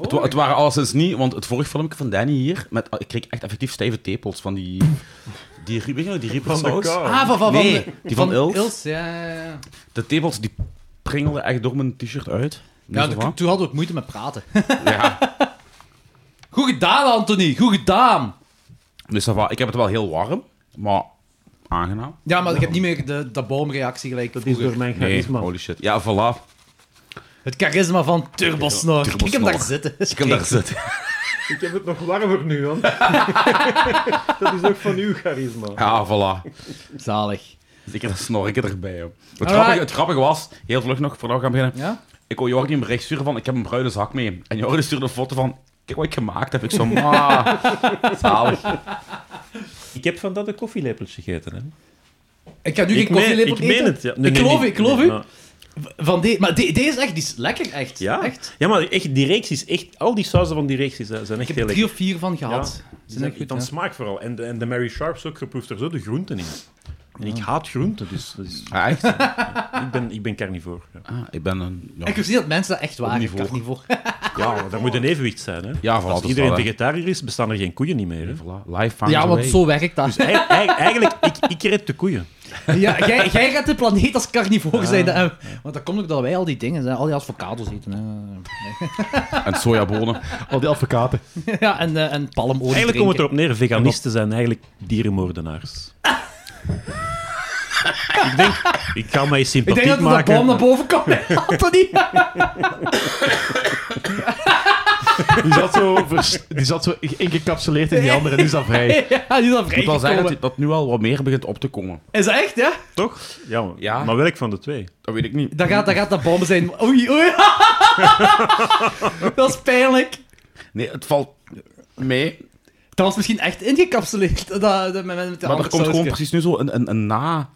Speaker 5: Het, wa- het waren alleszins niet, want het vorige filmpje van Danny hier, met, ik kreeg echt effectief stijve tepels van die... Die, rie- weet je nog, die riepersaus.
Speaker 2: Ah, van, van, van,
Speaker 5: Nee, die van Ilse.
Speaker 2: ja, ja, ja.
Speaker 5: De tepels die pringelden echt door mijn t-shirt uit.
Speaker 2: Ja,
Speaker 5: Niet zo
Speaker 2: toen-
Speaker 5: wat?
Speaker 2: toen hadden we ook moeite met praten.
Speaker 5: ja.
Speaker 2: Goed gedaan, Anthony. Goed gedaan.
Speaker 5: Dus ça va. ik heb het wel heel warm, maar aangenaam.
Speaker 2: Ja, maar ik heb niet meer de, de boomreactie gelijk
Speaker 10: Dat is
Speaker 2: vroeger.
Speaker 10: door mijn
Speaker 5: Nee,
Speaker 10: charisma.
Speaker 5: holy shit. Ja, voilà.
Speaker 2: Het charisma van Turbosnor.
Speaker 5: Turbosnor.
Speaker 2: Ik heb daar zitten.
Speaker 5: Ik kan daar zitten.
Speaker 10: Ik heb het nog warmer nu, want... dat is ook van uw charisma.
Speaker 5: Ja, voilà.
Speaker 2: Zalig.
Speaker 5: Zeker dat snorken erbij, joh. Het
Speaker 2: Alright.
Speaker 5: grappige, het grappige was, heel vlug nog, voordat we gaan beginnen.
Speaker 2: Ja?
Speaker 5: Ik kon Jordi een bericht sturen van, ik heb een bruine zak mee. En Jordi stuurde een foto van, kijk wat ik gemaakt heb. Ik zo, ma, zalig.
Speaker 6: Ik heb van dat een koffielepeltje gegeten. Hè.
Speaker 2: Ik ga nu
Speaker 6: Ik
Speaker 2: geen koffielepel
Speaker 6: meen, ik
Speaker 2: eten.
Speaker 6: meen het. Ja. Nee,
Speaker 2: ik
Speaker 6: nee,
Speaker 2: geloof u,
Speaker 6: nee,
Speaker 2: ik geloof
Speaker 6: nee,
Speaker 2: u.
Speaker 6: maar-
Speaker 2: Van de, maar de- deze is echt, die is lekker echt.
Speaker 6: ja.
Speaker 2: Echt.
Speaker 6: ja, maar echt, die reeks is echt... Al die sausen van die reeks is, eh, zijn
Speaker 2: Ik
Speaker 6: echt
Speaker 2: heb
Speaker 6: heel
Speaker 2: er drie
Speaker 6: lekker.
Speaker 2: of vier van gehad.
Speaker 6: Ja.
Speaker 2: Zijn echt goed,
Speaker 6: dan
Speaker 2: ja.
Speaker 6: smaak vooral. En de, en de Mary Sharps ook geproefd er zo de groenten in. En ik haat groenten, dus dat is-
Speaker 5: Ah, echt?
Speaker 6: ik, ben, ik ben carnivoor. Ja,
Speaker 5: Ah, ik ben een... Ja,
Speaker 2: Ik heb gezien dat mensen dat echt waren. Ik kan het niet voor.
Speaker 6: ja daar moet een evenwicht zijn. Hè?
Speaker 5: Ah, Ja, voilà,
Speaker 6: Als
Speaker 5: dat is
Speaker 6: iedereen
Speaker 5: wel, hè.
Speaker 6: vegetariër is, bestaan er geen koeien niet meer. Hè?
Speaker 5: voilà. Live farms
Speaker 2: Ja, want
Speaker 5: away.
Speaker 2: zo werkt dat.
Speaker 6: Dus ei- ei- eigenlijk, ik, ik red de koeien.
Speaker 5: Dus
Speaker 2: Ja, jij, jij gaat de planeet als carnivoor zijn. dat- want dat komt ook dat wij al die dingen, hè, al die avocados eten. Hè.
Speaker 5: En sojabonen.
Speaker 4: Al die advocaten.
Speaker 2: Ja, en, eh, en palmolie
Speaker 6: Eigenlijk
Speaker 2: drinken.
Speaker 6: komt het erop neer, veganisten zijn eigenlijk dierenmoordenaars. ik denk, ik kan mij
Speaker 2: Ik
Speaker 6: sympathiek
Speaker 2: denk dat het de
Speaker 6: maken.
Speaker 2: boom naar boven komt, hè, Anthony.
Speaker 4: Die zat zo, vers- die zat zo ingecapsuleerd in die andere en die is dat vrij.
Speaker 2: Ja, die is al
Speaker 5: Ik moet wel zeggen
Speaker 2: vrijgekomen.
Speaker 5: dat dat nu al wat meer begint op te komen.
Speaker 2: Is dat echt, ja?
Speaker 6: Toch? Ja, maar-
Speaker 5: Ja.
Speaker 6: maar welk van de twee?
Speaker 5: Dat weet ik niet.
Speaker 2: Dat gaat, dat gaat dat bommen zijn. Oei, oei. dat is pijnlijk.
Speaker 5: Nee, het valt mee.
Speaker 2: Dat was misschien echt ingecapsuleerd. Dat, dat, met, met met de
Speaker 5: Maar er komt
Speaker 2: hamburgsausje.
Speaker 5: gewoon precies nu zo een, een, een na...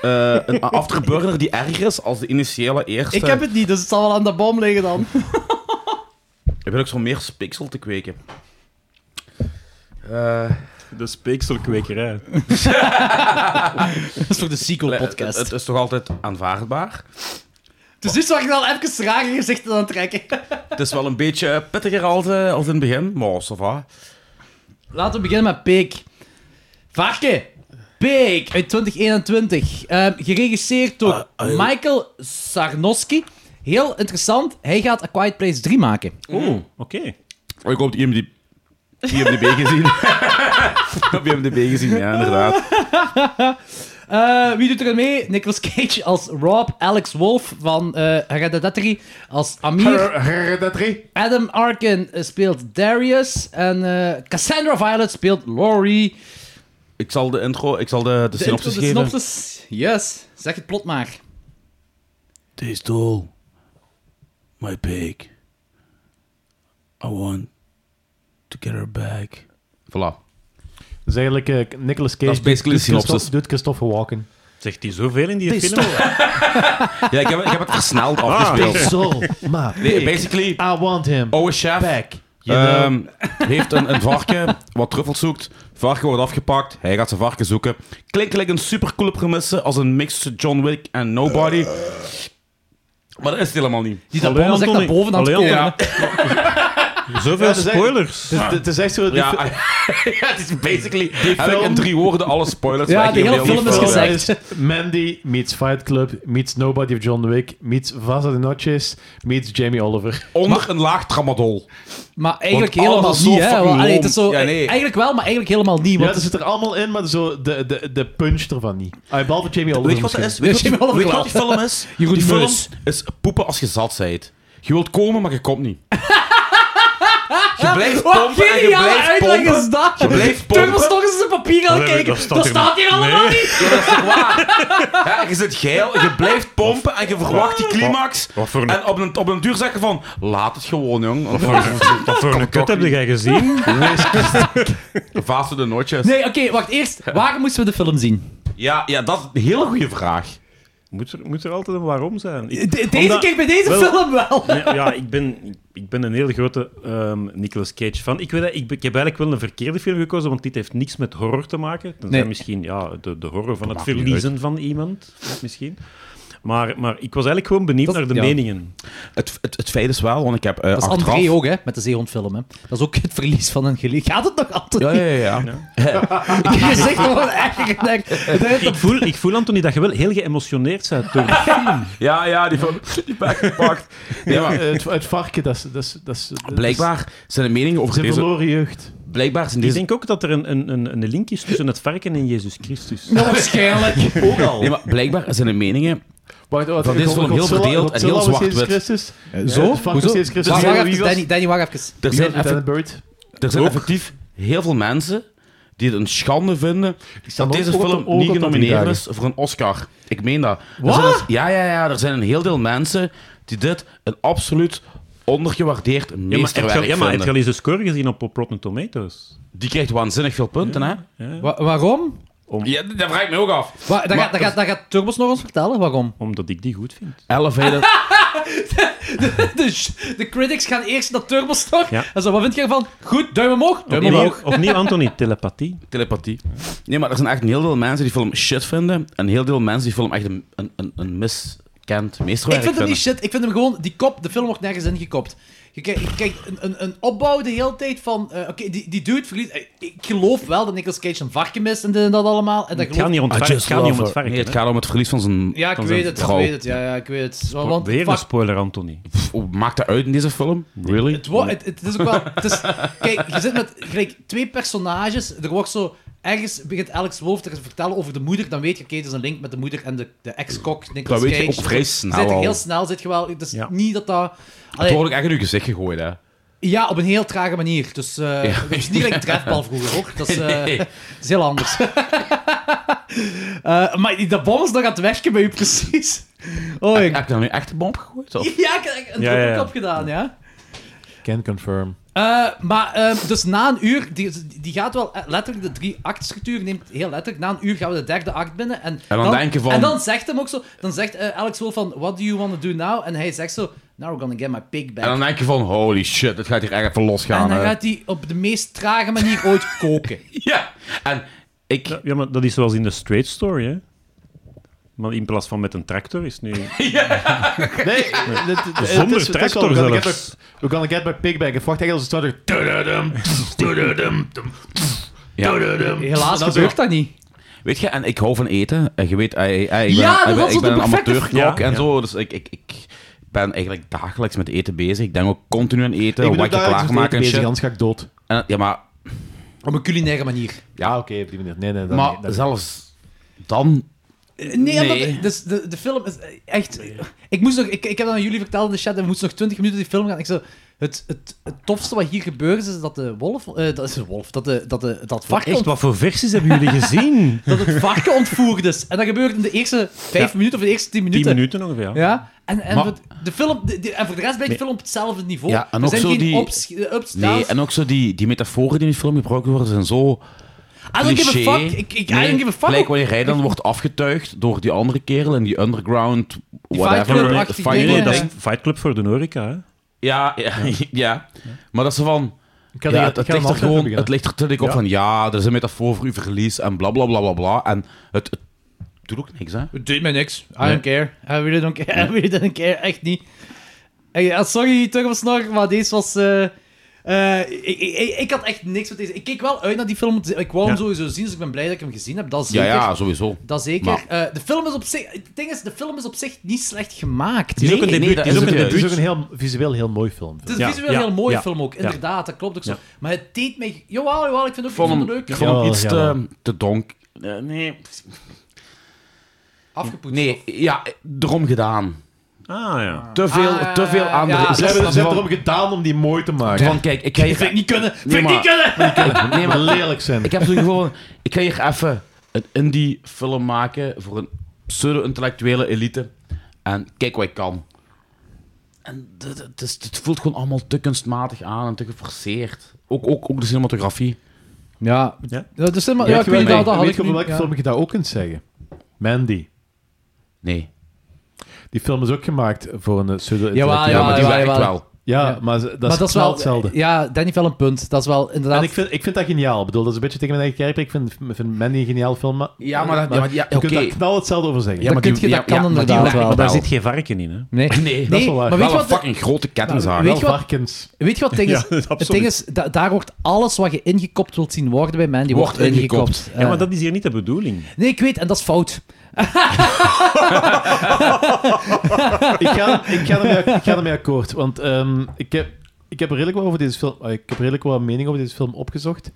Speaker 5: eh, een afterburger die erger is als de initiële eerste.
Speaker 2: Ik heb het niet, dus het zal wel aan de boom liggen dan.
Speaker 5: Ik ben ook zo meer spiksel te kweken. Eh,
Speaker 6: De speekselkwekerij.
Speaker 2: Dat is voor de sequel-podcast.
Speaker 5: het, het is toch altijd aanvaardbaar.
Speaker 2: Dus nu zag ik al even rare gezichten aan het trekken.
Speaker 5: Het is wel een beetje pittiger als, eh, als in het begin, maar ça va.
Speaker 2: Laten we beginnen met Peek. Varken. Peek uit 2021. Ehm, geregisseerd door
Speaker 1: Ah, ah,
Speaker 2: Michael Sarnowski. Heel interessant. Hij gaat A Quiet Place 3 maken.
Speaker 6: Oeh, oké.
Speaker 5: Oh, ik hoop die IMDb, IMDb gezien. Op IMDb gezien, ja, inderdaad.
Speaker 2: Eh, wie doet er mee? Nicolas Cage als Rob. Alex Wolf van eh Hereditary als Amir.
Speaker 4: Hereditary.
Speaker 2: Adam Arkin eh, speelt Darius. En eh, Cassandra Violet speelt Laurie.
Speaker 5: Ik zal de intro, ik zal de, de,
Speaker 2: De
Speaker 5: synopsis
Speaker 2: intro- de
Speaker 5: geven.
Speaker 2: synopsis. Yes. Zeg het plot maar.
Speaker 1: Taste all my pig. I want to get her back.
Speaker 5: Voilà.
Speaker 4: Dat is eigenlijk eh, Nicolas Cage.
Speaker 5: Dat is basically
Speaker 4: doet
Speaker 5: de synopsis.
Speaker 4: Christophe- Doet Christopher Walken.
Speaker 6: Zegt hij zoveel in die film?
Speaker 5: Ja, ik heb, ik heb het versneld afgespeeld.
Speaker 4: Zo, maar
Speaker 5: Nee, basically,
Speaker 4: I want him.
Speaker 5: oude chef
Speaker 4: you know.
Speaker 5: ehm, heeft een, een varken wat truffels zoekt. Varken wordt afgepakt, hij gaat zijn varken zoeken. Klinkt like een supercoole premisse als een mix tussen John Wick en Nobody. Maar dat is het helemaal niet.
Speaker 2: Die dat
Speaker 6: Allee,
Speaker 2: bommen zegt naar
Speaker 6: Anthony.
Speaker 2: boven aan het
Speaker 6: Allee,
Speaker 2: komen.
Speaker 5: Ja.
Speaker 6: Zoveel
Speaker 4: Ja, dat is-
Speaker 6: spoilers.
Speaker 4: Het is- Het is echt zo... die
Speaker 5: Ja,
Speaker 4: fi-
Speaker 5: ja, het is basically... Heb ik in drie woorden alle spoilers
Speaker 2: Ja,
Speaker 5: weg,
Speaker 2: de hele
Speaker 5: heel die
Speaker 2: film is
Speaker 5: film.
Speaker 2: gezegd.
Speaker 4: Mandy meets Fight Club, meets Nobody of John Wick, meets Vaza de Noches, meets Jamie Oliver.
Speaker 5: Eh, Onder een laag tramadol.
Speaker 2: Maar eigenlijk
Speaker 5: Want alles
Speaker 2: helemaal
Speaker 5: is zo
Speaker 2: niet, hè?
Speaker 5: fucking
Speaker 2: Want, allee,
Speaker 5: loom.
Speaker 2: het is zo,
Speaker 5: Ja, nee.
Speaker 2: Eigenlijk wel, maar eigenlijk helemaal niet.
Speaker 4: Ja,
Speaker 2: Want
Speaker 4: dat zit er allemaal in, maar zo de, de, de punch ervan niet. Ah, behalve Jamie Oliver
Speaker 5: Weet je wat dat
Speaker 4: misschien.
Speaker 5: is? Weet je
Speaker 2: Jamie
Speaker 5: wat,
Speaker 2: Oliver
Speaker 5: weet je wat die film is?
Speaker 2: Jeroen
Speaker 5: die film
Speaker 2: Meus.
Speaker 5: is poepen als je zat bent. Je wilt komen, maar je komt niet. Je blijft
Speaker 2: Wat
Speaker 5: pompen en je
Speaker 2: geniale
Speaker 5: blijft
Speaker 2: uitleg
Speaker 5: pompen.
Speaker 2: is dat?
Speaker 5: Je blijft pompen.
Speaker 2: Turbo toch eens zijn papier aan
Speaker 6: Nee,
Speaker 2: kijken.
Speaker 6: dat
Speaker 2: Dat
Speaker 6: staat
Speaker 2: staat,
Speaker 6: hier
Speaker 2: hier allemaal
Speaker 6: Nee.
Speaker 2: niet.
Speaker 5: Ja, dat is toch waar? Ja, je zit geil, je blijft pompen en je verwacht die climax.
Speaker 6: Wat voor een-
Speaker 5: En op een, op een duur zeg je van, laat het gewoon, jong. Of
Speaker 6: Wat voor een kut heb jij gezien?
Speaker 5: Vaas de notjes.
Speaker 2: Nee, oké, wacht. Eerst, waar moesten we de film zien?
Speaker 5: Ja, ja, dat is een hele goede vraag.
Speaker 6: Moet er, moet er altijd een waarom zijn? Ik-
Speaker 2: De- deze
Speaker 6: Omdat-
Speaker 2: keer bij deze
Speaker 6: Wel-
Speaker 2: film wel.
Speaker 6: Nee, ja, ik ben, ik ben een hele grote ehm, Nicolas Cage fan. Ik, weet, dat- ik, ben- ik heb eigenlijk wel een verkeerde film gekozen, want dit heeft niks met horror te maken. Dan
Speaker 2: Nee.
Speaker 6: zijn misschien ja, de, de horror van het verliezen van iemand. Misschien. Maar, maar ik was eigenlijk gewoon benieuwd
Speaker 2: Dat-
Speaker 6: naar de
Speaker 2: ja.
Speaker 6: meningen.
Speaker 5: Het, het, het feit is wel, want ik heb eh
Speaker 2: Dat is
Speaker 5: achteraf...
Speaker 2: André ook, hè, met de zeehondfilm. Hè. Dat is ook het verlies van een geliefde. Gaat het nog altijd?
Speaker 5: Ja, ja, ja.
Speaker 2: Je zegt gewoon eigenlijk... nee, dat heeft
Speaker 6: Ik voel, ik voel, Anthony, dat je wel heel geëmotioneerd bent door
Speaker 5: Ja, ja, die film die ben ik gepakt. Nee,
Speaker 4: Ja,
Speaker 5: maar,
Speaker 4: het, het varken, dat is... Dat is, dat is dat is-
Speaker 5: blijkbaar zijn de meningen over
Speaker 4: Zijn
Speaker 5: deze...
Speaker 4: verloren jeugd.
Speaker 5: Blijkbaar zijn
Speaker 6: Ik
Speaker 5: deze...
Speaker 6: denk ook dat er een, een, een, een link is tussen het varken en Jezus Christus.
Speaker 2: waarschijnlijk.
Speaker 5: Nee, maar blijkbaar zijn de meningen...
Speaker 4: Wacht, wacht,
Speaker 5: Dat is
Speaker 4: God-
Speaker 5: wel heel
Speaker 4: Godzilla-
Speaker 5: verdeeld en heel
Speaker 4: Godzilla was Jezus
Speaker 5: zwart-wit.
Speaker 4: Christus.
Speaker 2: Zo?
Speaker 4: Het varken is Jezus Christus.
Speaker 2: Wacht, wacht
Speaker 4: Wie
Speaker 2: even,
Speaker 4: was-
Speaker 2: Danny, Danny, wacht even.
Speaker 5: Er
Speaker 4: Wie was
Speaker 5: zijn, effe-
Speaker 4: Lieutenant Bird?
Speaker 5: er zijn effectief heel veel mensen die het een schande vinden dat
Speaker 4: ook
Speaker 5: deze
Speaker 4: op de
Speaker 5: film
Speaker 4: ogen
Speaker 5: niet
Speaker 4: tot die
Speaker 5: genomineerd
Speaker 4: dagen.
Speaker 5: is voor een Oscar. Ik meen dat. Er zijn dus- ja, ja, ja. Er zijn een heel deel mensen die dit een absoluut ondergewaardeerd
Speaker 6: Ja, maar heb
Speaker 5: meesterwerk
Speaker 6: je, ja, maar heb je
Speaker 5: vinden.
Speaker 6: al eens de score gezien op, op Rotten Tomatoes?
Speaker 5: Die krijgt waanzinnig veel punten, hè?
Speaker 2: Wa- waarom?
Speaker 5: Ja, dat vraag ik me ook af.
Speaker 2: Wa- dat,
Speaker 5: Maar-
Speaker 2: gaat, dat, gaat, dat gaat Turbos nog eens vertellen, waarom?
Speaker 6: Omdat ik die goed vind.
Speaker 5: Elevated,
Speaker 2: De, sh- Dus, de critics gaan eerst naar Turbostore.
Speaker 6: Ja.
Speaker 2: En zo, wat vind je ervan? Goed, duim omhoog, duim
Speaker 6: Opnieuw,
Speaker 2: omhoog.
Speaker 6: opnieuw, Anthony, telepathie.
Speaker 5: Telepathie. Nee, maar er zijn echt een heel veel mensen die film shit vinden. En een heel veel mensen die film echt een, een, een, een miskend meesterwerk
Speaker 2: Ik vind hem
Speaker 5: vinden.
Speaker 2: niet shit. Ik vind hem gewoon... Die kop, de film wordt nergens ingekopt. Je kijkt, je kijkt een, een, een opbouw de hele tijd van... eh, Oké, die, die dude verliest... eh, Ik geloof wel dat Nicolas Cage een varken mist en dit en dat allemaal. En dat
Speaker 6: Het gaat
Speaker 2: geloof...
Speaker 6: niet om het
Speaker 1: I
Speaker 6: varken. Het
Speaker 1: just
Speaker 6: gaat niet om
Speaker 1: love
Speaker 6: het varken.
Speaker 5: Nee, het
Speaker 6: hè.
Speaker 5: gaat om het verlies van zijn
Speaker 2: Ja, ik
Speaker 5: van zijn
Speaker 2: weet het, ik
Speaker 5: vrouw.
Speaker 2: weet het. Ja, ja, ik weet het. Wa- Want,
Speaker 6: Weer
Speaker 2: fuck,
Speaker 6: een spoiler, Anthony.
Speaker 5: Pff, hoe Maakt dat uit in deze film? Really?
Speaker 2: het, wo- het, het is ook wel... Het is, kijk, je zit met gelijk twee personages. Er wordt zo... Ergens begint Alex Wolf te vertellen over de moeder. Dan weet je, oké, er is een link met de moeder en de, de ex-kok Nicolas
Speaker 5: Dat
Speaker 2: Cage.
Speaker 5: weet je ook vrij
Speaker 7: Nou,
Speaker 5: snel
Speaker 2: Zit er
Speaker 5: al.
Speaker 2: heel snel, zit je wel... Het is
Speaker 6: Ja.
Speaker 2: niet dat dat...
Speaker 5: Het
Speaker 2: Allee,
Speaker 5: wordt ook echt in uw gezicht gegooid, hè?
Speaker 2: Ja, op een heel trage manier. Dus eh,
Speaker 5: Ja.
Speaker 2: dat is niet gelijk trefbal vroeger, hoor. Dat is, eh,
Speaker 5: Nee.
Speaker 2: dat is heel anders. Eh, maar die- dat bom is nog aan het werken bij u, precies. Oh, ik...
Speaker 5: Heb je dan nu echt een bom gegooid? Of?
Speaker 2: Ja, ik heb een
Speaker 6: Ja, ja, ja.
Speaker 2: drukke kop gedaan, ja.
Speaker 4: Can confirm.
Speaker 2: Eh, maar ehm, dus na een uur, die, die gaat wel eh, letterlijk de drie act structuur neemt heel letterlijk. Na een uur gaan we de derde act binnen. En,
Speaker 5: dan denk je van-
Speaker 2: En dan zegt hem ook zo, dan zegt eh, Alex Wolf van, what do you want to do now? En hij zegt zo, now we're gonna get my pig back.
Speaker 5: En dan denk je van, holy shit, dit gaat hier echt even losgaan.
Speaker 2: en dan
Speaker 5: hè.
Speaker 2: gaat hij op de meest trage manier ooit koken.
Speaker 5: Ja, en ik...
Speaker 6: Ja, ja, maar dat is zoals in de straight story, hè? Maar in plaats van met een tractor is het nu...
Speaker 4: Nee, het- het- het
Speaker 6: Zonder
Speaker 4: is- het is wel,
Speaker 6: tractor
Speaker 4: we gaan
Speaker 6: zelfs.
Speaker 4: get my- We gaan get my pig back. Ik wacht echt als het
Speaker 2: Oh,
Speaker 4: starter. Tududum, tududum, tududum.
Speaker 2: Helaas
Speaker 4: Dat is
Speaker 2: gebeurt dat niet.
Speaker 5: Weet je, en ik hou van eten. En je weet, eh, eh, eh, ik ben,
Speaker 2: Ja,
Speaker 5: ik
Speaker 2: dat
Speaker 5: ben-
Speaker 2: was
Speaker 5: ik ben
Speaker 2: de
Speaker 5: een
Speaker 2: perfecte-
Speaker 5: amateurkok
Speaker 6: Ja,
Speaker 5: en
Speaker 6: ja.
Speaker 5: zo. Dus ik, ik, ik ben eigenlijk dagelijks met eten bezig. Ik denk ook continu aan eten,
Speaker 4: Ik ben
Speaker 5: wat
Speaker 4: ook
Speaker 5: je
Speaker 4: daar
Speaker 5: klaarmaken en
Speaker 4: bezig,
Speaker 5: shit.
Speaker 4: anders ga ik dood.
Speaker 5: En, ja, maar,
Speaker 2: Op een culinaire manier.
Speaker 4: Ja, oké, op die manier. Nee, nee, dat
Speaker 5: maar
Speaker 4: niet, dat niet.
Speaker 5: zelfs dan...
Speaker 2: Nee, omdat-
Speaker 5: Nee.
Speaker 2: dus de, de film is echt... Ik, moest nog, ik, ik heb dat aan jullie verteld in de chat, en we moesten nog 20 minuten die film gaan. Ik zo, het, het, het tofste wat hier gebeurt is dat de wolf... eh, dat is de wolf, dat, de, dat, de, dat, varken
Speaker 6: Echt,
Speaker 2: ont-
Speaker 6: wat voor versies hebben jullie gezien?
Speaker 2: dat het varken ontvoerd is. En dat gebeurt in de eerste 5 minuten of de eerste 10
Speaker 6: Tien
Speaker 2: minuten.
Speaker 6: minuten ongeveer. Ja.
Speaker 2: Ja, en, en,
Speaker 5: Maar-
Speaker 2: voor de film, de- de- en voor de rest blijft de film op hetzelfde niveau.
Speaker 5: Ja, en
Speaker 2: er
Speaker 5: ook
Speaker 2: zijn
Speaker 5: zo
Speaker 2: geen
Speaker 5: die-
Speaker 2: ups, eh, ups,
Speaker 5: Nee,
Speaker 2: downs.
Speaker 5: en ook zo die, die metaforen die in de film gebruikt worden, zijn zo...
Speaker 2: I don't give
Speaker 5: cliché.
Speaker 2: a fuck. Ik, ik, I don't give a fuck.
Speaker 5: Gelijk wanneer hij dan wordt afgetuigd door die andere kerel in die underground,
Speaker 2: Fight
Speaker 5: whatever.
Speaker 2: Club-achtige
Speaker 5: Fight
Speaker 6: Nee, nee,
Speaker 2: dingen.
Speaker 6: dat is Fight Club voor de horeca, hè?
Speaker 5: Ja, ja, ja, Maar dat ze van...
Speaker 4: Ik ga
Speaker 5: ja,
Speaker 4: die-
Speaker 5: het,
Speaker 4: ik
Speaker 5: het ligt
Speaker 4: ga een
Speaker 5: er
Speaker 4: andere
Speaker 5: gewoon,
Speaker 4: beginnen.
Speaker 5: het ligt er natuurlijk op
Speaker 6: Ja.
Speaker 5: van ja, er is een metafoor voor uw verlies en bla bla bla bla bla. En het, het doet ook niks, hè?
Speaker 2: Het deed mij niks. I don't care. I really don't care. I really don't care. Echt niet. En ja, sorry, Turbosnor, maar deze was... eh, eh, ik, ik, ik had echt niks met deze... Ik keek wel uit naar die film. om te zien. Ik wou hem
Speaker 6: Ja.
Speaker 2: sowieso zien, dus ik ben blij dat ik hem gezien heb. Dat
Speaker 5: Ja,
Speaker 2: zeker.
Speaker 5: ja, sowieso.
Speaker 2: Dat zeker. Eh, de film is op zich... Het ding is, de film is op zich niet slecht gemaakt.
Speaker 6: Het is ook een
Speaker 5: nee,
Speaker 6: debuut.
Speaker 5: dat
Speaker 6: Het is
Speaker 5: is
Speaker 6: ook
Speaker 5: het
Speaker 6: een
Speaker 5: juist.
Speaker 4: Het is
Speaker 6: debuut.
Speaker 4: ook een heel, visueel heel mooi film.
Speaker 2: Het is
Speaker 6: Ja,
Speaker 2: visueel een
Speaker 6: ja,
Speaker 2: heel mooie
Speaker 6: ja,
Speaker 2: film ook,
Speaker 6: ja.
Speaker 2: inderdaad. Dat klopt ook zo.
Speaker 6: Ja.
Speaker 2: Maar het deed mij... Jawel, jawel, ik vind het
Speaker 5: Ik
Speaker 2: ook
Speaker 5: vond
Speaker 2: ik
Speaker 5: hem,
Speaker 2: vond het leuk.
Speaker 5: ik vond hem
Speaker 4: Ja,
Speaker 5: iets
Speaker 4: ja,
Speaker 5: te,
Speaker 4: wel.
Speaker 5: te donk. eh, Nee,
Speaker 2: Afgepoetst.
Speaker 5: nee, ja, erom gedaan.
Speaker 6: Ah, ja.
Speaker 5: Te veel,
Speaker 2: Ah,
Speaker 5: te veel aan de...
Speaker 2: ja,
Speaker 4: Ze
Speaker 5: ze
Speaker 4: hebben
Speaker 5: hebben
Speaker 4: het ze hebben erom gedaan om die mooi te maken.
Speaker 5: van, kijk, ik ga
Speaker 2: Dat vind ik
Speaker 5: hier...
Speaker 2: niet kunnen. Dat vind ik
Speaker 5: maar-
Speaker 2: niet kunnen.
Speaker 5: Nee, maar
Speaker 4: Lelijk zijn.
Speaker 5: Ik heb zo'n gevoel van, ik ga hier even een indie film maken voor een pseudo-intellectuele elite. En kijk wat ik kan. En d- d- het, is, het voelt gewoon allemaal te kunstmatig aan en te geforceerd. Ook, ook, ook de cinematografie.
Speaker 2: Ja,
Speaker 6: Ja.
Speaker 2: dat is helemaal...
Speaker 4: Weet
Speaker 2: Ja, ik
Speaker 4: je
Speaker 2: weet
Speaker 4: wel-
Speaker 2: dat, dat had
Speaker 4: weet
Speaker 2: ik
Speaker 4: je over
Speaker 2: nu-
Speaker 4: welke
Speaker 2: ja.
Speaker 4: film je dat ook kunt zeggen? Mandy.
Speaker 5: Nee.
Speaker 4: Die film is ook gemaakt voor een pseudo
Speaker 2: Jawel,
Speaker 5: Ja,
Speaker 2: jawel,
Speaker 5: maar die
Speaker 2: jawel,
Speaker 5: werkt
Speaker 2: jawel.
Speaker 5: wel.
Speaker 4: Ja,
Speaker 2: Ja.
Speaker 4: maar ze- dat
Speaker 2: maar
Speaker 4: is,
Speaker 2: dat is
Speaker 4: wel
Speaker 2: wel
Speaker 4: hetzelfde.
Speaker 2: Ja, Danny heeft wel een punt. Dat is wel inderdaad.
Speaker 4: En ik vind, ik vind dat geniaal. Ik bedoel, dat is een beetje tegen mijn eigen kerk. Ik vind, ik vind Mandy een geniaal film. Maar
Speaker 5: Ja, maar, dat- ja, maar- ja,
Speaker 4: je kunt
Speaker 5: oké.
Speaker 4: daar knal hetzelfde over zeggen.
Speaker 2: Dan kun je- dat kan inderdaad
Speaker 5: werkt
Speaker 2: wel.
Speaker 6: Maar daar
Speaker 5: wel.
Speaker 6: zit geen varken in, hè?
Speaker 2: Nee,
Speaker 5: Nee,
Speaker 2: nee,
Speaker 5: dat
Speaker 4: is wel waar.
Speaker 2: Maar weet je
Speaker 5: wel een
Speaker 2: wat,
Speaker 5: fucking grote kettingzaag.
Speaker 2: Weet
Speaker 4: Wel
Speaker 2: je wat-
Speaker 4: varkens.
Speaker 2: weet je wat het ding is?
Speaker 6: Ja, absoluut.
Speaker 2: het ding is, da- daar wordt alles wat je ingekopt wilt zien worden bij Mandy, wordt,
Speaker 5: Wordt ingekopt.
Speaker 2: ingekopt.
Speaker 6: Ja,
Speaker 2: Eh,
Speaker 6: maar dat is hier niet de bedoeling.
Speaker 2: Nee, ik weet, en dat is fout.
Speaker 4: ik, ga, ik, ga ermee, ik ga ermee akkoord. Want ehm, ik, heb, ik heb redelijk wat over deze film. ah, Ik heb redelijk wat mening over deze film opgezocht.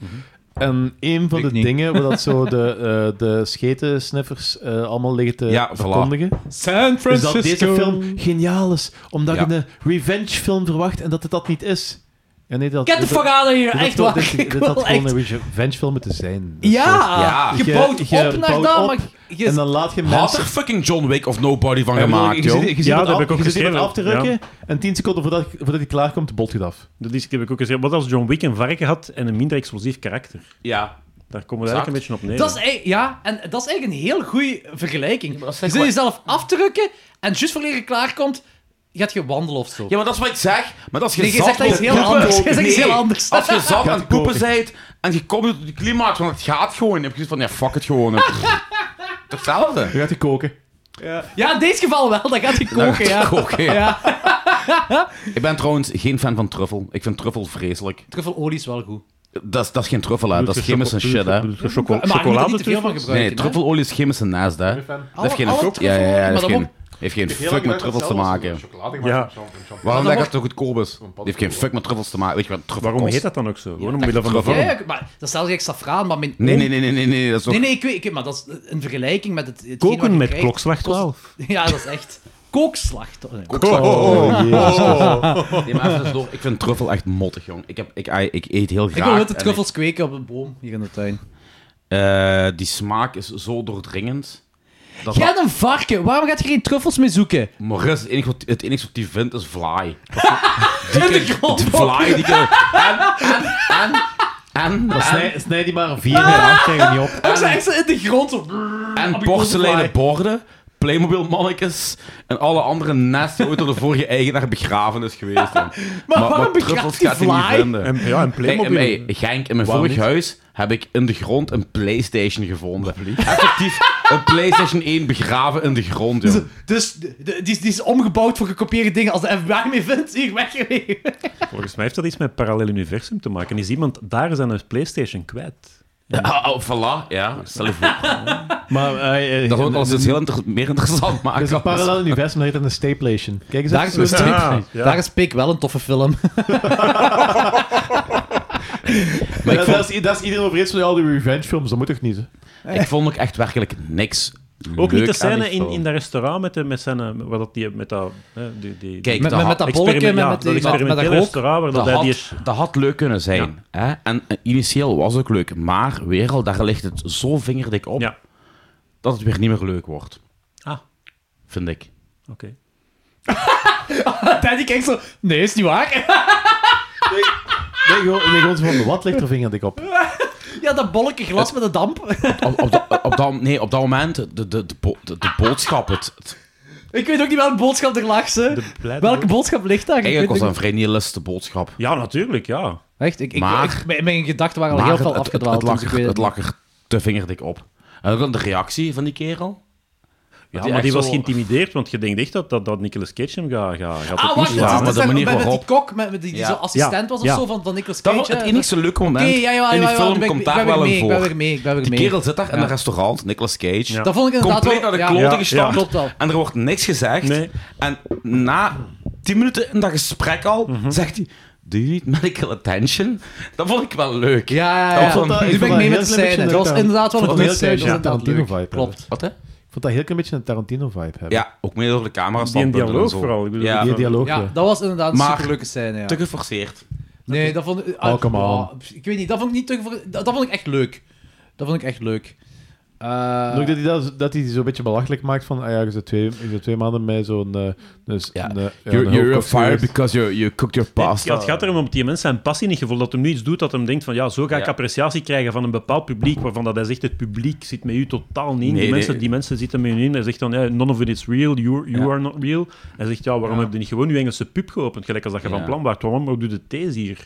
Speaker 4: En een van
Speaker 2: Mhm. Ik
Speaker 4: de
Speaker 2: niet.
Speaker 4: dingen waar dat zo de, eh de scheten-sniffers eh, allemaal liggen te
Speaker 5: Ja, voilà.
Speaker 4: verkondigen,
Speaker 2: San
Speaker 4: is dat deze film geniaal is. Omdat
Speaker 5: Ja.
Speaker 4: je een revenge-film verwacht en dat het dat niet is. Ja, nee, dat,
Speaker 2: Get the
Speaker 4: dit-
Speaker 2: fuck out of here, echt
Speaker 4: dat,
Speaker 2: waar.
Speaker 4: dit,
Speaker 2: Ik
Speaker 4: dit
Speaker 2: wil
Speaker 4: had
Speaker 2: echt-
Speaker 4: gewoon een revenge-film moeten zijn. Dat is zo-
Speaker 2: Ja,
Speaker 5: Ja.
Speaker 2: je
Speaker 4: Je-
Speaker 2: bouwt
Speaker 4: je
Speaker 2: op naar
Speaker 4: bouwt
Speaker 2: dat,
Speaker 4: op
Speaker 2: maar je-
Speaker 4: En dan laat je
Speaker 5: Had
Speaker 4: mensen...
Speaker 5: er fucking John Wick of Nobody van
Speaker 4: Ja, ik bedoel,
Speaker 5: gemaakt,
Speaker 4: je ziet-
Speaker 5: joh.
Speaker 4: Je ziet
Speaker 6: Ja,
Speaker 4: iemand
Speaker 6: dat heb
Speaker 4: af-
Speaker 6: ik ook
Speaker 4: je ziet iemand
Speaker 6: geschreven,
Speaker 4: af te rukken
Speaker 6: ja.
Speaker 4: en 10 seconden voordat, voordat hij klaarkomt, de bolt gaat af.
Speaker 6: Dat is, heb ik ook gezegd. Wat als John Wick een varken had en een minder explosief karakter?
Speaker 5: Ja.
Speaker 6: Daar komen we eigenlijk een beetje op neer.
Speaker 2: dat is, ei- ja, en dat is eigenlijk een heel goede vergelijking.
Speaker 5: maar dat is
Speaker 2: je
Speaker 5: echt
Speaker 2: zit
Speaker 5: wat-
Speaker 2: jezelf af te rukken en juist voor je klaarkomt, gaat je wandelen of zo.
Speaker 5: Ja, maar dat is wat ik zeg. Maar dat is
Speaker 2: Nee, je
Speaker 5: zat
Speaker 2: zegt dat
Speaker 5: aan
Speaker 2: iets heel
Speaker 5: poepen-
Speaker 2: anders. Je zegt iets
Speaker 5: Nee,
Speaker 2: heel anders.
Speaker 5: Als je zat aan het poepen bent en je komt niet tot die klimaat, want het gaat gewoon. Dan heb je zoiets van, ja, fuck het gewoon. Hetzelfde.
Speaker 4: Je gaat die koken.
Speaker 2: Ja, in dit geval wel. Dan gaat hij
Speaker 5: Dan
Speaker 2: koken, ja.
Speaker 5: koken, ja.
Speaker 2: Ja,
Speaker 5: Ik ben trouwens geen fan van truffel. Ik vind truffel vreselijk.
Speaker 2: truffelolie is wel goed.
Speaker 5: Dat is, dat is geen truffel, hè. Dat is chemische shit, hè.
Speaker 2: Maar je moet er niet te veel van gebruiken.
Speaker 5: Nee,
Speaker 2: hè?
Speaker 5: truffelolie is chemische naast, hè. Dat heeft geen,
Speaker 2: alle
Speaker 5: ja, ja,
Speaker 2: truffelolie, maar
Speaker 5: ja, dat
Speaker 2: dan
Speaker 5: heeft geen,
Speaker 2: ook-
Speaker 5: heeft geen fuck met truffels te maken.
Speaker 10: Chocolade
Speaker 6: Ja.
Speaker 10: gemaakt. Ja.
Speaker 5: Waarom
Speaker 2: dan
Speaker 5: dat het toch goedkoop is? Die heeft geen fuck met truffels te maken. Weet je wat truffel
Speaker 6: Waarom
Speaker 5: kost?
Speaker 6: heet dat dan ook zo? Gewoon omwille van de
Speaker 5: truffel.
Speaker 6: vorm.
Speaker 2: Ja, ja, maar dat is zelfs echt safraan, maar mijn
Speaker 5: Nee, nee, nee, nee, nee, nee, dat is ook...
Speaker 2: Nee, nee, ik weet, ik weet- maar dat is een vergelijking met het. hetgeen wat
Speaker 6: Koken
Speaker 2: je
Speaker 6: met
Speaker 2: krijgt.
Speaker 6: klokslag 12.
Speaker 2: Ja, dat is echt. Kookslag. toch? Nee.
Speaker 5: Nee, maar even tussendoor, ik vind truffel echt mottig, jong. Ik, heb, ik, I- ik eet heel graag.
Speaker 2: Ik wil witte
Speaker 5: en
Speaker 2: truffels kweken op een boom hier in de tuin.
Speaker 5: ik- eh, die smaak is zo doordringend. Dat
Speaker 2: Jij hebt een varken, waarom gaat je geen truffels mee zoeken?
Speaker 5: Maar Rus, het enige wat, het enige wat die vindt is vlaai.
Speaker 2: In de grond.
Speaker 5: Die vlaai, die kan... En, en, en, en,
Speaker 4: Snij, snij die maar een vier en Ah! acht krijg je niet op.
Speaker 2: Ook zo echt zo in de grond. zo.
Speaker 5: en porseleinen borden, Playmobil mannetjes en alle andere nests die ooit door de vorige eigenaar begraven is geweest. jong.
Speaker 2: Maar waarom
Speaker 5: truffels
Speaker 2: begraaft die
Speaker 5: gaat hij
Speaker 2: vlaai?
Speaker 5: niet vinden.
Speaker 6: En, ja, en
Speaker 5: Hey,
Speaker 6: Playmobil.
Speaker 5: hey, Genk, in mijn vorig huis heb ik in de grond een Playstation gevonden. Effectief een Playstation 1 begraven in de grond, joh.
Speaker 2: Dus de- de- die, is- die is omgebouwd voor gekopieerde dingen. Als de FBI mee vindt, hier weggewezen.
Speaker 6: Volgens mij heeft dat iets met parallel universum te maken. Is iemand daar zijn een PlayStation kwijt?
Speaker 5: Oh, oh, voilà, ja. Stel je voor.
Speaker 4: Maar, eh, eh,
Speaker 5: Dat wordt
Speaker 4: een-
Speaker 5: alles
Speaker 4: een-
Speaker 5: dus heel inter- meer interessant maken.
Speaker 4: Er is een parallel universum, dat heet een stayplation. Kijk eens even.
Speaker 2: Pik-
Speaker 6: ja.
Speaker 2: Daar is Pik wel een toffe film.
Speaker 4: Maar dat, is, dat is iedereen over eens van al die revenge films, dat moet toch niet? Hè?
Speaker 5: Ik vond ook echt werkelijk niks
Speaker 6: Ook
Speaker 5: leuk
Speaker 6: niet de
Speaker 5: aan die
Speaker 6: scène in,
Speaker 5: film.
Speaker 6: in dat restaurant met, de, met, zijn, eh, waar dat die, met dat... hè, die, die,
Speaker 5: Kijk,
Speaker 2: Met,
Speaker 5: dat
Speaker 2: met, met
Speaker 5: had-
Speaker 2: dat bolletje,
Speaker 6: experiment-
Speaker 2: met,
Speaker 6: ja,
Speaker 2: met,
Speaker 6: dat
Speaker 2: die- met, met, dat
Speaker 6: experimentele
Speaker 2: rook.
Speaker 6: restaurant waar dat,
Speaker 5: dat,
Speaker 6: hij die...
Speaker 5: had, dat had leuk kunnen zijn. Hè? En, en initieel was ook leuk. Maar, weer al, daar ligt het zo vingerdik op
Speaker 6: Ja.
Speaker 5: dat het weer niet meer leuk wordt.
Speaker 6: Ah.
Speaker 5: Vind ik.
Speaker 6: Oké.
Speaker 2: Daddy kijkt zo. Nee, is niet waar.
Speaker 4: Nee, gewoon, nee, gewoon zo van, wat ligt er vingerdik op?
Speaker 2: Ja, dat bolletje glas met de damp.
Speaker 5: Op, op, dat- op dat, nee, op dat moment, de, de, de, bo- de, de boodschap, het, het-
Speaker 2: Ik weet ook niet welke boodschap er lag, ze.
Speaker 6: De blijde-
Speaker 2: Welke boodschap ligt daar? Ik
Speaker 5: Eigenlijk was
Speaker 2: weet
Speaker 5: dat
Speaker 2: het
Speaker 5: een vrij nihilistische boodschap.
Speaker 6: Ja, natuurlijk, ja.
Speaker 2: niet. Echt, ik, ik,
Speaker 5: Maar-
Speaker 2: ik- mijn- mijn gedachten waren al
Speaker 5: Maar
Speaker 2: heel
Speaker 5: het,
Speaker 2: veel
Speaker 5: het, het, het,
Speaker 2: afgedwaald.
Speaker 5: lag
Speaker 2: dus ik
Speaker 5: er,
Speaker 2: weet
Speaker 5: het
Speaker 2: het
Speaker 5: lag er te vingerdik op. En ook dan de reactie van die kerel.
Speaker 6: Ja,
Speaker 5: die
Speaker 6: maar
Speaker 5: echt
Speaker 6: die was
Speaker 5: zo-
Speaker 6: geïntimideerd, want je denkt echt dat, dat, dat Nicolas Cage hem gaat ga, gaat
Speaker 2: Ah, wacht,
Speaker 6: opnieuw
Speaker 5: Ja,
Speaker 2: dat is-
Speaker 5: maar
Speaker 2: dat
Speaker 5: de
Speaker 2: is daar
Speaker 5: manier
Speaker 2: met met die
Speaker 5: waarop-
Speaker 2: kok, met, met die, die
Speaker 5: Ja.
Speaker 2: zo assistent was of
Speaker 6: Ja.
Speaker 2: zo, van, van Nicolas
Speaker 5: Dat
Speaker 2: Cage.
Speaker 5: was het
Speaker 2: hè.
Speaker 5: enige leuke moment
Speaker 2: Oké, ja, ja, ja,
Speaker 5: in die
Speaker 2: ja, ja,
Speaker 5: film
Speaker 2: ben ik-
Speaker 5: komt
Speaker 2: ben
Speaker 5: daar
Speaker 2: weer
Speaker 5: wel
Speaker 2: mee,
Speaker 5: een
Speaker 2: Ik ben weer
Speaker 5: voor.
Speaker 2: mee, ik ben weer
Speaker 5: Die
Speaker 2: mee.
Speaker 5: kerel zit daar in een restaurant, Nicolas Cage.
Speaker 6: Ja.
Speaker 2: Dat vond ik inderdaad
Speaker 5: Compleet
Speaker 2: wel-
Speaker 5: naar de
Speaker 2: ja.
Speaker 5: klote
Speaker 6: Ja,
Speaker 5: gestampt.
Speaker 2: klopt wel.
Speaker 5: En er wordt niks gezegd.
Speaker 6: Nee.
Speaker 5: En na tien minuten in dat gesprek al,
Speaker 6: Mhm.
Speaker 5: zegt hij... Do you need medical attention? Dat vond ik wel leuk.
Speaker 2: Ja, ja,
Speaker 5: Dat
Speaker 2: ja.
Speaker 5: vond- ik
Speaker 2: Nu ben
Speaker 4: vond
Speaker 2: ik mee
Speaker 4: dat
Speaker 2: met de
Speaker 4: heel klein
Speaker 2: scène.
Speaker 4: beetje
Speaker 2: Dat was
Speaker 4: een-
Speaker 2: inderdaad wel
Speaker 4: ik
Speaker 2: een
Speaker 4: vond dat
Speaker 2: goed
Speaker 4: heel
Speaker 2: scène. Dat was inderdaad
Speaker 4: klein beetje een
Speaker 2: leuk. Klopt.
Speaker 4: Tarantino-vibe,
Speaker 5: Wat, hè?
Speaker 4: Ik vond dat heel klein beetje een Tarantino-vibe hebben.
Speaker 5: Ja, ook meer door de camera
Speaker 6: Die een
Speaker 5: standpunten en
Speaker 6: dialoog
Speaker 5: zo.
Speaker 6: vooral. Ik bedoel,
Speaker 5: Ja.
Speaker 4: Die dialoog, eh.
Speaker 2: Ja,
Speaker 4: ja.
Speaker 2: dat was inderdaad een
Speaker 5: Maar-
Speaker 2: superleuke scène, ja.
Speaker 5: Te geforceerd.
Speaker 2: Nee, dat vond ik...
Speaker 4: Oh, come on.
Speaker 2: ja, Ik weet niet, dat vond ik niet te... gevo- Dat dat vond ik echt leuk. Dat vond ik echt leuk. Eh,
Speaker 10: Ah.
Speaker 4: En ook dat hij, dat, dat hij die zo'n beetje belachelijk maakt van, ah ja, je zit twee, je zit twee maanden met zo'n... eh, dus,
Speaker 5: Ja.
Speaker 4: een, eh, ja,
Speaker 5: You're,
Speaker 4: een
Speaker 5: you're
Speaker 4: hoofdkok
Speaker 5: fired
Speaker 4: geweest.
Speaker 5: because you, you cooked your pasta.
Speaker 6: Ja, het gaat erom dat die mensen zijn passie niet gevoeld, dat hem nu iets doet dat hem denkt van ja, zo ga ik
Speaker 5: Ja.
Speaker 6: appreciatie krijgen van een bepaald publiek, waarvan dat hij zegt het publiek zit met u totaal niet in.
Speaker 5: Nee,
Speaker 6: die,
Speaker 5: nee.
Speaker 6: mensen, die mensen zitten met u in. Hij zegt dan ja, none of it is real, you, you
Speaker 5: Ja.
Speaker 6: are not real. Hij zegt ja, waarom heb je niet gewoon je Engelse pub geopend, gelijk als dat je
Speaker 5: Ja.
Speaker 6: van plan was. Waarom doe je de thees hier?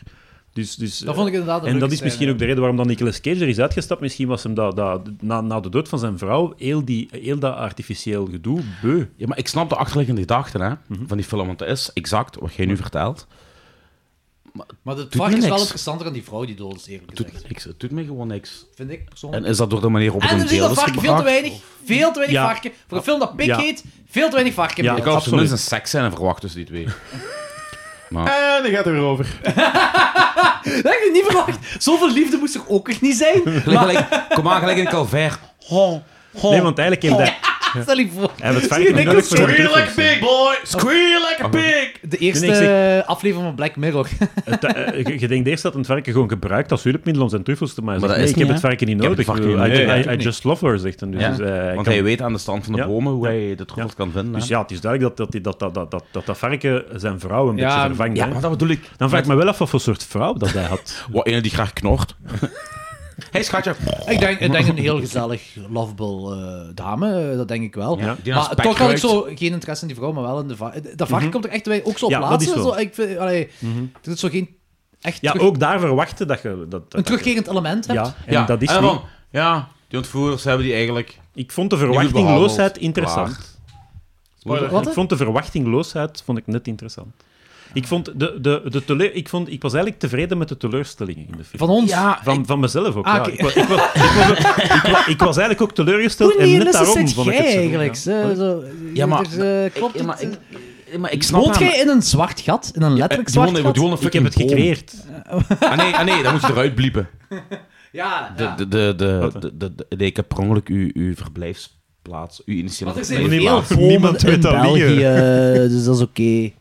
Speaker 6: Dus, dus,
Speaker 2: dat vond ik inderdaad een
Speaker 6: en dat
Speaker 2: leuke
Speaker 6: is misschien
Speaker 2: scène.
Speaker 6: ook de reden waarom dan Nicolas Cage er is uitgestapt. Misschien was hem dat, dat, na, na de dood van zijn vrouw heel, die, heel dat artificieel gedoe beu.
Speaker 5: Ja, maar ik snap de achterliggende gedachten hè, van die film, want dat is exact wat jij nu vertelt.
Speaker 2: Maar het
Speaker 5: Doet
Speaker 2: vak
Speaker 5: me
Speaker 2: is wel
Speaker 5: niks.
Speaker 2: interessanter dan die vrouw die dood is, eerlijk
Speaker 5: Het doet
Speaker 2: gezegd.
Speaker 5: me niks, het doet me gewoon niks.
Speaker 2: Vind ik persoonlijk.
Speaker 5: En is dat door de manier waarop
Speaker 2: En
Speaker 5: het
Speaker 2: er
Speaker 5: in
Speaker 2: zit
Speaker 5: beeld
Speaker 2: dat
Speaker 5: is
Speaker 2: varken veel te
Speaker 5: gebracht?
Speaker 2: weinig. Veel te weinig
Speaker 6: Ja.
Speaker 2: varken. Voor een film dat Pik
Speaker 6: Ja.
Speaker 2: heet, veel te weinig varken.
Speaker 6: Ja.
Speaker 5: Ik
Speaker 2: meer.
Speaker 5: had
Speaker 6: Absoluut.
Speaker 5: tenminste een seksscène verwacht tussen die twee.
Speaker 4: En die gaat er weer over.
Speaker 2: Dat had ik niet verwacht. Zoveel liefde moest er ook echt niet zijn.
Speaker 5: Gelijk- gelijk- kom aan, gelijk in Calvair. Ho, ho.
Speaker 6: Nee, want eigenlijk heeft hij,
Speaker 2: Stel je voor.
Speaker 6: hij heeft het
Speaker 2: Zie je
Speaker 6: vaak nog nodig
Speaker 2: Nicolas
Speaker 6: voor de
Speaker 2: Cage?
Speaker 6: truffels.
Speaker 5: boy! Squeal like
Speaker 6: Ah,
Speaker 5: a pig!
Speaker 2: De eerste
Speaker 6: Nee, ik
Speaker 2: eh, aflevering van Black Mirror.
Speaker 6: Het, eh, je- je denkt eerst dat een varken gewoon gebruikt als hulpmiddel om zijn truffels te maken.
Speaker 5: Maar dat
Speaker 6: nee,
Speaker 5: is
Speaker 6: ik heb
Speaker 5: niet,
Speaker 6: het
Speaker 5: hè?
Speaker 6: varken niet
Speaker 5: Ik heb
Speaker 6: nodig.
Speaker 5: het varken
Speaker 6: I,
Speaker 5: niet nodig.
Speaker 6: I-
Speaker 5: Nee,
Speaker 6: I just love her, zegt hem. Dus,
Speaker 5: Ja,
Speaker 6: dus, eh, hij
Speaker 5: Want
Speaker 6: kan-
Speaker 5: hij weet aan de stand van de
Speaker 6: Ja.
Speaker 5: bomen hoe hij de trots
Speaker 6: Ja.
Speaker 5: kan vinden. hè.
Speaker 6: dus ja, het is duidelijk dat dat, dat, dat, dat, dat, dat, dat varken zijn vrouw een
Speaker 2: Ja,
Speaker 6: beetje vervangt.
Speaker 5: Ja,
Speaker 6: hè.
Speaker 5: maar dat bedoel ik.
Speaker 6: Dan vraag ik me wel af wat voor soort vrouw dat hij had.
Speaker 5: Wat, ene die graag knort. Hey, schatje.
Speaker 2: Ik denk, ik denk een heel gezellig, lovable eh, dame, eh, dat denk ik wel.
Speaker 5: Ja, die
Speaker 2: maar
Speaker 5: aspect
Speaker 2: toch had ik
Speaker 5: ruikt.
Speaker 2: zo geen interesse in die vrouw, maar wel in de va- eh, Dat varken komt er echt bij, ook zo op
Speaker 6: Mhm. Ja, dat
Speaker 2: plaatsen.
Speaker 6: is
Speaker 2: Zo,
Speaker 6: wel.
Speaker 2: ik vind, allee, Er is zo geen echt
Speaker 6: Ja,
Speaker 2: terug-
Speaker 6: ook daar verwachten dat je... Dat, dat,
Speaker 2: een
Speaker 6: dat je-
Speaker 2: terugkerend element hebt.
Speaker 6: Ja, en dat is
Speaker 5: en
Speaker 6: niet...
Speaker 5: van, Ja, die ontvoerders hebben die eigenlijk...
Speaker 6: Ik vond de
Speaker 5: behandeld.
Speaker 6: verwachtingloosheid interessant.
Speaker 5: Spoiler.
Speaker 2: Wat?
Speaker 6: Ik vond de verwachtingloosheid vond ik net interessant. Ik, vond de, de, de tele- ik, vond, ik was eigenlijk tevreden met de teleurstellingen in de film.
Speaker 2: Van ons.
Speaker 5: Ja,
Speaker 6: Van, van mezelf ook,
Speaker 2: Ah,
Speaker 6: ja.
Speaker 2: oké.
Speaker 6: Ik, wa- ik, wa- ik wa- ik wa- ik wa- ik was eigenlijk ook teleurgesteld
Speaker 2: Hoe
Speaker 6: en
Speaker 2: niet
Speaker 6: net daarom
Speaker 2: zit
Speaker 6: vond ik het
Speaker 2: jij
Speaker 6: zo goed,
Speaker 2: eigenlijk?
Speaker 6: ja.
Speaker 2: Zo, zo,
Speaker 1: Ja, maar-
Speaker 2: het is, eh, klopt
Speaker 1: Ik, maar,
Speaker 2: het,
Speaker 1: ik, maar ik snap
Speaker 2: Woont
Speaker 1: hem.
Speaker 2: jij in een zwart gat? In een letterlijk zwart gat?
Speaker 6: Ik heb het gecreëerd.
Speaker 5: Ah nee, ah, nee, dat moet je eruit bliepen.
Speaker 2: Ja,
Speaker 5: De,
Speaker 2: ja.
Speaker 5: de, de, de, de, de, de- nee, ik heb per ongeluk uw, uw verblijfsplaats, uw initiële
Speaker 2: Want er zijn
Speaker 5: verblijfsplaats.
Speaker 2: veel
Speaker 6: Niemand-
Speaker 2: bomen
Speaker 6: niemand weet
Speaker 2: in
Speaker 6: dat niet,
Speaker 2: België, dus dat is oké.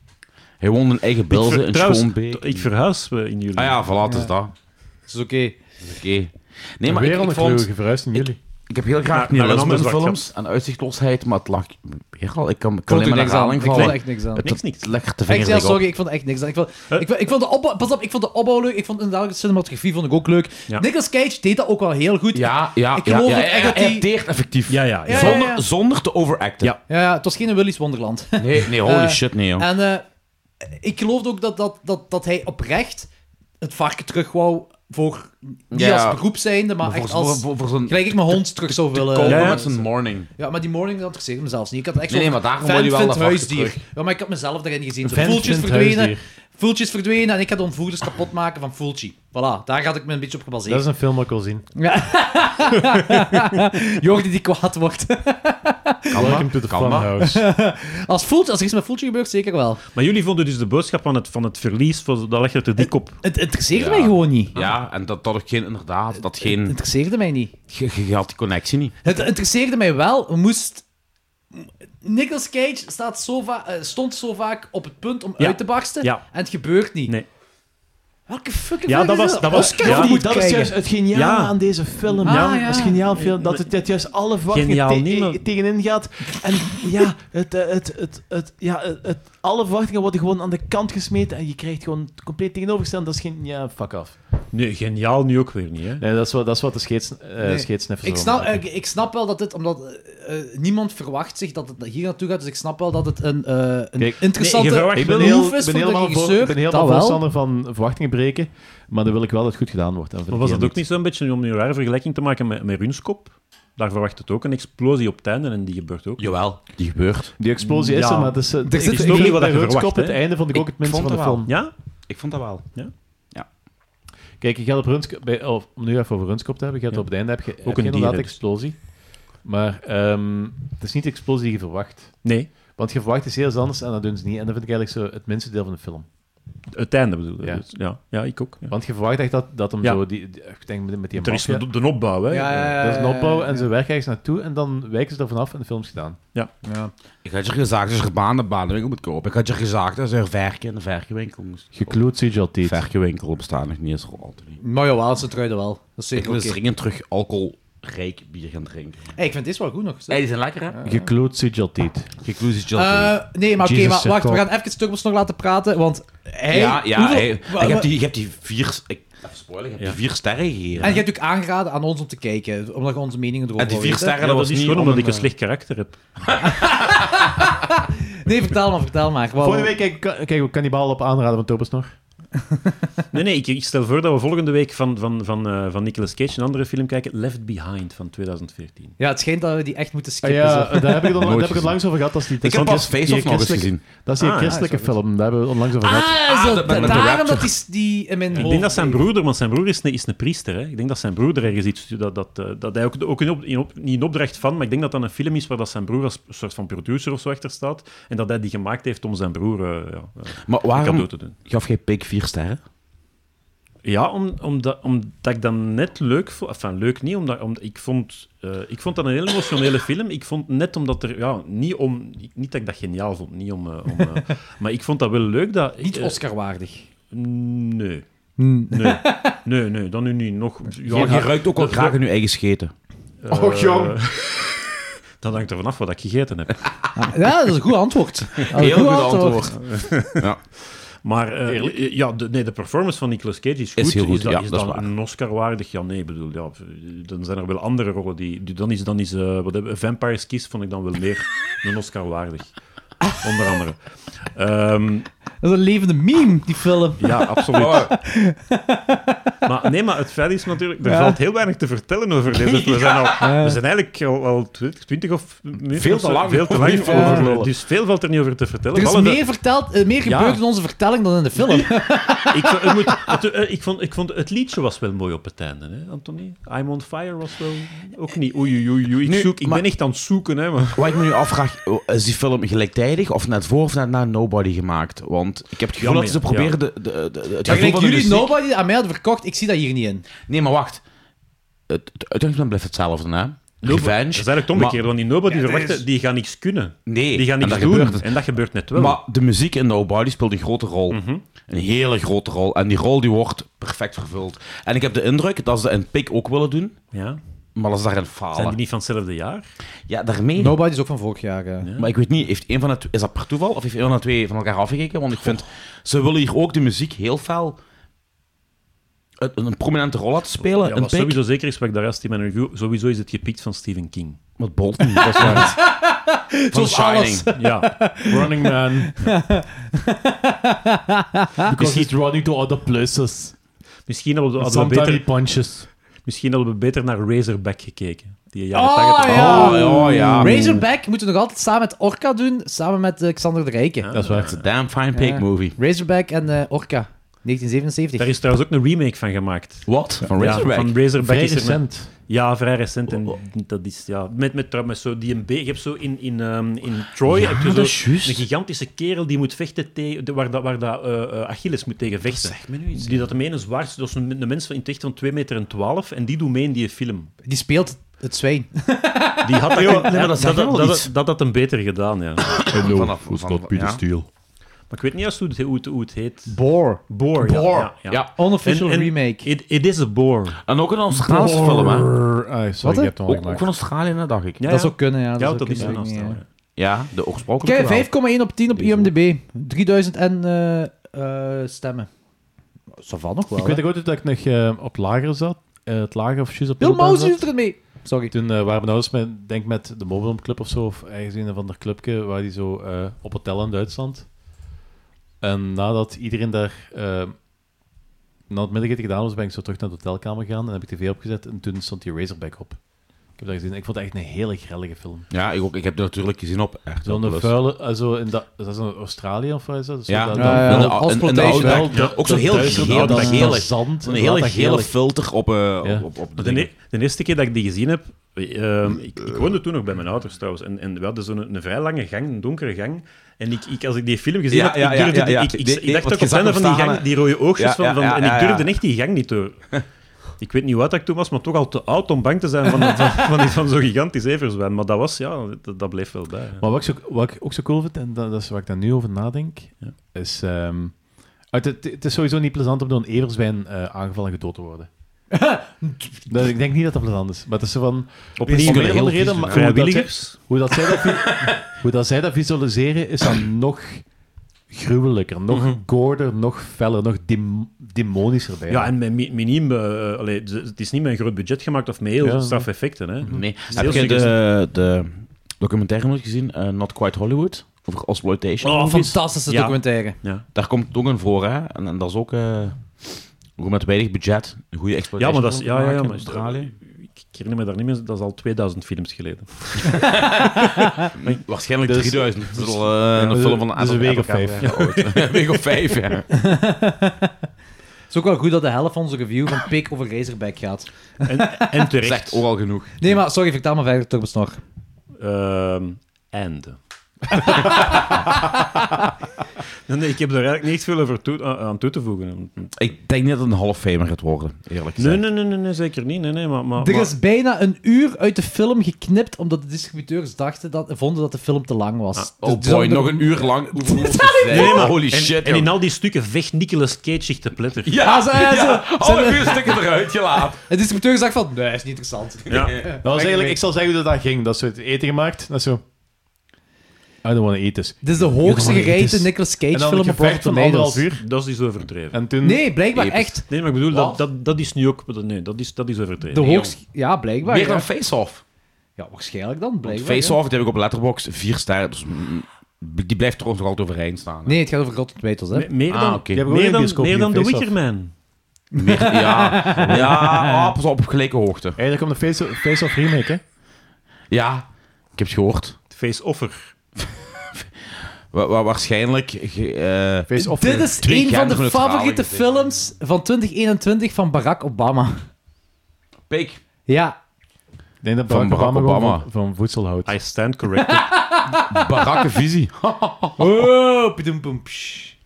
Speaker 5: Hij woont een eigen
Speaker 6: Ik ver-
Speaker 5: beelden, een
Speaker 6: trouwens,
Speaker 5: schoonbeek.
Speaker 6: Ik verhuis eh, in jullie.
Speaker 5: eh, Ah ja, voilà, het is dat.
Speaker 2: Dat is oké.
Speaker 5: Dat is Oké. Nee, maar ik,
Speaker 4: Weer
Speaker 5: ik,
Speaker 4: een
Speaker 5: vond,
Speaker 4: vleuge verhuist in jullie.
Speaker 5: ik heb heel graag
Speaker 6: Naar- naar een ander zwart
Speaker 5: films en uitzichtloosheid, maar het lag... Weer al, ik kan, ik kan
Speaker 2: Ik vond
Speaker 5: alleen maar naar
Speaker 2: er niks aan. Ik
Speaker 5: herhaling
Speaker 2: vond er
Speaker 5: vallen.
Speaker 2: echt niks aan.
Speaker 5: Het
Speaker 6: Niks,
Speaker 5: niks,
Speaker 6: niks.
Speaker 5: leg te
Speaker 2: Ik,
Speaker 5: vinger
Speaker 2: ja,
Speaker 5: tegen op.
Speaker 2: sorry, ik vond echt niks aan. Ik vond, ik, vond- ik vond de opbouw, pas op, ik vond de opbouw leuk. Ik vond inderdaad de cinematografie vond ik ook leuk.
Speaker 6: Ja.
Speaker 2: Nicolas Cage deed dat ook wel heel goed.
Speaker 5: Ja, ja,
Speaker 2: Ik
Speaker 5: ja,
Speaker 2: geloof
Speaker 5: ja,
Speaker 2: ook
Speaker 5: hij-
Speaker 2: echt dat
Speaker 5: hij
Speaker 2: die-
Speaker 5: acteert effectief.
Speaker 6: Ja, ja, ja.
Speaker 2: Ja,
Speaker 5: Zonder, zonder te overacten.
Speaker 6: Ja.
Speaker 2: Ja, ja, het was geen Willy's Wonderland.
Speaker 5: Nee, nee, holy
Speaker 2: Eh,
Speaker 5: shit, nee, joh.
Speaker 2: en eh, ik geloof ook dat, dat, dat, dat hij oprecht het varken terug wou voor, niet
Speaker 5: Ja.
Speaker 2: als beroep zijnde, maar
Speaker 5: Voor
Speaker 2: echt
Speaker 5: zo'n-
Speaker 2: als...
Speaker 5: voor- voor zo'n
Speaker 2: Gelijk ik mijn hond terug zou willen...
Speaker 5: kolbe
Speaker 6: ja.
Speaker 5: met zijn morning.
Speaker 2: Ja, maar die morning dat interesseerde me zelfs niet. Ik had echt
Speaker 5: Nee,
Speaker 2: zo'n
Speaker 5: nee, maar daarom
Speaker 2: fan
Speaker 5: wil je wel
Speaker 2: vindt
Speaker 5: dat varken
Speaker 2: huisdier. Ja, maar ik had mezelf daarin gezien. Zo,
Speaker 4: Fan
Speaker 2: voeltjes
Speaker 4: vindt
Speaker 2: verdwenen,
Speaker 4: huisdier.
Speaker 2: voeltjes verdwenen en ik had de ontvoerders kapot maken van Fulci. Voilà, daar had ik me een beetje op gebaseerd.
Speaker 4: Dat is een film dat ik wil zien.
Speaker 2: Jordi die kwaad wordt.
Speaker 4: Welcome to the
Speaker 5: Kalma.
Speaker 4: funhouse.
Speaker 2: Als, Fulci, als er iets met Fulci gebeurt, zeker wel.
Speaker 6: Maar jullie vonden dus de boodschap van het, van het verlies, van- dat leg je er dik op.
Speaker 2: Het interesseerde
Speaker 5: Ja.
Speaker 2: mij gewoon niet.
Speaker 5: Ja, en dat, dat ook geen, inderdaad, dat
Speaker 2: Het
Speaker 5: geen...
Speaker 2: interesseerde mij niet.
Speaker 5: Eh, Je, je had die connectie niet.
Speaker 2: Het interesseerde mij wel. We moest... Nicolas Cage staat zo va- eh, stond zo vaak op het punt om
Speaker 6: Ja.
Speaker 2: uit te barsten.
Speaker 6: Ja.
Speaker 2: En het gebeurt niet.
Speaker 6: Nee.
Speaker 2: Welke fucking
Speaker 6: Ja,
Speaker 2: film
Speaker 6: dat
Speaker 2: is
Speaker 6: was- dat was-
Speaker 2: Oscar
Speaker 6: ja.
Speaker 2: voor moet
Speaker 6: Dat
Speaker 2: krijgen.
Speaker 10: het geniale
Speaker 6: Ja.
Speaker 10: aan deze film.
Speaker 2: Ah,
Speaker 6: Ja,
Speaker 2: ja.
Speaker 10: Dat is geniaal film, dat het, dat juist alle verwachtingen
Speaker 6: Geniaal
Speaker 10: te-
Speaker 6: niet, maar-
Speaker 10: eh, tegenin gaat. En ja, het, eh, het, het, het, ja het, het- alle verwachtingen worden gewoon aan de kant gesmeten en je krijgt gewoon het compleet tegenovergesteld. Dat is geen... Ja, fuck af.
Speaker 6: Nee, geniaal nu ook weer niet, hè.
Speaker 4: Nee, dat is wat, dat is wat de scheets, eh
Speaker 2: Nee.
Speaker 4: scheetsniffers
Speaker 2: Ik
Speaker 4: wel
Speaker 2: snap, eh,
Speaker 4: maken.
Speaker 2: ik, ik snap wel dat dit, omdat eh, eh, niemand verwacht zich dat het hier naartoe gaat, dus ik snap wel dat het een, eh, een
Speaker 4: Kijk,
Speaker 2: interessante
Speaker 6: nee, je
Speaker 4: Ik
Speaker 6: verwacht-
Speaker 4: ben,
Speaker 2: move
Speaker 4: heel,
Speaker 2: is
Speaker 4: ik ben
Speaker 2: van de
Speaker 4: helemaal, voor,
Speaker 2: regisseur.
Speaker 4: ik ben helemaal
Speaker 2: dat wel.
Speaker 4: voorstander van verwachtingen breken, maar dan wil ik wel dat het goed gedaan wordt. En
Speaker 6: Maar was
Speaker 4: verkeerd
Speaker 6: dat ook niet zo'n beetje om nu een rare vergelijking te maken met, met Runskop? Daar verwacht het ook een explosie op het einde en die gebeurt ook.
Speaker 5: Jawel, die gebeurt.
Speaker 4: Die explosie is
Speaker 6: Ja.
Speaker 4: er, maar het is... eh,
Speaker 2: zit-
Speaker 4: ik
Speaker 2: is
Speaker 6: ook niet
Speaker 4: vind
Speaker 6: wat
Speaker 4: bij
Speaker 6: je verwacht,
Speaker 4: Rutskop
Speaker 6: hè?
Speaker 4: het einde vond ik ook het minste
Speaker 5: vond
Speaker 4: van de
Speaker 5: dat wel.
Speaker 4: film.
Speaker 6: Ja?
Speaker 5: Ik vond dat wel.
Speaker 4: Kijk, je gaat op Runskop, bij, of, om nu even over Runskop te hebben, je gaat
Speaker 6: Ja.
Speaker 4: op het einde heb je, heb
Speaker 6: een
Speaker 4: je inderdaad
Speaker 6: dier, dus.
Speaker 4: explosie. Maar ehm, het is niet de explosie die je verwacht.
Speaker 6: Nee,
Speaker 4: Want je verwacht iets heel anders en dat doen ze niet. En dat vind ik eigenlijk zo het minste deel van de film.
Speaker 6: het einde bedoel ik.
Speaker 4: Ja.
Speaker 6: Ja. ja. ja, ik ook. Ja.
Speaker 4: Want je verwacht echt dat, dat hem
Speaker 6: Ja.
Speaker 4: zo... Die, die- ik denk met, met die
Speaker 6: Er is
Speaker 4: maffia-
Speaker 6: de, de opbouw, hè. Eh,
Speaker 2: Ja, ja, ja,
Speaker 4: Dat is een opbouw
Speaker 2: ja,
Speaker 4: en
Speaker 2: ja.
Speaker 4: ze werken ergens naartoe en dan wijken ze er vanaf en de film is gedaan.
Speaker 2: Ja.
Speaker 5: Ik had je gezegd, als je baan de banenwinkel moet kopen. Ik had je gezegd, als er verken in de verkenwinkel moest.
Speaker 4: Gekloot CGI
Speaker 5: Die
Speaker 4: altijd.
Speaker 5: verkenwinkel bestaat nog niet eens al altijd niet.
Speaker 2: Maar jawel, ze truiden wel. Dat is
Speaker 5: Ik
Speaker 2: zeker
Speaker 5: wil
Speaker 2: oké.
Speaker 5: eens dringend terug alcoholrijk bier gaan drinken.
Speaker 2: Hey, ik vind dit wel goed nog.
Speaker 5: die zijn lekker, hè?
Speaker 4: Gekloot CGI altijd.
Speaker 5: Conclusie gelatin.
Speaker 2: Eh, nee, maar oké,
Speaker 4: Jesus
Speaker 2: maar
Speaker 4: zegt
Speaker 2: wacht, we
Speaker 4: al.
Speaker 2: gaan even Turbos nog laten praten, want hij...
Speaker 5: ja, ja.
Speaker 2: hoeveel-
Speaker 5: hey,
Speaker 2: wa-
Speaker 5: ik,
Speaker 2: wa-
Speaker 5: heb die, ik heb die vier... Ik, even spoilen, ik heb die vier sterren gegeven.
Speaker 2: En je hebt ook aangeraden aan ons om te kijken, omdat je onze meningen erover
Speaker 5: En die
Speaker 2: wil
Speaker 5: vier
Speaker 2: weten.
Speaker 5: sterren,
Speaker 6: Ja,
Speaker 5: dat
Speaker 6: dat
Speaker 5: was
Speaker 6: is
Speaker 5: niet
Speaker 6: gewoon
Speaker 5: om
Speaker 6: omdat ik een
Speaker 5: eh,
Speaker 6: slecht karakter heb.
Speaker 2: Nee, vertel maar, vertel maar. Wauw.
Speaker 4: Volgende week kijk- kijken we Cannibal op aanraden van Topos nog.
Speaker 6: Nee, nee, ik, ik stel voor dat we volgende week van, van, van, eh, van Nicolas Cage een andere film kijken. Left Behind van 2014.
Speaker 2: Ja, het schijnt dat we die echt moeten skippen.
Speaker 4: Ah, ja,
Speaker 2: zo.
Speaker 4: daar heb ik, dan, daar
Speaker 5: Nooit
Speaker 4: heb ik het langs over gehad. Dat is die,
Speaker 5: Ik heb
Speaker 4: want
Speaker 5: pas
Speaker 4: die- die
Speaker 5: Face-Off nog eens
Speaker 4: christelijke-
Speaker 5: gezien.
Speaker 4: Dat is die
Speaker 6: Ah,
Speaker 4: christelijke film, daar hebben we het onlangs over gehad.
Speaker 2: Ah,
Speaker 5: Ah,
Speaker 2: zo,
Speaker 5: dat- met- met de
Speaker 2: daarom
Speaker 5: rapture.
Speaker 2: dat die, die in mijn
Speaker 6: Ik
Speaker 2: hoofd...
Speaker 6: denk dat zijn broeder, want zijn broer is een, is een priester. Hè? Ik denk dat zijn broeder ergens iets... Dat, dat, eh, dat hij ook, ook in op, in op- niet in opdracht van, maar ik denk dat dat een film is waar dat zijn broer als een soort van producer of zo achter staat. En dat hij die gemaakt heeft om zijn broer eh, ja, eh,
Speaker 5: Maar
Speaker 6: cadeau
Speaker 5: waarom
Speaker 6: te doen.
Speaker 5: gaf jij Pik vier sterren?
Speaker 6: Ja, om, omdat, omdat ik dat net leuk vond. Enfin, leuk niet, omdat, omdat ik, vond, eh, ik vond dat een heel emotionele film. Ik vond net omdat er... Ja, niet, om, niet dat ik dat geniaal vond, niet om... eh, om eh, maar ik vond dat wel leuk dat...
Speaker 2: Niet
Speaker 6: eh,
Speaker 2: Oscar-waardig.
Speaker 6: Nee. Nee. nee, nee, dan nu niet. Nog, ja,
Speaker 5: je ruikt ook wel graag in je eigen scheten.
Speaker 6: eh,
Speaker 4: oh,
Speaker 7: Och, jong.
Speaker 6: Dat hangt er vanaf wat ik gegeten heb.
Speaker 2: Ja, dat is een goed antwoord. Dat is een
Speaker 5: Heel goed antwoord.
Speaker 6: Maar eh, ja, de, nee, de performance van Nicolas Cage is goed.
Speaker 5: heel goed,
Speaker 6: dat,
Speaker 5: ja, dat is
Speaker 6: dan
Speaker 5: waar.
Speaker 6: een Oscar-waardig? Ja, nee, ik bedoel, ja, dan zijn er wel andere rollen die... die- dan is, dan is eh, wat hebben, Vampires Kiss vond ik dan wel meer een Oscar-waardig. Onder andere. Ehm,
Speaker 2: Dat is een levende meme, die film.
Speaker 6: ja, absoluut.
Speaker 5: Oh.
Speaker 6: Maar, nee, maar het feit is natuurlijk, er
Speaker 2: Ja.
Speaker 6: valt heel weinig te vertellen over deze. We zijn, al, we zijn eigenlijk al, al 20, 20 of minuten
Speaker 5: Veel
Speaker 6: of zo-
Speaker 5: te lang
Speaker 6: Veel te
Speaker 5: om
Speaker 6: lang
Speaker 5: niet
Speaker 6: voor-
Speaker 5: over te lullen.
Speaker 6: Dus veel valt er niet over te vertellen.
Speaker 2: Er is
Speaker 6: Alle de-
Speaker 2: meer, verteld, eh, meer
Speaker 6: Ja.
Speaker 2: gebeurd in onze vertelling dan in de film.
Speaker 6: ik, vond- het moet- het- eh, ik, vond, ik vond het liedje was wel mooi op het einde, hè, Anthony? I'm on fire was wel ook niet. Oei, oei, oei, oei. Ik,
Speaker 5: Nu,
Speaker 6: zoek, ik
Speaker 5: maar-
Speaker 6: ben echt aan het zoeken, hè? Maar...
Speaker 5: Wat ik me nu afvraag, eh, is die film gelijktijdig of net voor of net na Nobody gemaakt? Want ik heb het gevoel
Speaker 6: Ja,
Speaker 5: dat ze
Speaker 6: maar ja.
Speaker 5: proberen de, de, de- het
Speaker 2: Maar
Speaker 5: gevoel
Speaker 2: gelijk
Speaker 5: van de
Speaker 2: jullie
Speaker 5: muziek...
Speaker 2: Nobody aan mij hadden verkocht, ik zie dat hier niet in.
Speaker 5: Nee, maar wacht. Het, het uitgangspunt blijft hetzelfde, hè?
Speaker 6: Dat is
Speaker 5: Revenge.
Speaker 6: eigenlijk het omgekeerde, want die nobody
Speaker 7: Ja, er
Speaker 6: verwachtte,
Speaker 7: is-
Speaker 6: die gaan niks kunnen.
Speaker 5: Nee,
Speaker 6: Die gaan
Speaker 5: en
Speaker 6: niks
Speaker 5: dat
Speaker 6: doen.
Speaker 5: gebeurt het.
Speaker 6: En dat gebeurt net wel.
Speaker 5: Maar de muziek in Nobody speelt een grote rol.
Speaker 6: Mhm.
Speaker 5: Een hele grote rol. En die rol die wordt perfect vervuld. En ik heb de indruk dat ze een pick ook willen doen,
Speaker 6: ja.
Speaker 5: maar dat ze daarin
Speaker 6: Zijn
Speaker 5: falen.
Speaker 6: die niet van hetzelfde jaar?
Speaker 5: Ja, daarmee.
Speaker 2: Nobody is ook van vorig jaar. eh.
Speaker 5: Maar ik weet niet, heeft een van de, tw- is dat per toeval of heeft een van de twee van elkaar afgekeken? Want ik vind, ze willen hier ook de muziek heel fel een, een prominente rol laten spelen.
Speaker 6: Ja,
Speaker 5: een
Speaker 6: wat
Speaker 5: pick.
Speaker 6: sowieso zeker is, wat ik daar rest in mijn review, sowieso is het gepikt van Stephen King.
Speaker 5: Met Bolton, dat is waar. Van
Speaker 2: Zoals
Speaker 5: The Shining.
Speaker 2: alles.
Speaker 6: Ja,
Speaker 4: Running Man. Because he's running to other places.
Speaker 6: misschien hadden we, hadden we
Speaker 4: Sometimes he
Speaker 6: beter,
Speaker 4: punches.
Speaker 6: misschien hadden we beter naar Razorback gekeken. Die jaren
Speaker 2: Oh
Speaker 6: 80.
Speaker 2: ja!
Speaker 5: Oh, ja.
Speaker 2: Razorback moeten we nog altijd samen met Orca doen, samen met eh, Xander de Rijken.
Speaker 6: Ja.
Speaker 4: Dat is waar.
Speaker 5: It's a damn fine pig
Speaker 2: Ja.
Speaker 5: movie.
Speaker 2: Razorback en eh, Orca, 1977.
Speaker 6: Daar is trouwens ook een remake van gemaakt.
Speaker 5: Wat? Van Razorback?
Speaker 6: Ja, van Razorback Oh,
Speaker 4: Vrij
Speaker 6: is er een-
Speaker 4: recent.
Speaker 6: Ja, vrij recent. En dat is, ja, met, met, trouw- met zo die een be- Je hebt zo in, in, ehm, in Troy heb je zo
Speaker 5: dat is juist.
Speaker 6: een gigantische kerel die moet vechten tegen... de- Waar, dat, waar dat, eh, eh, Achilles moet tegen vechten. Die dat hem een zwaar... Dat is een, een mens van, in het echt van 2 meter en 12. En die doet mee in die film.
Speaker 2: Die speelt het zwijn.
Speaker 6: Die had dat,
Speaker 5: maar dat
Speaker 6: dat,
Speaker 5: zegt
Speaker 6: dat,
Speaker 5: wel
Speaker 6: dat,
Speaker 5: iets.
Speaker 6: dat, had hem beter gedaan, ja. Maar
Speaker 5: Vanaf, vanaf- ja.
Speaker 6: ik weet niet juist hoe het, hoe het, hoe het heet.
Speaker 2: Boar.
Speaker 6: Boar, ja. ja, ja.
Speaker 5: Ja.
Speaker 2: Unofficial
Speaker 6: En- en-
Speaker 2: remake.
Speaker 6: It, it is a boar.
Speaker 5: En ook een Australische film, hè?
Speaker 4: Brrr. Ah,
Speaker 2: Wat,
Speaker 4: sorry,
Speaker 2: hè?
Speaker 4: ik heb het
Speaker 5: Ook, ook
Speaker 4: ongemaakt.
Speaker 5: van Australië, hè, dacht ik.
Speaker 6: Ja,
Speaker 2: Dat
Speaker 6: ja.
Speaker 2: zou kunnen, ja.
Speaker 6: Ja,
Speaker 2: zou
Speaker 6: dat is
Speaker 2: kunnen,
Speaker 6: een
Speaker 2: weet ik niet,
Speaker 6: afstel.
Speaker 2: ja.
Speaker 6: ja.
Speaker 5: Ja, de oorspronkelijke
Speaker 2: Kijk, 5,1 op 10 op IMDb. 3000 en eh, eh, stemmen. Savan nog wel.
Speaker 4: Ik weet
Speaker 2: hè?
Speaker 4: ook ooit dat ik nog eh, op lager zat. Eh, het lager of juist op
Speaker 2: Bill
Speaker 4: middelbaar
Speaker 2: Moseley
Speaker 4: zat.
Speaker 2: doet er mee. Sorry.
Speaker 4: Toen eh, waren we nou eens met, denk met de Mobile Home Club of zo, of ergens een of ander clubje, waar die zo eh, op het tellen in Duitsland. En nadat iedereen daar eh na het middageten gedaan was, ben ik zo terug naar de hotelkamer gegaan en heb ik tv opgezet en toen stond die Razorback op. Ik heb dat gezien. Ik vond het echt een hele grellige film.
Speaker 5: Ja, ik, ook, ik heb die natuurlijk gezien op. echt wel
Speaker 4: Zo'n
Speaker 5: plus.
Speaker 4: vuile... eh, zo in dat, is dat zo'n Australië of waar is dat? Zo
Speaker 5: Ja,
Speaker 4: dat,
Speaker 5: ja,
Speaker 4: dat-
Speaker 2: ja.
Speaker 5: En de-
Speaker 2: Als
Speaker 5: en- en de
Speaker 2: protest
Speaker 5: oude-
Speaker 4: wel,
Speaker 5: ja, ook zo
Speaker 4: dat
Speaker 5: heel
Speaker 4: Duitse-
Speaker 5: geel,
Speaker 4: dat
Speaker 5: dat gele,
Speaker 4: zand.
Speaker 5: zo'n hele
Speaker 4: dat
Speaker 5: gele
Speaker 4: gele-
Speaker 5: filter op, eh,
Speaker 4: Ja.
Speaker 5: op, op de
Speaker 6: De,
Speaker 5: dingen.
Speaker 6: ne- de eerste keer dat ik die gezien heb, eh, ik, ik woonde toen nog bij mijn ouders trouwens, en, en we hadden zo'n een vrij lange gang, een donkere gang. En ik, ik, als ik die film gezien
Speaker 5: Ja,
Speaker 6: heb,
Speaker 5: ja,
Speaker 6: ik,
Speaker 5: ja,
Speaker 6: durfde,
Speaker 5: ja, ja.
Speaker 6: ik, ik,
Speaker 5: Die-
Speaker 6: ik
Speaker 5: die-
Speaker 6: dacht
Speaker 5: wat
Speaker 6: ook op
Speaker 5: je zag
Speaker 6: het einde van die
Speaker 5: opstaan,
Speaker 6: gang,
Speaker 5: hè.
Speaker 6: die rode oogjes
Speaker 5: Ja,
Speaker 6: van,
Speaker 5: ja,
Speaker 6: van
Speaker 5: ja,
Speaker 6: en ik
Speaker 5: ja,
Speaker 6: durfde
Speaker 5: ja.
Speaker 6: echt die gang niet door. Ik weet niet wat ik toen was, maar toch al te oud om bang te zijn van, van, van, die- van zo'n gigantisch everzwijn. Maar dat was, ja, dat, dat bleef wel bij. hè.
Speaker 4: Maar wat ik, zo, wat ik ook zo cool vind, en dat, dat is waar ik daar nu over nadenk,
Speaker 6: Ja.
Speaker 4: is... ehm, uit het, het is sowieso niet plezant om door een everzwijn eh, aangevallen en gedood te worden. dat, ik denk niet dat dat plezant is. Maar het is zo van...
Speaker 6: Op
Speaker 4: om een of andere
Speaker 5: heel
Speaker 4: reden,
Speaker 5: vies
Speaker 4: maar hoe, dat zij,
Speaker 6: Vrijwilligers?
Speaker 4: hoe, dat zij dat, vi- hoe dat zij dat visualiseren, is dan nog gruwelijker, nog goorder, nog feller, nog dem- demonischer bij.
Speaker 6: Ja, en met mi- miniem, eh, allee, z- het is niet met een groot budget gemaakt of met heel
Speaker 4: Ja.
Speaker 6: straf effecten. Hè.
Speaker 5: Nee.
Speaker 6: is
Speaker 5: Heb
Speaker 6: heel
Speaker 5: je
Speaker 6: suggestie-
Speaker 5: de, de documentaire nooit gezien? eh, Not Quite Hollywood? Over exploitation.
Speaker 2: Oh, fantastische
Speaker 6: Ja.
Speaker 2: documentaire.
Speaker 5: Daar komt het ook in voor, hè? En, en dat is ook, eh, ook met weinig budget een goede
Speaker 6: Ja,
Speaker 5: exploitation.
Speaker 6: maar dat is... Ja, ja, ja,
Speaker 5: maken in
Speaker 6: maar,
Speaker 5: Australië.
Speaker 6: Ik, ik herinner me daar niet meer, dat is al 2000 films geleden. eh,
Speaker 5: Waarschijnlijk
Speaker 4: Dus-
Speaker 5: 3000. Dat is al eh, een
Speaker 4: dus-
Speaker 5: film van
Speaker 4: dus een week of vijf.
Speaker 5: Een week of vijf, ja.
Speaker 2: Het is ook wel goed dat de helft van onze review van Pik over Razorback gaat.
Speaker 6: En, en
Speaker 5: Dat is echt
Speaker 6: terecht.
Speaker 5: ook al genoeg.
Speaker 2: Nee, maar sorry, vertel maar verder, Turbos nog.
Speaker 6: Ehm, and. nee, nee, ik heb er eigenlijk niet echt veel over toe- aan- aan toe te voegen.
Speaker 5: Ik denk niet dat het een half famer gaat worden, eerlijk gezegd.
Speaker 6: Nee, nee, nee, nee, nee, zeker niet. Nee, nee, maar, maar,
Speaker 2: Er
Speaker 6: maar-
Speaker 2: is bijna een uur uit de film geknipt omdat de distributeurs dachten dat, vonden dat de film te lang was. Dus
Speaker 5: Oh
Speaker 2: die
Speaker 5: boy,
Speaker 2: zouden
Speaker 5: nog
Speaker 2: er-
Speaker 5: een uur lang. Hoeveel
Speaker 6: Nee, nee, maar-
Speaker 5: Holy
Speaker 6: en,
Speaker 5: shit,
Speaker 6: En
Speaker 5: joh.
Speaker 6: in al die stukken vecht Nicolas Cage zich te pletter.
Speaker 2: Ja, ze, ja, ze- ze-
Speaker 5: Alle vuurstukken eruit gelaten.
Speaker 2: de distributeur zegt van, nee, is niet interessant.
Speaker 6: Ja.
Speaker 4: Dat was eigenlijk, ik zal zeggen hoe dat ging. Dat is zo het eten gemaakt. Dat is zo. don't wanna eat this.
Speaker 2: Dit is de hoogste
Speaker 4: Ja, het
Speaker 2: gereden
Speaker 4: is-
Speaker 2: Nicolas Cage
Speaker 4: En dan
Speaker 2: film op
Speaker 4: een
Speaker 2: Rotten
Speaker 4: gevecht van anderhalf
Speaker 2: Tomatoes.
Speaker 4: uur.
Speaker 6: Dat is iets overdreven.
Speaker 4: En toen...
Speaker 2: Nee, blijkbaar
Speaker 5: Episch.
Speaker 2: echt.
Speaker 6: Nee, maar ik bedoel,
Speaker 5: Wat?
Speaker 6: dat, dat, dat is nu ook... Nee, dat is, dat is
Speaker 2: De
Speaker 6: overdreven.
Speaker 2: hoogste... Ja, blijkbaar.
Speaker 5: Meer dan
Speaker 2: Ja.
Speaker 5: Face-Off.
Speaker 2: ja, waarschijnlijk dan.
Speaker 5: Want
Speaker 2: Blijkbaar, ja.
Speaker 5: Face-Off, die heb ik op Letterboxd vier sterren. Dus mm, die blijft er ook nog altijd overeind staan. hè.
Speaker 2: Nee, het gaat over Rotten Tomatoes, hè.
Speaker 6: Me- meer
Speaker 5: Ah,
Speaker 6: dan,
Speaker 5: oké.
Speaker 4: Die hebben ook
Speaker 6: meer
Speaker 4: in de
Speaker 6: dan,
Speaker 4: bioscoop
Speaker 6: meer dan
Speaker 4: gezien,
Speaker 6: The
Speaker 4: Face Off.
Speaker 6: Wickerman.
Speaker 5: Meer- ja, ja ah, pas op, op gelijke hoogte.
Speaker 4: Hey, daar komt de Face- Face-Off remake, hè?
Speaker 5: Ja, ik heb het gehoord.
Speaker 6: Face-offer.
Speaker 5: Wa- wa- waarschijnlijk... ge- eh,
Speaker 4: Face-Off.
Speaker 2: Dit is
Speaker 5: Drie
Speaker 2: een van
Speaker 5: kern
Speaker 2: de
Speaker 5: van het verhaal
Speaker 2: favoriete
Speaker 5: in gezeten.
Speaker 2: films van 2021 van Barack Obama.
Speaker 5: Pik.
Speaker 2: Ja,
Speaker 4: Ik denk dat
Speaker 5: Van Barack
Speaker 4: Barack Obama, gewoon
Speaker 5: Obama.
Speaker 4: Van, van voedsel houdt.
Speaker 6: I stand corrected.
Speaker 5: Barakkenvisie.
Speaker 2: Oh,
Speaker 4: Kijk,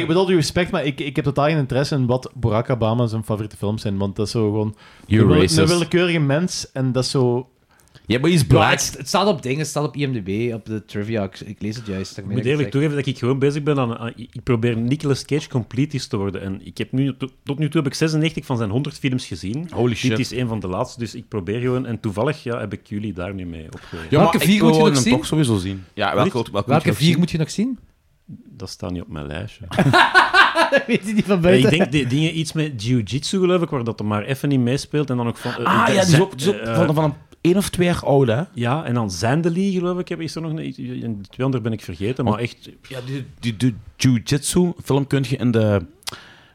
Speaker 4: ik bedoel je respect, maar ik, ik heb totaal geen interesse in wat Barack Obama zijn favoriete films zijn, want dat is zo gewoon...
Speaker 5: You
Speaker 4: een wille- Een
Speaker 5: racist.
Speaker 4: willekeurige mens, en dat is zo...
Speaker 5: Ja, maar die is
Speaker 2: Ja,
Speaker 5: black.
Speaker 2: het, het staat op dingen, het staat op IMDb, op de trivia. Ik, ik lees het juist.
Speaker 6: Ik moet eerlijk toegeven dat ik gewoon bezig ben aan... aan- ik probeer Nicolas Cage completist te worden. En ik heb nu, tot tot nu toe heb ik 96 van zijn 100 films gezien.
Speaker 5: Holy
Speaker 6: Dit
Speaker 5: shit.
Speaker 6: is een van de laatste, dus ik probeer gewoon... En toevallig ja, heb ik jullie daar nu mee opgegeven.
Speaker 5: Ja, maar
Speaker 2: Welke
Speaker 5: ik
Speaker 2: vier
Speaker 5: wil
Speaker 2: moet je
Speaker 5: hem
Speaker 2: nog zien?
Speaker 5: toch sowieso zien. Ja, welke, welke,
Speaker 2: Welke
Speaker 5: wil je
Speaker 2: vier
Speaker 5: nog
Speaker 2: moet je nog zien?
Speaker 6: Dat staat niet op mijn lijstje.
Speaker 2: Dat weet je niet van
Speaker 6: Ja, ik
Speaker 2: buiten.
Speaker 6: denk die dingen iets met jiu-jitsu, geloof ik, waar dat er maar even niet meespeelt. En dan ook van... eh,
Speaker 5: zien? Ah
Speaker 6: eh,
Speaker 5: ja, die is
Speaker 6: zijn-
Speaker 5: ook, die is ook
Speaker 6: eh,
Speaker 5: van, van een één of twee jaar oude, hè?
Speaker 6: Ja, en dan Zendeli, geloof ik, heb- is er nog een... De twee anderen ben ik vergeten, maar echt...
Speaker 5: Ja, die, die, die Jiu-Jitsu film kun je in de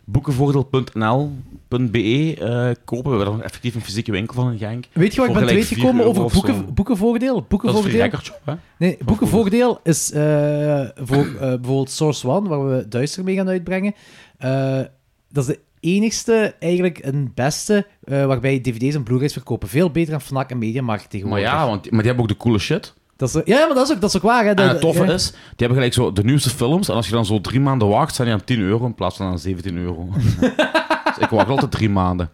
Speaker 5: boekenvoordeel.nl.be eh, kopen. We hebben er effectief een fysieke winkel van in Genk.
Speaker 2: Weet je wat ik ben
Speaker 5: Voor
Speaker 2: te
Speaker 5: gelijk
Speaker 2: weten
Speaker 5: 4
Speaker 2: gekomen
Speaker 5: euro
Speaker 2: over
Speaker 5: of zo.
Speaker 2: boeken, boekenvoordeel?
Speaker 5: Dat is een
Speaker 2: Boekenvoordeel?
Speaker 5: rekkertje, hè?
Speaker 2: Nee, boekenvoordeel is eh, voor eh, bijvoorbeeld Source One, waar we Duister mee gaan uitbrengen. Eh, dat is de enigste, eigenlijk een beste, eh, waarbij dvd's en blu-rays verkopen. Veel beter dan FNAC en Mediamarkt
Speaker 5: Maar
Speaker 2: tegenwoordig.
Speaker 5: ja, want maar die hebben ook de coole shit.
Speaker 2: Dat is, ja, maar dat is ook, dat is ook waar. Hè?
Speaker 5: En
Speaker 2: Dat-
Speaker 5: het toffe
Speaker 2: ja.
Speaker 5: is, die hebben gelijk zo de nieuwste films. En als je dan zo drie maanden wacht, zijn die aan 10 euro in plaats van aan 17 euro. dus ik wacht altijd drie maanden.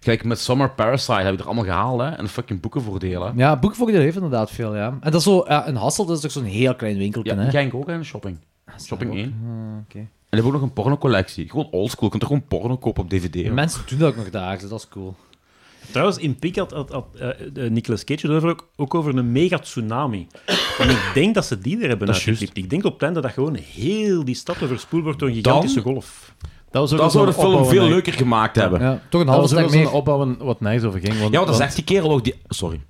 Speaker 5: Gelijk met Summer Parasite heb ik er allemaal gehaald, hè? En fucking boekenvoordelen.
Speaker 2: Ja, boekvoordeel heeft inderdaad veel, ja. En dat is zo, ja, een Hassel, dat is ook zo'n heel klein winkeltje,
Speaker 5: Ja,
Speaker 2: hè.
Speaker 5: in Genk ook, hè? in Shopping. Shopping 1.
Speaker 2: oké.
Speaker 5: En die hebben ook nog een pornocollectie. Gewoon oldschool. Je kunt er gewoon porno kopen op DVD. hè.
Speaker 2: Mensen doen dat ook nog daar, dus dat is cool.
Speaker 6: Trouwens, in Pik had, had, had, eh, eh, Nicolas Cage het over ook, ook over een mega-tsunami. En ik denk dat ze die er hebben
Speaker 5: Dat is juist.
Speaker 6: uitgetipt. Ik denk op het einde dat gewoon heel die stad overspoeld wordt door een
Speaker 5: Dan-
Speaker 6: gigantische golf.
Speaker 4: Dat was ook
Speaker 5: Dat
Speaker 4: zo'n
Speaker 5: zou de film
Speaker 4: opbouw-
Speaker 5: veel
Speaker 4: nee.
Speaker 5: leuker gemaakt hebben. Ja,
Speaker 2: Ja, toch een
Speaker 4: Dat
Speaker 2: halve
Speaker 4: was ook
Speaker 2: slag
Speaker 4: wel zo'n
Speaker 2: meer.
Speaker 4: opbouw wat nice over ging. Want,
Speaker 5: want dan
Speaker 4: want-
Speaker 5: zegt die kerel ook die... Sorry.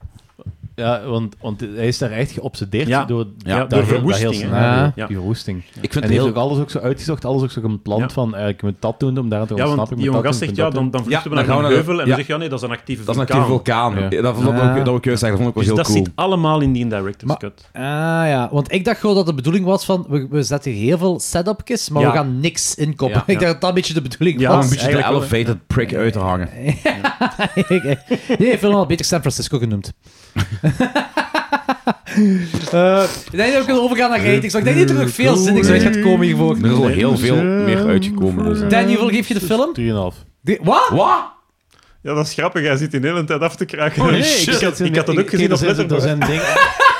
Speaker 4: Ja, want, want hij is daar echt geobsedeerd
Speaker 6: Ja.
Speaker 4: door,
Speaker 5: Ja,
Speaker 4: dat
Speaker 6: door
Speaker 4: heel- dat
Speaker 6: verwoesting,
Speaker 4: heel
Speaker 6: hè.
Speaker 4: scenario,
Speaker 2: Ja.
Speaker 6: Ja.
Speaker 4: Die verwoesting.
Speaker 5: Ik vind
Speaker 4: en
Speaker 5: het
Speaker 4: hij heeft
Speaker 5: heel...
Speaker 4: ook alles ook zo uitgezocht, alles ook zo gepland
Speaker 6: Ja.
Speaker 4: van, eh, ik moet dat doen om daar
Speaker 6: Ja,
Speaker 4: te
Speaker 6: want
Speaker 4: ontsnappen.
Speaker 6: die jongen gast zegt, ja, dan, dan vluchten
Speaker 5: Ja,
Speaker 6: we naar
Speaker 5: dan
Speaker 6: een
Speaker 5: gaan we naar de-
Speaker 6: heuvel. En
Speaker 5: ja.
Speaker 6: dan zegt ja, nee, dat is een actieve
Speaker 5: Dat is een
Speaker 6: vulkaan.
Speaker 5: actieve vulkaan.
Speaker 4: Ja.
Speaker 5: Ja. Dat, vond ik
Speaker 2: Ja.
Speaker 5: ook- dat wil ik juist zeggen. Dat vond ik wel
Speaker 6: Dus
Speaker 5: heel
Speaker 6: dat
Speaker 5: cool.
Speaker 6: zit allemaal in die director's
Speaker 2: Maar-
Speaker 6: cut.
Speaker 2: Ah ja, want ik dacht gewoon dat de bedoeling was van, we, we zetten hier heel veel setupjes, maar
Speaker 6: Ja.
Speaker 2: we gaan niks inkoppen.
Speaker 5: Ja.
Speaker 2: Ik dacht dat dat een beetje de bedoeling
Speaker 6: Ja,
Speaker 5: Om
Speaker 2: was.
Speaker 5: een beetje de
Speaker 6: eigenlijk wel, hè.
Speaker 5: elevated prick uit te hangen.
Speaker 2: nee, ik film al beter San Francisco genoemd. Eh, ik denk dat we kunnen overgaan naar ratings, want ik denk niet dat er nog veel zinnigs uit gaat komen hiervoor.
Speaker 5: Er is al heel veel meer uitgekomen. Dus.
Speaker 2: Dan, hoeveel geef je de film?
Speaker 4: 3,5.
Speaker 2: Die- Wat?
Speaker 5: Wat?
Speaker 6: Ja, dat is grappig. Hij zit in de hele tijd af te kraken.
Speaker 4: Oh, nee,
Speaker 6: ik, had, ik had dat ook
Speaker 4: ik-
Speaker 6: gezien
Speaker 4: er
Speaker 6: op
Speaker 4: zijn- Er
Speaker 6: Letterboxd.
Speaker 4: zijn dingen...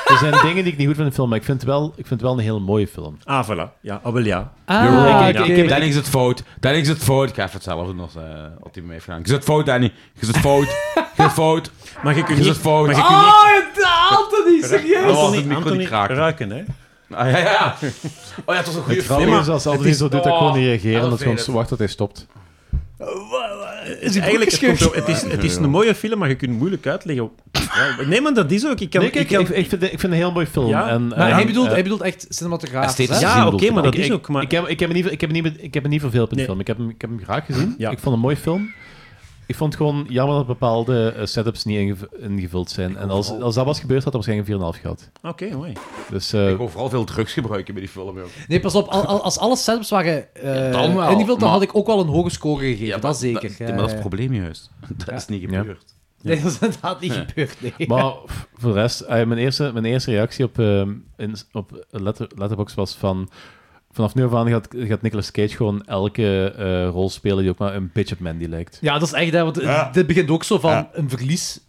Speaker 4: Er zijn dingen die ik niet goed vind in de film, maar ik vind het wel, ik vind het wel een heel mooie film.
Speaker 6: Ah, voilà. Ja, ah, wel ja.
Speaker 5: You're
Speaker 2: Ah,
Speaker 5: right.
Speaker 2: oké.
Speaker 5: Ik- ik- ik- Danny is het fout. Danny is het fout. Ik ga even hetzelfde doen als eh, wat hij me heeft gedaan. Je zit fout, Danny. Je zit fout. Je zit fout.
Speaker 6: Maar je kunt
Speaker 5: Je
Speaker 6: niet...
Speaker 5: zit fout.
Speaker 6: Maar je kunt
Speaker 2: Oh, Anthony, serieus?
Speaker 5: Dat was het
Speaker 6: Anthony,
Speaker 5: micro
Speaker 6: Anthony
Speaker 5: niet kraken.
Speaker 6: ruiken, hè.
Speaker 5: Ah, ja, ja. Oh ja, het was een goede film.
Speaker 4: Grappig is als Alvin zo doet, dat ik gewoon niet reageren, dat is gewoon
Speaker 5: elevated.
Speaker 4: zo wacht tot hij stopt.
Speaker 6: Is eigenlijk, het, komt zo- het, is, het is een mooie film, maar je kunt moeilijk uitleggen. Ja, nee, maar dat is ook. Ik kan,
Speaker 4: Nee, kijk,
Speaker 6: ik kan-
Speaker 4: ik, ik, vind, ik vind het een heel mooi film.
Speaker 6: Ja,
Speaker 4: en,
Speaker 2: Maar
Speaker 4: eh,
Speaker 2: hij bedoelt,
Speaker 4: eh,
Speaker 2: hij bedoelt echt cinematografisch.
Speaker 5: Esthetisch.
Speaker 2: hè?
Speaker 6: ja,
Speaker 5: gezien
Speaker 6: oké,
Speaker 5: bedoel ik
Speaker 6: maar
Speaker 5: dan.
Speaker 6: dat is ook. Maar,
Speaker 4: ik, heb, ik, heb hem niet, ik, heb hem niet, ik heb hem niet verveeld met de
Speaker 6: Nee.
Speaker 4: film. Ik heb, hem, ik heb hem graag gezien.
Speaker 6: Ja.
Speaker 4: Ik vond hem een mooie film. Ik vond het gewoon jammer dat bepaalde eh, setups niet ingev- ingevuld zijn. En als, als dat was gebeurd, had hij waarschijnlijk 4,5 gehad.
Speaker 6: oké, mooi.
Speaker 4: Dus eh,
Speaker 5: Ik wou vooral veel drugs gebruiken bij die film. joh.
Speaker 2: Nee, pas op, al- al- als alle setups waren eh
Speaker 5: dan wel,
Speaker 2: ingevuld, dan
Speaker 5: maar-
Speaker 2: had ik ook wel een hoge score gegeven, dat zeker. Eh,
Speaker 5: Dat, maar dat is het probleem juist. Dat is niet
Speaker 4: Ja.
Speaker 5: gebeurd.
Speaker 2: Nee, dat is inderdaad niet gebeurd, nee.
Speaker 4: maar pff, voor de rest, eh, mijn, eerste, mijn eerste reactie op, eh, in, op letter, Letterboxd was van... Vanaf nu af aan gaat, gaat Nicolas Cage gewoon elke eh, rol spelen die ook maar een beetje op Mandy lijkt.
Speaker 2: Ja, dat is echt, hè, want dit begint ook zo van een verlies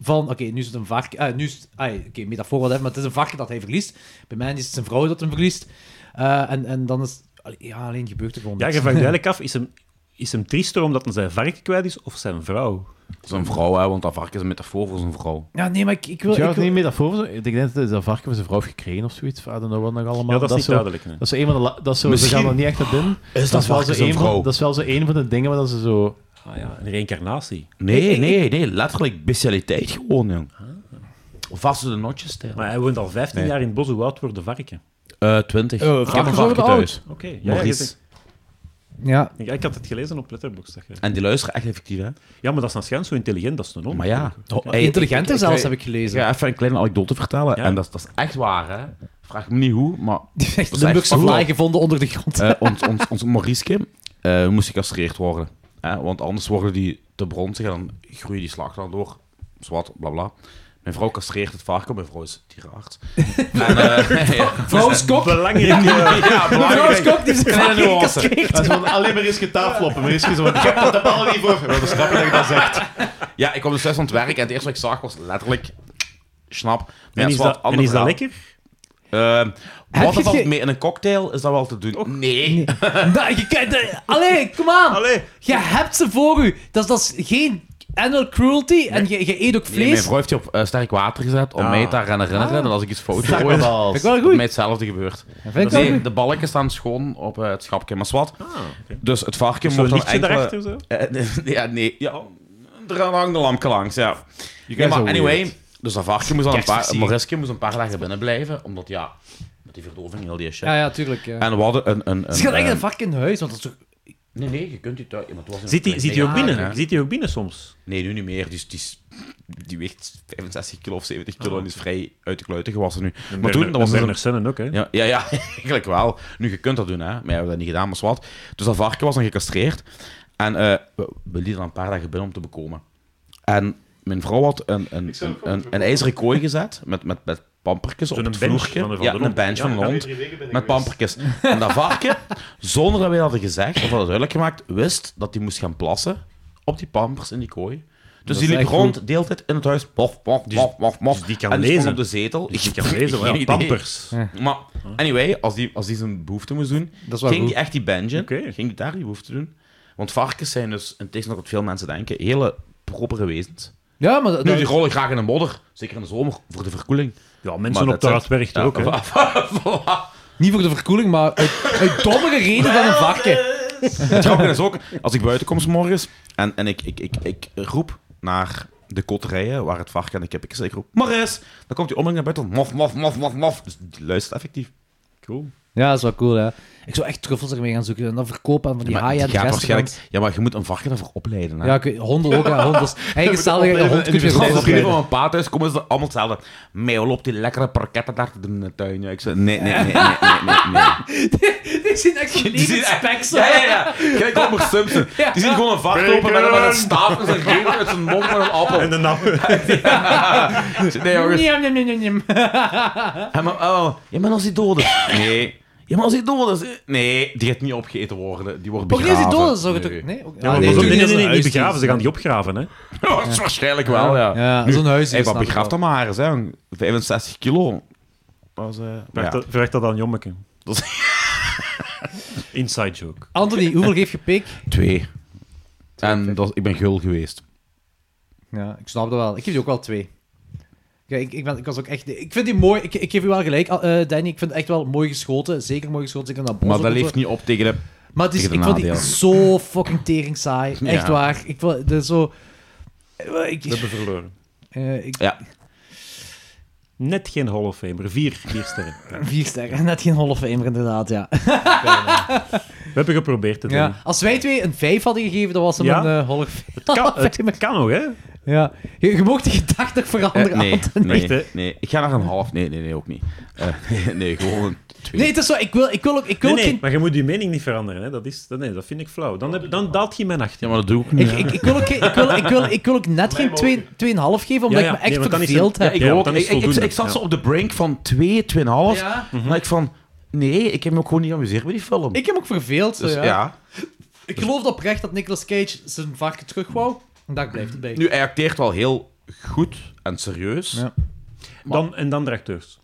Speaker 2: van... Oké, nu is het een varken... eh, nu is het- ah, oké, metafoor wat even, maar het is een varken dat hij verliest. Bij mij is het zijn vrouw dat hem verliest. Eh, en, en dan is... allee, Ja, alleen gebeurt er gewoon
Speaker 6: Ja, je
Speaker 2: niks.
Speaker 6: vraagt duidelijk af: is hem, Is hem triester omdat hij zijn varken kwijt is of zijn vrouw?
Speaker 5: Zijn vrouw, hè, want dat varken is een metafoor voor zijn vrouw.
Speaker 2: Ja, nee, maar ik, ik wil...
Speaker 4: Is
Speaker 2: Ik
Speaker 4: dat
Speaker 2: wil
Speaker 4: niet metafoor? Zo- Ik denk dat dat varken van zijn vrouw heeft gekregen of zoiets. I don't know wat nog allemaal.
Speaker 6: ja, dat is niet
Speaker 4: zo,
Speaker 6: duidelijk. nee.
Speaker 4: Dat is zo een van de... la- Dat is zo, Ze
Speaker 5: Misschien- Dus
Speaker 4: gaan er niet echt naar binnen.
Speaker 1: Is
Speaker 4: Dat is, wel
Speaker 1: varken
Speaker 4: zo
Speaker 1: zijn
Speaker 4: een
Speaker 1: vrouw?
Speaker 4: van, dat is wel zo een van de dingen waar dat ze zo...
Speaker 6: Ah, ja, een reïncarnatie.
Speaker 5: Nee, nee, nee. Letterlijk bestialiteit gewoon, jong. Vaste de notjes, stijl.
Speaker 6: Maar hij woont al 15
Speaker 5: Nee.
Speaker 6: jaar in het bos. Hoe oud worden varken?
Speaker 5: Eh, 20.
Speaker 2: Eh,
Speaker 5: ik heb
Speaker 2: varkens
Speaker 5: een
Speaker 2: worden
Speaker 5: varken
Speaker 2: oud.
Speaker 5: thuis.
Speaker 6: Oké. ja, ja,
Speaker 5: Maurice.
Speaker 6: ik,
Speaker 2: Ja,
Speaker 6: denk- ja, ik had het gelezen op Letterboxd. dat je-
Speaker 5: En die luisteren echt effectief, hè?
Speaker 6: Ja, maar dat is waarschijnlijk zo intelligent, dat is een non.
Speaker 5: Maar ja.
Speaker 2: Maar intelligenter zelfs, heb ik
Speaker 5: Ik
Speaker 2: gelezen.
Speaker 5: ga even een kleine anekdote vertellen.
Speaker 6: Ja.
Speaker 5: En dat, is- dat is echt waar, hè? Vraag me niet hoe, maar
Speaker 2: Die heeft echt
Speaker 5: Dat is
Speaker 2: Limburgse
Speaker 5: echt
Speaker 2: vlaai gevonden onder de grond.
Speaker 5: eh ons, ons, ons Mauriske eh, moest gecastreerd worden. hè, want anders worden die te bronzig en dan groeien die slachten door. Zwart, bla bla. Mijn vrouw castreert het varken, mijn vrouw is dierenarts. en, eh, ja,
Speaker 2: Vrouwskok!
Speaker 6: Belangrijk.
Speaker 5: ja, belangrijk.
Speaker 2: Vrouwskok, die is een
Speaker 5: Kleine
Speaker 2: varken
Speaker 5: nuance.
Speaker 2: gecastreerd.
Speaker 4: Dat is gewoon alleen maar eens getafloppen. Maar eens zo...
Speaker 7: Ik heb dat de bal niet voor.
Speaker 4: Dat is grappig dat je dat zegt.
Speaker 5: Ja, ik kwam dus thuis van het werk en het eerste wat ik zag was letterlijk... Snap. Maar ja,
Speaker 6: En is,
Speaker 5: het wel
Speaker 6: dat,
Speaker 5: een
Speaker 6: en
Speaker 5: ander
Speaker 6: is dat
Speaker 5: verhaal.
Speaker 6: lekker?
Speaker 5: Ehm,
Speaker 2: Heb je
Speaker 5: wat er valt
Speaker 2: ge-
Speaker 5: mee in een cocktail, is dat wel te doen? Nee.
Speaker 2: Nou, je kijkt... eh, Allee, kom aan!
Speaker 6: Allee.
Speaker 2: Je hebt ze voor u. Dat is, dat is geen animal cruelty. En je, je eet ook
Speaker 5: Nee, mijn
Speaker 2: vlees.
Speaker 5: vrouw heeft die op eh, sterk water gezet om
Speaker 6: Ah.
Speaker 5: mij te gaan herinneren dat als ik iets fout doe, ooit,
Speaker 2: Vind ik wel
Speaker 5: dat
Speaker 2: goed.
Speaker 5: mij hetzelfde gebeurt.
Speaker 2: Vind ik wel
Speaker 5: Nee,
Speaker 2: goed.
Speaker 5: de balken staan schoon op eh, het schapje. Maar zwart,
Speaker 6: Ah, oké.
Speaker 5: dus het varken
Speaker 6: Zo'n
Speaker 5: moet dan
Speaker 6: lichtje
Speaker 5: enkele...
Speaker 6: daarachter zo?
Speaker 5: Eh, nee, ja, nee. Ja,
Speaker 6: Oh.
Speaker 5: er hangt een lampje langs, ja. Nee, maar anyway, dus dat varken moest dan een paar... Mariske moest een paar dagen binnen blijven, omdat ja, met die verdoving en al die shit.
Speaker 2: Ja, ja, tuurlijk. Ja.
Speaker 5: En we hadden een... een, een
Speaker 2: Ze gaat echt
Speaker 5: eh,
Speaker 2: een varken in huis, want dat is toch...
Speaker 5: Nee, nee, je kunt die thuis... ja, maar het was in
Speaker 6: Zit
Speaker 5: een
Speaker 6: hij zit hij ook
Speaker 5: klein-
Speaker 6: binnen?
Speaker 5: Ja.
Speaker 6: Zit hij ook binnen soms?
Speaker 5: Nee, nu niet meer. Dus die, is- die weegt 65 kilo of 70 kilo en is vrij uit de kluiten gewassen nu. Maar toen, dat was dus
Speaker 6: Werner
Speaker 5: een...
Speaker 6: Sennen ook, hè?
Speaker 5: Ja, ja, ja, eigenlijk wel. Nu, je kunt dat doen, hè. Maar ja, we hebben dat niet gedaan, maar zwart. Dus dat varken was dan gecastreerd. En eh, we, we lieten dat een paar dagen binnen om te bekomen. En mijn vrouw had een, een, een, een, een ijzeren kooi gezet met, met, met pampertjes op
Speaker 6: Zo'n
Speaker 5: het
Speaker 6: bench
Speaker 5: vloertje.
Speaker 6: van een- van
Speaker 5: ja,
Speaker 6: de
Speaker 5: een
Speaker 6: hond.
Speaker 5: bench van
Speaker 6: Ja,
Speaker 5: een
Speaker 6: ja.
Speaker 5: hond.
Speaker 7: Drie weken ben ik
Speaker 5: Met
Speaker 7: geweest.
Speaker 5: pampertjes. En dat varken, zonder dat wij dat hadden gezegd of hadden duidelijk gemaakt, wist dat hij moest gaan plassen op die pampers in die kooi. Dus die liep
Speaker 2: echt
Speaker 5: rond, de hele tijd in het huis. Mof, mof, mof, mof, mof.
Speaker 6: dus die kan
Speaker 5: en die stond
Speaker 6: lezen.
Speaker 5: op de zetel.
Speaker 6: Dus
Speaker 5: Ik-
Speaker 6: ik kan lezen,
Speaker 5: geen
Speaker 6: ja,
Speaker 5: idee.
Speaker 6: pampers.
Speaker 5: Maar anyway, als die, als die zijn behoefte moest doen,
Speaker 2: Dat is wel
Speaker 5: ging
Speaker 2: goed.
Speaker 5: die echt die benchen.
Speaker 6: Oké.
Speaker 5: Ging die daar die behoefte doen. Want varkens zijn dus, in tegenstelling tot wat veel mensen denken, hele propere wezens.
Speaker 2: Ja, maar... dat-
Speaker 5: Nu, die rollen graag in de modder. Zeker in de zomer, voor de verkoeling.
Speaker 6: Ja,
Speaker 5: Maar
Speaker 6: mensen op
Speaker 5: dat
Speaker 6: de
Speaker 5: zijn-
Speaker 6: hard werkt ook, hè?
Speaker 5: voilà.
Speaker 2: Niet voor de verkoeling, maar uit, uit dommere reden dan een varken.
Speaker 5: Het grappige is ook, als ik buiten kom 's morgens en, en ik, ik, ik, ik roep naar de kotterijen waar het varken en de kippen is, ik roep Maris! Dan komt hij om en naar buiten, mof, mof, mof, mof, mof. Dus die luistert effectief.
Speaker 6: Cool.
Speaker 2: Ja, dat is wel cool, hè. Ik zou echt truffels ermee gaan zoeken en dan verkopen aan van die
Speaker 5: Ja, maar
Speaker 2: haaien
Speaker 5: die
Speaker 2: en de
Speaker 5: gaat
Speaker 2: restaurants.
Speaker 5: waarschijnlijk- Ja, maar je moet een varken daarvoor opleiden. Hè?
Speaker 2: Ja, ik weet- honden ook, hè. Honden. Eigen stalliger, een hond kun je goed
Speaker 5: Als ze vrienden
Speaker 2: opleiden.
Speaker 5: van mijn pa thuis komen, is dat allemaal hetzelfde. Meo loopt die lekkere parketten daar te doen in de tuin. Ja, ik zei, nee, nee, nee, nee, nee, nee. nee.
Speaker 2: Die zien echt zo'n
Speaker 5: Die zien
Speaker 2: levend
Speaker 5: echt...
Speaker 2: speksel.
Speaker 5: Ja, ja, ja. Kijk, Homer Simpson. Die zien gewoon een vark lopen met, met een staaf in zijn gevel, uit zijn mond met een appel.
Speaker 6: En de nappen.
Speaker 5: Nee, jongens.
Speaker 2: Njam, njam, njam, njam.
Speaker 5: En maar, oh, ja, maar als die dood is. Nee. Ja, maar als die dood is. eh, Nee, die gaat niet opgegeten worden. Die wordt
Speaker 2: Ook niet
Speaker 5: begraven.
Speaker 2: als die dood is, zou je
Speaker 5: Nee.
Speaker 2: toch... Nee, ook-
Speaker 6: Ja,
Speaker 2: ah, nee,
Speaker 6: maar nee, nee,
Speaker 2: natuurlijk niet
Speaker 6: nee, nee,
Speaker 2: als
Speaker 6: niet
Speaker 2: een huis
Speaker 6: begraven, ze
Speaker 2: is.
Speaker 6: gaan die opgraven, hè?
Speaker 5: Ja, dat is waarschijnlijk wel, ja.
Speaker 2: Ja,
Speaker 5: Nu,
Speaker 2: zo'n huis
Speaker 5: Hey,
Speaker 2: is snap
Speaker 5: maar
Speaker 2: ik
Speaker 5: begraf
Speaker 2: wel.
Speaker 5: dan maar eens, hè. 65 kilo. Dat is, eh, ja.
Speaker 6: Vraag dat- Vraag dat aan Jommeke.
Speaker 5: Dat
Speaker 6: Inside joke.
Speaker 2: Anthony, hoeveel geef je pik?
Speaker 5: Twee. En dat, ik ben gul geweest.
Speaker 2: Ja, ik snap dat wel. Ik geef die ook wel twee. Ja, ik, ik, ben, ik was ook echt... Ik vind die mooi... Ik, ik geef u wel gelijk, eh, Danny. Ik vind het echt wel mooi geschoten. Zeker mooi geschoten. Zeker dat bos
Speaker 5: Maar
Speaker 2: ook
Speaker 5: dat
Speaker 2: en zo.
Speaker 5: leeft niet op tegen de...
Speaker 2: Maar het is,
Speaker 5: Tegen
Speaker 2: ik
Speaker 5: de
Speaker 2: vond die
Speaker 5: nadelen.
Speaker 2: zo fucking tering saai.
Speaker 5: Ja.
Speaker 2: Echt waar. Ik wil dat is zo. eh, Ik,
Speaker 6: We hebben verloren.
Speaker 2: eh, ik,
Speaker 5: Ja.
Speaker 6: Net geen Hall of Famer. Vier, vier sterren. Ja.
Speaker 2: Vier sterren. Net geen halve Famer, inderdaad. Ja.
Speaker 6: We hebben geprobeerd het.
Speaker 2: ja. Als wij twee een vijf hadden gegeven, dan was hem
Speaker 6: Ja.
Speaker 2: een eh, halve Famer.
Speaker 6: Het kan, het kan nog, hè?
Speaker 2: Ja. Je, je mocht de gedachte toch
Speaker 5: Eh,
Speaker 2: veranderen.
Speaker 5: nee,
Speaker 2: Anton.
Speaker 5: nee,
Speaker 6: Echt, hè?
Speaker 5: nee. Ik ga naar een half. Nee, nee, nee, ook niet. Eh, nee, nee, gewoon een twee.
Speaker 2: Nee, het is zo. Ik wil, ik wil ook, ik wil
Speaker 6: Nee,
Speaker 2: ook
Speaker 6: nee,
Speaker 2: geen
Speaker 6: maar je moet je mening niet veranderen. Hè. Dat, is, dat, nee, dat vind ik flauw. Dan, heb, dan daalt je mijn acht.
Speaker 5: Ja, maar dat doe ik ook niet.
Speaker 2: Ik, ik, ik, wil ook, geen- ik, wil, ik, wil, ik wil ook net geen 2,5 geven, omdat
Speaker 6: Ja,
Speaker 2: ik
Speaker 6: ja.
Speaker 2: me echt
Speaker 6: Nee, want dan is het-
Speaker 2: verveeld
Speaker 6: ja,
Speaker 2: heb.
Speaker 5: Ik,
Speaker 6: want
Speaker 5: ook.
Speaker 6: dan
Speaker 5: ik,
Speaker 6: is
Speaker 5: ik,
Speaker 6: het
Speaker 5: ik,
Speaker 6: voldoende.
Speaker 5: zat
Speaker 6: Ja.
Speaker 5: zo op de brink van 2, 2,5.
Speaker 2: Ja.
Speaker 5: Maar ik van, nee, ik heb me ook gewoon niet amuseerd bij die film.
Speaker 2: Ik heb ook verveeld. zo,
Speaker 5: Dus,
Speaker 2: ja.
Speaker 5: ja.
Speaker 2: Ik geloof oprecht dat Nicolas Cage zijn varken terug wou. En daar blijft het bij.
Speaker 5: Nu, hij acteert wel heel goed en serieus.
Speaker 2: Ja.
Speaker 6: Dan, en dan de acteurs.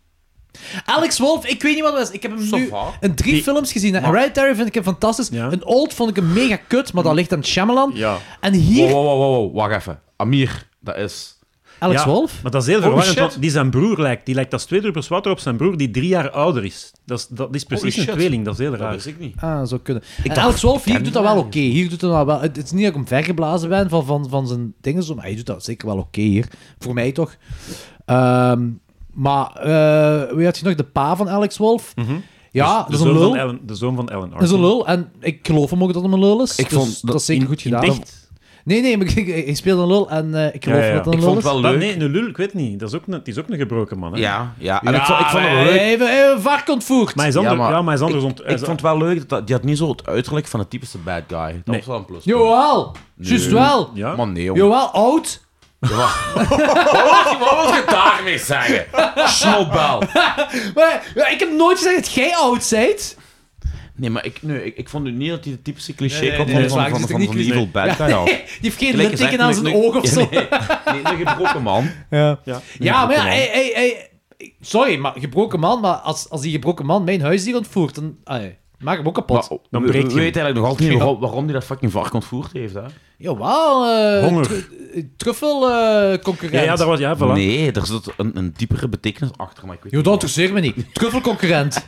Speaker 2: Alex Wolf, ik weet niet wat het was. Ik heb hem
Speaker 5: Ça
Speaker 2: nu
Speaker 5: va.
Speaker 2: in drie
Speaker 6: Die-
Speaker 2: films gezien. hè.
Speaker 6: Maar-
Speaker 2: Hereditary vind ik hem fantastisch.
Speaker 6: Ja. Mm.
Speaker 2: Een Old vond ik hem mega kut, maar dat ligt aan Shyamalan.
Speaker 6: Ja. Oh.
Speaker 2: En hier,
Speaker 5: Wow, wow, wow, wow, wow, wacht even. Amir, dat is...
Speaker 2: Alex
Speaker 6: Ja,
Speaker 2: Wolf. Oh,
Speaker 6: Maar dat is heel
Speaker 5: Holy
Speaker 6: verwarrend,
Speaker 5: shit.
Speaker 6: want die zijn broer lijkt. Die lijkt als twee druppels water op zijn broer, die drie jaar ouder is. Dat is, dat
Speaker 2: Oh,
Speaker 6: is precies
Speaker 5: Holy
Speaker 6: een
Speaker 5: shit.
Speaker 6: tweeling, dat is heel
Speaker 5: Dat
Speaker 6: raar.
Speaker 5: wist ik niet.
Speaker 2: Ah, zou kunnen. En
Speaker 5: dacht-
Speaker 2: Alex Wolf, hier doet dat wel oké. Hier doet hij dat wel. Het het is niet dat ik hem vergeblazen ben van, van, van zijn dingen, zo, maar hij doet dat zeker wel oké hier. Voor mij toch. Ehm, maar, eh wie had je nog? De pa van Alex Wolf. Ja, dat
Speaker 6: de,
Speaker 2: is
Speaker 6: zoon
Speaker 2: een
Speaker 6: van
Speaker 2: lul.
Speaker 6: Ellen, de zoon van Ellen
Speaker 2: Dat is een
Speaker 6: Arkin.
Speaker 2: lul. En ik geloof hem ook dat hem een lul is.
Speaker 5: Ik
Speaker 2: dus
Speaker 5: vond
Speaker 2: dat is zeker goed gedaan.
Speaker 6: in dicht.
Speaker 2: Nee, nee, maar ik- ik- hij speelde een lul en eh, ik geloof
Speaker 6: Ja, ja, ja.
Speaker 2: dat dat
Speaker 5: Ik
Speaker 2: een
Speaker 5: vond
Speaker 2: lul
Speaker 5: het
Speaker 2: is.
Speaker 5: wel
Speaker 6: Maar
Speaker 5: leuk.
Speaker 6: nee, een lul, ik weet niet. Dat is ook een, het is ook een gebroken man. Hè?
Speaker 5: Ja, ja. En ik vond, ik vond het wel leuk.
Speaker 2: Even, even vark ontvoerd.
Speaker 6: Maar hij is anders, ja,
Speaker 5: maar
Speaker 6: maar, hij is anders
Speaker 5: ik,
Speaker 6: ont- hij
Speaker 5: ik
Speaker 6: is-
Speaker 5: vond het wel leuk, dat, dat- die had niet zo het uiterlijk van de typische bad guy. Dat was wel een plus.
Speaker 2: Jawel. Juist wel.
Speaker 6: Ja?
Speaker 5: Man, nee, jongen.
Speaker 2: Jawel, oud.
Speaker 5: Wat wil je daarmee zeggen? Snotbel.
Speaker 2: Maar ja, ik heb nooit gezegd dat jij oud bent.
Speaker 5: Nee, maar ik, nee, ik, ik vond nu niet dat hij de typische cliché
Speaker 2: nee,
Speaker 5: kwam
Speaker 2: nee, dat is
Speaker 5: van,
Speaker 2: waar,
Speaker 5: van,
Speaker 2: het
Speaker 5: van,
Speaker 2: is
Speaker 5: van,
Speaker 2: niet
Speaker 5: van
Speaker 2: cliché.
Speaker 5: evil bad guy.
Speaker 2: nee,
Speaker 5: Ja.
Speaker 2: die heeft geen
Speaker 5: Gelijk gezegd,
Speaker 2: litteken aan zijn
Speaker 5: nee, nee,
Speaker 2: oog of zo.
Speaker 5: ja, nee, nee, een gebroken man.
Speaker 2: Ja, maar ja, hey, hey, hey. Sorry, maar gebroken man, maar als, als die gebroken man mijn huisdier ontvoert, dan ai, maak hem ook kapot.
Speaker 5: Maar,
Speaker 6: Dan
Speaker 5: dan
Speaker 6: breekt
Speaker 5: breekt
Speaker 6: je
Speaker 5: we
Speaker 6: hem.
Speaker 5: weten eigenlijk nog altijd niet waarom, waarom die dat fucking vark ontvoerd heeft. Hè?
Speaker 2: Jawel, eh,
Speaker 6: Honger.
Speaker 2: tru- eh, truffel eh,
Speaker 6: ja,
Speaker 2: concurrent.
Speaker 6: ja, daar was, ja, voilà.
Speaker 5: Nee, er zit een, een diepere betekenis achter, maar ik weet
Speaker 2: Jo,
Speaker 5: niet
Speaker 2: dat
Speaker 5: wat.
Speaker 2: interesseert me niet. Truffelconcurrent.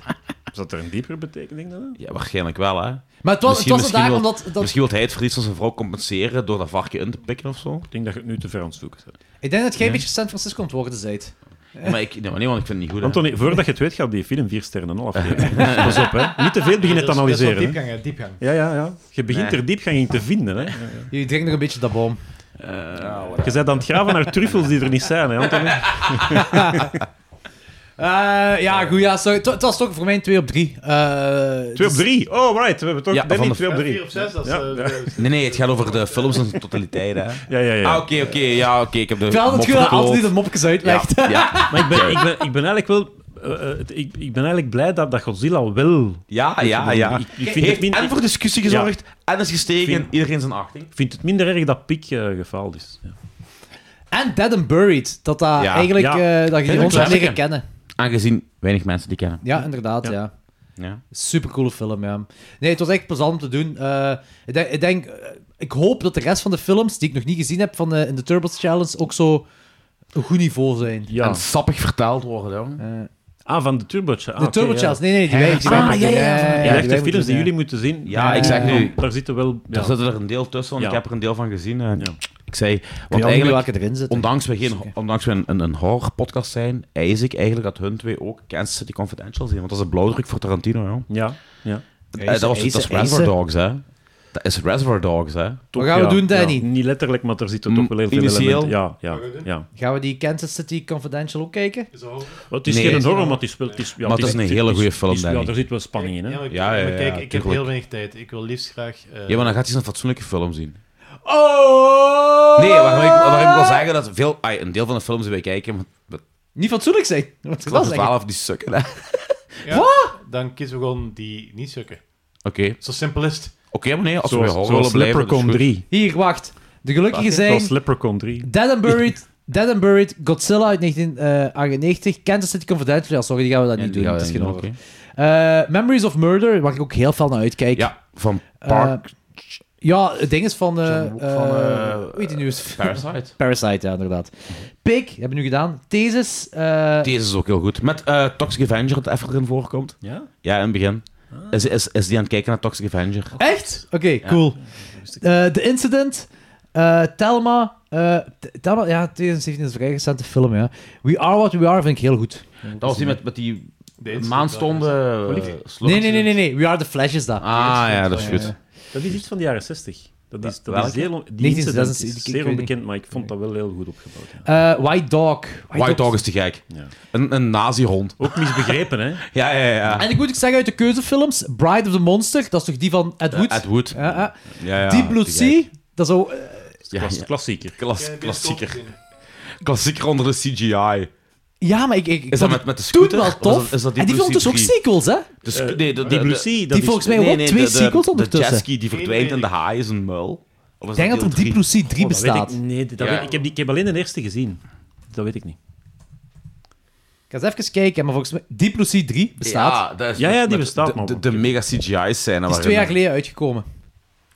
Speaker 6: Zat er een diepere betekening dan?
Speaker 5: Ja, waarschijnlijk wel, hè.
Speaker 2: Maar het was, het
Speaker 5: Misschien-
Speaker 2: was er daar
Speaker 5: misschien wil-
Speaker 2: omdat... Dat,
Speaker 5: Misschien wil hij het verlies van zijn vrouw compenseren door dat varkje in te pikken of zo.
Speaker 6: Ik denk dat je het nu te ver aan het zoeken bent.
Speaker 2: ik denk dat jij een beetje San Francisco aan het worden bent.
Speaker 5: Nee,
Speaker 2: Eh.
Speaker 5: maar ik, nee, maar nee, want ik vind het niet goed. hè.
Speaker 6: Anthony, voordat je het weet, gaat die film vier sterren en een half geven. Pas op, hè. Niet te veel beginnen te analyseren. hè.
Speaker 7: Diepgang, hè, diepgang.
Speaker 6: Ja, ja, ja. Je begint er diepgang in te vinden, hè.
Speaker 2: Je drinkt nog een beetje dat boom.
Speaker 6: Je bent aan het graven naar truffels die er niet zijn, hè, Anthony.
Speaker 2: Eh, ja, goed, ja, sorry. Het wa- het was toch voor mij een 2 op Eh, dus 3.
Speaker 6: Twee op drie. Oh, right. We hebben toch
Speaker 5: Ja, van
Speaker 6: Danny
Speaker 5: de-
Speaker 6: twee op
Speaker 7: Ja,
Speaker 6: drie.
Speaker 7: Vier of zes, dat is...
Speaker 6: Ja,
Speaker 7: eh,
Speaker 6: ja.
Speaker 7: de-
Speaker 5: Nee, nee, het gaat over de films in zijn totaliteit, hè.
Speaker 6: Ja, ja, ja.
Speaker 5: Ah, oké, oké. ja, oké. ik heb de
Speaker 2: Ik vind altijd
Speaker 5: mop
Speaker 2: goed dat
Speaker 5: verkloot.
Speaker 2: altijd de mopjes
Speaker 5: Ja,
Speaker 2: uitlegt.
Speaker 5: ja,
Speaker 6: Maar ik ben, ik ben, ik ben eigenlijk wel... eh, eh, het- ik, ik ben eigenlijk blij dat, dat Godzilla wel...
Speaker 5: ja, ja. Ah, ja.
Speaker 6: Ik, ik vind, het
Speaker 5: Heeft
Speaker 6: minder,
Speaker 5: en
Speaker 6: ik
Speaker 5: voor discussie gezorgd, en is gestegen,
Speaker 6: Vind-
Speaker 5: iedereen zijn achting.
Speaker 6: vind het minder erg dat Piek eh, gefaald is. Ja.
Speaker 2: En Dead and Buried. Dat dat
Speaker 5: Ja.
Speaker 2: eigenlijk...
Speaker 6: Ja.
Speaker 2: eh, dat je
Speaker 5: een
Speaker 2: ons hebt
Speaker 5: klassieker.
Speaker 2: leren kennen.
Speaker 5: Aangezien weinig mensen die kennen.
Speaker 2: Ja, inderdaad, ja.
Speaker 5: Ja.
Speaker 2: Supercoole film, ja. Nee, het was echt plezant om te doen. Eh, ik denk... Ik, denk, eh, ik hoop dat de rest van de films die ik nog niet gezien heb van de, in de Turbos Challenge ook zo een goed niveau zijn.
Speaker 6: Ja.
Speaker 5: En sappig vertaald worden, jongen.
Speaker 2: Eh,
Speaker 6: Ah, van de Turbocha. Ah,
Speaker 2: de
Speaker 6: oké,
Speaker 2: Turbo
Speaker 6: ja.
Speaker 2: Challenge, nee, nee, die wij gezien
Speaker 5: Ah,
Speaker 2: hebben.
Speaker 5: ja, ja, ja.
Speaker 6: Ja,
Speaker 2: die wij
Speaker 6: echt de films die
Speaker 2: moeten
Speaker 6: jullie
Speaker 2: zien.
Speaker 6: moeten zien.
Speaker 5: Ja, ik zeg nu,
Speaker 6: Daar zitten wel... Ja.
Speaker 5: daar zit er een deel tussen, want
Speaker 6: Ja.
Speaker 5: ik heb er een deel van gezien. En
Speaker 6: Ja.
Speaker 5: Ik zei, want
Speaker 2: Ja,
Speaker 5: eigenlijk,
Speaker 2: welke erin zitten.
Speaker 5: ondanks we, geen, ondanks we een, een, een horrorpodcast zijn, eis ik eigenlijk dat hun twee ook Kansas City Confidential zien. Want dat is een blauwdruk voor Tarantino, joh.
Speaker 6: Ja,
Speaker 5: Eh,
Speaker 6: ja.
Speaker 2: Eisen,
Speaker 5: dat, was, dat is
Speaker 2: eisen,
Speaker 5: Reservoir
Speaker 2: eisen.
Speaker 5: Dogs, hè. Dat is Reservoir Dogs, hè.
Speaker 6: Toch,
Speaker 2: gaan we
Speaker 6: ja,
Speaker 2: doen, Danny?
Speaker 6: ja. Niet letterlijk, maar er zitten toch wel heel veel
Speaker 5: Initieel.
Speaker 6: elementen. Ja, ja,
Speaker 7: Wat gaan we doen?
Speaker 6: ja.
Speaker 2: Gaan we die Kansas City Confidential ook kijken?
Speaker 7: is dat over?
Speaker 6: Maar het is
Speaker 5: Nee.
Speaker 6: geen horror, maar het is wel... Het is, ja,
Speaker 5: Maar het is een
Speaker 6: het
Speaker 5: hele goede
Speaker 6: het
Speaker 5: film,
Speaker 6: is- Ja,
Speaker 5: Danny.
Speaker 6: er zit wel spanning in, hè.
Speaker 7: Ja, maar ik-
Speaker 5: Ja, ja,
Speaker 7: maar
Speaker 5: ja,
Speaker 7: kijk, ik heb
Speaker 5: tuurlijk.
Speaker 7: heel weinig tijd. Ik wil liefst graag... eh,
Speaker 5: Ja, maar dan gaat hij eens een fatsoenlijke film zien.
Speaker 2: Oh!
Speaker 5: Nee, waarom ik, waarom ik wil zeggen dat veel, ai, een deel van de films die wij kijken, maar het
Speaker 2: Niet fatsoenlijk zijn. Wat ik
Speaker 5: klopt
Speaker 2: wel zeggen.
Speaker 5: 12 die sukken. hè. Oké,
Speaker 7: ja, Dan kiezen we gewoon die niet sukken.
Speaker 5: oké,
Speaker 7: Zo simpel is het.
Speaker 5: maar nee, als we bij
Speaker 6: Zoals,
Speaker 5: horror willen
Speaker 6: zoals
Speaker 5: blijven, dat is
Speaker 6: Leprechaun
Speaker 5: goed.
Speaker 6: 3.
Speaker 2: Hier, wacht. De gelukkigen zijn
Speaker 6: Zoals Leprechaun 3.
Speaker 2: Dead and Buried, Dead and Buried, Godzilla uit eh, 1998, Kansas City Confidential. Ja, sorry, die gaan we dat
Speaker 5: Ja,
Speaker 2: niet
Speaker 5: die
Speaker 2: doen.
Speaker 5: gaan
Speaker 2: Dat
Speaker 5: we
Speaker 2: is
Speaker 5: dan
Speaker 2: geen
Speaker 5: doen,
Speaker 2: horror. Eh, Memories of Murder, waar ik ook heel veel naar uitkijk. Eh,
Speaker 5: Ja, van Park
Speaker 2: Ja, het ding is van... eh
Speaker 5: John Woo- van,
Speaker 2: eh,
Speaker 5: eh,
Speaker 2: hoe heet die nu? eens?
Speaker 5: Parasite.
Speaker 2: Parasite, ja, inderdaad. Pig, hebben we nu gedaan. Thesis. eh,
Speaker 5: Deze is ook heel goed. Met eh, Toxic Avenger, dat even erin voorkomt.
Speaker 6: Ja?
Speaker 5: Ja, in het begin. Is, is, is die aan het kijken naar Toxic Avenger?
Speaker 2: Echt? Ah. Oké, cool. Eh, The Incident, eh, Thelma. eh, T- Thelma, ja, 2017 is een vrij recente film, ja. We Are What We Are vind ik heel goed.
Speaker 5: Dat was die met, met die
Speaker 7: De incident
Speaker 5: maanstonden... eh, slogans.
Speaker 2: Nee, nee, nee, nee, nee. We Are The Flash is dat. Eh,
Speaker 5: Ah, ja, dat is
Speaker 2: Ja,
Speaker 5: goed.
Speaker 2: ja.
Speaker 6: Dat is iets van de jaren 60. Dat is, dat
Speaker 5: Welke?
Speaker 6: is heel, on- die
Speaker 2: 1976,
Speaker 6: incident is
Speaker 2: ik- ik
Speaker 6: zeer
Speaker 2: weet
Speaker 6: onbekend, maar ik vond dat wel heel goed opgebouwd. ja.
Speaker 2: Eh, White Dog.
Speaker 5: White Dog is te gek.
Speaker 6: Ja.
Speaker 5: Een, een nazi-hond.
Speaker 6: Ook misbegrepen, hè?
Speaker 5: Ja, ja, ja.
Speaker 2: En ik moet ook zeggen, uit de keuzefilms, Bride of the Monster, dat is toch die van Ed Wood?
Speaker 5: Eh, Ed Wood.
Speaker 2: Ja, ja.
Speaker 5: Ja, ja,
Speaker 2: Deep Blue
Speaker 5: te
Speaker 2: Sea, dat is ook... eh,
Speaker 5: gek. Ja,
Speaker 6: Klas-
Speaker 5: ja.
Speaker 6: Klassieker.
Speaker 5: Klas-
Speaker 7: Ja,
Speaker 5: klassieker.
Speaker 7: bioscoop gezien.
Speaker 5: Klassieker onder de CGI.
Speaker 2: ja, maar ik... ik, ik
Speaker 5: Is dat
Speaker 2: vond
Speaker 5: met,
Speaker 2: het
Speaker 5: met de
Speaker 2: toen
Speaker 5: scooter?
Speaker 2: wel tof.
Speaker 5: Is dat, is dat
Speaker 2: en die
Speaker 5: Blue
Speaker 2: film dus
Speaker 5: Sea
Speaker 2: ook
Speaker 5: 3?
Speaker 2: sequels, hè?
Speaker 5: De sc- Dus nee, de, de,
Speaker 6: Die
Speaker 5: de-
Speaker 6: Blue Sea, dat
Speaker 2: die
Speaker 6: is-
Speaker 2: volgens mij ook twee
Speaker 5: de- de-
Speaker 2: sequels
Speaker 5: De
Speaker 2: ondertussen.
Speaker 5: jetski die verdwijnt in de haai is een muil. Of is
Speaker 2: Ik denk dat
Speaker 5: deel
Speaker 2: er Deep
Speaker 5: drie?
Speaker 2: Blue Sea 3
Speaker 6: Oh, dat weet
Speaker 2: bestaat.
Speaker 6: ik, nee, dat
Speaker 5: Ja.
Speaker 6: weet- ik, heb die, ik heb alleen de eerste gezien. Dat weet ik niet.
Speaker 2: Ik ga eens even kijken, maar volgens mij... Deep Blue Sea 3 bestaat.
Speaker 5: Ja, dat is
Speaker 6: Ja, ja, die
Speaker 5: met
Speaker 6: bestaat,
Speaker 5: Eh, de-
Speaker 6: maar-
Speaker 5: De, de, mega CGI-scène.
Speaker 2: Die is twee jaar geleden uitgekomen.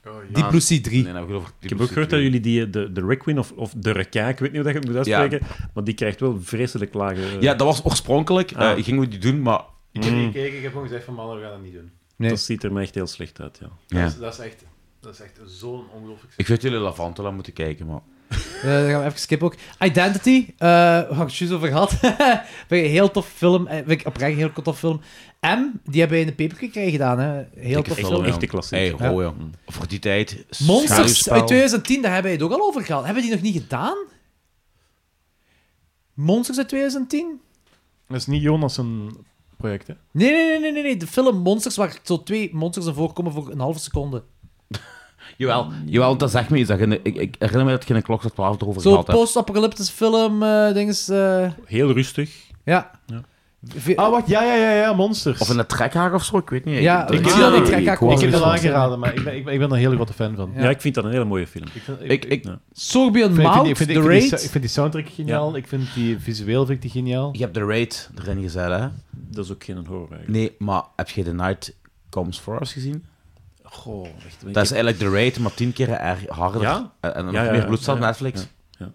Speaker 5: Oh,
Speaker 2: Deep Blue Sea 3.
Speaker 5: Nee, nou, geloof ik,
Speaker 6: Ik heb ook gehoord dat jullie die, eh, de, de Requin of, of de Reka, ik weet niet hoe dat je het moet
Speaker 5: Ja.
Speaker 6: uitspreken, maar die krijgt wel vreselijk lage... eh,
Speaker 5: Ja, dat was oorspronkelijk. eh
Speaker 6: Ah.
Speaker 5: gingen we die doen, maar...
Speaker 4: Ik heb niet gekeken, ik heb gewoon gezegd van mannen, we gaan dat niet doen.
Speaker 2: Nee.
Speaker 6: Dat ziet er me echt heel slecht uit, ja.
Speaker 5: Ja.
Speaker 4: Dat, is, dat is echt, dat is echt zo'n ongelooflijk...
Speaker 5: Ik weet jullie Lavantula moeten kijken, maar...
Speaker 2: Eh, dan gaan we even skippen ook. Identity, eh waar ik het juist over gehad. Vind ik een heel tof film. eh, Vind ik oprecht een heel tof film. M, die hebben we in de paper gedaan. gedaan. Hè. Heel tof
Speaker 6: echt
Speaker 2: film.
Speaker 6: een echte klassieker.
Speaker 5: Hey, oh, ja. Voor die tijd...
Speaker 2: Monsters
Speaker 5: schaduwspel.
Speaker 2: uit 2010, daar hebben we het ook al over gehad. Hebben we die nog niet gedaan? Monsters uit 2010?
Speaker 4: Dat is niet Jonas een project, hè?
Speaker 2: Nee, nee, nee, nee, nee, nee. De film Monsters, waar zo twee monsters in voorkomen voor een halve seconde.
Speaker 5: Jawel, jawel, dat zegt me iets. Dat je- ik, ik herinner me dat je in een klok tot 12 erover
Speaker 2: Zo'n
Speaker 5: gehad hebt.
Speaker 2: post-apocalyptische film, eh dinges. eh,
Speaker 6: Heel rustig.
Speaker 2: ja. Ve-
Speaker 4: Ah, wat? Ja, ja, ja, ja, Monsters.
Speaker 5: Of in een trekhaag of zo, ik weet niet.
Speaker 2: ja, ik
Speaker 5: ik, ik,
Speaker 2: zie dat niet.
Speaker 4: ik-
Speaker 2: Ik ga
Speaker 4: ik heb dat
Speaker 2: gewoon-
Speaker 4: aangeraden, maar ik ben, ik, ben, ik ben er een hele grote fan van.
Speaker 6: Ja. ik vind dat een hele mooie film.
Speaker 4: Ik vind, ik,
Speaker 5: ik,
Speaker 4: ik-
Speaker 2: Sorbian
Speaker 4: ik vind-
Speaker 2: Mouth,
Speaker 4: ik vind- ik
Speaker 2: The
Speaker 4: vind die-
Speaker 2: Raid.
Speaker 4: Ik vind die soundtrack geniaal, ik vind die visueel vind ik die geniaal.
Speaker 5: je hebt de raid erin gezet, hè?
Speaker 6: Dat is ook geen horror eigenlijk.
Speaker 5: Nee, maar heb je The Night Comes For Us gezien?
Speaker 6: Goh, echt. ik
Speaker 5: Dat is
Speaker 6: heb-
Speaker 5: eigenlijk The Raid, maar tien keer erg harder.
Speaker 6: Ja?
Speaker 5: En, en nog
Speaker 6: Ja, ja,
Speaker 5: meer
Speaker 6: ja,
Speaker 5: bloed staat op
Speaker 6: ja,
Speaker 5: Netflix.
Speaker 6: ja.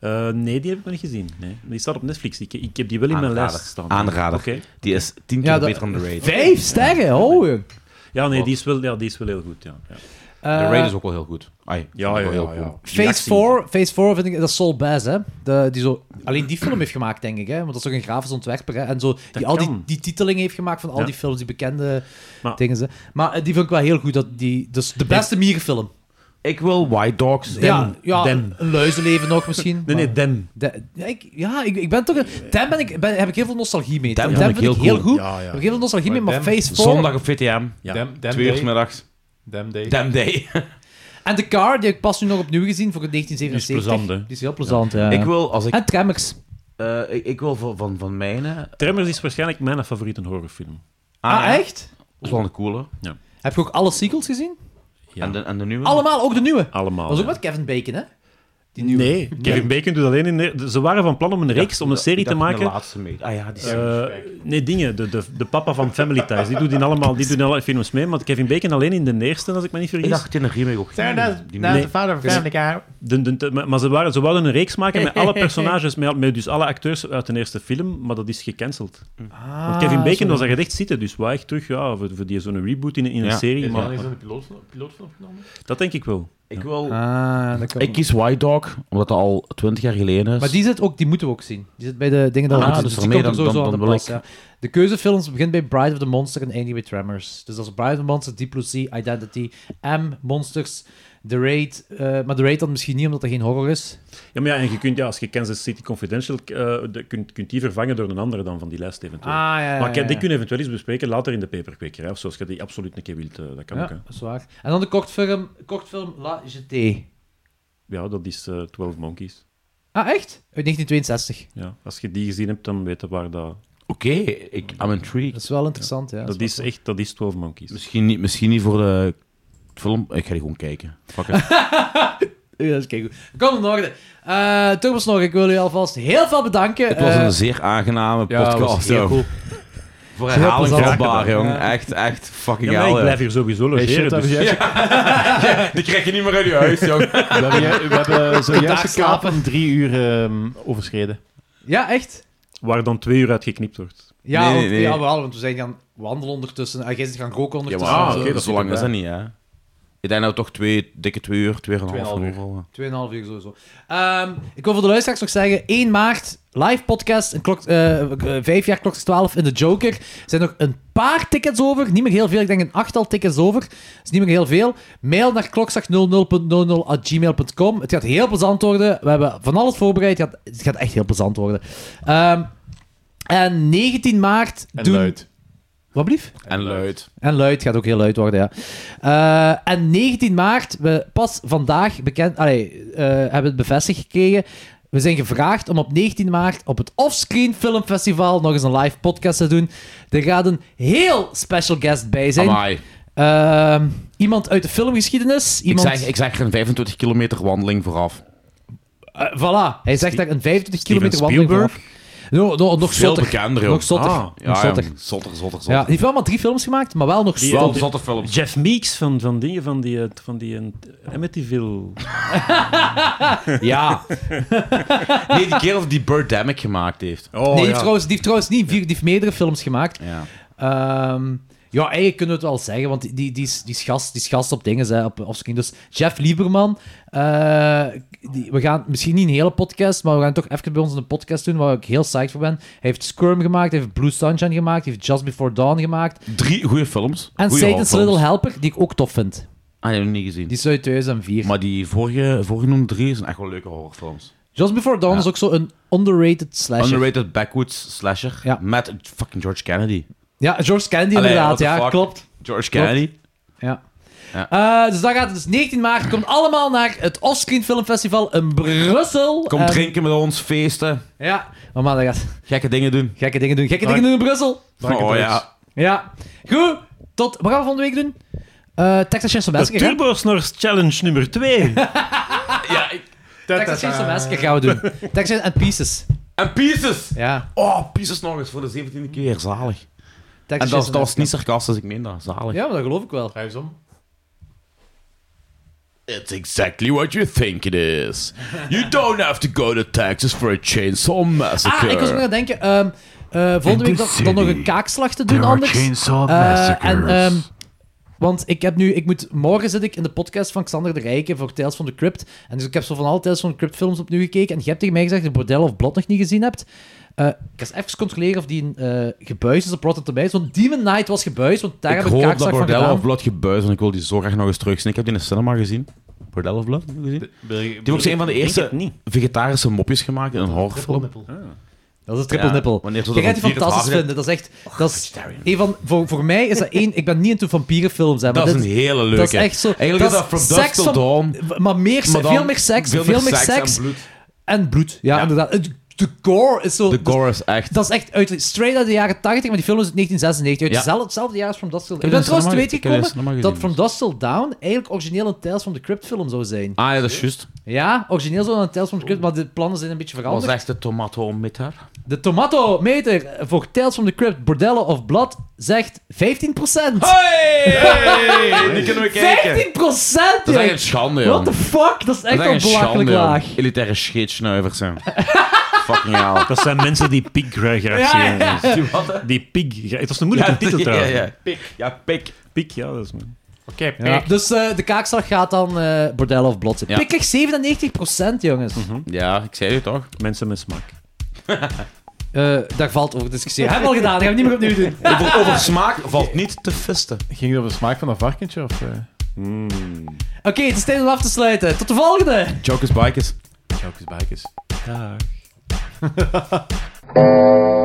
Speaker 6: Eh, nee, die heb ik nog niet gezien. Nee. Die staat op Netflix. Ik, ik heb die wel in mijn
Speaker 5: Aanrader.
Speaker 6: lijst staan.
Speaker 5: Aanrader.
Speaker 6: Oké.
Speaker 5: Die is tien keer
Speaker 2: Ja, dat-
Speaker 5: beter dan The Raid.
Speaker 2: Vijf sterren, oh. joh.
Speaker 6: Ja, nee, die is wel, ja, die is wel heel goed. Ja, ja.
Speaker 5: The
Speaker 2: Eh,
Speaker 5: Raid is ook wel heel goed. Ai,
Speaker 6: ja, ja,
Speaker 5: wel heel
Speaker 6: ja,
Speaker 5: cool.
Speaker 6: ja. Die
Speaker 2: Phase
Speaker 6: actie-
Speaker 2: 4, Phase 4 vind ik, dat is Saul Bass, hè. De, die zo, alleen die film heeft gemaakt, denk ik, hè. Want dat is ook een grafisch ontwerper, hè. En zo, die al die,
Speaker 6: kan.
Speaker 2: die titeling heeft gemaakt van al
Speaker 6: Ja.
Speaker 2: die films, die bekende
Speaker 6: Maar-
Speaker 2: dingen. Hè. Maar eh, die vond ik wel heel goed. Dat die, dus de beste mierenfilm.
Speaker 5: Ik wil White Dogs.
Speaker 2: ja, ja
Speaker 6: Dem.
Speaker 2: een luizenleven nog misschien.
Speaker 6: Nee, nee,
Speaker 2: maar-
Speaker 6: Dem.
Speaker 2: De- ja, ik, ja, ik, ik ben toch... Een, Dem ben ik, ben, heb ik heel veel nostalgie mee.
Speaker 5: Dem
Speaker 2: Dem
Speaker 5: vond
Speaker 2: vind
Speaker 5: ik
Speaker 2: ik
Speaker 5: heel
Speaker 2: heel,
Speaker 5: cool.
Speaker 2: goed.
Speaker 4: Ja, ja.
Speaker 2: Heb ik heel veel nostalgie
Speaker 4: Maar
Speaker 2: mee, maar
Speaker 4: Dem-
Speaker 2: Phase 4...
Speaker 5: Zondag op VTM.
Speaker 6: Ja.
Speaker 4: Damn, damn
Speaker 5: Twee uur 's
Speaker 4: day.
Speaker 5: middags.
Speaker 4: Damn day.
Speaker 5: Damn day.
Speaker 2: En de car, die heb ik pas nu nog opnieuw gezien voor 1977.
Speaker 6: Die is plezant, hè?
Speaker 2: Die is heel plezant, ja.
Speaker 5: Ik wil, als ik,
Speaker 2: En Tremors.
Speaker 5: eh, ik, ik wil van, van, van mijn... eh,
Speaker 6: Tremors is waarschijnlijk mijn favoriete horrorfilm.
Speaker 2: Ah,
Speaker 5: ja.
Speaker 2: echt?
Speaker 5: Dat is wel een coole.
Speaker 2: Heb je ook alle sequels gezien?
Speaker 6: Ja.
Speaker 5: En, de, en de nieuwe?
Speaker 2: Allemaal, ook de nieuwe.
Speaker 6: Allemaal.
Speaker 2: Dat was ook met
Speaker 6: ja.
Speaker 2: Kevin Bacon, hè?
Speaker 6: Nee, Kevin Bacon doet alleen in... de- Ze waren van plan om een reeks, om een serie
Speaker 5: Ik
Speaker 6: te
Speaker 5: dacht
Speaker 6: maken.
Speaker 5: De laatste mee. Ah ja, die is...
Speaker 6: Eh, nee, dingen. De, de, de papa van Family Ties. Die doet in allemaal die doen in alle films mee. Maar Kevin Bacon alleen in de eerste, als ik me niet
Speaker 5: ik
Speaker 6: vergis.
Speaker 5: dacht in een remake ook. Die
Speaker 6: Nee.
Speaker 5: nieuwe.
Speaker 4: vader van Family Guy.
Speaker 6: De- de- de- maar maar ze, waren, ze wilden een reeks maken met alle personages, met, met dus alle acteurs uit de eerste film, maar dat is gecanceld.
Speaker 5: Mm.
Speaker 2: Ah,
Speaker 6: Want Kevin Bacon was er echt zitten, dus waar echt terug ja, voor, voor die zo'n reboot in, in een
Speaker 5: Ja.
Speaker 6: serie.
Speaker 4: Is
Speaker 6: Maar,
Speaker 4: er een pilootfilm pilootfilm opgenomen?
Speaker 6: dat denk ik wel.
Speaker 5: Ik wil...
Speaker 2: Ah, dat kan.
Speaker 5: Ik kies White Dog, omdat dat al 20 jaar geleden is.
Speaker 2: Maar die, zit ook, die moeten we ook zien. Die zit bij de dingen dat we
Speaker 5: Ah,
Speaker 2: moeten
Speaker 5: dus
Speaker 2: zien.
Speaker 5: daarmee
Speaker 2: die komt ook
Speaker 5: dan-
Speaker 2: sowieso
Speaker 5: dan-
Speaker 2: aan de
Speaker 5: dan
Speaker 2: pas,
Speaker 5: wil
Speaker 2: ja. De keuzefilms begint bij Bride of the Monster en eindigt bij Tremors. Dus dat is Bride of the Monster, Deep Blue Sea, Identity, M, Monsters, The Raid. eh, maar The Raid dan misschien niet, omdat dat geen horror is.
Speaker 6: Ja, maar ja, en je kunt, ja, als je Kansas City Confidential, eh, de- kunt, kunt die vervangen door een andere dan van die lijst eventueel.
Speaker 2: ja, ja,
Speaker 6: maar ik-
Speaker 2: ja, ja.
Speaker 6: die kunnen we eventueel eens bespreken later in de paperkwekerij, of zoals je die absoluut een keer wilt, eh, dat kan ook. Hè.
Speaker 2: Ja, dat is waar. En dan de kortfilm, kortfilm La Jetée.
Speaker 6: Ja, dat is eh 12 Monkeys.
Speaker 2: Ah, echt? Uit 1962.
Speaker 6: Ja. Als je die gezien hebt, dan weet je waar dat...
Speaker 5: Oké, ik I'm intrigued.
Speaker 2: Dat is wel interessant, ja.
Speaker 6: dat is echt, dat is 12 Monkeys.
Speaker 5: Misschien niet, misschien niet voor de film. Ik ga die gewoon kijken. Fuck it.
Speaker 2: Ja, dat is keigoed. Kom in orde. Eh Turbo Snor, ik wil u alvast heel veel bedanken.
Speaker 5: Het was
Speaker 2: Eh,
Speaker 5: een zeer aangename
Speaker 2: ja, het was
Speaker 5: podcast.
Speaker 2: heel
Speaker 5: zo.
Speaker 2: cool.
Speaker 5: Voor
Speaker 2: Heel
Speaker 5: herhaling
Speaker 2: plezant.
Speaker 5: vatbaar,
Speaker 2: Ja.
Speaker 5: jong. Echt, echt fucking
Speaker 6: Ja, maar ik
Speaker 5: hell.
Speaker 6: blijf hier sowieso
Speaker 4: Hey, shit,
Speaker 6: logeren,
Speaker 4: dat
Speaker 6: dus-
Speaker 4: was juist-
Speaker 5: Die krijg je niet meer uit je huis, jong.
Speaker 4: We hebben, ju- we hebben
Speaker 2: Dag
Speaker 4: zojuist de kaap
Speaker 2: slapen.
Speaker 4: van drie uur ehm, overschreden.
Speaker 2: Ja, echt?
Speaker 6: waar dan twee uur uit geknipt wordt.
Speaker 2: Ja,
Speaker 5: Nee, nee,
Speaker 2: want,
Speaker 5: nee.
Speaker 2: ja wel, want we zijn gaan wandelen ondertussen. En jij zit gaan roken
Speaker 5: Ja,
Speaker 2: ondertussen.
Speaker 5: maar ah,
Speaker 2: en
Speaker 5: oké,
Speaker 2: zo.
Speaker 5: dat zo lang is dat niet, hè. Ik denk nou toch twee, dikke twee uur, tweeënhalf uur. al.
Speaker 2: Tweeënhalf uur sowieso. Ehm, ik wil voor de luisteraars nog zeggen: 1 maart, live podcast, een klok, eh, eh, vijf jaar klok 12 in de Joker. Er zijn nog een paar tickets over. Niet meer heel veel, ik denk een achttal tickets over. Dat is niet meer heel veel. Mail naar klokzak00.00.gmail.com. Het gaat heel plezant worden. We hebben van alles voorbereid. Het gaat, het gaat echt heel plezant worden. Ehm, en 19 maart
Speaker 4: En
Speaker 2: doen...
Speaker 4: luid.
Speaker 2: Wat blieft?
Speaker 5: En luid.
Speaker 2: En luid, gaat ook heel luid worden, ja. Eh, en 19 maart, we pas vandaag bekend, allee, eh, hebben het bevestigd gekregen. We zijn gevraagd om op 19 maart op het Offscreen Film Festival nog eens een live podcast te doen. Er gaat een heel special guest bij zijn.
Speaker 5: Amai.
Speaker 2: Ehm, iemand uit de filmgeschiedenis.
Speaker 5: Ik
Speaker 2: Iemand,
Speaker 5: zeg, ik zeg een 25 kilometer wandeling vooraf.
Speaker 2: Eh, voilà, hij zegt daar een 25 kilometer wandeling
Speaker 6: Spielberg?
Speaker 2: vanaf. No, no, nog
Speaker 5: Veel
Speaker 2: zotter.
Speaker 5: bekender ook.
Speaker 2: Nog zotter.
Speaker 6: Ah,
Speaker 2: nog
Speaker 5: ja,
Speaker 2: zotter.
Speaker 5: ja, zotter, zotter,
Speaker 2: Ja, die
Speaker 5: zotter.
Speaker 2: heeft wel maar drie films gemaakt, maar wel nog
Speaker 6: Die-
Speaker 2: zotter.
Speaker 5: Wel zotter films.
Speaker 6: Jeff Meeks van, van dingen van die, eh, van die eh, Amityville.
Speaker 2: Ja. Nee,
Speaker 5: Nee, die kerel die Birdemic gemaakt heeft.
Speaker 6: Oh,
Speaker 2: die heeft, trouwens, die heeft trouwens niet vier, die heeft meerdere films gemaakt.
Speaker 5: Ja.
Speaker 2: Ehm, ja, eigenlijk kunnen we het wel zeggen, want die, die, die, is, die, is, gast, die is gast op dingen, hè, op offscreen. Dus Jeff Lieberman, eh, die- we gaan misschien niet een hele podcast, maar we gaan toch even bij ons een podcast doen, waar ik heel psyched voor ben. Hij heeft Squirm gemaakt, hij heeft Blue Sunshine gemaakt, hij heeft Just Before Dawn gemaakt.
Speaker 5: Drie goede films.
Speaker 2: En
Speaker 5: Goeie
Speaker 2: Satan's
Speaker 5: horrorfilms.
Speaker 2: Little Helper, die ik ook tof vind.
Speaker 5: Ah, die heb ik nog niet gezien.
Speaker 2: Die is uit 2004.
Speaker 5: Maar die vorige, voorgenoemde drie zijn echt wel leuke horrorfilms.
Speaker 2: Just Before Dawn
Speaker 5: Ja.
Speaker 2: is ook zo'n underrated slasher.
Speaker 5: Underrated backwoods slasher
Speaker 2: Ja.
Speaker 5: met fucking George Kennedy.
Speaker 2: Ja, George Kennedy
Speaker 5: Allee,
Speaker 2: inderdaad,
Speaker 5: what the
Speaker 2: ja,
Speaker 5: fuck?
Speaker 2: klopt.
Speaker 5: George Kennedy.
Speaker 2: Ja.
Speaker 5: Ja.
Speaker 2: Eh, dus dat gaat het dus 19 maart. Komt allemaal naar het Offscreen Film Festival in Brussel.
Speaker 5: Kom
Speaker 2: En-
Speaker 5: drinken met ons, feesten,
Speaker 2: Ja, maar man, dat gaat
Speaker 5: gekke dingen doen.
Speaker 2: gekke dingen doen. Gekke dingen doen in Brussel.
Speaker 5: Oh ja.
Speaker 2: Ja. Goed. Tot, wat gaan we volgende week doen? Eh Texas Chainsaw
Speaker 6: De
Speaker 2: Massacre. hè?
Speaker 6: Turbo Snors Challenge nummer 2.
Speaker 2: Texas Chainsaw Massacre gaan we doen. Texas and Pieces.
Speaker 5: En Pieces!
Speaker 2: Ja.
Speaker 5: Oh, Pieces nog eens voor de 17e keer, zalig.
Speaker 2: Texas
Speaker 5: En dat,
Speaker 2: Chainsaw
Speaker 5: dat was
Speaker 2: Massacre.
Speaker 5: niet sarcastisch, ik meen dat, zalig.
Speaker 2: Ja, maar dat geloof ik wel.
Speaker 4: Hij is om.
Speaker 5: It's exactly what you think it is. You don't have to go to Texas for a chainsaw
Speaker 2: Ah,
Speaker 5: massacre.
Speaker 2: ik was nog aan het denken. ehm, eh, volgende week dan, dan nog een kaakslag te doen anders. Eh, en, ehm, want ik heb nu, ik moet, morgen zit ik in de podcast van Xander de Rijken voor Tales from the Crypt. En dus ik heb zo van alle Tales from the Crypt films opnieuw gekeken. En je hebt tegen mij gezegd dat je Bordel of Blot nog niet gezien hebt. Eh, ik ga eens even controleren of die eh gebuis is op Rotten Tomatoes. Want Demon Knight was gebuis, want daar
Speaker 5: ik
Speaker 2: heb ik
Speaker 5: hoop dat
Speaker 2: kaakslag van
Speaker 5: Bordello
Speaker 2: gedaan.
Speaker 5: of Blood gebuist, want ik wil die zo graag nog eens terugzien. Ik heb die in de cinema gezien. Bordello of Blood? heb je gezien? Die heeft ook zo een van de eerste vegetarische mopjes gemaakt in een horrorfilm.
Speaker 2: Dat is een triple
Speaker 5: Ja,
Speaker 2: nippel.
Speaker 5: wanneer zo
Speaker 2: Je gaat
Speaker 5: de
Speaker 2: die
Speaker 5: vampier het
Speaker 2: fantastisch
Speaker 5: haar-
Speaker 2: vinden. Dat is echt... Dat
Speaker 5: Oh,
Speaker 2: is, een van, voor, voor mij is dat één... Ik ben niet into vampierenfilms, hè, maar
Speaker 5: Dat is
Speaker 2: dit-
Speaker 5: een hele leuke.
Speaker 2: dat is echt zo...
Speaker 5: Eigenlijk is dat From Dusk
Speaker 2: seks
Speaker 5: Till
Speaker 2: van-
Speaker 5: Dawn.
Speaker 2: Maar, meer,
Speaker 5: maar dan
Speaker 2: veel meer seks, veel, meer seks.
Speaker 5: en bloed.
Speaker 2: En bloed, ja,
Speaker 5: Ja.
Speaker 2: inderdaad. Het- De gore is zo...
Speaker 5: De gore is echt...
Speaker 2: Oh, Dat is echt uit, straight uit de jaren 80, maar die film is uit 1996. Uit
Speaker 5: Ja.
Speaker 2: dezelfde- hetzelfde jaar als From Dusk Till Dawn.
Speaker 5: heb
Speaker 2: Ik ben
Speaker 5: die in
Speaker 2: trouwens te
Speaker 5: de
Speaker 2: weten
Speaker 5: cinema- ik heb die in de
Speaker 2: gekomen
Speaker 5: cinema
Speaker 2: dat From Dusk Till Dawn eigenlijk origineel een Tales from the Crypt film zou zijn.
Speaker 5: Ah ja, dat is juist.
Speaker 2: Ja, origineel zou een Tales from the Crypt, maar de plannen zijn een beetje
Speaker 5: Wat
Speaker 2: veranderd.
Speaker 5: zegt de tomato met haar?
Speaker 2: De tomatometer voor Tales from the Crypt, Bordello of Blood zegt 15%.
Speaker 5: Hey! Die kunnen we
Speaker 2: 15%!
Speaker 5: Dat is echt
Speaker 2: jong.
Speaker 5: een schande, joh.
Speaker 2: What the fuck? Dat is echt
Speaker 5: Dat
Speaker 2: wel
Speaker 5: is echt een
Speaker 2: belachelijk
Speaker 5: joh.
Speaker 2: laag.
Speaker 5: Elitaire scheetsnuivers zijn. Fucking hell.
Speaker 6: Dat zijn mensen die pig graag graag
Speaker 2: Ja,
Speaker 6: zien.
Speaker 2: ja.
Speaker 6: jongens. Die pig. Het was een moeilijke titel trouwens.
Speaker 5: Ja, ja. Pik. Ja, pik.
Speaker 6: Pig, ja, dat is me.
Speaker 4: Oké,
Speaker 2: Ja. Dus eh, de kaakslag gaat dan eh Bordello of Blot.
Speaker 5: Ja.
Speaker 2: Ik Pikkig 97%, jongens.
Speaker 5: Ja, ik zei het toch.
Speaker 6: Mensen met smaak.
Speaker 2: Eh, daar valt over te discussiëren. Hebben we al gedaan, dat gaan we niet meer opnieuw doen.
Speaker 5: Over, over smaak valt niet te visten.
Speaker 4: Ging het over de smaak van een varkentje? Of, eh?
Speaker 2: Oké, het is tijd om af te sluiten. Tot de volgende!
Speaker 5: Jokers, bikers.
Speaker 4: Chokers, bikers.
Speaker 6: Dag.